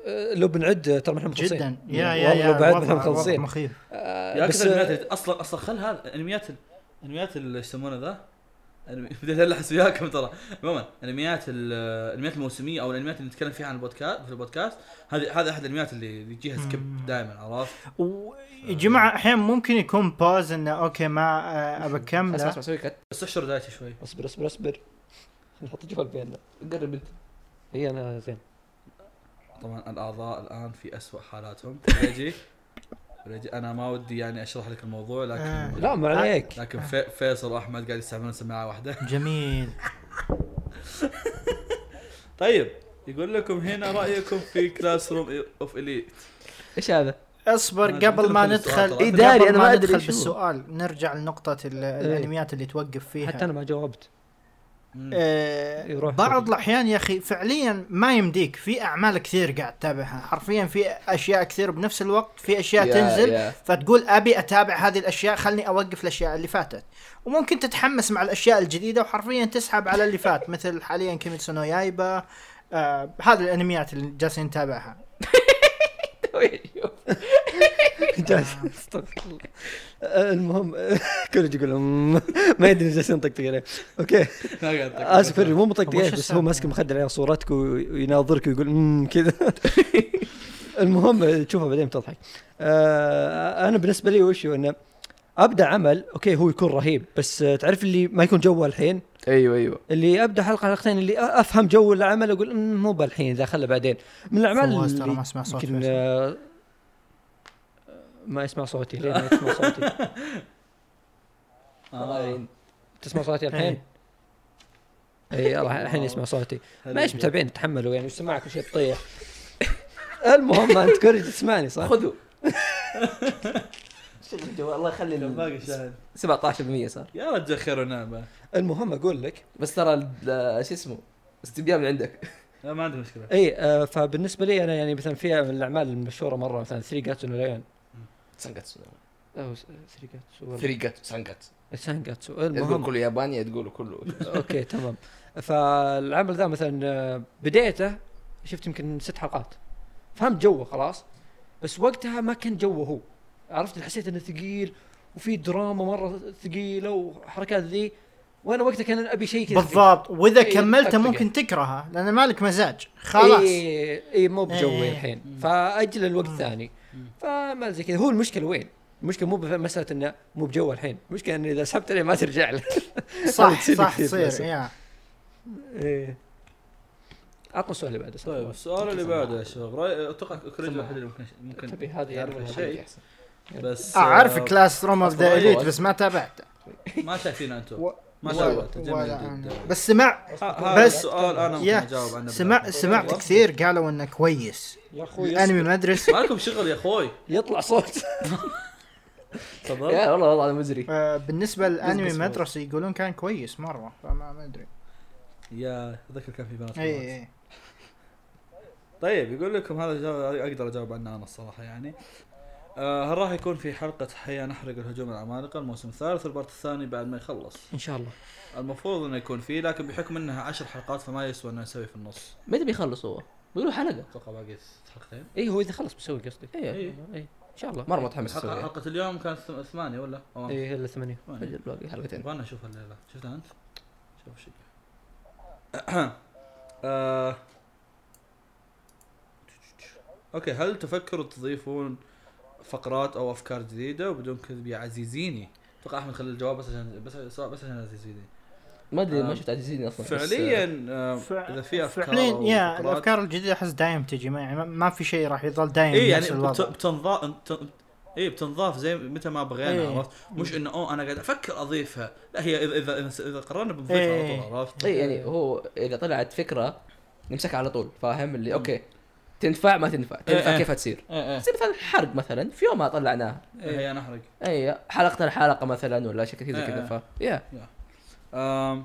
Speaker 3: آه، لو بنعد آه، ترى ما احنا مخلصين
Speaker 4: جدا يا يا
Speaker 3: يعني والله لو
Speaker 4: يا
Speaker 3: بعد ما
Speaker 4: الوضع-
Speaker 3: احنا
Speaker 4: الوضع
Speaker 3: مخلصين
Speaker 4: مخيف
Speaker 3: آه،
Speaker 1: يا
Speaker 3: بس
Speaker 1: بس
Speaker 3: آه،
Speaker 1: اصلا اصلا خل هذا انميات ال- انميات ال- ايش يسمونه ذا؟ أنمي- بديت الحس وياكم ترى عموما انميات ال- الانميات الموسميه او الانميات اللي نتكلم فيها عن البودكاست في البودكاست هذه هذا احد الانميات اللي اللي يجيها سكيب دائما عرفت؟
Speaker 4: يا جماعه احيانا ممكن يكون باز انه اوكي ما آه، ابى
Speaker 2: اسمع
Speaker 4: اكمله
Speaker 2: اسمع سوي كت
Speaker 1: بس احشر دايتي شوي
Speaker 3: اصبر اصبر اصبر نحط جوال بيننا
Speaker 2: قرب انت
Speaker 3: هي انا زين
Speaker 1: طبعا الاعضاء الان في أسوأ حالاتهم ريجي ريجي انا ما ودي يعني اشرح لك الموضوع لكن
Speaker 3: لا ما عليك
Speaker 2: آه،
Speaker 1: لكن في- فيصل واحمد قاعد يستعملون سماعه واحده
Speaker 4: جميل
Speaker 1: طيب يقول لكم هنا رايكم في كلاس روم اوف اليت
Speaker 2: ايش هذا؟
Speaker 1: أنا
Speaker 4: اصبر
Speaker 1: كنت
Speaker 4: قبل ما
Speaker 1: بخلص السؤال
Speaker 4: ندخل
Speaker 1: ترى.
Speaker 2: إيه داري،
Speaker 4: قبل
Speaker 2: أنا ما أدري
Speaker 4: ندخل
Speaker 2: شو.
Speaker 4: بالسؤال نرجع لنقطة ال- الانميات اللي توقف فيها
Speaker 3: حتى انا ما جاوبت
Speaker 4: آه،
Speaker 3: يروح
Speaker 4: بعض
Speaker 3: فوق.
Speaker 4: الاحيان يا اخي فعليا ما يمديك في اعمال كثير قاعد تتابعها حرفيا في اشياء كثير بنفس الوقت في اشياء
Speaker 2: يا-
Speaker 4: تنزل
Speaker 2: يا.
Speaker 4: فتقول ابي اتابع هذه الاشياء خلني اوقف الاشياء اللي فاتت وممكن تتحمس مع الاشياء الجديده وحرفيا تسحب على اللي فات مثل حاليا كيميتسو نو يايبا آه هذه الانميات اللي جالسين نتابعها
Speaker 3: جالس استغفر الله آه، المهم كل يقول أمم، ما يدري جالس ينطقطق عليه اوكي اسف
Speaker 1: اسف
Speaker 3: فري مو مطقطق
Speaker 4: طيب، وش
Speaker 3: عليه بس
Speaker 4: السالفة؟
Speaker 3: هو ماسك مخدر على صورتك وي- ويناظرك ويقول امم كذا المهم تشوفها بعدين بتضحك آه، انا بالنسبه لي وش هو انه ابدا عمل اوكي هو يكون رهيب بس آه، تعرف اللي ما يكون جوه الحين
Speaker 2: ايوه ايوه
Speaker 3: اللي ابدا حلقه حلقتين اللي أ- افهم جو العمل اقول "أمم، مو بالحين ذا خله بعدين من الاعمال
Speaker 4: فواز ترى
Speaker 3: اللي
Speaker 4: ما اسمع صوت
Speaker 3: يمكن
Speaker 4: فيصل.
Speaker 3: آه، ما يسمع صوتي ليه ما يسمع صوتي تسمع صوتي الحين؟
Speaker 4: إيه.
Speaker 3: اي الله الحين يسمع صوتي معليش متابعين تحملوا يعني سماعك شيء تطيح المهم انت كوري تسمعني صح؟
Speaker 2: خذوا شيل الجوال الله يخلي
Speaker 1: كم
Speaker 2: ال-
Speaker 1: باقي شاهد
Speaker 2: 17% صار
Speaker 1: يا رجال خير ونعمه
Speaker 3: المهم اقول لك
Speaker 2: بس ترى ال- آه، شو اسمه استبيان من عندك
Speaker 1: لا ما عندي مشكله
Speaker 3: اي آه فبالنسبه لي انا يعني مثلا في من الاعمال المشهوره مره مثلا ثري جاتسو ليون
Speaker 2: سانجاتسو
Speaker 3: او ثري جاتسو
Speaker 2: فريقات سانجاتسو
Speaker 3: سان جاتسو
Speaker 2: تقول
Speaker 3: المهم
Speaker 2: كله ياباني تقول كله
Speaker 3: اوكي تمام فالعمل ذا مثلا آه، بدايته شفت يمكن ست حلقات فهمت جوه خلاص بس وقتها ما كان جوه هو عرفت حسيت انه ثقيل وفي دراما مره ثقيله وحركات ذي وانا وقتها كان ابي شيء كذا
Speaker 4: بالضبط واذا
Speaker 3: إيه،
Speaker 4: كملته
Speaker 3: طقطقة.
Speaker 4: ممكن تكرهها لان مالك مزاج
Speaker 3: خلاص
Speaker 4: خلاص
Speaker 3: اي إيه مو بجوي
Speaker 4: إيه.
Speaker 3: إيه الحين فاجل الوقت ثاني فما زي كذا هو المشكله وين؟ المشكله مو بمساله انه مو بجو الحين، المشكله انه اذا سحبت عليه ما ترجع له
Speaker 4: صح
Speaker 3: تصير
Speaker 4: صح
Speaker 3: كثير
Speaker 4: تصير
Speaker 3: للأسف.
Speaker 4: يا إيه.
Speaker 3: ايه عطنا السؤال اللي بعده
Speaker 1: طيب السؤال اللي بعده يا شباب راي اتوقع كريج واحد اللي ممكن
Speaker 3: تبي
Speaker 1: ممكن
Speaker 3: هذا
Speaker 1: يعرف
Speaker 3: يعني
Speaker 1: الشيء بس
Speaker 4: آه، اعرف
Speaker 1: آه،
Speaker 4: كلاس روم اوف ذا
Speaker 2: أصلاً
Speaker 4: اليت
Speaker 2: فواز.
Speaker 4: بس ما تابعته
Speaker 1: ما شايفين انتم
Speaker 4: و-
Speaker 1: ما
Speaker 4: ولا-
Speaker 1: شايفين
Speaker 4: ولا
Speaker 1: جميل
Speaker 4: أنا.
Speaker 1: جدا
Speaker 4: بس سمع
Speaker 1: ه- هذا
Speaker 4: بس-
Speaker 1: السؤال انا ممكن
Speaker 4: يا
Speaker 1: اجاوب عنه
Speaker 4: سمع
Speaker 1: بالله.
Speaker 4: سمعت كثير قالوا انه كويس
Speaker 3: يا اخوي
Speaker 4: الانمي ما ادري
Speaker 1: ما لكم شغل يا اخوي
Speaker 3: يطلع صوت
Speaker 1: تفضل
Speaker 2: يا والله وضعنا مزري
Speaker 4: آه، بالنسبه للانمي
Speaker 3: بس-
Speaker 4: مدرسي يقولون كان كويس مره فما ما إيه، ادري
Speaker 1: يا اتذكر كان في بنات
Speaker 4: اي اي
Speaker 1: طيب يقول لكم هذا جا- اقدر اجاوب عنه انا الصراحه يعني آه، هل راح يكون في حلقه حياه نحرق الهجوم العمالقه الموسم الثالث والبارت الثاني بعد ما يخلص
Speaker 3: ان شاء الله
Speaker 1: المفروض انه يكون فيه لكن بحكم انها عشر حلقات فما يسوى انه نسوي في النص
Speaker 2: متى بيخلص هو؟ بيقولوا حلقه
Speaker 1: اتوقع باقي ست حلقتين
Speaker 3: اي إيه، هو اذا خلص بسوي قصدي
Speaker 2: اي
Speaker 1: إيه.
Speaker 3: اي ان شاء الله
Speaker 2: مره متحمس
Speaker 1: حلقه,
Speaker 2: اسويها
Speaker 1: حلقة اليوم كانت ثم- ثمانيه ولا؟ أو
Speaker 3: اي الا ثمانية
Speaker 1: ثمانيه
Speaker 2: أجل، باقي حلقتين
Speaker 1: يبغى اشوفها الليله شفتها انت؟ شوف شيء آه. اوكي هل تفكروا تضيفون فقرات او افكار جديده وبدون كذب يا عزيزيني اتوقع احمد خلى الجواب بس عشان بس سؤال- بس عشان عزيز فيدي
Speaker 2: ما ادري
Speaker 1: آه.
Speaker 2: ما شفت عزيزين اصلا بس، آه،
Speaker 1: فعليا آه، اذا في افكار
Speaker 4: فعليا
Speaker 1: أو
Speaker 4: يا
Speaker 1: فقرات-
Speaker 4: الافكار الجديده احس دايم تجي ما, يعني ما- ما في شيء راح يظل دايم
Speaker 1: اي
Speaker 4: نفس
Speaker 1: يعني بت-
Speaker 4: الوضع
Speaker 1: بتنضاف بت- اي بتنضاف زي متى ما بغينا
Speaker 4: إيه.
Speaker 1: عرفت مش انه اوه انا قاعد افكر اضيفها لا هي اذا اذا إذا- اذا قررنا بنضيفها على
Speaker 4: إيه.
Speaker 1: طول عرفت
Speaker 2: اي يعني هو اذا طلعت فكره نمسكها على طول فاهم اللي اوكي تنفع ما تنفع
Speaker 1: إيه.
Speaker 2: تنفع كيف تصير
Speaker 1: ايه
Speaker 2: زي مثلا الحرق مثلا في يومها طلعناها
Speaker 4: إيه.
Speaker 2: إيه،
Speaker 1: ايه هي انا احرق
Speaker 2: اي حلقه الحلقه مثلا ولا شيء كذا
Speaker 1: إيه،
Speaker 2: كذا ف يا
Speaker 1: أم.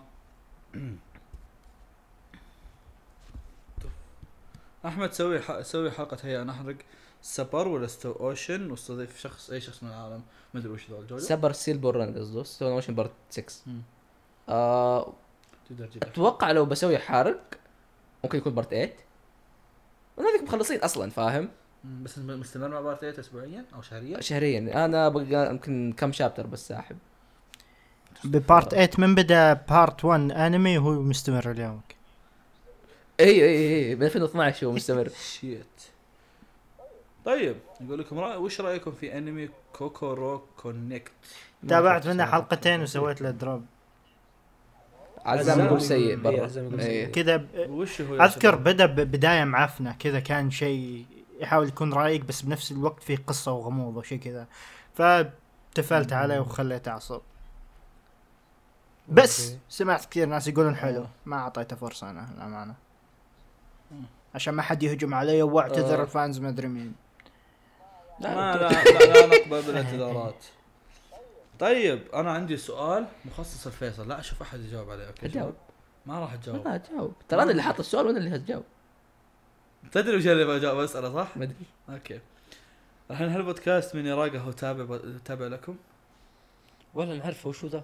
Speaker 1: احمد سوي ح... سوي حلقه هي انا احرق سبر ولا ستو اوشن واستضيف شخص اي شخص من العالم ما ادري وش ذول جوجو
Speaker 2: سبر سيل بورن قصده ستون اوشن بارت 6
Speaker 1: مم.
Speaker 2: آه،
Speaker 1: تقدر تجيب
Speaker 2: اتوقع لو بسوي حارق ممكن يكون بارت 8 انا هذيك مخلصين اصلا فاهم
Speaker 1: مم، بس انت مستمر مع بارت 8 اسبوعيا او شهريا
Speaker 2: شهريا انا بقى يمكن كم شابتر بس ساحب
Speaker 4: ببارت 8 من بدا بارت 1 انمي وهو مستمر اليوم
Speaker 2: اي اي اي إيه، من 2012 هو مستمر
Speaker 1: شيت طيب يقول لكم رأي وش رايكم في انمي كوكورو كونكت
Speaker 4: تابعت منه حلقتين وسويت له دروب
Speaker 2: عزام
Speaker 3: عزام
Speaker 2: يقول سيء
Speaker 3: يقول- إيه،
Speaker 2: برا
Speaker 3: عزام يقول
Speaker 2: إيه.
Speaker 4: كذا ب-
Speaker 1: وش هو يا
Speaker 4: اذكر
Speaker 1: شباب؟
Speaker 4: بدا ببدايه معفنه كذا كان شيء يحاول يكون رايق بس بنفس الوقت فيه قصه وغموض وشي كذا فتفلت عليه وخليته اعصب بس سمعت كثير ناس يقولون حلو ما اعطيته فرصه انا للامانه عشان ما حد يهجم علي واعتذر
Speaker 2: آه.
Speaker 4: الفانز ما ادري مين
Speaker 1: ما لا لا, لا نقبل بالاعتذارات طيب انا عندي سؤال مخصص الفيصل لا اشوف احد يجاوب عليه اوكي
Speaker 2: أجاوب.
Speaker 1: ما راح
Speaker 2: لا
Speaker 1: اتجاوب
Speaker 2: جاوب ترى انا اللي حاط السؤال وانا اللي هتجاوب
Speaker 1: تدري وش اللي بجاوب اساله صح؟
Speaker 2: ما ادري
Speaker 1: اوكي الحين هالبودكاست من يراقه هو تابع تابع لكم
Speaker 3: ولا نعرفه وشو ذا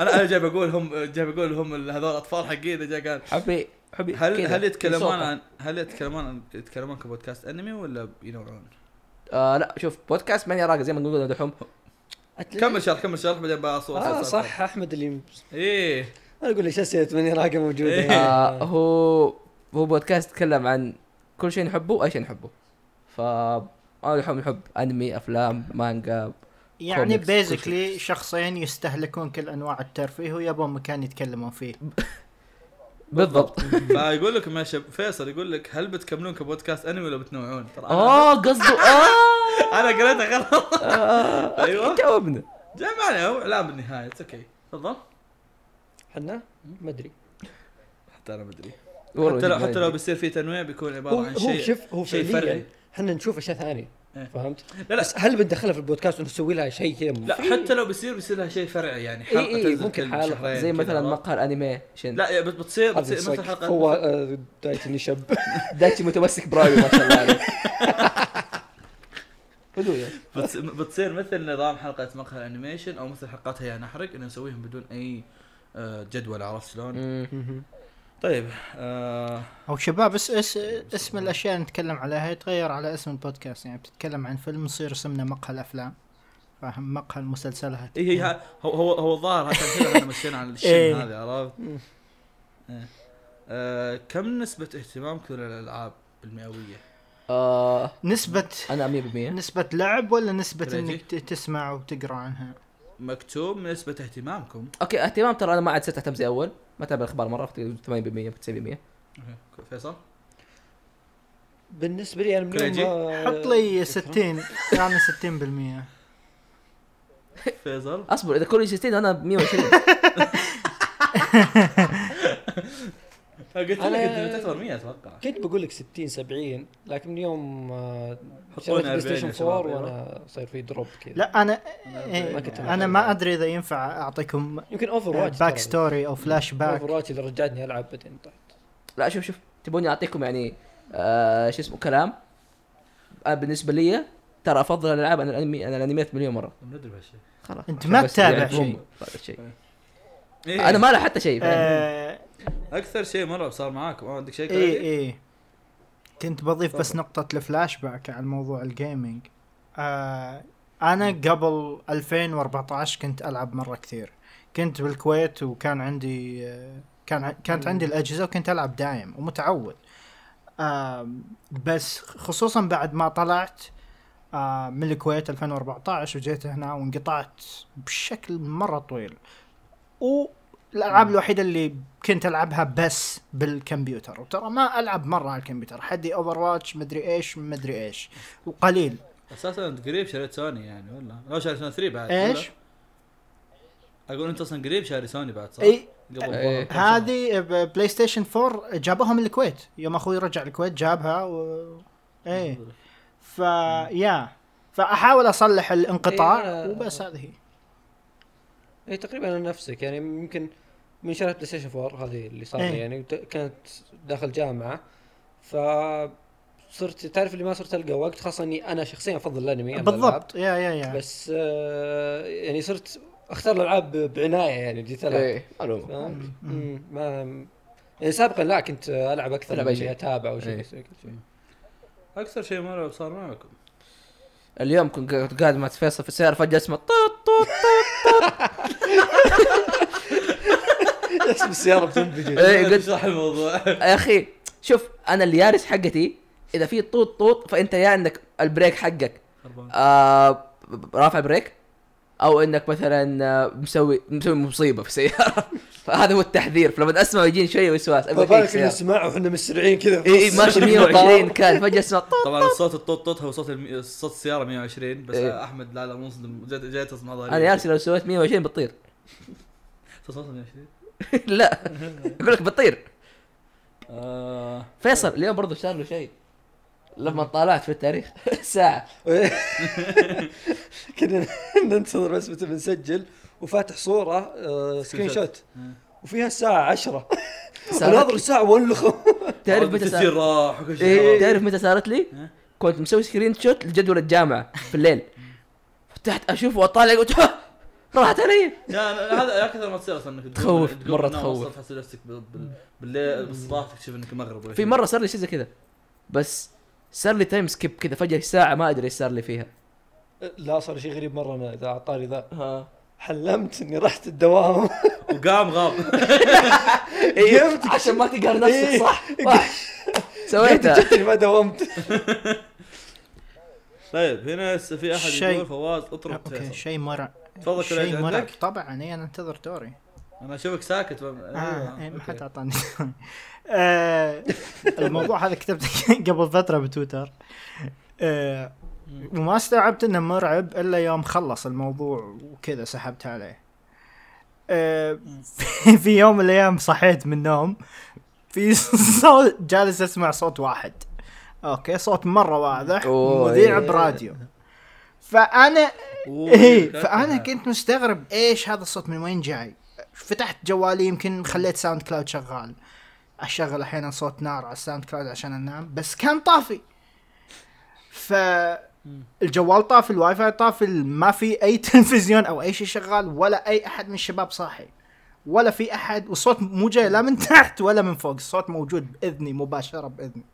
Speaker 1: انا انا جاي بقول هم جاي بقول هم ال- هذول الاطفال حقين جاي قال
Speaker 2: حبي حبي
Speaker 1: هل
Speaker 2: كذا،
Speaker 1: هل يتكلمون
Speaker 2: بصوتك.
Speaker 1: عن هل يتكلمون عن يتكلمون كبودكاست انمي ولا ينوعون؟
Speaker 2: آه لا شوف بودكاست ماني راقي زي ما نقول دحوم
Speaker 1: كمل شرح كمل شرح بعدين بصور
Speaker 3: اه
Speaker 1: طيب.
Speaker 3: صح احمد اللي
Speaker 1: ايه
Speaker 3: انا اقول ليش اسئله ماني راقه موجوده
Speaker 1: إيه.
Speaker 2: آه هو هو بودكاست يتكلم عن كل شيء نحبه واي شيء نحبه ف انا الحين نحب انمي افلام مانجا
Speaker 4: يعني
Speaker 2: Comics, كل
Speaker 4: بيزكلي شخصين يستهلكون كل انواع الترفيه ويبون مكان يتكلمون فيه
Speaker 2: بالضبط
Speaker 1: فيقول لكم يا شب فيصل يقول لك هل بتكملون كبودكاست انمي ولا بتنوعون؟ ترى
Speaker 3: آه.
Speaker 1: انا
Speaker 2: اه قصده اه
Speaker 1: انا قريتها غلط أيوة.
Speaker 2: ايوه جاوبنا
Speaker 1: جمعنا هو لا بالنهايه اتس اوكي تفضل
Speaker 3: حنا ما ادري
Speaker 1: حتى انا مدري
Speaker 2: والله
Speaker 1: حتى لو
Speaker 2: جدا.
Speaker 1: حتى لو بيصير في تنويع بيكون
Speaker 3: هو
Speaker 1: عباره عن
Speaker 3: هو
Speaker 1: شيء
Speaker 3: شوف هو
Speaker 1: شيء
Speaker 3: فعليا
Speaker 1: فرعي.
Speaker 3: احنا نشوف اشياء ثانيه
Speaker 1: إيه.
Speaker 3: فهمت؟
Speaker 1: لا لا
Speaker 3: بس هل بندخلها في البودكاست ونسوي لها شيء كذا
Speaker 1: لا حتى لو بيصير بيصير لها شيء فرعي يعني
Speaker 3: إيه،
Speaker 1: حلقه
Speaker 2: اي اي
Speaker 1: تنزل
Speaker 2: إيه، ممكن
Speaker 1: كل
Speaker 2: حلقه
Speaker 1: شهرين
Speaker 2: زي
Speaker 1: كذا،
Speaker 2: مثلا
Speaker 1: عرفت؟
Speaker 2: مقهى الانمي عشان
Speaker 1: لا يا بت- بتصير
Speaker 3: هذا
Speaker 1: بتصير مثل
Speaker 3: الصقر.
Speaker 1: حلقه
Speaker 3: هو آه، دايتني شاب
Speaker 2: دايتشي متمسك برايو ما شاء الله عليه يعني. هدوء
Speaker 1: بتص- بتصير مثل نظام حلقه مقهى الانيميشن او مثل حلقات هيا نحرق انه نسويهم بدون اي آه، جدول عرفت شلون؟ طيب آه،
Speaker 4: او شباب اس اس اسم الاشياء اللي نتكلم عليها يتغير على اسم البودكاست يعني بتتكلم عن فيلم يصير اسمنا مقهى الافلام فاهم مقهى المسلسلات
Speaker 1: اي هي إيه، هو هو هو الظاهر عشان كذا احنا مشينا على الشن
Speaker 4: إيه.
Speaker 1: هذا عرفت؟ إيه. آه، كم نسبة اهتمامكم للالعاب بالمئوية؟
Speaker 2: آه
Speaker 4: نسبة
Speaker 2: انا 100%
Speaker 4: نسبة لعب ولا نسبة
Speaker 1: كريجي.
Speaker 4: انك ت- تسمع وتقرا عنها؟
Speaker 1: مكتوب نسبة اهتمامكم
Speaker 2: اوكي اهتمام ترى انا ما عاد صرت اهتم زي اول ما اتابع الاخبار مره أعتقد 80% 90%
Speaker 1: فيصل
Speaker 3: بالنسبه لي انا من
Speaker 1: كريجي.
Speaker 3: يوم ما-
Speaker 4: حط لي
Speaker 3: أه، شكراً.
Speaker 4: 60 يعني 60%
Speaker 1: فيصل
Speaker 2: اصبر اذا كوري 60 انا 120
Speaker 1: قلت لك
Speaker 3: أنا-
Speaker 1: انت اكثر 100 اتوقع
Speaker 3: كنت بقول لك 60 70 لكن من يوم آه،
Speaker 1: حطونا
Speaker 3: شريت
Speaker 1: 40 يا
Speaker 3: بلاي ستيشن
Speaker 1: شباب،
Speaker 3: 4
Speaker 1: يلا.
Speaker 3: وانا صاير في دروب كذا
Speaker 4: لا انا
Speaker 1: ما
Speaker 4: إيه
Speaker 1: كنت
Speaker 4: انا ما ادري اذا ينفع اعطيكم
Speaker 3: يمكن اوفر واتش
Speaker 4: باك ستوري او فلاش
Speaker 3: اوفر
Speaker 4: باك
Speaker 3: واتش اللي رجعتني العب بعدين طحت
Speaker 2: لا شوف شوف تبوني اعطيكم يعني آه شو اسمه كلام آه بالنسبه لي ترى افضل الالعاب عن الانمي انا الانميات مليون مره
Speaker 1: ندري بهالشيء
Speaker 2: خلاص
Speaker 4: أنت ما
Speaker 2: بس
Speaker 4: تتابع
Speaker 2: يعني
Speaker 4: شيء.
Speaker 2: بوم هذا الشيء.
Speaker 1: إيه.
Speaker 2: انا ما له حتى شيء فاهم؟
Speaker 4: آه،
Speaker 1: اكثر شيء مره صار معاكم آه، عندك شيء
Speaker 4: اي
Speaker 1: كذا؟
Speaker 4: اي إيه، كنت بضيف بس نقطة الفلاش باك على موضوع الجيمنج آه انا قبل 2014 كنت العب مرة كثير كنت بالكويت وكان عندي آه، كان ع- كانت عندي الاجهزة وكنت العب دايم ومتعود آه بس خصوصا بعد ما طلعت آه، آه، من الكويت 2014 وجيت هنا وانقطعت بشكل مره طويل والالعاب الوحيده اللي كنت العبها بس بالكمبيوتر وترى ما العب مره على الكمبيوتر حدي اوفر واتش مدري ايش مدري ايش وقليل
Speaker 1: اساسا انت قريب شريت سوني يعني ولا لو شريت سوني 3 بعد ولا؟
Speaker 4: ايش؟
Speaker 1: اقول انت اصلا قريب شاري سوني بعد صح؟
Speaker 4: اي
Speaker 1: قبل
Speaker 2: إيه.
Speaker 1: طيب، كم سنة؟
Speaker 4: هذه ب- بلاي ستيشن 4 جابوها من الكويت يوم اخوي رجع الكويت جابها و... ايه ف يا فاحاول اصلح
Speaker 3: إيه،
Speaker 4: الانقطاع
Speaker 3: أنا-
Speaker 4: وبس هذه هي
Speaker 3: اي تقريبا انا إيه، نفسك يعني يمكن من شريت بلاي ستيشن 4 هذه اللي صار
Speaker 4: إيه.
Speaker 3: لي يعني وت- كانت داخل جامعه ف صرت تعرف اللي ما صرت القى وقت خاصه اني انا شخصيا افضل الانمي على الألعاب.
Speaker 4: بالضبط يا يا يا
Speaker 3: بس آه، يعني صرت اختار الالعاب عنايه يعني جيت العب
Speaker 4: إيه،
Speaker 2: ايه معلومه
Speaker 3: فاهم؟ مم، ما يعني سابقا لا كنت العب اكثر
Speaker 2: ألعب
Speaker 3: من
Speaker 2: أي شيء.
Speaker 3: اني اتابع او شيء
Speaker 2: إيه.
Speaker 3: زي كذا.
Speaker 1: اكثر شيء مره صار معكم
Speaker 2: اليوم كنت قاعد- قاعد مع فيصل في السياره فجاه اسمه طوط طوط
Speaker 3: اسم السياره بتنفجر
Speaker 2: ايه قلت
Speaker 1: اشرح الموضوع
Speaker 2: يا اخي شوف انا اليارس حقتي اذا في طوط طوط فانت يا انك البريك حقك
Speaker 1: خربان.
Speaker 2: آه رافع بريك او انك مثلا آه، مسوي مسوي مصيبه في السياره فهذا هو التحذير فلما اسمع يجيني شويه وسواس ابغى أشيك
Speaker 3: فبالك
Speaker 2: السيارة.
Speaker 3: نسمع واحنا مسرعين كذا
Speaker 2: اي اي إيه، ماشي
Speaker 3: طيب،
Speaker 2: 120 كان طيب، فجاه اسمع طوط
Speaker 1: طبعا الصوت الطوط طوط هو صوت الم... صوت السياره 120 بس
Speaker 2: إيه.
Speaker 1: احمد لا لا مصدم جاي جاي تصمع ظهري
Speaker 2: انا يارسي لو سويت 120 بتطير
Speaker 1: صوت 120
Speaker 2: لا اقول لك بتطير
Speaker 1: آه...
Speaker 2: فيصل اليوم برضه صار له شيء لما طالعت في التاريخ ساعه
Speaker 3: كنا ننتظر بس متى بنسجل وفاتح صوره آه، سكرين شوت وفيها الساعه 10
Speaker 2: ساعة.
Speaker 3: وناظر الساعه والخم
Speaker 2: تعرف متى
Speaker 1: التسجيل
Speaker 2: صار
Speaker 1: راح وكل شيء
Speaker 2: إيه
Speaker 1: راح.
Speaker 2: تعرف متى صارت لي؟
Speaker 1: ها؟
Speaker 2: كنت مسوي سكرين شوت لجدول الجامعه في الليل فتحت اشوفه واطالع قلت "ها، راحت علي
Speaker 1: لا لا، هذا اكثر ما تصير اصلا انك تقوم-
Speaker 2: تخوف،
Speaker 1: تقوم
Speaker 2: مرة
Speaker 1: من النوم
Speaker 2: تخوف.
Speaker 1: أصلاً تحس نفسك بال- بال- بالليل بالصباح تكتشف انك مغرب ولا
Speaker 2: في
Speaker 1: شيء.
Speaker 2: مره صار لي شيء زي كذا بس صار لي تايم سكيب كذا فجاه ساعه ما ادري ايش صار لي فيها
Speaker 3: لا صار شيء غريب مره انا اذا عطاري ذا
Speaker 2: ها
Speaker 3: حلمت اني رحت الدوام
Speaker 1: وقام غاب
Speaker 3: قمت
Speaker 2: عشان ما تقهر نفسك
Speaker 3: إيه.
Speaker 2: صح صح.
Speaker 3: قمت
Speaker 2: سويتها
Speaker 3: جبت اني ما داومت
Speaker 1: طيب هنا س- في احد
Speaker 4: شيء.
Speaker 1: يقول فواز
Speaker 2: آه،
Speaker 1: اطرب
Speaker 4: اوكي
Speaker 1: فيصل
Speaker 4: شيء مرع
Speaker 1: تفضل كل عيد
Speaker 4: شيء مرعب
Speaker 1: عندك
Speaker 4: طبعا إيه، انا انتظر دوري
Speaker 1: انا اشوفك ساكت
Speaker 4: آه، إيه،
Speaker 1: أيوة، أوكي.
Speaker 4: ما حد اعطاني آه، الموضوع هذا كتبته قبل فتره بتويتر آه، وما استوعبت انه مرعب الا يوم خلص الموضوع وكذا سحبت عليه آه، في يوم من الايام صحيت من النوم في صوت جالس اسمع صوت واحد اوكي صوت مره واضح
Speaker 2: أوه،
Speaker 4: مذيع
Speaker 2: إيه.
Speaker 4: براديو فانا
Speaker 1: أوه،
Speaker 4: ايه
Speaker 1: شكلك.
Speaker 4: فانا كنت مستغرب ايش هذا الصوت من وين جاي فتحت جوالي يمكن خليت ساوند كلاود شغال اشغل احيانا صوت نار على الساوند كلاود عشان انام بس كان طافي ف الجوال طافي الواي فاي طافي ما في اي تلفزيون او اي شيء شغال ولا اي احد من الشباب صاحي ولا في احد والصوت مو جاي لا من تحت ولا من فوق الصوت موجود باذني مباشره باذني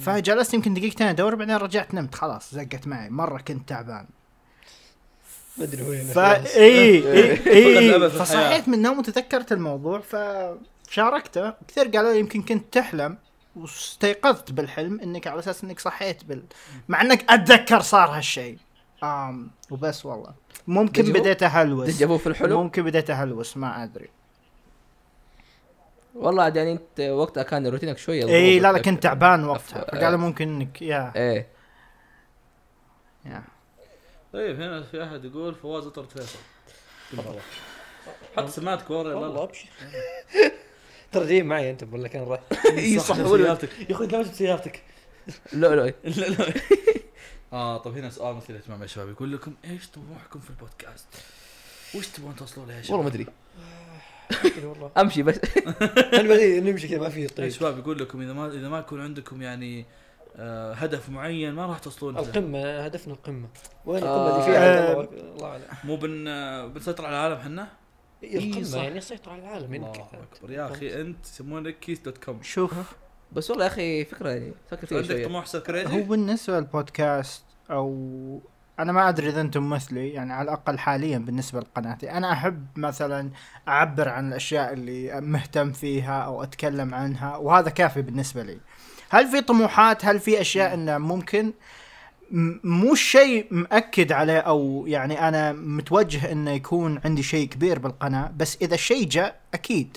Speaker 4: فجلست يمكن دقيقتين ادور بعدين رجعت نمت خلاص زقت معي مره كنت تعبان
Speaker 3: ما ادري وين
Speaker 4: فا
Speaker 3: إيه.
Speaker 4: اي إي-
Speaker 1: فقد
Speaker 4: اي
Speaker 1: الأمل
Speaker 4: اي
Speaker 1: في الحياة.
Speaker 4: فصحيت من النوم وتذكرت الموضوع فشاركته كثير قالوا لي يمكن كنت تحلم واستيقظت بالحلم انك على اساس انك صحيت بال مع انك اتذكر صار هالشيء آم وبس والله ممكن
Speaker 2: ديجافو؟
Speaker 4: بديت اهلوس
Speaker 2: ديجافو في الحلم
Speaker 4: ممكن بديت اهلوس ما ادري
Speaker 2: والله عاد يعني انت وقتها كان روتينك شويه
Speaker 4: اي إيه، لا لا
Speaker 2: ضغوطك.
Speaker 4: كنت تعبان وقتها
Speaker 2: أف-
Speaker 4: فقالوا ممكن انك يا
Speaker 2: ايه
Speaker 4: يا
Speaker 1: طيب هنا في احد يقول فواز اطرد فيصل بالمرة. حط سماعتك ورا
Speaker 3: والله
Speaker 1: يلا
Speaker 3: ابشر ترى جاي معي انت ولا كان رايح
Speaker 1: إيه،
Speaker 2: اي صح ولا
Speaker 1: سيارتك يا اخوي لا تجيب سيارتك
Speaker 2: لا لا
Speaker 1: لا لا اه طب هنا سؤال مثير اهتمام يا شباب يقول لكم ايش طموحكم في البودكاست؟ وش تبون توصلون له يا
Speaker 2: والله ما
Speaker 1: شباب؟
Speaker 2: ادري
Speaker 3: إيه، والله
Speaker 2: امشي بس
Speaker 3: انا بدي نمشي كذا ما في
Speaker 1: يا
Speaker 3: طيب. طريق
Speaker 1: إيه، شباب يقول لكم اذا ما اذا ما يكون عندكم يعني آه هدف معين ما راح توصلون له
Speaker 3: القمه هدفنا القمه وين
Speaker 2: آه.
Speaker 3: القمه اللي فيها الله- الله اعلم
Speaker 1: مو بن آه، بنسيطر على العالم حنا؟
Speaker 3: إيه،
Speaker 2: صح.
Speaker 3: القمه يعني سيطر على العالم
Speaker 1: الله اكبر يا اخي انت يسمونك كيس دوت كوم
Speaker 4: شوف
Speaker 2: بس والله يا اخي فكره يعني فكر فيها
Speaker 1: عندك
Speaker 2: شويه
Speaker 1: طموح سير كريزي؟
Speaker 4: هو بالنسبه للبودكاست او انا ما ادري اذا انتم مثلي يعني على الاقل حاليا بالنسبه لقناتي انا احب مثلا اعبر عن الاشياء اللي مهتم فيها او اتكلم عنها وهذا كافي بالنسبه لي هل في طموحات هل في اشياء انه ممكن م- مو شيء مأكد عليه او يعني انا متوجه انه يكون عندي شيء كبير بالقناه بس اذا الشيء جاء اكيد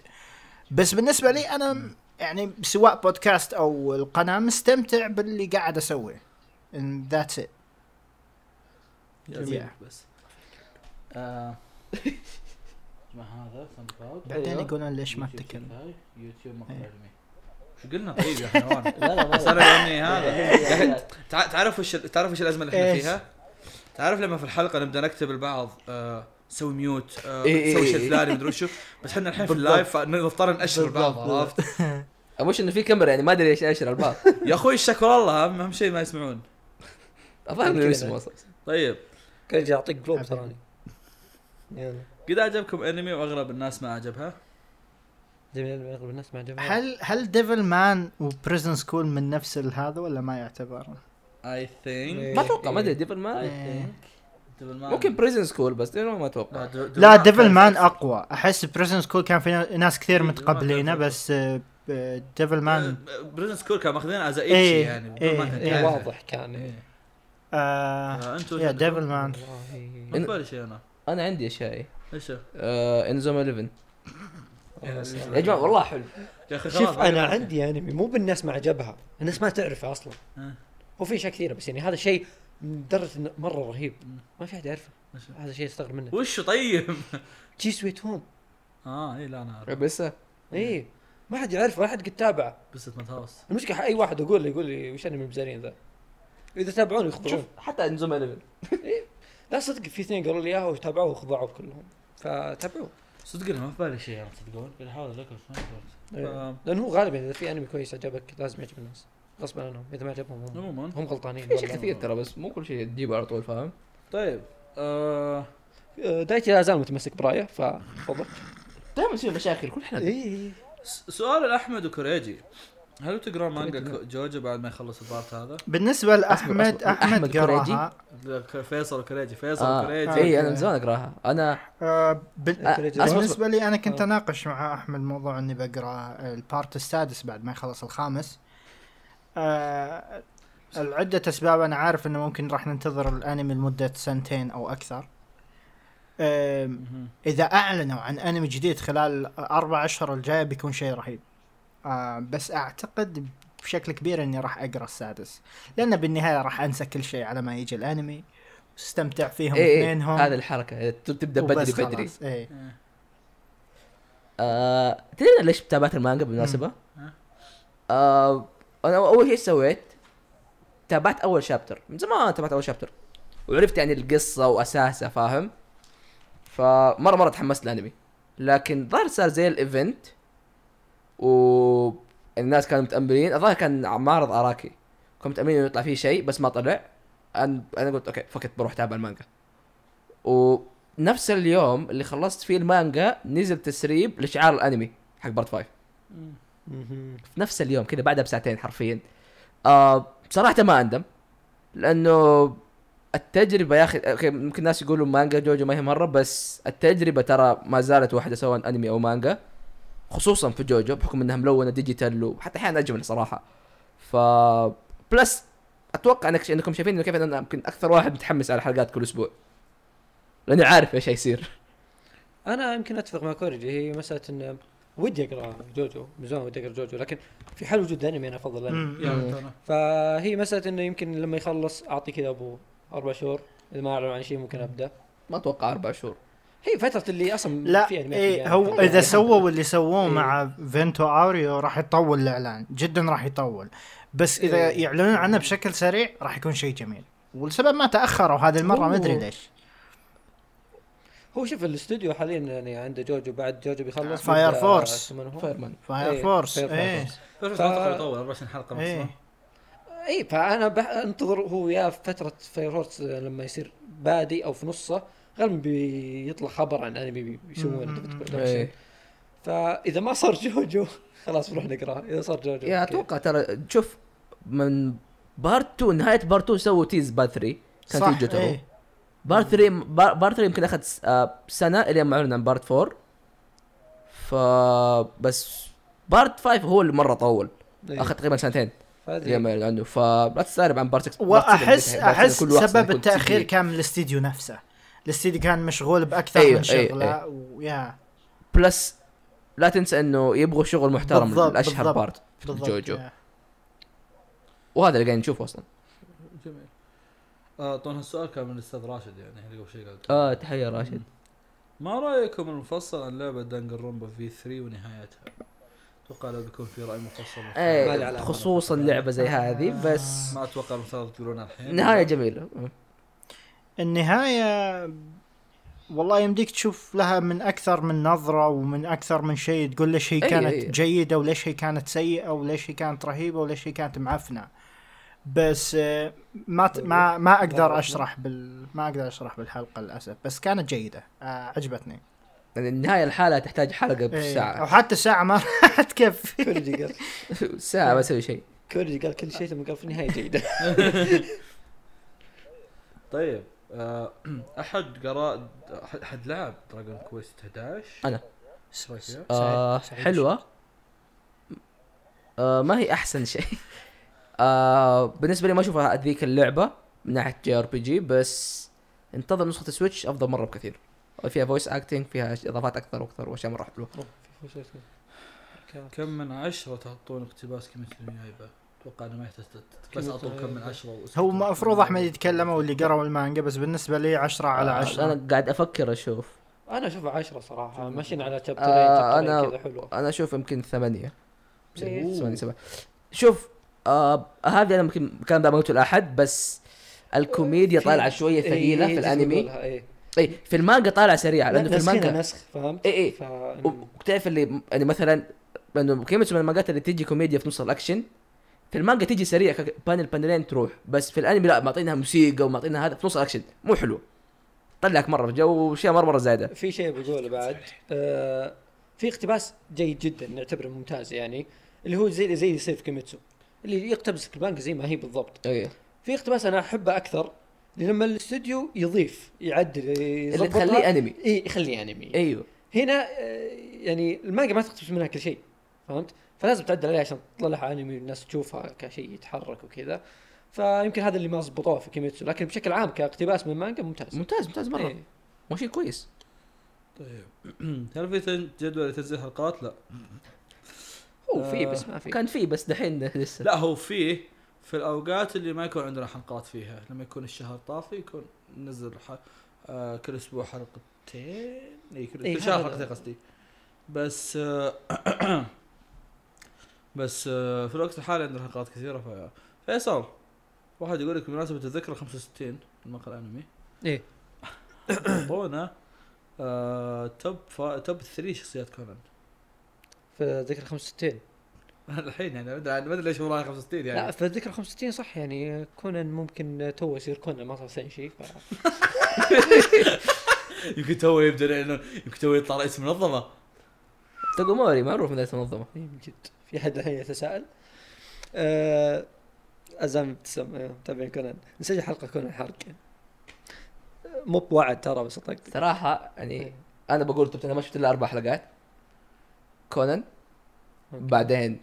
Speaker 4: بس بالنسبه لي انا م- يعني سواء بودكاست او القناه مستمتع باللي قاعد اسويه ذاتس ات
Speaker 1: جميل
Speaker 4: Yeah.
Speaker 1: بس آه، ما هذا ساوند كلاود
Speaker 4: بعدين
Speaker 2: أيوه.
Speaker 4: يقولون ليش ما
Speaker 1: يوتيوب
Speaker 4: تتكلم
Speaker 1: شنكاي، يوتيوب مقطع
Speaker 4: إيه.
Speaker 1: علمي شو قلنا طيب يا اخي نوان
Speaker 2: لا لا إيه،
Speaker 1: بس انا يعني هذا تع- تعرف وش تعرف وش الازمه اللي احنا
Speaker 4: إيش؟
Speaker 1: فيها؟ تعرف لما في الحلقه نبدا نكتب البعض آه، سوي ميوت آه،
Speaker 2: إيه، إيه،
Speaker 1: سوي
Speaker 2: إيه،
Speaker 1: شيء
Speaker 2: إيه.
Speaker 1: فلاني مدري وشو بس احنا الحين في اللايف فنضطر ناشر البعض
Speaker 2: بالضبط.
Speaker 1: عرفت؟
Speaker 2: مش انه في كاميرا يعني ما ادري ايش اشر الباب
Speaker 1: يا اخوي الشكر الله اهم أهم شيء ما يسمعون
Speaker 2: الظاهر انه
Speaker 3: كذا.
Speaker 2: اسمه اصلا
Speaker 1: طيب
Speaker 3: كان جاي اعطيك جلوب تراني يلا
Speaker 1: قد عجبكم انمي واغلب الناس ما عجبها
Speaker 3: جميل اغلب الناس ما عجبها
Speaker 4: هل هل ديفل مان وبريزن سكول من نفس هذا ولا ما يعتبر؟
Speaker 1: اي ثينك
Speaker 2: ما اتوقع ما ادري ديفل ما إيه. ممكن بريزن سكول بس ديفل ما
Speaker 1: آه.
Speaker 2: اتوقع
Speaker 4: لا ديفل مان اقوى احس بريزن سكول كان في ناس كثير متقبلينه بس آه، ديفل مان
Speaker 1: بريزن سكول آه، كان ماخذين از ايتشي
Speaker 4: إيه،
Speaker 1: يعني
Speaker 4: إيه،
Speaker 1: ما كان
Speaker 4: إيه.
Speaker 1: كان.
Speaker 3: واضح كان
Speaker 1: إيه.
Speaker 4: آه
Speaker 1: آه، انتم
Speaker 4: يا ديفل مان
Speaker 3: والله.
Speaker 1: ما في بالي شيء انا
Speaker 2: انا عندي اشياء
Speaker 1: ايش يا
Speaker 2: آه انزوم 11
Speaker 1: يا
Speaker 2: يا جماعه والله حلو
Speaker 1: اخي خلاص
Speaker 3: شوف انا عندي انمي مو بالناس ما عجبها الناس ما تعرفه اصلا
Speaker 1: آه.
Speaker 3: هو في اشياء كثيره بس يعني هذا شيء لدرجه انه مره رهيب ما في احد يعرفه
Speaker 1: ماشي.
Speaker 3: هذا شيء استغرب منه
Speaker 1: وشو طيب؟
Speaker 3: جي سويت هوم
Speaker 1: اه اي لا انا اعرف
Speaker 2: بس
Speaker 3: اي إيه. ما حد يعرفه ولا حد قد تابعه
Speaker 1: بس ما تهاوس
Speaker 3: المشكله اي واحد اقول له يقول لي وش انمي المزارين ذا اذا تابعوني يخبرون
Speaker 2: شوف حتى انزوم 11
Speaker 3: لا صدق في اثنين قالوا لي اياها وتابعوه وخضعوا كلهم فتابعوه
Speaker 1: صدق انا ما في بالي شيء انا تصدقون قاعد احاول اذكر بس ما قدرت.
Speaker 3: إيه.
Speaker 1: آم،
Speaker 3: لانه هو غالبا اذا في انمي كويس عجبك لازم يعجب الناس غصبا عنهم اذا ما عجبهم هم
Speaker 1: عموما
Speaker 3: هم غلطانين
Speaker 2: في اشياء
Speaker 3: والله.
Speaker 2: كثير ترى بس مو كل شيء تجيبه على طول فاهم
Speaker 1: طيب آه،
Speaker 3: آه، دايتي لا زال متمسك برايه فتفضل
Speaker 2: دائما تصير مشاكل كل حلقه
Speaker 3: اي
Speaker 1: س- سؤال لاحمد وكوريجي هل تقرا مانجا جوجو بعد ما يخلص البارت هذا؟
Speaker 4: بالنسبه
Speaker 2: أصبر،
Speaker 4: لاحمد
Speaker 2: أصبر. أحمد
Speaker 4: احمد
Speaker 2: كوريجي؟
Speaker 4: قراها
Speaker 1: لا، ك- فيصل وكوريجي فيصل
Speaker 2: آه.
Speaker 1: وكوريجي
Speaker 2: اي انا من زمان اقراها انا
Speaker 4: آه، بال-
Speaker 2: آه،
Speaker 3: كوريجي.
Speaker 2: أصبر، أصبر.
Speaker 4: بالنسبه لي انا
Speaker 2: أه.
Speaker 4: كنت اناقش مع احمد موضوع اني بقرا البارت السادس بعد ما يخلص الخامس آه، لعدة اسباب انا عارف انه ممكن راح ننتظر الانمي لمدة سنتين او اكثر آم،
Speaker 1: مهم.
Speaker 4: اذا اعلنوا عن انمي جديد خلال اربع اشهر الجاية بيكون شيء رهيب آه، بس اعتقد بشكل كبير اني راح اقرا السادس لان بالنهاية راح انسى كل شيء على ما يجي الانمي استمتع فيهم
Speaker 2: اي اي
Speaker 4: اثنينهم
Speaker 2: هذه الحركه إيه، ت- تبدا
Speaker 4: وبس
Speaker 2: إيه. بدري بدري
Speaker 4: خلاص، إيه.
Speaker 1: إيه.
Speaker 2: آه، تدري أنا ليش تابعت المانجا بالمناسبه؟
Speaker 1: ها؟
Speaker 2: آه، انا اول شيء سويت تابعت اول شابتر من زمان تابعت اول شابتر وعرفت يعني القصه واساسها فاهم؟ فمره مره تحمست للانمي لكن ظهر صار زي الايفنت و الناس كانوا متأملين الظاهر كان معرض اراكي كانوا متأملين انه يطلع فيه شيء بس ما طلع انا انا قلت اوكي فكت بروح تابع المانجا ونفس اليوم اللي خلصت فيه المانجا نزل تسريب لشعار الانمي حق بارت 5 في نفس اليوم كذا بعدها بساعتين حرفيا آه بصراحه ما اندم لانه التجربه يا اخي أوكي، ممكن الناس يقولوا مانجا جوجو ما هي مره بس التجربه ترى ما زالت واحده سواء انمي او مانجا خصوصا في جوجو بحكم انها ملونه ديجيتال وحتى احيانا اجمل صراحه ف بلس اتوقع انك انكم شايفين انه كيف انا يمكن اكثر واحد متحمس على حلقات كل اسبوع لاني عارف ايش حيصير
Speaker 3: انا يمكن اتفق مع كوريجي هي مساله انه ودي اقرا جوجو من زمان ودي اقرا جوجو لكن في حال وجود انمي انا افضل الانمي
Speaker 4: مم.
Speaker 1: يا ترى.
Speaker 3: فهي مساله انه يمكن لما يخلص اعطي كذا ابو اربع شهور اذا ما اعلن عن شيء ممكن ابدا
Speaker 2: ما اتوقع اربع شهور
Speaker 3: هي فتره اللي اصلا
Speaker 4: لا
Speaker 3: في انميات
Speaker 4: إيه
Speaker 3: يعني.
Speaker 4: هو
Speaker 3: يعني
Speaker 4: اذا سووا اللي سووه
Speaker 3: إيه.
Speaker 4: مع فينتو اوريو راح يطول الاعلان جدا راح يطول بس اذا
Speaker 3: إيه.
Speaker 4: يعلنون عنه بشكل سريع راح يكون شيء جميل والسبب ما تاخروا هذه المره ما ادري
Speaker 3: أوه.
Speaker 4: ليش
Speaker 3: هو شوف الاستوديو حاليا يعني عنده جوجو بعد جوجو بيخلص
Speaker 4: فاير
Speaker 3: بيبدأ
Speaker 4: فورس.
Speaker 3: ثمن هو.
Speaker 2: فايرمان
Speaker 4: فاير
Speaker 3: إيه،
Speaker 4: فورس
Speaker 3: فاير
Speaker 4: ايه
Speaker 3: فورس.
Speaker 1: فيصل
Speaker 3: ف-
Speaker 1: ما يطول 24 حلقه بس
Speaker 4: إيه.
Speaker 1: ما؟
Speaker 3: اي فانا بنتظر هو يا في فتره فاير هورس آه، لما يصير بادي او في نصه غالبا بيطلع خبر عن انمي بي- بيسوونه
Speaker 4: مم.
Speaker 3: برودكشن فاذا ما صار جوجو خلاص بنروح نقراه اذا صار جوجو
Speaker 2: يا
Speaker 3: أوكي.
Speaker 2: اتوقع ترى شوف من بارت 2 نهايه بارت 2 سووا تيز بارت 3 كان
Speaker 4: صح
Speaker 2: في جوترو
Speaker 4: ايه
Speaker 2: بارت 3 بار- بارت 3 يمكن اخذ س- آه، سنه الين ما اعلن عن بارت 4 ف بس بارت 5 هو اللي مره طول
Speaker 3: إيه.
Speaker 4: إيه.
Speaker 2: اخذ تقريبا سنتين
Speaker 3: فهذه
Speaker 2: يعمل عنه فلا تستغرب عن بارت 6
Speaker 4: واحس احس
Speaker 2: كل واحد
Speaker 4: سبب
Speaker 2: يكون
Speaker 4: التاخير
Speaker 2: CD.
Speaker 4: كان من الاستديو نفسه الاستديو كان مشغول باكثر
Speaker 2: أيوة،
Speaker 4: من
Speaker 2: أيوة،
Speaker 4: شغله ويا
Speaker 2: بلس لا تنسى انه يبغوا شغل محترم
Speaker 4: بالضبط،
Speaker 2: الاشهر
Speaker 4: بالضبط،
Speaker 2: بارت في
Speaker 4: بالضبط
Speaker 2: جوجو
Speaker 4: يا.
Speaker 2: وهذا اللي قاعدين نشوفه اصلا
Speaker 1: جميل آه طبعا هالسؤال كان من الاستاذ راشد يعني احنا قبل شوي قال
Speaker 2: اه تحيه راشد
Speaker 1: ما رايكم المفصل عن لعبه دانجر رومبا في 3 ونهايتها؟ اتوقع لو بيكون في راي مفصل
Speaker 3: ما لي علاقة.
Speaker 2: خصوصا لعبه إيه، زي هذه بس
Speaker 1: ما اتوقع المفترض تقولونها الحين
Speaker 2: نهايه جميله مم.
Speaker 4: النهايه والله يمديك تشوف لها من اكثر من نظره ومن اكثر من شيء تقول ليش هي
Speaker 2: أي-
Speaker 4: كانت
Speaker 2: أي.
Speaker 4: جيده وليش هي كانت سيئه وليش هي كانت رهيبه وليش هي كانت معفنه بس آه، ما ت- ما ما اقدر اشرح بال ما اقدر اشرح بالحلقه للاسف بس كانت جيده آه، عجبتني
Speaker 2: يعني النهايه الحالة تحتاج حلقه
Speaker 4: إيه،
Speaker 2: بساعه
Speaker 4: وحتى ساعه ما راح تكفي
Speaker 3: كوريجي قال
Speaker 2: ساعه ما اسوي شيء
Speaker 3: كوريجي قال كل شيء ثم قال في النهايه جيده
Speaker 1: طيب آه، احد قرا أحد- احد لعب دراجون كويست 11
Speaker 2: أنا.
Speaker 1: ايش رايك فيها؟
Speaker 2: آه حلوه آه ما هي احسن شيء آه بالنسبه لي ما اشوفها ذيك اللعبه من ناحيه جي ار بي جي بس انتظر نسخه السويتش افضل مره بكثير فيها فويس اكتنج فيها اضافات اكثر واكثر واشياء مره حلوه
Speaker 1: كم من عشرة تعطون اقتباس كلمة النيايبة؟ اتوقع انه ما يحتاج تت- بس اعطوا كم من عشرة واسكتوا.
Speaker 4: هو المفروض احمد يتكلم واللي قرأوا المانجا بس بالنسبه لي 10 على
Speaker 2: آه
Speaker 4: 10
Speaker 2: انا قاعد افكر اشوف
Speaker 3: انا اشوفها 10 صراحه ماشيين على تشابترين
Speaker 2: آه
Speaker 3: تشابترين كذا إيه.
Speaker 2: انا
Speaker 3: حلو
Speaker 2: انا اشوف يمكن ثمانية
Speaker 3: ليه؟
Speaker 2: ثمانية سبعة شوف آه هذه انا يمكن كان ما قلته لاحد بس الكوميديا
Speaker 3: في-
Speaker 2: طالعه شويه
Speaker 3: إيه،
Speaker 2: ثقيله
Speaker 3: إيه،
Speaker 2: في
Speaker 3: جزء
Speaker 2: الانمي
Speaker 3: بقولها، إيه.
Speaker 2: اي في المانجا طالعه سريعه لانه في
Speaker 3: بس هنا
Speaker 2: المانجا
Speaker 3: نسخ فهمت؟
Speaker 2: إيه، إيه.
Speaker 3: ف...
Speaker 2: وتعرف اللي يعني مثلا لانه كلمة من المانجات اللي تجي كوميديا في نص الاكشن في المانجا تجي سريع كك- بانل بانلين تروح بس في الانمي لا معطينها موسيقى ومعطينها هذا في نص الاكشن مو حلو طلعك مره في جو وشيء مره مره زايده
Speaker 3: في شيء بقوله بعد آه في اقتباس جيد جدا نعتبره ممتاز يعني اللي هو زي زي اللي يصير في كيميتسو اللي يقتبس البانك زي ما هي بالضبط
Speaker 2: ايه
Speaker 3: في اقتباس انا احبه اكثر لما الاستوديو يضيف يعدل
Speaker 2: اللي
Speaker 3: يظبطها
Speaker 2: تخليه انمي
Speaker 3: اي يخليه انمي
Speaker 2: ايوه
Speaker 3: هنا آه، يعني المانجا ما تقتبس منها كل شيء فهمت؟ فلازم تعدل عليها عشان تطلعها انمي والناس تشوفها كشيء يتحرك وكذا فيمكن هذا اللي ما ظبطوه في كيميتسو لكن بشكل عام كاقتباس من مانجا ممتاز
Speaker 2: ممتاز ممتاز مره
Speaker 3: إيه.
Speaker 2: مو شيء كويس
Speaker 1: طيب هل في تن- جدول لتنزيل حلقات؟ لا
Speaker 3: هو في بس ما في
Speaker 2: كان في بس دحين لسه
Speaker 1: لا هو فيه في الاوقات اللي ما يكون عندنا حلقات فيها لما يكون الشهر طافي يكون ننزل ح... آه كل اسبوع حلقتين اي كل
Speaker 3: إي،
Speaker 1: كل شهر
Speaker 3: هذا-
Speaker 1: حلقتين قصدي بس آه بس آه في الوقت الحالي عندنا حلقات كثيره ف... فيصل واحد يقول لك بمناسبه الذكرى 65 المقهى الانمي
Speaker 3: إيه.
Speaker 1: اعطونا آه توب فا... توب 3 شخصيات كونان
Speaker 3: في ذكرى 65
Speaker 1: الحين يعني ما ادري ما ادري ليش وراي 65 يعني
Speaker 3: لا في ذكرى 65 صح يعني كونان ممكن تو يصير كونان ما صار سنشي ف...
Speaker 1: يمكن تو يبدا لأنه- يمكن تو يطلع رئيس منظمه
Speaker 2: تاجوموري معروف من ذات المنظمه
Speaker 3: إيه من جد في حد الحين يتساءل آه، ازام ابتسام أيوه، متابعين كونان نسجل حلقه كونان حرق آه، مو بوعد ترى بس طقت
Speaker 2: صراحه
Speaker 3: إيه.
Speaker 2: يعني انا بقول طب انا ما شفت الا اربع حلقات كونان بعدين آه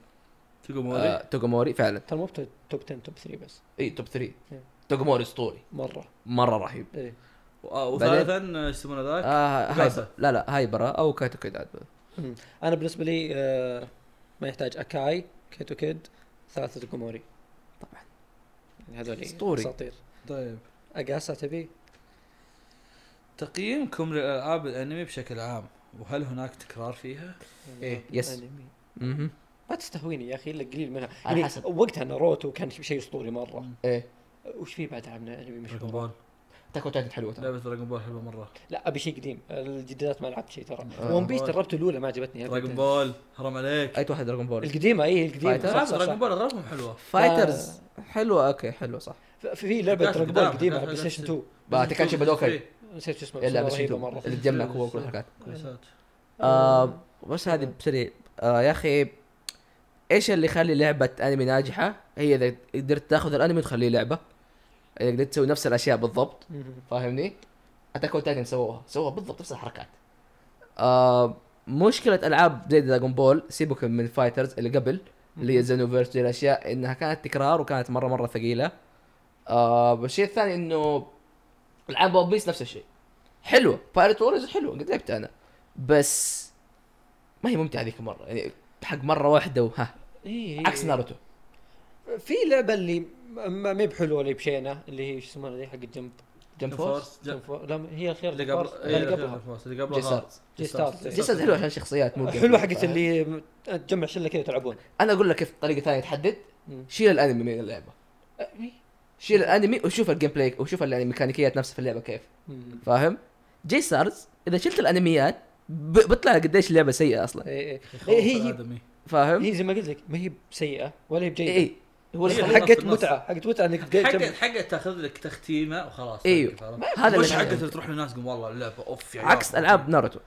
Speaker 1: تقول
Speaker 2: توغوموري فعلا
Speaker 3: ترى مو بتوب توب 10 توب 3 بس
Speaker 2: اي توب 3
Speaker 3: إيه.
Speaker 2: توغوموري اسطوري
Speaker 3: مره
Speaker 2: مره رهيب
Speaker 3: ايه
Speaker 1: آه، وثالثا ايش يسمونه ذاك؟
Speaker 2: آه
Speaker 1: وكاسا.
Speaker 2: هايبر آه، لا لا هايبرا او كايتو كيد عاد.
Speaker 3: مم. انا بالنسبه لي آه، ما يحتاج اكاي كيتو كيد ثلاثه كوموري
Speaker 2: طبعاً.
Speaker 3: يعني هذول
Speaker 2: أسطوري.
Speaker 3: اساطير
Speaker 1: طيب
Speaker 3: اقاسا تبي
Speaker 1: تقييمكم للالعاب الانمي آه، بشكل عام وهل هناك تكرار فيها؟
Speaker 2: إيه، يس.
Speaker 3: أنمي.
Speaker 2: مهم.
Speaker 3: يعني ما تستهويني يا اخي الا قليل منها
Speaker 2: على
Speaker 3: يعني
Speaker 2: حسب.
Speaker 3: وقتها ناروتو كان شيء اسطوري مره
Speaker 2: ايه
Speaker 3: وش في بعد عندنا انمي
Speaker 1: دراجون
Speaker 3: مشهور
Speaker 1: بول
Speaker 2: تاكو تايتن حلوه ترى.
Speaker 1: لعبه دراجون بول حلوه مره
Speaker 3: لا ابي شيء قديم الجديدات ما لعبت شيء ترى
Speaker 2: آه.
Speaker 3: ون بيس جربته الاولى ما عجبتني
Speaker 1: دراجون
Speaker 3: أبداً.
Speaker 1: بول حرام عليك
Speaker 2: اي واحد دراجون بول
Speaker 3: القديمه اي القديمه
Speaker 2: فايتر؟
Speaker 3: صح
Speaker 1: لعبه
Speaker 3: صح
Speaker 1: دراجون
Speaker 3: صح
Speaker 1: بول اغلبهم حلوه
Speaker 2: فايترز حلوه اوكي حلوه صح
Speaker 3: في- في لعبه
Speaker 1: قدام-
Speaker 3: دراجون بول
Speaker 1: قدام-
Speaker 3: قديمه على
Speaker 1: قدام-
Speaker 3: بلاي ستيشن 2
Speaker 2: بقى تكاتشي بدوكاي
Speaker 3: نسيت شو اسمه بس
Speaker 2: الا
Speaker 3: إنها
Speaker 2: بس
Speaker 3: رهيبه
Speaker 2: يوتيوب
Speaker 3: مره
Speaker 2: اللي تجمع كوكو كل الحلقات
Speaker 1: كويسات
Speaker 2: آه بس هذه بسريع آه يا اخي ايش اللي يخلي لعبه انمي ناجحه هي اذا قدرت تاخذ الانمي وتخليه لعبه اذا قدرت تسوي نفس الاشياء بالضبط
Speaker 3: مم.
Speaker 2: فاهمني؟ اتاك اون تايتن سووها سووها بالضبط نفس الحركات آه مشكلة العاب زي دراجون بول سيبك من فايترز اللي قبل اللي هي زينوفيرس الاشياء انها كانت تكرار وكانت مره مره ثقيله آه والشيء الثاني انه العاب ون بيس نفس الشيء حلوه بايرت وورز حلوه قد لعبت انا بس ما هي ممتعه ذيك المره يعني حق مره واحده وها
Speaker 3: إيه إيه.
Speaker 2: عكس ناروتو
Speaker 3: في لعبه اللي ما ما هي بحلوه اللي بشينه اللي هي شو اسمها ذي حق الجنب
Speaker 2: جمب فورس
Speaker 1: جمب
Speaker 3: جنب فوق. لا ما هي خير
Speaker 1: اللي قبل
Speaker 3: فورس. لا،
Speaker 1: إيه،
Speaker 3: اللي
Speaker 1: اللي
Speaker 3: قبلها
Speaker 1: قبل اللي قبل
Speaker 2: جي ستارز.
Speaker 3: جي ستارز. جي
Speaker 2: جسد حلوه عشان شخصيات مو
Speaker 3: حلوه حقت اللي تجمع شله كذا تلعبون
Speaker 2: انا اقول لك كيف طريقه ثانيه تحدد
Speaker 3: مم.
Speaker 2: شيل الانمي من اللعبه شيل الانمي وشوف الجيم بلاي وشوف يعني الميكانيكيات نفسها في اللعبه كيف
Speaker 3: مم.
Speaker 2: فاهم جي ستارز اذا شلت الانميات ب- بيطلع قديش اللعبه سيئه اصلا
Speaker 3: إيه، إيه.
Speaker 1: هي
Speaker 3: إيه، هي
Speaker 1: هي
Speaker 2: فاهم إيه،
Speaker 3: هي زي ما قلت لك ما هي بسيئه ولا هي بجيده
Speaker 2: اي هو اللي
Speaker 1: هي
Speaker 2: خليك-
Speaker 1: الحق-
Speaker 3: حقت
Speaker 1: في النص.
Speaker 3: متعه حقت متعه انك
Speaker 1: حقت
Speaker 3: تجمع
Speaker 1: حقت تاخذ لك تختيمه وخلاص
Speaker 2: أيوه.
Speaker 1: تكفى.
Speaker 2: هذا
Speaker 1: مش
Speaker 2: اللي
Speaker 1: حقت
Speaker 2: أنا- يعني.
Speaker 1: اللي تروح للناس تقول والله اللعبه اوف يا عيال.
Speaker 2: عكس العاب ناروتو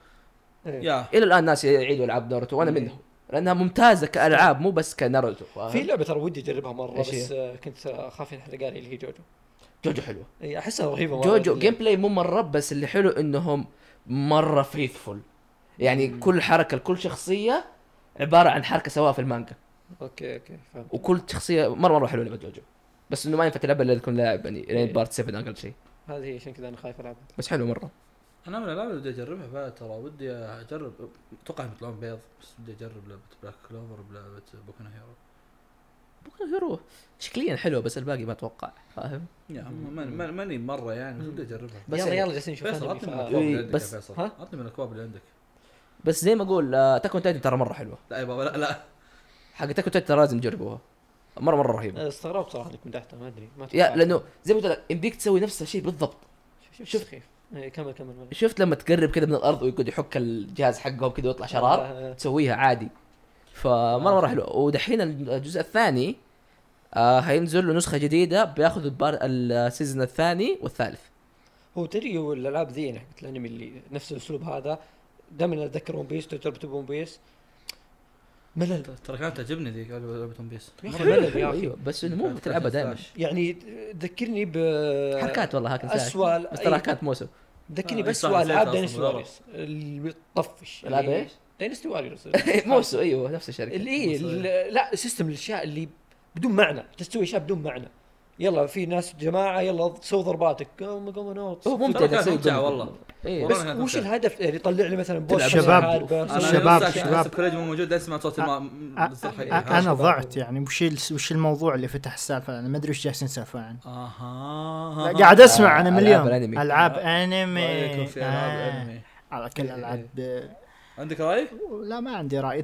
Speaker 3: إيه.
Speaker 1: يا
Speaker 2: الى الان ناس يعيدوا العاب ناروتو وانا منهم لانها ممتازه كالعاب مو بس كناروتو فاهم؟
Speaker 3: في لعبه ترى ودي اجربها مره
Speaker 2: إيش
Speaker 3: بس آه، كنت اخاف ينحرقها لي اللي هي جوجو
Speaker 2: جوجو حلوه
Speaker 3: إيه، احسها رهيبه مرة.
Speaker 2: جوجو
Speaker 3: اللي-
Speaker 2: جيم بلاي مو مره بس اللي حلو انهم مره فيثفul يعني كل حركه لكل شخصيه عباره عن حركه سواها في المانجا
Speaker 3: اوكي اوكي فهمت
Speaker 2: وكل شخصيه مره مره حلوه لعبه جوجو بس انه ما ينفع تلعبها الا اذا تكون لاعب يعني لين
Speaker 3: إيه.
Speaker 2: بارت 7 اقل شيء
Speaker 3: هذه هي عشان كذا انا خايف العبها
Speaker 2: بس حلو مره
Speaker 1: انا من الالعاب اللي بدي اجربها بعد ترى ودي اجرب اتوقع إنهم يطلعون بيض بس بدي اجرب لعبه بلاك كلوفر بلعبه بوكو نو هيرو
Speaker 2: بوكو هيرو شكليا حلوه بس الباقي ما اتوقع فاهم
Speaker 1: يا ما- ما- ما- ماني مره يعني بس بدي اجربها
Speaker 2: بس
Speaker 3: بس يلا
Speaker 2: يعني-
Speaker 3: يلا جالسين نشوف
Speaker 1: فيصل
Speaker 3: أنمي، آه.
Speaker 1: عطني من الاكواب اللي
Speaker 3: ف-
Speaker 2: إيه،
Speaker 1: عندك يا
Speaker 2: بس-
Speaker 1: فيصل
Speaker 3: ها؟
Speaker 1: عطني من الاكواب اللي عندك
Speaker 2: بس زي ما آه، اقول تاكون تايتن ترى مره حلوه
Speaker 1: لا يا بابا لا لا
Speaker 2: حق تاكون تايتن ترى لازم تجربوها مره مره رهيبه
Speaker 3: استغربت صراحه انك مدحتها ما ادري ما
Speaker 2: يا
Speaker 3: توقعت.
Speaker 2: لانه زي ما قلت لك يمديك تسوي نفس الشيء بالضبط
Speaker 3: شوف
Speaker 2: شوف.
Speaker 3: شوف سخيف إيه، كمل كمل معلش.
Speaker 2: شفت لما تقرب كذا من الارض ويقعد يحك الجهاز حقهم كذا ويطلع شرار
Speaker 3: آه، آه.
Speaker 2: تسويها عادي فمره مره حلو ودحين الجزء الثاني آه هينزل له نسخه جديده بياخذ البار السيزون الثاني والثالث
Speaker 3: هو تدري هو الالعاب ذي يعني حقت الانمي اللي نفس الاسلوب هذا دائما اتذكر ون بيس تجربه ون بيس ملل
Speaker 1: ترى كانت تعجبني ذيك لعبه ون بيس
Speaker 3: يا
Speaker 2: مرة
Speaker 3: أخي،
Speaker 2: حلو،
Speaker 3: ملل يا أخي.
Speaker 2: ايوه بس انه مو بتلعبها دائما
Speaker 3: يعني تذكرني ب
Speaker 2: حركات والله هاك
Speaker 3: أسوأ
Speaker 2: اسوء بس
Speaker 1: أيوة.
Speaker 2: ترى
Speaker 3: أي-
Speaker 2: كانت موسم
Speaker 3: تذكرني
Speaker 1: آه،
Speaker 3: باسوء
Speaker 1: صح،
Speaker 3: العاب
Speaker 1: نسيت
Speaker 3: داينستي
Speaker 1: أصلاً،
Speaker 3: واريوس اللي يعني طفش
Speaker 2: ألعاب إيش؟
Speaker 3: داينستي واريوس
Speaker 2: إيه. موسو ايوه نفس الشركه
Speaker 3: اللي إيه،
Speaker 1: مصرية.
Speaker 3: ال- لا سيستم الاشياء اللي بدون معنى تسوي اشياء بدون معنى يلا في ناس جماعه يلا سوي ضرباتك Oh قوم قوم نوت
Speaker 2: هو ممتع
Speaker 1: ترى
Speaker 2: إنك
Speaker 1: كانت
Speaker 2: تسوي
Speaker 1: ممتعة
Speaker 2: قنبلة.
Speaker 1: والله.
Speaker 2: إيه.
Speaker 3: بس
Speaker 1: والله كانت
Speaker 3: وش
Speaker 1: ممتعة.
Speaker 3: الهدف يعني يطلع لي مثلا بوس
Speaker 4: تلعب
Speaker 3: شباب
Speaker 4: شباب.
Speaker 3: حاربة.
Speaker 1: أنا
Speaker 4: شباب،
Speaker 1: لسه-
Speaker 4: شباب.
Speaker 1: لسه كوريج مو موجود اسمع صوت الم- الزر حقي.
Speaker 4: انا ضعت يعني وش ال- وش الموضوع اللي فتح السالفه انا ما ادري وش جالسين نسولف عنه
Speaker 1: آه، اها
Speaker 4: قاعد اسمع انا
Speaker 2: ألعاب
Speaker 4: مليون
Speaker 2: الأنمي.
Speaker 4: العاب
Speaker 1: رأيك
Speaker 4: انمي
Speaker 1: في ألعاب
Speaker 4: آه.
Speaker 1: أنمي. إيه،
Speaker 4: على كل العاب
Speaker 1: عندك راي؟
Speaker 4: لا ما عندي راي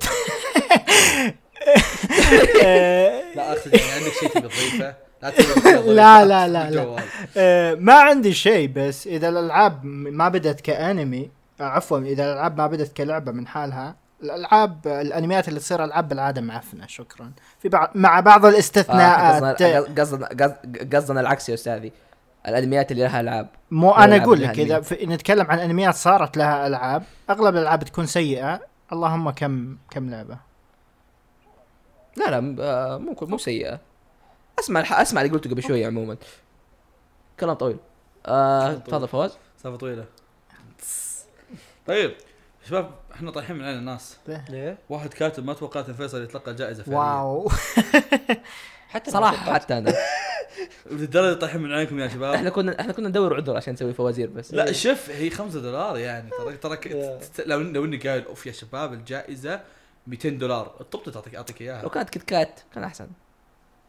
Speaker 4: آه،
Speaker 1: لا اقصد يعني عندك شيء تبي تضيفه لا تبي-
Speaker 4: لا، لا، لا، لا.
Speaker 1: الجوال.
Speaker 4: آه، ما عندي شيء بس اذا الالعاب ما بدت كانمي آه، عفوا اذا الالعاب ما بدت كلعبه من حالها الالعاب الانميات اللي تصير العاب بالعاده معفنه شكرا في بعض مع بعض
Speaker 2: آه،
Speaker 4: الاستثناءات
Speaker 2: قصدنا قصدنا قصد- قصدنا العكس يا استاذي الانميات اللي لها العاب
Speaker 4: مو انا
Speaker 2: الألعاب
Speaker 4: اقول
Speaker 2: لها
Speaker 4: لك اذا
Speaker 2: أنميات.
Speaker 4: في نتكلم عن انميات صارت لها العاب اغلب الالعاب تكون سيئه اللهم كم كم لعبه
Speaker 2: لا لا م- آه، مو مو سيئه اسمع الح- اسمع اللي قلته قبل شوي عموما كلام طويل آه،
Speaker 1: كلام طويل.
Speaker 2: تفضل فواز
Speaker 1: سالفه طويله طيب شباب احنا طايحين من عين الناس
Speaker 3: ليه؟
Speaker 1: واحد كاتب ما توقعت ان فيصل يتلقى الجائزه فعليا
Speaker 4: واو
Speaker 3: حتى أنا
Speaker 2: صراحه
Speaker 3: توقعت.
Speaker 2: حتى انا
Speaker 1: للدرجه طايحين من عينكم يا شباب
Speaker 2: احنا كنا احنا كنا ندور عذر عشان نسوي فوازير بس
Speaker 1: لا شف هي 5 دولار يعني ترى ترى ك-
Speaker 3: Yeah.
Speaker 1: ت- لو لو اني قايل اوف يا شباب الجائزه 200 دولار الطبطة تعطيك اعطيك اياها
Speaker 2: لو كانت كيت كات كان احسن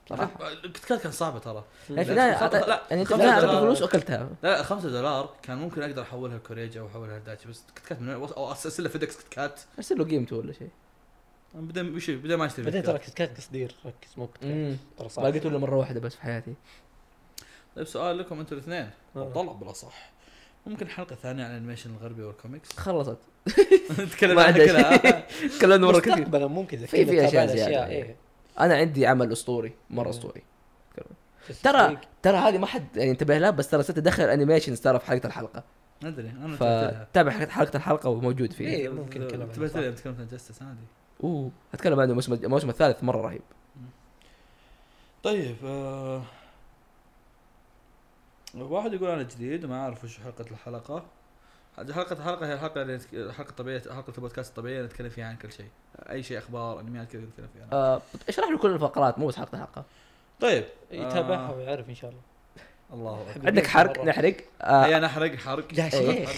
Speaker 2: صراحه
Speaker 1: الكت كات كان صعبه ترى
Speaker 2: يعني في
Speaker 1: لا،
Speaker 2: النهايه
Speaker 1: خمسة-
Speaker 2: أعطى-
Speaker 1: لا،
Speaker 2: يعني في
Speaker 1: خمسة
Speaker 2: النهاية اعطيته
Speaker 1: دولار.
Speaker 2: فلوس واكلتها
Speaker 1: لا 5 دولار كان ممكن اقدر احولها لكوريجا او احولها لداتشي بس كت كات من وين- او ارسل له فيدكس كت كات
Speaker 2: ارسل له قيمته ولا شيء
Speaker 1: بدا وش- بدا ما اشتري
Speaker 3: بعدين
Speaker 1: كت كات.
Speaker 3: ترى كت كات تصدير ركز مو كت كات. ترى
Speaker 2: ما قلت الا مره واحده بس في حياتي
Speaker 1: طيب سؤال لكم انتم الاثنين
Speaker 3: آه.
Speaker 1: طلب بالاصح ممكن حلقه ثانيه عن الانيميشن الغربي والكوميكس
Speaker 2: خلصت
Speaker 1: نتكلم
Speaker 2: ما
Speaker 1: عنها
Speaker 2: عندها
Speaker 1: كلها
Speaker 2: تكلمنا مره كثير
Speaker 3: مستقبلا ممكن إذا
Speaker 2: في-
Speaker 3: كنا
Speaker 2: في أشياء
Speaker 3: تابعنا
Speaker 2: زيادة.
Speaker 3: إيه.
Speaker 2: انا عندي عمل اسطوري مره
Speaker 3: مم.
Speaker 2: اسطوري ترى
Speaker 3: تسويق.
Speaker 2: ترى هذه ما حد يعني انتبه لها بس ترى ستدخل انيميشنز ترى في حلقه الحلقه
Speaker 1: ادري انا تابعتها
Speaker 2: فتابع حلقة- حلقه الحلقه وموجود فيها
Speaker 3: إيه، ممكن نتكلم عنها،
Speaker 1: تبعت
Speaker 3: صح.
Speaker 1: لي تكلمت عن جاستس عادي
Speaker 2: اوه اتكلم عنه الموسم الموسم الثالث مره رهيب
Speaker 1: طيب آه واحد يقول انا جديد ما اعرف وش حلقه الحلقه حلقه الحلقه هي الحلقه اللي نتك- الحلقه الطبيعيه حلقه البودكاست الطبيعيه اللي نتكلم فيها عن كل شيء اي شيء اخبار انميات كذا نتكلم فيها
Speaker 2: آه، اشرح له كل الفقرات مو بس حلقه حلقه
Speaker 1: طيب
Speaker 3: يتابعها
Speaker 1: آه،
Speaker 3: ويعرف ان شاء الله
Speaker 1: الله اكبر
Speaker 2: عندك حرق
Speaker 3: مرة.
Speaker 2: نحرق
Speaker 1: اي
Speaker 2: آه،
Speaker 1: انا احرق حرق
Speaker 3: يا شيخ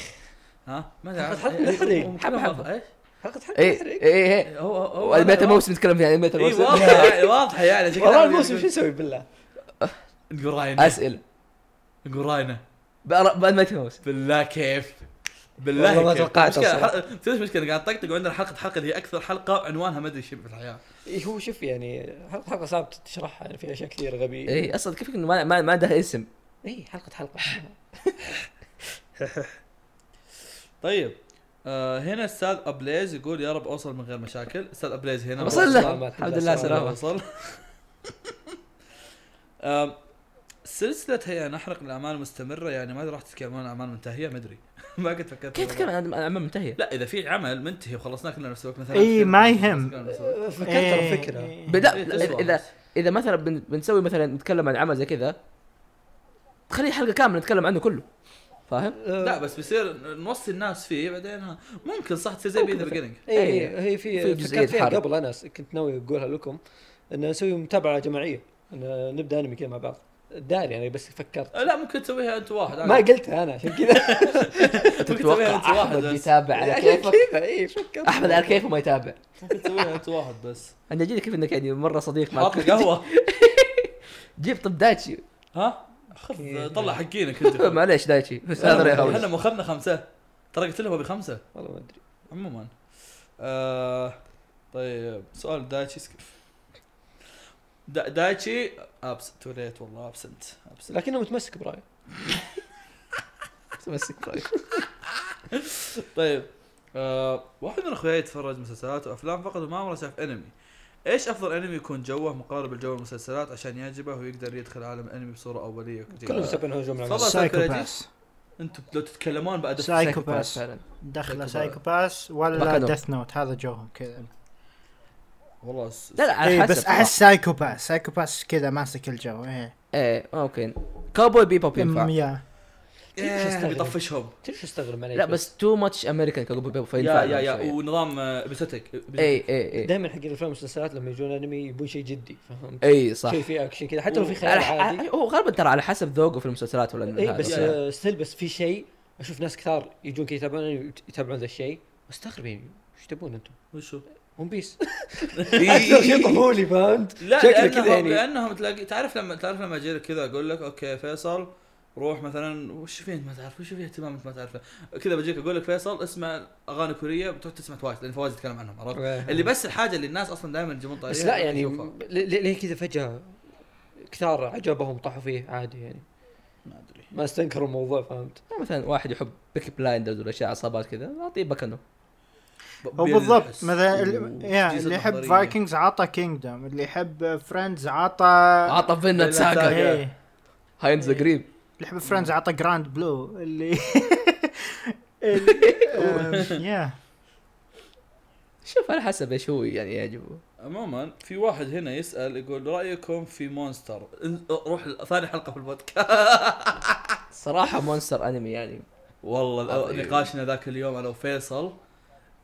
Speaker 1: ها ما
Speaker 3: حلقة
Speaker 1: إيه،
Speaker 3: نحرق.
Speaker 1: ومكتوب
Speaker 2: حبة حبة.
Speaker 1: ايش
Speaker 3: حلقه حلقه
Speaker 2: ايه
Speaker 3: نحرق
Speaker 2: ايه ايه
Speaker 1: هو هو
Speaker 2: وانميات الموسم نتكلم فيها
Speaker 3: إيه،
Speaker 2: انميات
Speaker 1: اي
Speaker 2: الموسم
Speaker 1: واضحه يعني واضحه يعني شكلها
Speaker 3: والله
Speaker 1: يعني
Speaker 3: الموسم
Speaker 1: يقول-
Speaker 3: شو يسوي بالله
Speaker 1: نقول راينا
Speaker 2: اسئله
Speaker 1: نقول راينا
Speaker 2: بأر- بانميات الموسم
Speaker 1: بالله كيف
Speaker 3: والله
Speaker 1: بالله
Speaker 3: ما
Speaker 1: كيف.
Speaker 3: توقعت
Speaker 1: مشكلة-
Speaker 3: أصلاً.
Speaker 1: حلقة- تدري إيش المشكله قاعد طقطق وعندنا حلقه حلقه اللي هي اكثر حلقه عنوانها ما ادري شو في الحياه
Speaker 3: إيه هو شوف يعني حلقه حلقه صعب تشرحها يعني في اشياء كثير إيه، غبيه
Speaker 2: ايه اصلا كيف انه ما ما, ما ده اسم
Speaker 3: اي حلقه حلقه
Speaker 1: طيب آه هنا استاذ ابليز يقول يا رب اوصل من غير مشاكل استاذ ابليز هنا
Speaker 2: وصل له
Speaker 3: سلامات.
Speaker 2: الحمد لله سلامة
Speaker 1: وصل آم، سلسلة هي نحرق الأعمال مستمرة يعني ما راح تتكلمون عن أعمال منتهية ما أدري ما قد فكرت
Speaker 2: كيف تتكلم عن عمل منتهيه؟
Speaker 1: لا إذا في عمل منتهي وخلصناه كلنا نفس الوقت مثلا
Speaker 4: إي،
Speaker 1: فيلم
Speaker 4: ما
Speaker 1: خلصناه
Speaker 4: يهم.
Speaker 1: كلنا نفس الوقت.
Speaker 3: فكرت ترى فكره
Speaker 4: إيه.
Speaker 2: ب- لا
Speaker 1: إيه،
Speaker 2: لا،
Speaker 1: تسوى.
Speaker 2: إذا- اذا اذا مثلا بن- بنسوي مثلا نتكلم عن عمل زي كذا تخلي حلقه كامله نتكلم عنه كله فاهم؟
Speaker 1: لا بس بيصير نوصي الناس فيه بعدين ها، ممكن صح تصير زي ذا بيجننج
Speaker 3: اي إيه، هي في
Speaker 2: إيه، في جزئية
Speaker 3: فكرت فيها
Speaker 2: حرب.
Speaker 3: قبل انا س- كنت ناوي اقولها لكم ان نسوي متابعه جماعيه ان نبدا انمي كذا مع بعض داري انا بس فكرت
Speaker 1: آه، لا ممكن تسويها أنت واحد
Speaker 2: آه.
Speaker 3: ما قلتها انا عشان كذا
Speaker 1: تسويها
Speaker 2: تتوقع
Speaker 1: أنت واحد
Speaker 2: احمد
Speaker 1: بس.
Speaker 2: يتابع على
Speaker 3: عشان
Speaker 2: كيفك
Speaker 3: كذا اي فكرت
Speaker 2: احمد على كيفه ما يتابع
Speaker 1: ممكن تسويها أنت واحد بس
Speaker 2: انا جيني كيف انك يعني مره صديق
Speaker 1: حاط
Speaker 2: معك
Speaker 1: لي قهوة
Speaker 2: جيب طب دايتشي
Speaker 1: ها خذ طلع حقينك أنت آه،
Speaker 2: معليش دايتشي بس هذا يا
Speaker 1: احنا
Speaker 2: هوس
Speaker 1: مو اخذنا خمسه ترى قلت لهم بخمسه
Speaker 3: والله ما ادري
Speaker 1: عموما آه طيب سؤال دايتشي سكيب دا دايتشي ابس توليت والله ابسنت ابسنت
Speaker 3: لكنه متمسك برايه
Speaker 1: طيب آه واحد من اخوياي يتفرج مسلسلات وافلام فقط وما عمره شاف انمي ايش افضل انمي يكون جوه مقارب لجو المسلسلات عشان يعجبه ويقدر يدخل عالم الانمي بصوره اوليه وجيدة؟
Speaker 3: كلهم يتابعون هجوم
Speaker 1: تفضل.
Speaker 3: على الناس.
Speaker 4: سايكوباس
Speaker 1: انتم لو تتكلمون بعد
Speaker 4: سايكوباس
Speaker 2: فعلا
Speaker 4: دخله
Speaker 1: سايكوباس.
Speaker 4: سايكوباس ولا
Speaker 2: بكالوريوس.
Speaker 4: ديث نوت هذا جوهم كذا
Speaker 1: والله س-
Speaker 2: لا لا على
Speaker 4: اي
Speaker 2: حسب
Speaker 4: إيه، بس احس سايكوباس سايكوباس كذا ماسك الجو ايه
Speaker 2: ايه ممكن كاوبوي بيبوب
Speaker 4: أم،
Speaker 2: ينفع
Speaker 4: يا
Speaker 1: ياه، بيطفشهم
Speaker 3: تعرف شو استغرب عليك
Speaker 2: لا بس تو ماتش امريكان كاوبوي بيبوب
Speaker 1: يا
Speaker 2: فينفع
Speaker 1: يا يا
Speaker 2: شوية. إيه،
Speaker 1: ونظام آه، بيستك
Speaker 3: إيه.
Speaker 2: اي اي اي
Speaker 3: دائما حق الافلام والمسلسلات لما يجون انمي يبون شيء جدي فهمت؟
Speaker 2: اي إيه، صح
Speaker 3: شيء فيه اكشن كذا حتى لو في خيال
Speaker 2: على ح-
Speaker 3: عادي
Speaker 2: هو غالبا ترى على حسب ذوقه في المسلسلات ولا يعني.
Speaker 3: اي بس
Speaker 1: هذا.
Speaker 3: آه، ستيل بس في شيء اشوف ناس كثار يجون كذا يتابعون أنمي ويت- يتابعون ذا الشيء مستغرب يعني ايش تبون انتم؟
Speaker 1: وشو؟
Speaker 3: ون بيس
Speaker 2: إيه.
Speaker 3: اكثر شيء طفولي فهمت؟
Speaker 1: لا
Speaker 3: شكله
Speaker 1: لانهم
Speaker 3: كذا يعني
Speaker 1: لانهم تلاقي تعرف لما تعرف لما اجي لك كذا اقول لك اوكي فيصل روح مثلا وش فيه انت ما تعرف وش فيه اهتمام انت ما تعرفه كذا بجيك اقول لك فيصل اسمع اغاني كوريه بتروح تسمع توايس لان فواز يتكلم عنهم عرفت اللي بس الحاجه اللي الناس اصلا دائما يجيبون طاريها
Speaker 3: بس لا يعني
Speaker 1: يشوفها.
Speaker 3: ل- ل- ليه كذا فجاه كثار عجبهم طاحوا فيه عادي يعني
Speaker 1: ما ادري
Speaker 3: ما استنكروا الموضوع فهمت؟
Speaker 2: مثلا يعني واحد يحب بيكي بلايندرز ولا اشياء عصابات كذا اعطيه بكنو
Speaker 1: ب-
Speaker 4: هو
Speaker 1: بين
Speaker 4: بالضبط
Speaker 1: الحس
Speaker 4: مثلا
Speaker 1: و-
Speaker 4: ال- يا،
Speaker 1: جزء
Speaker 4: اللي يحب
Speaker 1: تحضيرية.
Speaker 4: فايكنجز عطى كينجدوم اللي يحب فريندز عطى
Speaker 2: اعطى فينا ساكا
Speaker 4: إيه.
Speaker 2: هاينز قريب
Speaker 4: اللي يحب فريندز عطى جراند بلو اللي آم، يا
Speaker 2: شوف على حسب ايش هو يعني يعجبه
Speaker 1: عموما في واحد هنا يسال يقول رايكم في مونستر إن- روح ثاني حلقه في البودكاست
Speaker 2: صراحه مونستر انمي يعني
Speaker 1: والله
Speaker 2: عظيم.
Speaker 1: الأ- نقاشنا ذاك اليوم انا وفيصل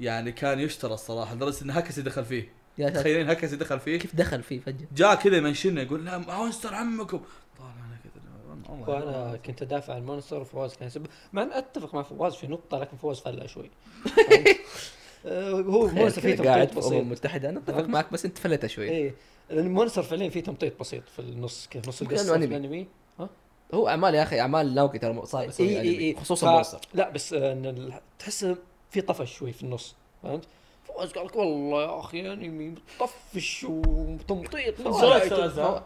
Speaker 1: يعني كان يشترى الصراحه لدرجه ان هكسي دخل فيه
Speaker 2: يا ساتر
Speaker 1: تخيلين هكذا دخل فيه
Speaker 2: كيف دخل فيه فجاه
Speaker 1: جاء كذا يمنشنا يقول لا مونستر عمكم طالعنا كذا والله-
Speaker 3: وانا كنت ادافع عن مونستر وفواز كان يسب مع ان اتفق مع فواز في نقطه لكن فواز فلع شوي آه، هو مونستر فيه
Speaker 2: قاعد
Speaker 3: تمطيط
Speaker 2: في أمم الامم
Speaker 3: بسيط
Speaker 2: المتحده انا اتفق معك بس انت فلتها شوي
Speaker 3: ايه لان مونستر فعليا فيه تمطيط بسيط في النص كيف نص
Speaker 2: ممكن
Speaker 3: القصه
Speaker 2: لأنه
Speaker 3: في
Speaker 2: أنمي.
Speaker 3: الانمي
Speaker 2: هو اعمال يا اخي اعمال ناوكي ترى مو- صاير
Speaker 3: اي اي اي
Speaker 2: خصوصا
Speaker 3: إيه، ف-
Speaker 2: إيه، مونستر
Speaker 3: لا بس آه، ان ال- تحس في طفش شوي في النص فهمت؟ فواز قال لك والله يا اخي انمي مطفش وتمطيط من
Speaker 1: فواز
Speaker 3: زايد."
Speaker 1: عزام.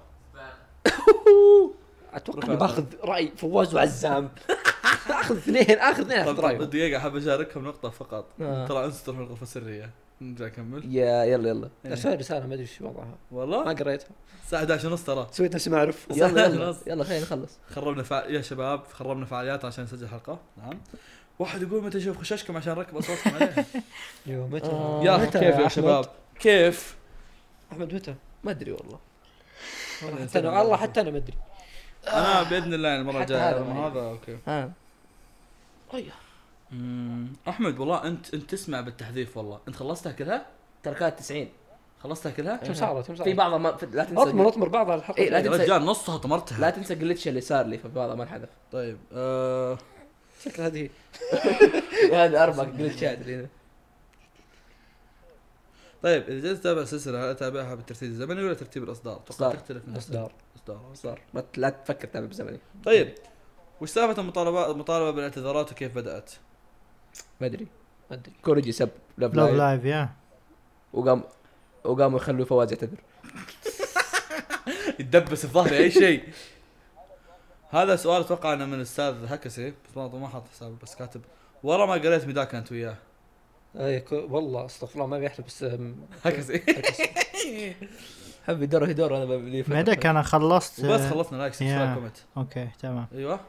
Speaker 3: اتوقع اني باخذ راي فواز وعزام اخذ اثنين اخذ اثنين
Speaker 1: طب طيب، طب
Speaker 3: اخذ رايهم
Speaker 1: دقيقه حاب اشارككم نقطه فقط
Speaker 2: آه.
Speaker 1: ترى انستر في الغرفه السريه نرجع اكمل
Speaker 2: يا يلا يلا
Speaker 3: ارسل لي رساله ما ادري ايش وضعها ما
Speaker 1: والله
Speaker 3: قريتها
Speaker 1: الساعه 11 ونص ترى
Speaker 3: سويت نفسي ما اعرف
Speaker 2: يلا يلا
Speaker 1: خلاص.
Speaker 2: يلا خلينا نخلص
Speaker 1: خربنا فع... يا شباب خربنا فعاليات عشان نسجل حلقه نعم واحد يقول متى اشوف خشاشكم عشان اركب اصواتكم عليها
Speaker 3: يو متى
Speaker 2: آه.
Speaker 1: يا أخي،
Speaker 2: متى
Speaker 1: كيف
Speaker 2: يا
Speaker 1: يا
Speaker 2: أحمد؟
Speaker 1: شباب كيف
Speaker 3: احمد متى؟
Speaker 2: ما ادري والله
Speaker 3: حتى انا والله حتى انا ما ادري
Speaker 1: انا باذن الله المره
Speaker 2: حتى
Speaker 1: الجايه
Speaker 2: هذا
Speaker 1: لما
Speaker 2: ما
Speaker 1: هذا اوكي
Speaker 2: ها
Speaker 1: مم. احمد والله انت انت تسمع بالتحذيف والله انت خلصتها كلها؟
Speaker 2: ترى كانت 90
Speaker 1: خلصتها كلها؟
Speaker 3: كم صارت كم
Speaker 2: إيه. في
Speaker 3: صارت
Speaker 2: بعضها ما في لا تنسى
Speaker 3: اطمر اطمر بعض على الحلقه
Speaker 2: إيه، لا
Speaker 1: يا
Speaker 2: تنسى-
Speaker 1: رجال نصها طمرتها
Speaker 2: لا تنسى جلتش اللي صار لي في بعضها ما انحذف
Speaker 1: طيب آه
Speaker 3: شكل هذه هي.
Speaker 2: هذا اربع جلتشات اللي هنا.
Speaker 1: طيب اذا جيت تتابع سلسله هل اتابعها بالترتيب الزمني ولا ترتيب الاصدار؟ اتوقع
Speaker 2: إصدار.
Speaker 1: تختلف من
Speaker 3: اصدار
Speaker 1: الاصدار
Speaker 2: صار ما ت- لا تفكر تابع بزمني
Speaker 1: طيب وش سالفه المطالبه المطالبه بالاعتذارات وكيف بدات؟
Speaker 2: ما ادري
Speaker 3: ما ادري
Speaker 2: كوريجي سب لاف
Speaker 4: لوف
Speaker 2: لايف
Speaker 4: لايف يا
Speaker 2: وقام وقاموا يخلوا فواز يعتذر
Speaker 1: يتدبس في ظهري اي شيء هذا سؤال اتوقع انه من الاستاذ هكسي بس ما ما حاط حسابه بس كاتب ورا ما قريت مداك انت وياه
Speaker 3: آه، يك- والله استغفر الله ما بيحلف بس آم،
Speaker 1: هكسي
Speaker 2: حبي دوره دور انا بلي فترة.
Speaker 4: ميدك انا خلصت
Speaker 1: وبس خلصنا لايك سبسكرايب
Speaker 4: يا.
Speaker 1: كومنت
Speaker 4: اوكي تمام
Speaker 1: ايوه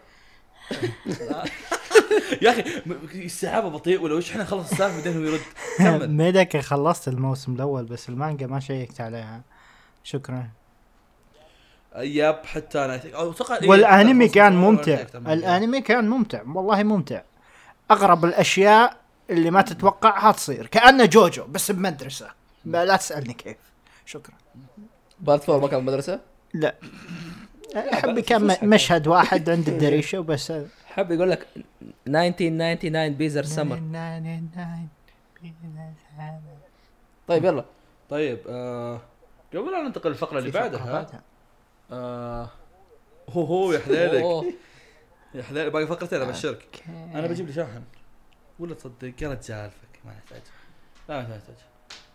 Speaker 1: يا اخي م- السحابه بطيء ولا وش احنا خلص السالفه بعدين هو يرد كمل
Speaker 4: ميدك خلصت الموسم الاول بس المانجا ما شيكت عليها
Speaker 1: إيه،
Speaker 4: شكرا
Speaker 1: ياب حتى انا أو اتوقع إيه،
Speaker 4: والانمي
Speaker 1: خلصنا
Speaker 4: كان
Speaker 1: الموضوع ولا
Speaker 4: ممتع
Speaker 1: شيء أكثر من كذا.
Speaker 4: الانمي كان ممتع والله ممتع اغرب الاشياء اللي ما تتوقعها تصير كانه جوجو بس بمدرسه ما- لا تسالني كيف شكرا
Speaker 2: بارت فور ما كان مدرسه
Speaker 4: لا حبي
Speaker 3: بقى
Speaker 4: كان
Speaker 3: فسحة.
Speaker 4: م- مشهد واحد عند آه، الدريشه وبس
Speaker 2: حب يقول لك 1999 بيزر سمر طيب يلا
Speaker 1: طيب آه قبل ان ننتقل للفقره اللي بعدها آه هو هو يا حليلك
Speaker 2: أوه.
Speaker 1: يا حليلك باقي فقرتين ابشرك
Speaker 2: إيه.
Speaker 1: انا بجيب لي شاحن ولا تصدق يا رجال فك ما نحتاج لا ما نحتاج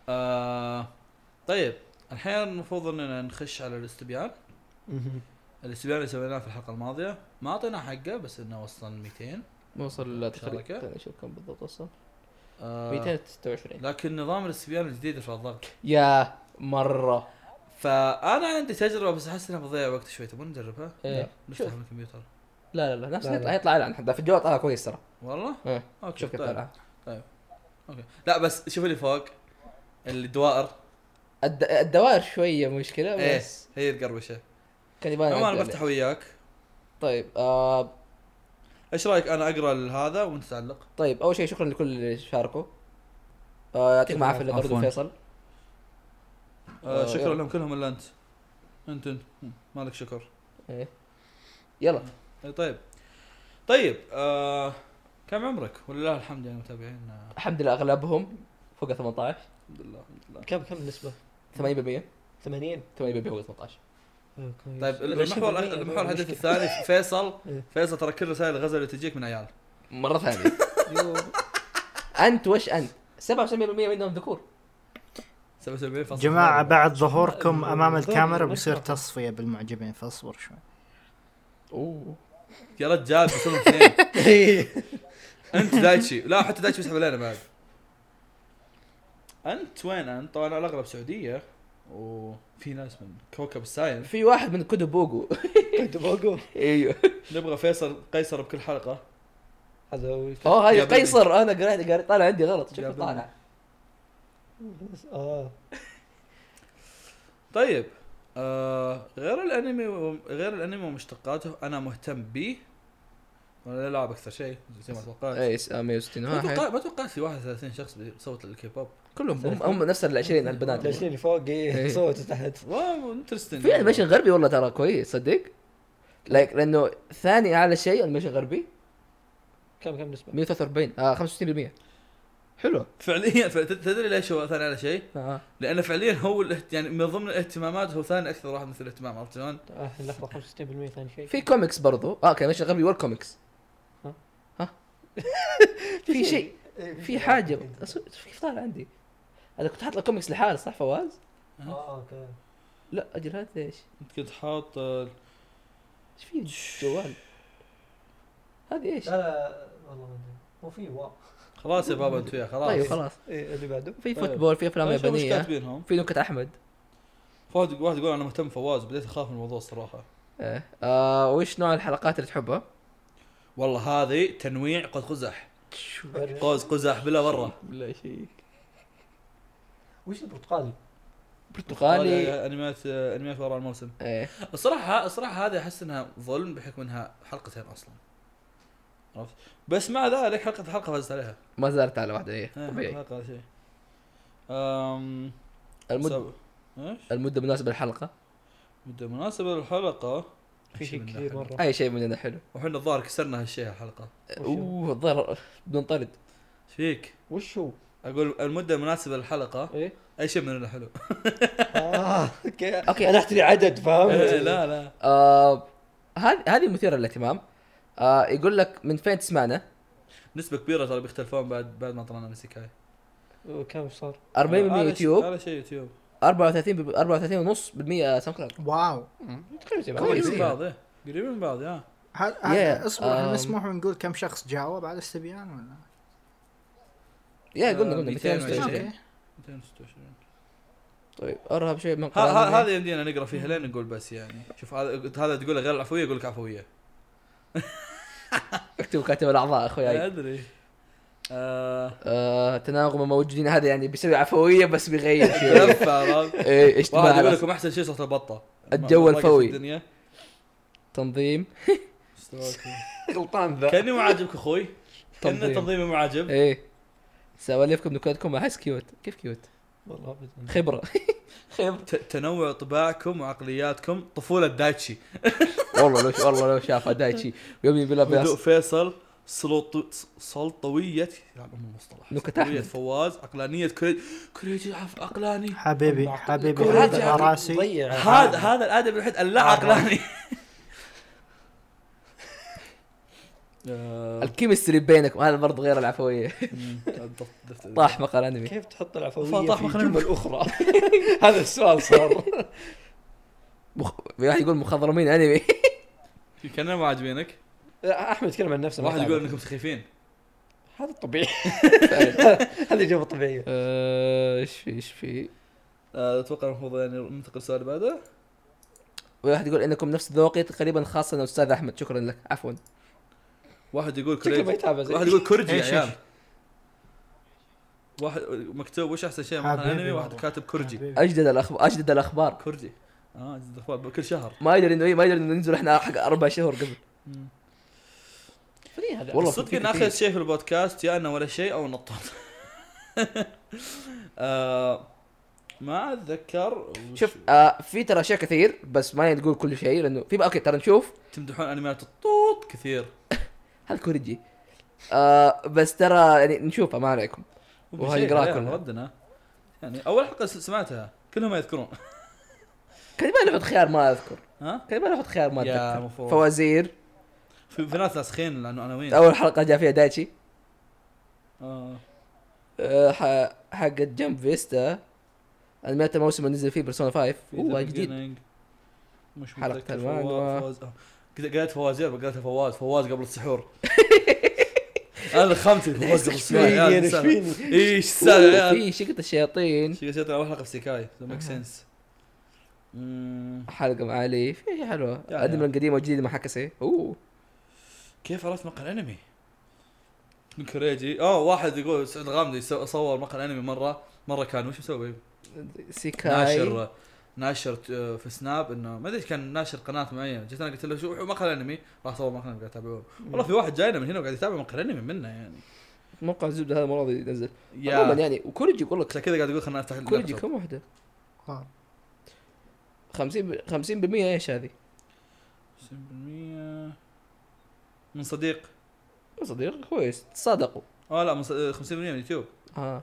Speaker 1: آه طيب الحين المفروض اننا نخش على الاستبيان
Speaker 3: مهم.
Speaker 1: الاستبيان اللي سويناه في الحلقه الماضيه ما اعطينا حقه بس انه وصلنا 200
Speaker 2: نوصل
Speaker 1: شاركة.
Speaker 2: تقريبا خليني اشوف كم بالضبط وصل
Speaker 1: آه
Speaker 2: 226
Speaker 1: لكن نظام الاستبيان الجديد رفع الضغط
Speaker 2: يا مره
Speaker 1: فانا عندي تجربه بس احس انها بتضيع وقت شوي تبون نجربها؟
Speaker 2: إيه.
Speaker 1: لا، نفتح من الكمبيوتر
Speaker 2: لا لا لا نفس
Speaker 3: لا، لا.
Speaker 2: هيطلع هيطلع اعلان حتى في الجوال طلع كويس ترى
Speaker 1: والله؟
Speaker 2: إيه.
Speaker 1: اوكي
Speaker 2: شوف كيف
Speaker 1: طيب.
Speaker 2: طلع
Speaker 1: اوكي لا بس شوف اللي فوق الدوائر
Speaker 2: الد- الدوائر شويه مشكله
Speaker 1: ايه
Speaker 2: بس
Speaker 1: هي القروشه
Speaker 2: كان يبان
Speaker 1: عموما
Speaker 2: أعدل.
Speaker 1: انا بفتح وياك
Speaker 2: طيب آه
Speaker 1: ايش رايك انا اقرا هذا وانت تعلق؟
Speaker 2: طيب اول شيء شكرا لكل اللي شاركوا آه يعطيكم العافيه
Speaker 1: عفواً.
Speaker 2: برضو فيصل
Speaker 1: آه
Speaker 2: آه،
Speaker 1: شكرا
Speaker 2: يلا.
Speaker 1: لهم كلهم الا انت. انت انت مم، مالك شكر.
Speaker 2: إيه. يلا
Speaker 1: إيه، طيب. طيب آه كم عمرك؟ ولله الحمد يعني متابعين آه،
Speaker 2: الحمد لله اغلبهم فوق 18
Speaker 1: الحمد لله الحمد لله.
Speaker 3: كم كم النسبه
Speaker 2: 80%
Speaker 3: 80
Speaker 2: 80% فوق 18
Speaker 3: آه،
Speaker 1: طيب المحور المحور الهدف الثاني فيصل
Speaker 3: إيه.
Speaker 1: فيصل ترى كل رسائل الغزل اللي تجيك من عيال.
Speaker 2: مره ثانيه انت وش انت 97% منهم ذكور
Speaker 1: 77 فصل
Speaker 4: جماعة
Speaker 1: ثاني.
Speaker 4: بعد ظهوركم أمام
Speaker 3: الغير
Speaker 4: الكاميرا
Speaker 3: مشرف.
Speaker 4: بيصير تصفية بالمعجبين فاصبر شوي
Speaker 2: اوه
Speaker 1: يا رجال بس هم اثنين
Speaker 3: الثاني
Speaker 1: انت دايتشي لا حتى دايتشي بيسحب علينا بعد. انت وين انت؟ طبعا على الاغلب سعوديه وفي ناس من كوكب الساين
Speaker 2: في واحد من كودو بوغو ايوه
Speaker 1: نبغى فيصل قيصر بكل حلقه
Speaker 3: هذا هو.
Speaker 2: اوه
Speaker 1: يا
Speaker 2: هذه
Speaker 1: بني.
Speaker 2: قيصر انا قريت قريت طالع عندي غلط
Speaker 1: يا
Speaker 2: شوف
Speaker 1: بني.
Speaker 2: طالع
Speaker 3: اه
Speaker 1: طيب آه غير الانمي و... غير الانمي ومشتقاته انا مهتم به ولا العب اكثر شيء زي ما توقعت
Speaker 2: اي 160
Speaker 1: ما
Speaker 2: واحد
Speaker 1: توقعت ما توقعت في 31 شخص بيصوت للكي بوب
Speaker 2: كلهم هم, هم نفس ال 20 البنات
Speaker 3: العشرين اللي فوق إيه،
Speaker 2: إيه.
Speaker 3: صوتوا تحت
Speaker 1: واو انترستنج
Speaker 2: في انيميشن غربي والله ترى كويس صدق لايك لانه ثاني اعلى شيء انيميشن غربي
Speaker 3: كم كم نسبه
Speaker 2: 143 آه 65% حلو
Speaker 1: فعليا ف- تدري ليش هو ثاني على شيء؟
Speaker 2: آه.
Speaker 1: لانه فعليا هو الاهت... يعني من ضمن الاهتمامات هو ثاني اكثر واحد مثل الاهتمام عرفت شلون؟
Speaker 3: آه، لحظه 65% ثاني شيء
Speaker 2: في كوميكس برضو اه كان انيميشن غربي والكوميكس
Speaker 3: ها؟
Speaker 2: ها في شيء
Speaker 3: إيه،
Speaker 2: في حاجه أصل- كيف طالع عندي انا كنت حاط الكوميكس لحاله صح فواز؟
Speaker 3: اه اوكي
Speaker 2: لا اجل هذا ايش؟
Speaker 1: انت كنت حاط آه،
Speaker 2: ايش في جوال؟ هذه ايش؟
Speaker 3: لا لا والله ما ادري هو في واو
Speaker 1: خلاص يا بابا انت وياه خلاص
Speaker 2: طيب خلاص
Speaker 3: إيه، اللي بعده
Speaker 2: في
Speaker 1: طيب.
Speaker 2: فوتبول في افلام
Speaker 1: طيب شوف وش
Speaker 2: يابانيه
Speaker 1: كاتبينهم
Speaker 2: في نكت احمد
Speaker 1: فواز واحد يقول انا مهتم فواز بديت اخاف من الموضوع الصراحه
Speaker 2: آه. آه. وش نوع الحلقات اللي تحبها؟
Speaker 1: والله هذه تنويع قد قزح قوز قزح بلا مره
Speaker 2: لا شيء
Speaker 3: وش البرتقالي؟
Speaker 2: برتقالي
Speaker 1: انميات انميات وراء الموسم
Speaker 2: ايه
Speaker 1: الصراحه الصراحه هذه احس انها ظلم بحكم انها حلقتين اصلا عرفت بس مع ذلك حلقه حلقه فزت عليها
Speaker 2: ما زالت على واحده هي
Speaker 1: إيه،
Speaker 2: طبيعي
Speaker 1: حلقه شيء أم...
Speaker 2: المده
Speaker 1: سب- ايش؟
Speaker 2: المده مناسبه للحلقه
Speaker 1: مده مناسبه للحلقه
Speaker 3: في شيء كثير مره
Speaker 2: اي شيء مننا حلو
Speaker 1: وحنا الظاهر كسرنا هالشيء الحلقه
Speaker 2: اوه الظاهر بنطرد
Speaker 1: ايش فيك؟
Speaker 3: وش هو؟
Speaker 1: اقول المده المناسبه للحلقه
Speaker 3: ايه
Speaker 1: اي شيء مننا حلو
Speaker 3: اه اوكي
Speaker 2: أوكي.
Speaker 3: انا احتري عدد
Speaker 1: إيه،
Speaker 3: فاهم؟
Speaker 1: لا لا
Speaker 2: آه، هذه هذه مثيره للاهتمام آه، يقول لك من فين تسمعنا
Speaker 1: نسبه كبيره ترى بيختلفون بعد بعد ما طلعنا من السكاي
Speaker 3: كم صار؟
Speaker 2: 40% يوتيوب
Speaker 1: هذا شيء يوتيوب
Speaker 2: 34 ب- 34.5% ساوند كلاود
Speaker 4: واو
Speaker 3: تقريبا زي بعض.
Speaker 2: كويس.
Speaker 1: قريبين من بعض إيه. قريبين من بعض يا
Speaker 4: هل
Speaker 2: Yeah.
Speaker 4: هل اصبر هل
Speaker 2: Um.
Speaker 4: مسموح نقول كم شخص جاوب على الاستبيان ولا؟
Speaker 2: يا قلنا
Speaker 1: آه،
Speaker 2: قلنا
Speaker 1: 220.
Speaker 2: 226
Speaker 4: اوكي
Speaker 1: 226
Speaker 2: طيب ارهب شوي من
Speaker 1: ه- ه-
Speaker 2: قرارنا.
Speaker 1: هذا يمدينا نقرا فيها لين نقول بس يعني شوف هذا هذا تقوله غير العفويه يقول لك عفويه
Speaker 2: اكتب كاتب الاعضاء اخوياي
Speaker 1: ادري طيب. آه،
Speaker 2: آه، تناغم موجودين هذا يعني بيسوي عفويه بس بيغير شيء
Speaker 1: لفه عرفت؟
Speaker 2: إيه،
Speaker 1: واحد
Speaker 2: اجتماع
Speaker 1: يقول
Speaker 2: على-
Speaker 1: لكم احسن شيء صوت البطه
Speaker 2: الجو
Speaker 1: ما- ما- ما-
Speaker 2: الفوي.
Speaker 1: الدنيا
Speaker 2: تنظيم
Speaker 1: استواكم.
Speaker 3: غلطان ذا
Speaker 1: كاني معاجبك اخوي كان
Speaker 2: تنظيم.
Speaker 1: تنظيمي معاجب
Speaker 2: ايه سواليفكم نكتكم احس كيوت كيف كيوت
Speaker 3: والله ابدا
Speaker 2: خبره خبره
Speaker 1: ت- تنوع طباعكم وعقلياتكم طفوله دايتشي
Speaker 2: والله لو والله لو شافها دايتشي يومي بلا
Speaker 1: هدوء
Speaker 2: بياس
Speaker 1: فيصل سلطو... سلطوية يا عم المصطلح
Speaker 2: نكت
Speaker 1: سلطوية
Speaker 2: أحمد.
Speaker 1: فواز عقلانية كريج كريج عف- عقلاني
Speaker 4: حبيبي حبيبي
Speaker 1: كوريجي
Speaker 4: هذا
Speaker 1: عبد-
Speaker 4: راسي
Speaker 3: ضيع
Speaker 1: هذا هذا الادب الوحيد اللا عقلاني آه،
Speaker 2: الكيمستري بينكم هذا برضه غير العفويه
Speaker 1: مم، دف- دف-
Speaker 2: طاح مقال انمي
Speaker 3: كيف تحط العفويه
Speaker 1: فطاح
Speaker 3: في
Speaker 1: مخنا-
Speaker 3: جمل اخرى؟ هذا السؤال صار
Speaker 2: مخ... في واحد يقول مخضرمين انمي
Speaker 1: كاننا ما عاجبينك
Speaker 3: احمد يتكلم عن نفسه ما
Speaker 1: واحد
Speaker 3: تعرف.
Speaker 1: يقول انكم سخيفين
Speaker 3: هذا الطبيعي هذه اجابه طبيعيه
Speaker 2: آه، ايش في ايش في
Speaker 1: آه، اتوقع المفروض يعني ننتقل للسؤال اللي بعده
Speaker 2: واحد يقول انكم نفس ذوقي تقريبا خاصه استاذ احمد شكرا لك عفوا
Speaker 1: واحد يقول
Speaker 3: شكله ما
Speaker 1: كريج
Speaker 3: يتابع زي
Speaker 1: واحد يقول كرجي يا
Speaker 4: إيش-
Speaker 1: عيال واحد مكتوب وش احسن شيء مقال
Speaker 4: حبيبي
Speaker 1: انمي واحد
Speaker 4: والله.
Speaker 1: كاتب كرجي
Speaker 4: حبيبي.
Speaker 2: اجدد الاخبار اجدد الاخبار
Speaker 1: كرجي اه جد اخبار كل شهر
Speaker 2: ما يدري انه إيه، ما يدري انه ننزل احنا حق اربع شهور قبل
Speaker 3: فني هذا
Speaker 2: والله
Speaker 1: يعني صدق
Speaker 2: في
Speaker 1: ان اخر شيء في البودكاست يا انه ولا شيء او نطط آه ما اتذكر وش-
Speaker 2: شوف آه في ترى اشياء كثير بس ما نقول كل شيء لانه في بقى- اوكي ترى نشوف
Speaker 1: تمدحون انميات الطوط كثير
Speaker 2: هذا كوريجي آه بس ترى يعني نشوفها ما عليكم وهاي نقراها
Speaker 1: عليها
Speaker 2: كلها.
Speaker 1: ردنا يعني اول حلقه س- سمعتها كلهم ما يذكرون
Speaker 2: كان يبغى نحط خيار ما اذكر
Speaker 1: ها
Speaker 2: كان يبغى نحط خيار ما
Speaker 1: يا
Speaker 2: اتذكر
Speaker 1: مفروض.
Speaker 2: فوازير
Speaker 1: في, في ناس ناسخين لانه عناوين
Speaker 2: اول حلقه جاء فيها دايتشي
Speaker 1: آه.
Speaker 2: آه، ح- حق جنب فيستا انميات الموسم اللي نزل فيه بيرسونا 5
Speaker 1: في
Speaker 2: اوه
Speaker 1: The
Speaker 2: جديد
Speaker 1: Beginning. مش
Speaker 2: حلقة
Speaker 1: متذكر
Speaker 2: الوان
Speaker 1: فوا-
Speaker 2: و-
Speaker 1: فواز آه. كذا قالت فوازير قالتها فواز فواز قبل السحور انا لخمت فواز قبل السحور يا عيال،
Speaker 3: فيني ايش
Speaker 1: السالفة.
Speaker 3: فيني
Speaker 1: ايش السالفه يا
Speaker 2: يعني أوه،
Speaker 1: عيال؟
Speaker 2: في شقة الشياطين
Speaker 1: شيء قصير اول حلقه في سيكاي ميك سنس مم.
Speaker 2: حلقة مع علي في شيء حلوة
Speaker 1: يعني.
Speaker 2: أدمن القديمة والجديدة مع حكسي اوه
Speaker 1: كيف عرفت مقهى الانمي؟ من كريجي اه واحد يقول سعد غامدي سو- صور مقهى الانمي مره مره كان وش مسوي؟
Speaker 2: سيكاي
Speaker 1: ناشر ناشر آه، في سناب انه ما ادري إيش كان ناشر قناه معينه جيت انا قلت له شو مقهى الانمي راح صور مقهى الانمي قاعد يتابعون والله في واحد جاينا من هنا وقاعد يتابع مقهى الانمي منا يعني
Speaker 2: موقع الزبدة هذا المرة ينزل عموما
Speaker 1: يا
Speaker 2: يعني وكوريجي يقول لك
Speaker 1: عشان كذا قاعد يقول خلنا افتح
Speaker 2: كوريجي
Speaker 1: اللابتوب.
Speaker 2: كم واحدة؟
Speaker 4: واو.
Speaker 2: 50 50% ايش هذه؟
Speaker 1: 90% من صديق
Speaker 2: صديق كويس تصادقوا
Speaker 1: اه لا من ص- آه، 50% من يوتيوب
Speaker 2: اه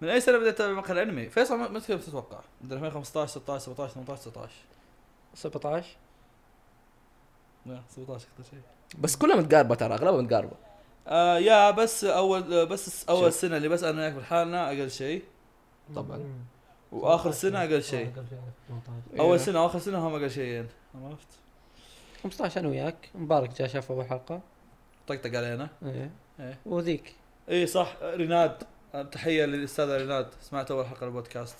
Speaker 1: من اي سنه بدات تتابع مقهى الانمي؟ فيصل ما- متى تتوقع؟ من 2015 16 17 18 19
Speaker 3: 17
Speaker 1: لا 17 اكثر شيء
Speaker 2: بس كلها متقاربة ترى اغلبها متقاربة
Speaker 1: آه يا بس اول آه، بس اول
Speaker 2: شوف.
Speaker 1: سنه اللي بس انا وياك بالحالنا اقل شيء
Speaker 2: طبعا
Speaker 1: واخر سنه اقل
Speaker 2: آه،
Speaker 1: شيء اول سنه واخر سنه هم يعني. اقل شيئين عرفت؟
Speaker 3: 15 انا وياك مبارك جاء شاف اول حلقه
Speaker 1: طقطق علينا
Speaker 3: ايه
Speaker 1: إيه.
Speaker 3: وذيك
Speaker 1: اي صح ريناد آه، تحيه للاستاذه ريناد سمعت اول حلقه البودكاست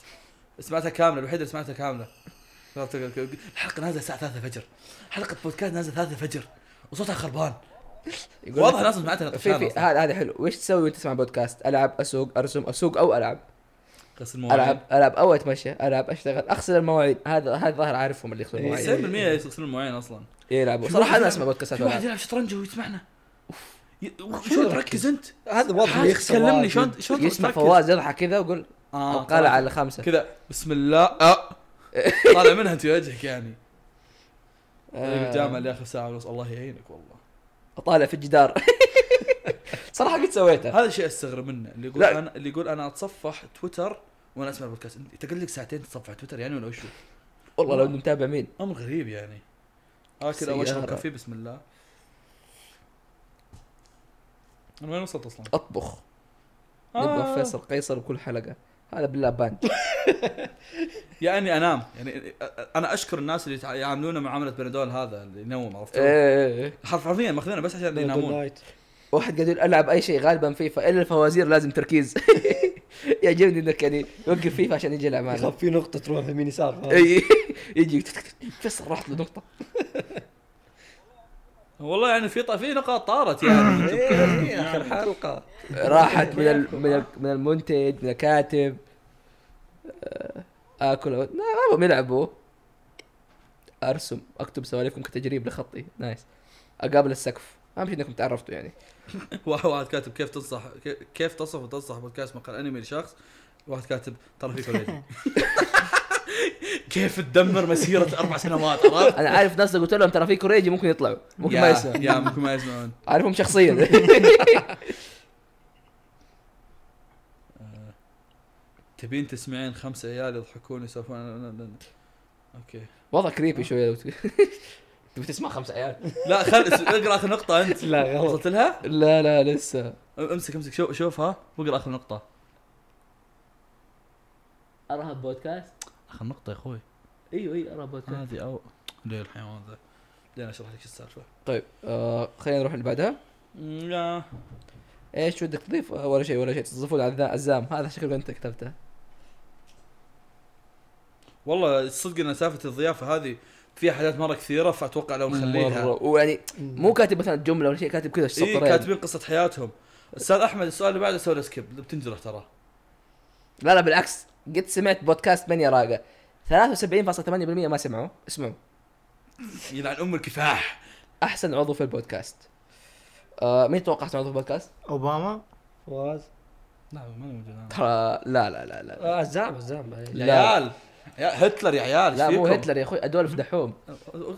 Speaker 1: سمعتها كامله الوحيده اللي سمعتها كامله عرفت؟ الحلقه نازله الساعه 3 الفجر حلقه بودكاست نازله 3 الفجر وصوتها خربان
Speaker 2: يقول
Speaker 1: واضح
Speaker 2: لك-
Speaker 1: الناس سمعتها
Speaker 2: في في
Speaker 1: طفشانه
Speaker 2: هذا هذا حلو وش تسوي وانت تسمع بودكاست؟ العب اسوق ارسم اسوق او العب
Speaker 1: قص
Speaker 2: العب العب او اتمشى العب اشتغل اغسل المواعيد هذا هذا ظاهر عارفهم اللي يغسلوا المواعيد
Speaker 1: 90% يغسلون المواعين اصلا
Speaker 2: يلعبوا
Speaker 1: إيه. في
Speaker 2: صراحه
Speaker 1: واحد
Speaker 2: انا
Speaker 1: يلعب-
Speaker 2: اسمع بودكاستات
Speaker 1: في واحد
Speaker 2: وألعب.
Speaker 1: يلعب شطرنج ويسمعنا ي- شلون تركز انت؟
Speaker 3: هذا وضع
Speaker 1: حاج،
Speaker 3: يخسر
Speaker 1: كلمني
Speaker 3: واجد.
Speaker 1: شلون شلون
Speaker 2: يسمع
Speaker 1: تركز؟
Speaker 2: فواز يضحك كذا ويقول
Speaker 1: آه،
Speaker 2: القلعه
Speaker 1: طالع.
Speaker 2: على خمسه
Speaker 1: كذا بسم الله آه. طالع منها انت وجهك يعني
Speaker 2: آه.
Speaker 1: طريق الجامعه اللي اخر ساعه ونص الله يعينك والله
Speaker 2: اطالع في الجدار صراحه قد سويتها
Speaker 1: هذا الشيء استغرب منه اللي يقول
Speaker 2: لا.
Speaker 1: انا اللي يقول انا اتصفح تويتر وانا اسمع البودكاست انت قلت لك ساعتين تتصفح تويتر يعني ولا وشو؟
Speaker 2: والله
Speaker 1: آه.
Speaker 2: لو إني متابع مين
Speaker 1: امر غريب يعني اكل او اشرب
Speaker 2: سيارة.
Speaker 1: كافي بسم الله انا وين وصلت اصلا؟
Speaker 2: اطبخ
Speaker 1: آه.
Speaker 2: نبغى فيصل قيصر بكل حلقه هذا بالله باند
Speaker 1: يعني انام يعني انا اشكر الناس اللي يتع- يعاملونا معامله بنادول هذا اللي ينوم عرفت؟
Speaker 2: إيه.
Speaker 1: حرف- حرفيا ماخذينه بس عشان
Speaker 3: Good
Speaker 1: ينامون
Speaker 3: night.
Speaker 2: واحد قاعد يقول العب اي شيء غالبا فيفا الا الفوازير لازم تركيز يعجبني انك يعني يوقف فيفا عشان يجي يلعب معنا
Speaker 3: يخاف في نقطه تروح يمين يسار
Speaker 1: إيه،
Speaker 2: اي يجي تك- تك- تك- فيصل راحت له نقطه
Speaker 1: والله يعني في ط- في نقاط طارت يعني
Speaker 3: إيه، اخر حلقه
Speaker 2: راحت من ال- من ال- من المنتج من الكاتب آه، اكل أو- لا، ما هم يلعبوا ارسم اكتب سواليفكم كتجريب لخطي نايس اقابل السقف اهم شيء انكم تعرفتوا يعني
Speaker 1: واحد واحد كاتب كيف تنصح كي- كيف تصف وتنصح بودكاست مقال انمي لشخص واحد كاتب ترى فيك اوريدي كيف تدمر مسيره اربع سنوات عرفت؟
Speaker 2: انا عارف ناس لو قلت لهم ترى في كوريجي ممكن يطلعوا ممكن ما
Speaker 1: يا-
Speaker 2: يسمعوا
Speaker 1: يا ممكن ما يسمعون
Speaker 2: عارفهم شخصيا
Speaker 1: تبين تسمعين خمسة عيال يضحكون يسولفون اوكي
Speaker 2: وضع كريبي شويه لو ت- تبي تسمع خمس عيال
Speaker 1: لا خل اس- اقرا اخر نقطة انت
Speaker 3: لا غلط
Speaker 1: وصلت لها؟
Speaker 2: لا لا لسه
Speaker 1: امسك امسك شوف شوفها واقرا اخر نقطة
Speaker 2: ارهب بودكاست
Speaker 1: اخر نقطة يا اخوي
Speaker 2: ايوه ايوه ارهب بودكاست
Speaker 1: هذه او ليه الحيوان ذا لين اشرح لك السالفة
Speaker 2: طيب آه خلينا نروح اللي بعدها
Speaker 1: لا
Speaker 2: ايش ودك تضيف آه، ولا شيء ولا شيء تصفون على الذا- الزام هذا شكلك انت كتبته
Speaker 1: والله الصدق ان سالفة الضيافة هذه فيها حاجات مرة كثيرة فاتوقع لو نخليها
Speaker 2: مره ويعني مو كاتب مثلا جمله ولا شيء كاتب كذا
Speaker 1: اي
Speaker 2: سطرين
Speaker 1: كاتبين قصة حياتهم استاذ احمد السؤال اللي بعده سوي له سكيب بتنجرح ترى
Speaker 2: لا لا بالعكس قد سمعت بودكاست من يراقه 73.8% ما سمعوا اسمعوا
Speaker 1: يلعن ام يعني الكفاح
Speaker 2: احسن عضو في البودكاست آه مين تتوقع احسن عضو في البودكاست؟
Speaker 4: اوباما
Speaker 3: فواز
Speaker 1: لا ما موجود
Speaker 2: ترى لا لا لا لا
Speaker 3: آه، الزعم الزعم عليه.
Speaker 1: يا
Speaker 2: لا.
Speaker 1: عيال يا هتلر يا عيال
Speaker 2: لا
Speaker 1: إيش
Speaker 2: مو
Speaker 1: فيكم؟
Speaker 2: هتلر يا اخوي هذول فدحوم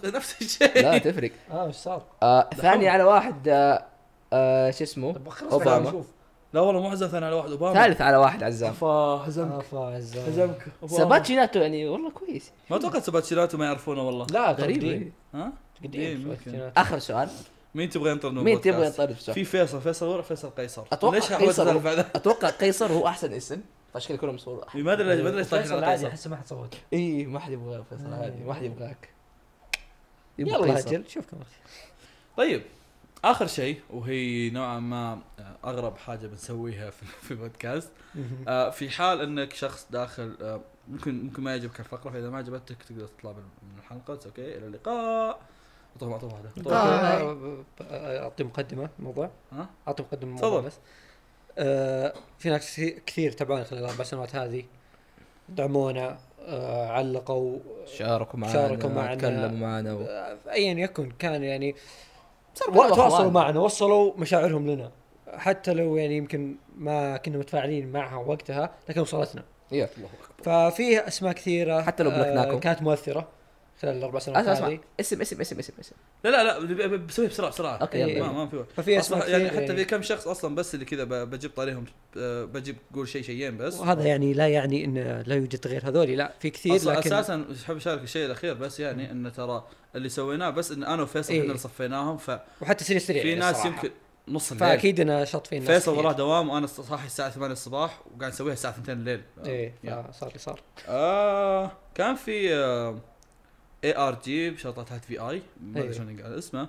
Speaker 1: نفس الشيء
Speaker 2: لا تفرق
Speaker 3: اه وش صار؟
Speaker 2: آه ثاني على واحد آه آه شو اسمه
Speaker 3: طب خلص
Speaker 2: أوباما.
Speaker 3: بعدين نشوف.
Speaker 1: لا والله مو عزم ثاني على واحد اوباما
Speaker 2: ثالث على واحد
Speaker 3: آه،
Speaker 2: عزام
Speaker 1: فا هزمك
Speaker 3: افا عزام
Speaker 1: هزمك أوباما.
Speaker 2: سباتشي ناتو يعني والله كويس
Speaker 1: ما اتوقع سباتشيلاتو ما يعرفونه والله
Speaker 3: لا
Speaker 2: غريب
Speaker 3: غريب
Speaker 1: ها إيه،
Speaker 3: قديم
Speaker 1: ممكن.
Speaker 3: شوي.
Speaker 2: اخر سؤال
Speaker 1: مين تبغى ينطر من
Speaker 2: مين تبغى
Speaker 1: البودكاست؟
Speaker 2: ينطرد في سؤال؟
Speaker 1: في فيصل فيصل ورع فيصل قيصر
Speaker 2: اتوقع
Speaker 1: ليش حاولت
Speaker 2: قيصر
Speaker 1: اسولف
Speaker 2: هو-
Speaker 1: بعد
Speaker 2: اتوقع قيصر هو احسن اسم عشان كذا كلهم صور
Speaker 1: ما ادري ليش ما ادري ليش طايحين
Speaker 3: فيصل
Speaker 1: على
Speaker 3: عادي
Speaker 1: قيصر
Speaker 3: احس ما حد صوت
Speaker 2: اي ما حد يبغى فيصل عادي ما حد يبغاك يبغى
Speaker 3: يلا
Speaker 2: قيصر.
Speaker 3: اجل شوف كم وقت.
Speaker 1: طيب اخر شيء وهي نوعا ما آه، اغرب حاجه بنسويها في في بودكاست آه، في حال انك شخص داخل آه، ممكن ممكن ما يعجبك الفقره فاذا ما عجبتك تقدر تطلع من من الحلقه It's okay الى اللقاء اعطوهم اعطوهم واحده أعطوهم.
Speaker 4: باي.
Speaker 3: أوكي. آه، اعطي مقدمه الموضوع
Speaker 1: ها؟
Speaker 3: اعطي مقدمه الموضوع
Speaker 1: تفضل.
Speaker 3: بس آه، في ناس كثير تابعونا خلال الاربع سنوات هذه دعمونا آه، علقوا
Speaker 2: شاركوا معنا
Speaker 3: شاركوا معنا.
Speaker 2: تكلموا معنا و...
Speaker 3: آه، ايا يكن كان يعني
Speaker 2: صاروا
Speaker 3: و-
Speaker 2: كلهم
Speaker 3: تواصلوا
Speaker 2: أخوان.
Speaker 3: معنا وصلوا مشاعرهم لنا حتى لو يعني يمكن ما كنا متفاعلين معها وقتها لكن وصلتنا
Speaker 2: يا.
Speaker 3: ففي اسماء كثيره
Speaker 2: حتى لو بلكناكم.
Speaker 3: آه، كانت مؤثره خلال الاربع سنوات
Speaker 2: اسمع اسمع
Speaker 3: هذه
Speaker 2: اسم اسم اسم اسم اسم
Speaker 1: لا لا لا ب- بسويها بسرعه بسرعه
Speaker 3: إيه.
Speaker 2: اوكي
Speaker 1: ما
Speaker 2: يلا
Speaker 1: ما في وقت.
Speaker 3: ففي
Speaker 1: أصلاً
Speaker 3: اسماء كثير
Speaker 1: يعني حتى في كم شخص اصلا بس اللي كذا ب- بجيب طاريهم آه، بجيب قول شيء شيئين بس
Speaker 3: وهذا يعني لا يعني ان لا يوجد غير هذول لا في كثير
Speaker 1: اصلا
Speaker 3: لكن
Speaker 1: اساسا احب اشارك الشيء الاخير بس يعني انه ترى اللي سويناه بس ان انا وفيصل
Speaker 3: إيه.
Speaker 1: احنا اللي صفيناهم ففي
Speaker 3: وحتى سريع سريع يعني
Speaker 1: ناس
Speaker 3: الصراحة.
Speaker 1: يمكن نص الليل
Speaker 3: فاكيد انا شاط فيه ناس إيه،
Speaker 1: فيصل
Speaker 3: كثير.
Speaker 1: وراه دوام وانا صاحي الساعه 8 الصباح وقاعد نسويها الساعه 2 الليل
Speaker 3: ايه
Speaker 1: يا.
Speaker 3: فصار اللي صار
Speaker 1: آه كان في آه، اي ار جي بشرطه تحت في اي ما ادري
Speaker 3: إيه.
Speaker 1: شلون ينقال اسمه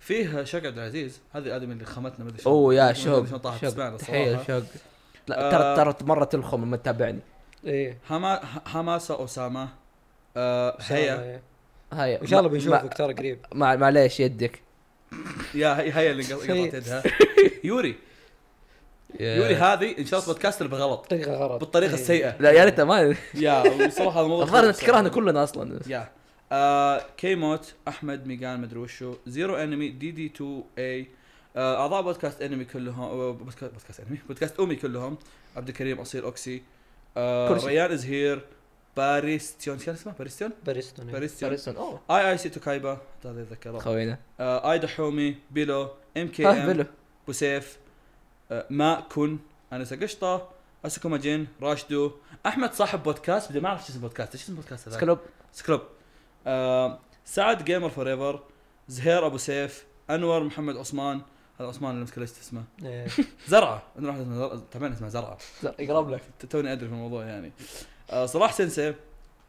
Speaker 1: فيه شق عبد العزيز هذا الادمي اللي خمتنا ما ادري شلون-
Speaker 2: اوه يا
Speaker 1: ما أدري شلون
Speaker 2: شوق
Speaker 1: طاحت
Speaker 2: شوق
Speaker 1: تسمعنا
Speaker 2: تحيه
Speaker 1: الصراحه
Speaker 2: شوق لا
Speaker 1: آه.
Speaker 2: ترى ترى مره تلخم لما تتابعني
Speaker 3: ايه
Speaker 1: هما حماسه اسامه آه هيا
Speaker 3: هيا
Speaker 2: هيا
Speaker 3: ان إيه. شاء الله
Speaker 2: ما-
Speaker 3: بنشوفك ترى قريب
Speaker 2: ما- معليش يدك
Speaker 1: يا هي هي اللي قط-
Speaker 3: هي.
Speaker 1: قطعت يدها يوري يوري
Speaker 2: يا-
Speaker 1: هذه ان شاء الله بودكاست اللي بالغلط
Speaker 3: بطريقه غلط
Speaker 1: بالطريقه
Speaker 3: إيه.
Speaker 1: السيئه
Speaker 2: لا يا ريت ما
Speaker 1: يا بصراحه هذا موضوع
Speaker 2: الظاهر انك
Speaker 1: خطير.
Speaker 2: تكرهنا كلنا اصلا
Speaker 1: يا آه كيموت احمد ميجان مدري وشو زيرو انمي دي دي 2 اي آه، اعضاء بودكاست انمي كلهم آه، بودكاست بودكاست انمي بودكاست امي كلهم عبد الكريم اصيل اوكسي آه،
Speaker 2: كرسي.
Speaker 1: ريان ازهير باريستيون كان اسمه باريستيون
Speaker 3: باريستون
Speaker 1: باريستيون
Speaker 2: اوه
Speaker 1: اي اي سي توكايبا هذا اتذكره
Speaker 2: خوينا
Speaker 1: آه، ايدا حومي بيلو ام كي
Speaker 2: ها
Speaker 1: ام
Speaker 2: بلو
Speaker 1: بوسيف آه، ما كن انسه قشطه اسكو ماجين راشدو احمد صاحب بودكاست بدي ما اعرف شو اسم بودكاست ايش اسم بودكاست هذا
Speaker 2: سكلوب
Speaker 1: سكلوب آه، سعد جيمر فور ايفر زهير ابو سيف انور محمد عثمان هذا عثمان اللي مسك ليش اسمه
Speaker 3: إيه.
Speaker 1: زرعه انا واحد اسمه زرعه تعبان اسمه زرعه
Speaker 3: يقرب لك
Speaker 1: ت- توني ادري في الموضوع يعني آه، صلاح سنسي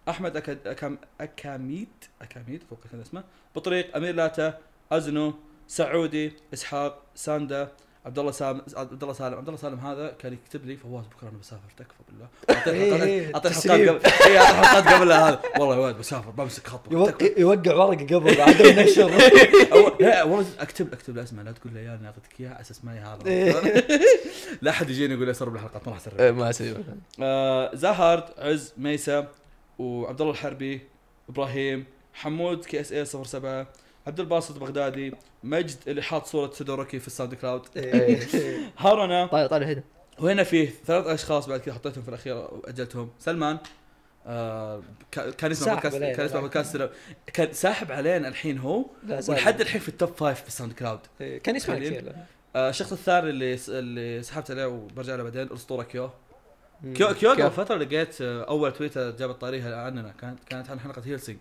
Speaker 1: احمد أكد أكام اكاميد اكاميد اتوقع كان اسمه بطريق امير لاتا ازنو سعودي اسحاق ساندا عبد الله سالم عبد الله سالم عبد الله سالم هذا كان يكتب لي فواز بكره انا بسافر تكفى بالله أعطيني
Speaker 3: إيه، إيه،
Speaker 1: حلقات- اعطيني حلقات
Speaker 3: تسليم.
Speaker 1: قبل اي اعطيني حلقات قبلها هذا والله يا ولد بسافر بمسك خطوه
Speaker 3: يوقع يوقع ورقه قبل بعد ما ينشر
Speaker 1: أو- لا والله اكتب اكتب له اسمه لا تقول له يا انا اعطيتك اياه على اساس ماني
Speaker 3: إيه.
Speaker 1: هذا لا احد يجيني يقول لي سرب الحلقات ما راح اسرب
Speaker 2: إيه، ما اسوي
Speaker 1: آه زهرد عز ميسا وعبد الله الحربي ابراهيم حمود كي إيه اس اي 07 عبد الباسط بغدادي مجد اللي حاط صوره تودوروكي في الساوند كلاود إيه. هارونا
Speaker 2: طالع طالع طيب، هنا
Speaker 1: وهنا فيه ثلاث اشخاص بعد كذا حطيتهم في الاخير واجلتهم سلمان آه كا- كان اسمه
Speaker 3: ساحب
Speaker 1: بودكاست
Speaker 3: علينا
Speaker 1: كان اسمه
Speaker 3: بعد.
Speaker 1: بودكاست سلام. كان ساحب علينا الحين هو
Speaker 3: لا زال.
Speaker 1: ولحد الحين في التوب فايف في الساوند كلاود
Speaker 3: إيه، كان يسمع
Speaker 1: خليل.
Speaker 3: كثير لا.
Speaker 1: آه الشخص الثاني اللي اللي سحبت عليه وبرجع له بعدين الاسطوره كيو
Speaker 3: مم.
Speaker 1: كيو كيو
Speaker 2: كيو.
Speaker 1: قبل فتره لقيت آه، اول تويتر جابت طاريها عننا كانت كانت عن حلقه هيلسنج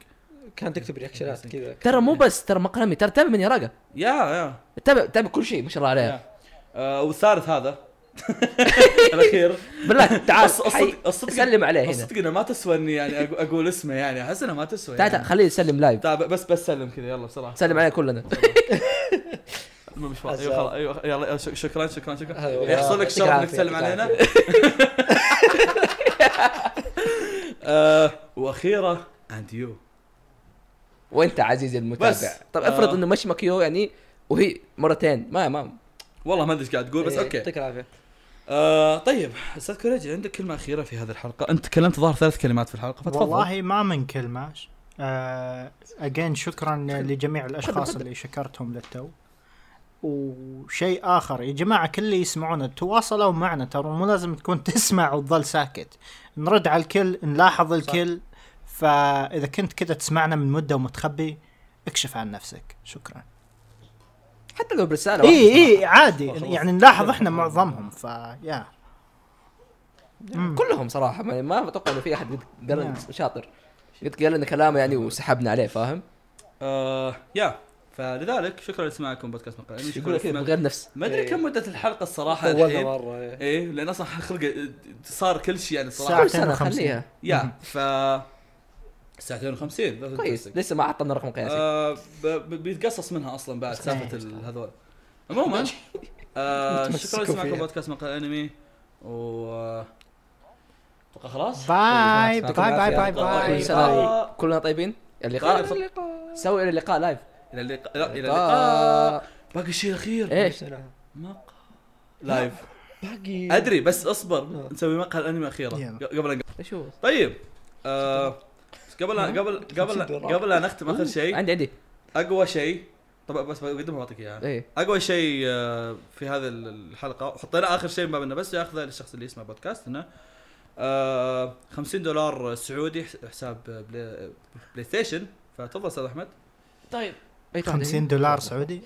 Speaker 3: كان تكتب رياكشنات كذا
Speaker 2: ترى مو بس ترى مقلمي ترى تابع من يراقه
Speaker 1: يا يا
Speaker 2: تابع تابع كل شيء ما شاء الله عليه
Speaker 1: يا. آه والثالث هذا الاخير
Speaker 2: بالله تعال
Speaker 1: الص-
Speaker 2: حي-
Speaker 1: الصدق الصدق
Speaker 2: سلم عليه هنا
Speaker 1: الصدق انه ما تسوى اني يعني أق- اقول اسمه يعني احس انه ما تسوى
Speaker 2: تعال تعال
Speaker 1: يعني.
Speaker 2: خليه يسلم لايف
Speaker 1: تعال ب- بس بس سلم كذا يلا بسرعه
Speaker 2: سلم عليه كلنا
Speaker 1: المهم مش فاضي. ايوه خلاص ايوه يلا شك- شكرا شكرا شكرا
Speaker 3: هذا هو.
Speaker 1: يحصل لك
Speaker 2: يعطيك
Speaker 1: شرف انك
Speaker 2: العافية،
Speaker 1: تسلم
Speaker 2: يعطيك
Speaker 1: علينا آه، واخيرا اند يو
Speaker 2: وانت عزيزي
Speaker 1: بس.
Speaker 2: المتابع طب افرض
Speaker 1: آه.
Speaker 2: انه مش مكيو يعني وهي مرتين ما ما
Speaker 1: والله ما ادري ايش قاعد تقول بس
Speaker 3: إيه،
Speaker 1: اوكي
Speaker 3: يعطيك العافيه
Speaker 1: آه طيب استاذ كوريجي عندك كلمه اخيره في هذه الحلقه انت تكلمت ظاهر ثلاث كلمات في الحلقه فتفضل
Speaker 4: والله ما من كلمه آه اجين شكرا لجميع الاشخاص اللي شكرتهم للتو وشيء اخر يا جماعه كل اللي يسمعونا تواصلوا معنا ترى مو لازم تكون تسمع وتظل ساكت نرد على الكل نلاحظ الكل فاذا كنت كذا تسمعنا من مده ومتخبي اكشف عن نفسك شكرا
Speaker 2: حتى لو برساله واحدة
Speaker 4: اي
Speaker 2: صراحة.
Speaker 4: اي عادي يعني نلاحظ احنا معظمهم فيا
Speaker 2: كلهم صراحه ما, ما اتوقع انه في احد قد قال
Speaker 1: نعم.
Speaker 2: إنه شاطر قد قال لنا كلامه يعني وسحبنا عليه فاهم
Speaker 1: آه يا فلذلك شكرا لسماعكم بودكاست مقال علمي، شكرا
Speaker 2: يقول كذا من
Speaker 1: لسماعكم.
Speaker 2: غير نفس
Speaker 1: ما ادري
Speaker 3: إيه.
Speaker 1: كم مده الحلقه الصراحه
Speaker 3: اولها
Speaker 1: الحين
Speaker 3: مره إيه.
Speaker 1: ايه لان اصلا خلق صار كل شيء يعني الصراحه
Speaker 4: ساعة.
Speaker 2: كل سنه
Speaker 4: 52.
Speaker 2: خليها
Speaker 1: يا ف ساعتين و50
Speaker 2: كويس لسه ما عطنا رقم قياسي
Speaker 1: آه ب- ب- بيتقصص منها اصلا بعد سالفه ال- هذول عموما آه شكرا
Speaker 3: متمسكوا
Speaker 1: لسماعكم
Speaker 3: فيها.
Speaker 1: بودكاست مقال انمي و اتوقع خلاص
Speaker 4: باي باي
Speaker 2: يعطيكم
Speaker 4: باي طيب، باي
Speaker 1: طيب، العافية.
Speaker 2: كل
Speaker 4: باي باي
Speaker 1: آه.
Speaker 2: سنه كلنا طيبين اللقاء
Speaker 1: طيب.
Speaker 2: سوي الى اللقاء لايف
Speaker 1: الى اللقاء لا، الى اللقاء
Speaker 2: آه.
Speaker 1: باقي شيء اخير
Speaker 2: ايش
Speaker 3: سنة.
Speaker 1: مقهى لايف
Speaker 3: باقي
Speaker 1: ادري بس اصبر نسوي مقهى الانمي اخيره
Speaker 4: يلا.
Speaker 1: ق- قبل أن-
Speaker 2: شو
Speaker 1: طيب آه، قبل قبل قبل
Speaker 3: دولار.
Speaker 1: قبل لا نختم اخر شيء
Speaker 2: عندي عندي
Speaker 1: اقوى شيء طبعا بس بقدمها بعطيك اياها
Speaker 2: ايه
Speaker 1: اقوى شيء آه، في هذه ال- الحلقه وحطينا اخر شيء ما بيننا بس ياخذه للشخص اللي يسمع بودكاست انه آه، 50 دولار سعودي حس- حساب بلاي, بلاي ستيشن فتفضل استاذ احمد
Speaker 2: طيب أي خمسين
Speaker 4: 50 دولار سعودي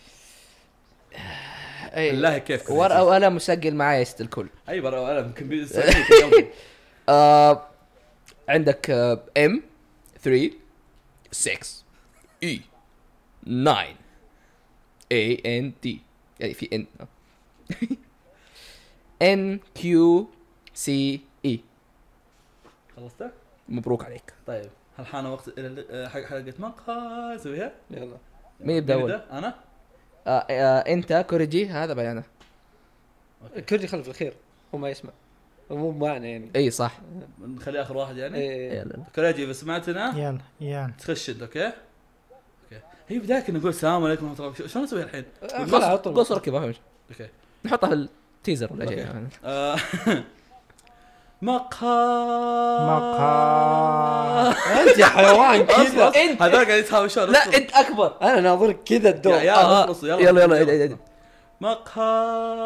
Speaker 2: أي.
Speaker 1: بالله كيف
Speaker 2: ورقه وقلم إيه. مسجل معايا ست الكل
Speaker 1: اي برا وقلم كمبيوتر سعودي.
Speaker 2: آه عندك آه، ام 3 6 اي 9 اي ان دي يعني في ان ان كيو سي اي
Speaker 1: خلصته؟
Speaker 2: E. مبروك عليك
Speaker 1: طيب هل حان وقت ال- آه، حق حلقه مقهى نسويها؟
Speaker 3: يلا
Speaker 2: مين يبدا
Speaker 1: مين
Speaker 2: اول؟
Speaker 1: يبدأ؟ انا؟
Speaker 2: آه آه انت كوريجي هذا بعدين انا
Speaker 3: كورجي خلف الخير هو ما يسمع مو معنا يعني
Speaker 2: اي إيه، صح
Speaker 1: نخلي اخر واحد يعني؟
Speaker 3: إيه.
Speaker 2: يلا
Speaker 1: كوريجي اذا سمعتنا
Speaker 4: يلا يلا
Speaker 1: تخش انت اوكي؟ اوكي هي بدايه كنا نقول السلام عليكم ورحمه الله وبركاته شلون نسويها الحين؟
Speaker 3: آه، خلاص على طول.
Speaker 2: قص قص ركب ما في مشكلة.
Speaker 1: اوكي
Speaker 2: نحطها في التيزر ولا شيء
Speaker 1: أوكي. آه، مقهى
Speaker 4: مقهى.
Speaker 3: انت يا حيوان
Speaker 1: اصبر
Speaker 3: كذا
Speaker 1: أصبر. هذول قاعدين يتهاوشون
Speaker 2: لا
Speaker 1: اصبر.
Speaker 2: انت اكبر
Speaker 3: انا ناظرك كذا الدور
Speaker 1: يا- يا
Speaker 2: آه،
Speaker 1: اخلصوا
Speaker 2: يلا يلا يلا يلا.
Speaker 1: مقهى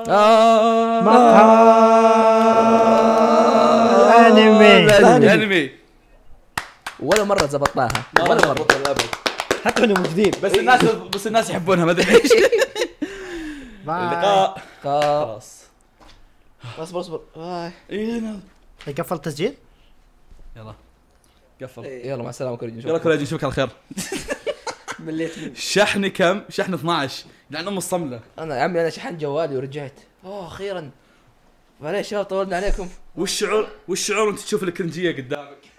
Speaker 2: آه
Speaker 1: آه،
Speaker 4: انمي
Speaker 2: الأنمي.
Speaker 1: انمي
Speaker 2: ولا مره زبطناها ولا مره
Speaker 1: بس
Speaker 3: حتى احنا موجودين
Speaker 1: الناس بس الناس يحبونها ما ادري ليش اللقاء
Speaker 2: آه،
Speaker 1: خلاص
Speaker 2: اصبر اصبر آه.
Speaker 1: يلا
Speaker 4: قفل تسجيل
Speaker 1: قفل
Speaker 2: يلا مع السلامه كل
Speaker 1: يلا كوليجي نشوفك على خير
Speaker 3: مليت منه
Speaker 1: شحن كم؟ شحن 12 لعن ام الصمله
Speaker 2: انا يا عمي انا شحنت جوالي ورجعت اوه اخيرا معليش يا شباب طولنا عليكم
Speaker 1: والشعور والشعور وانت تشوف الكرنجيه قدامك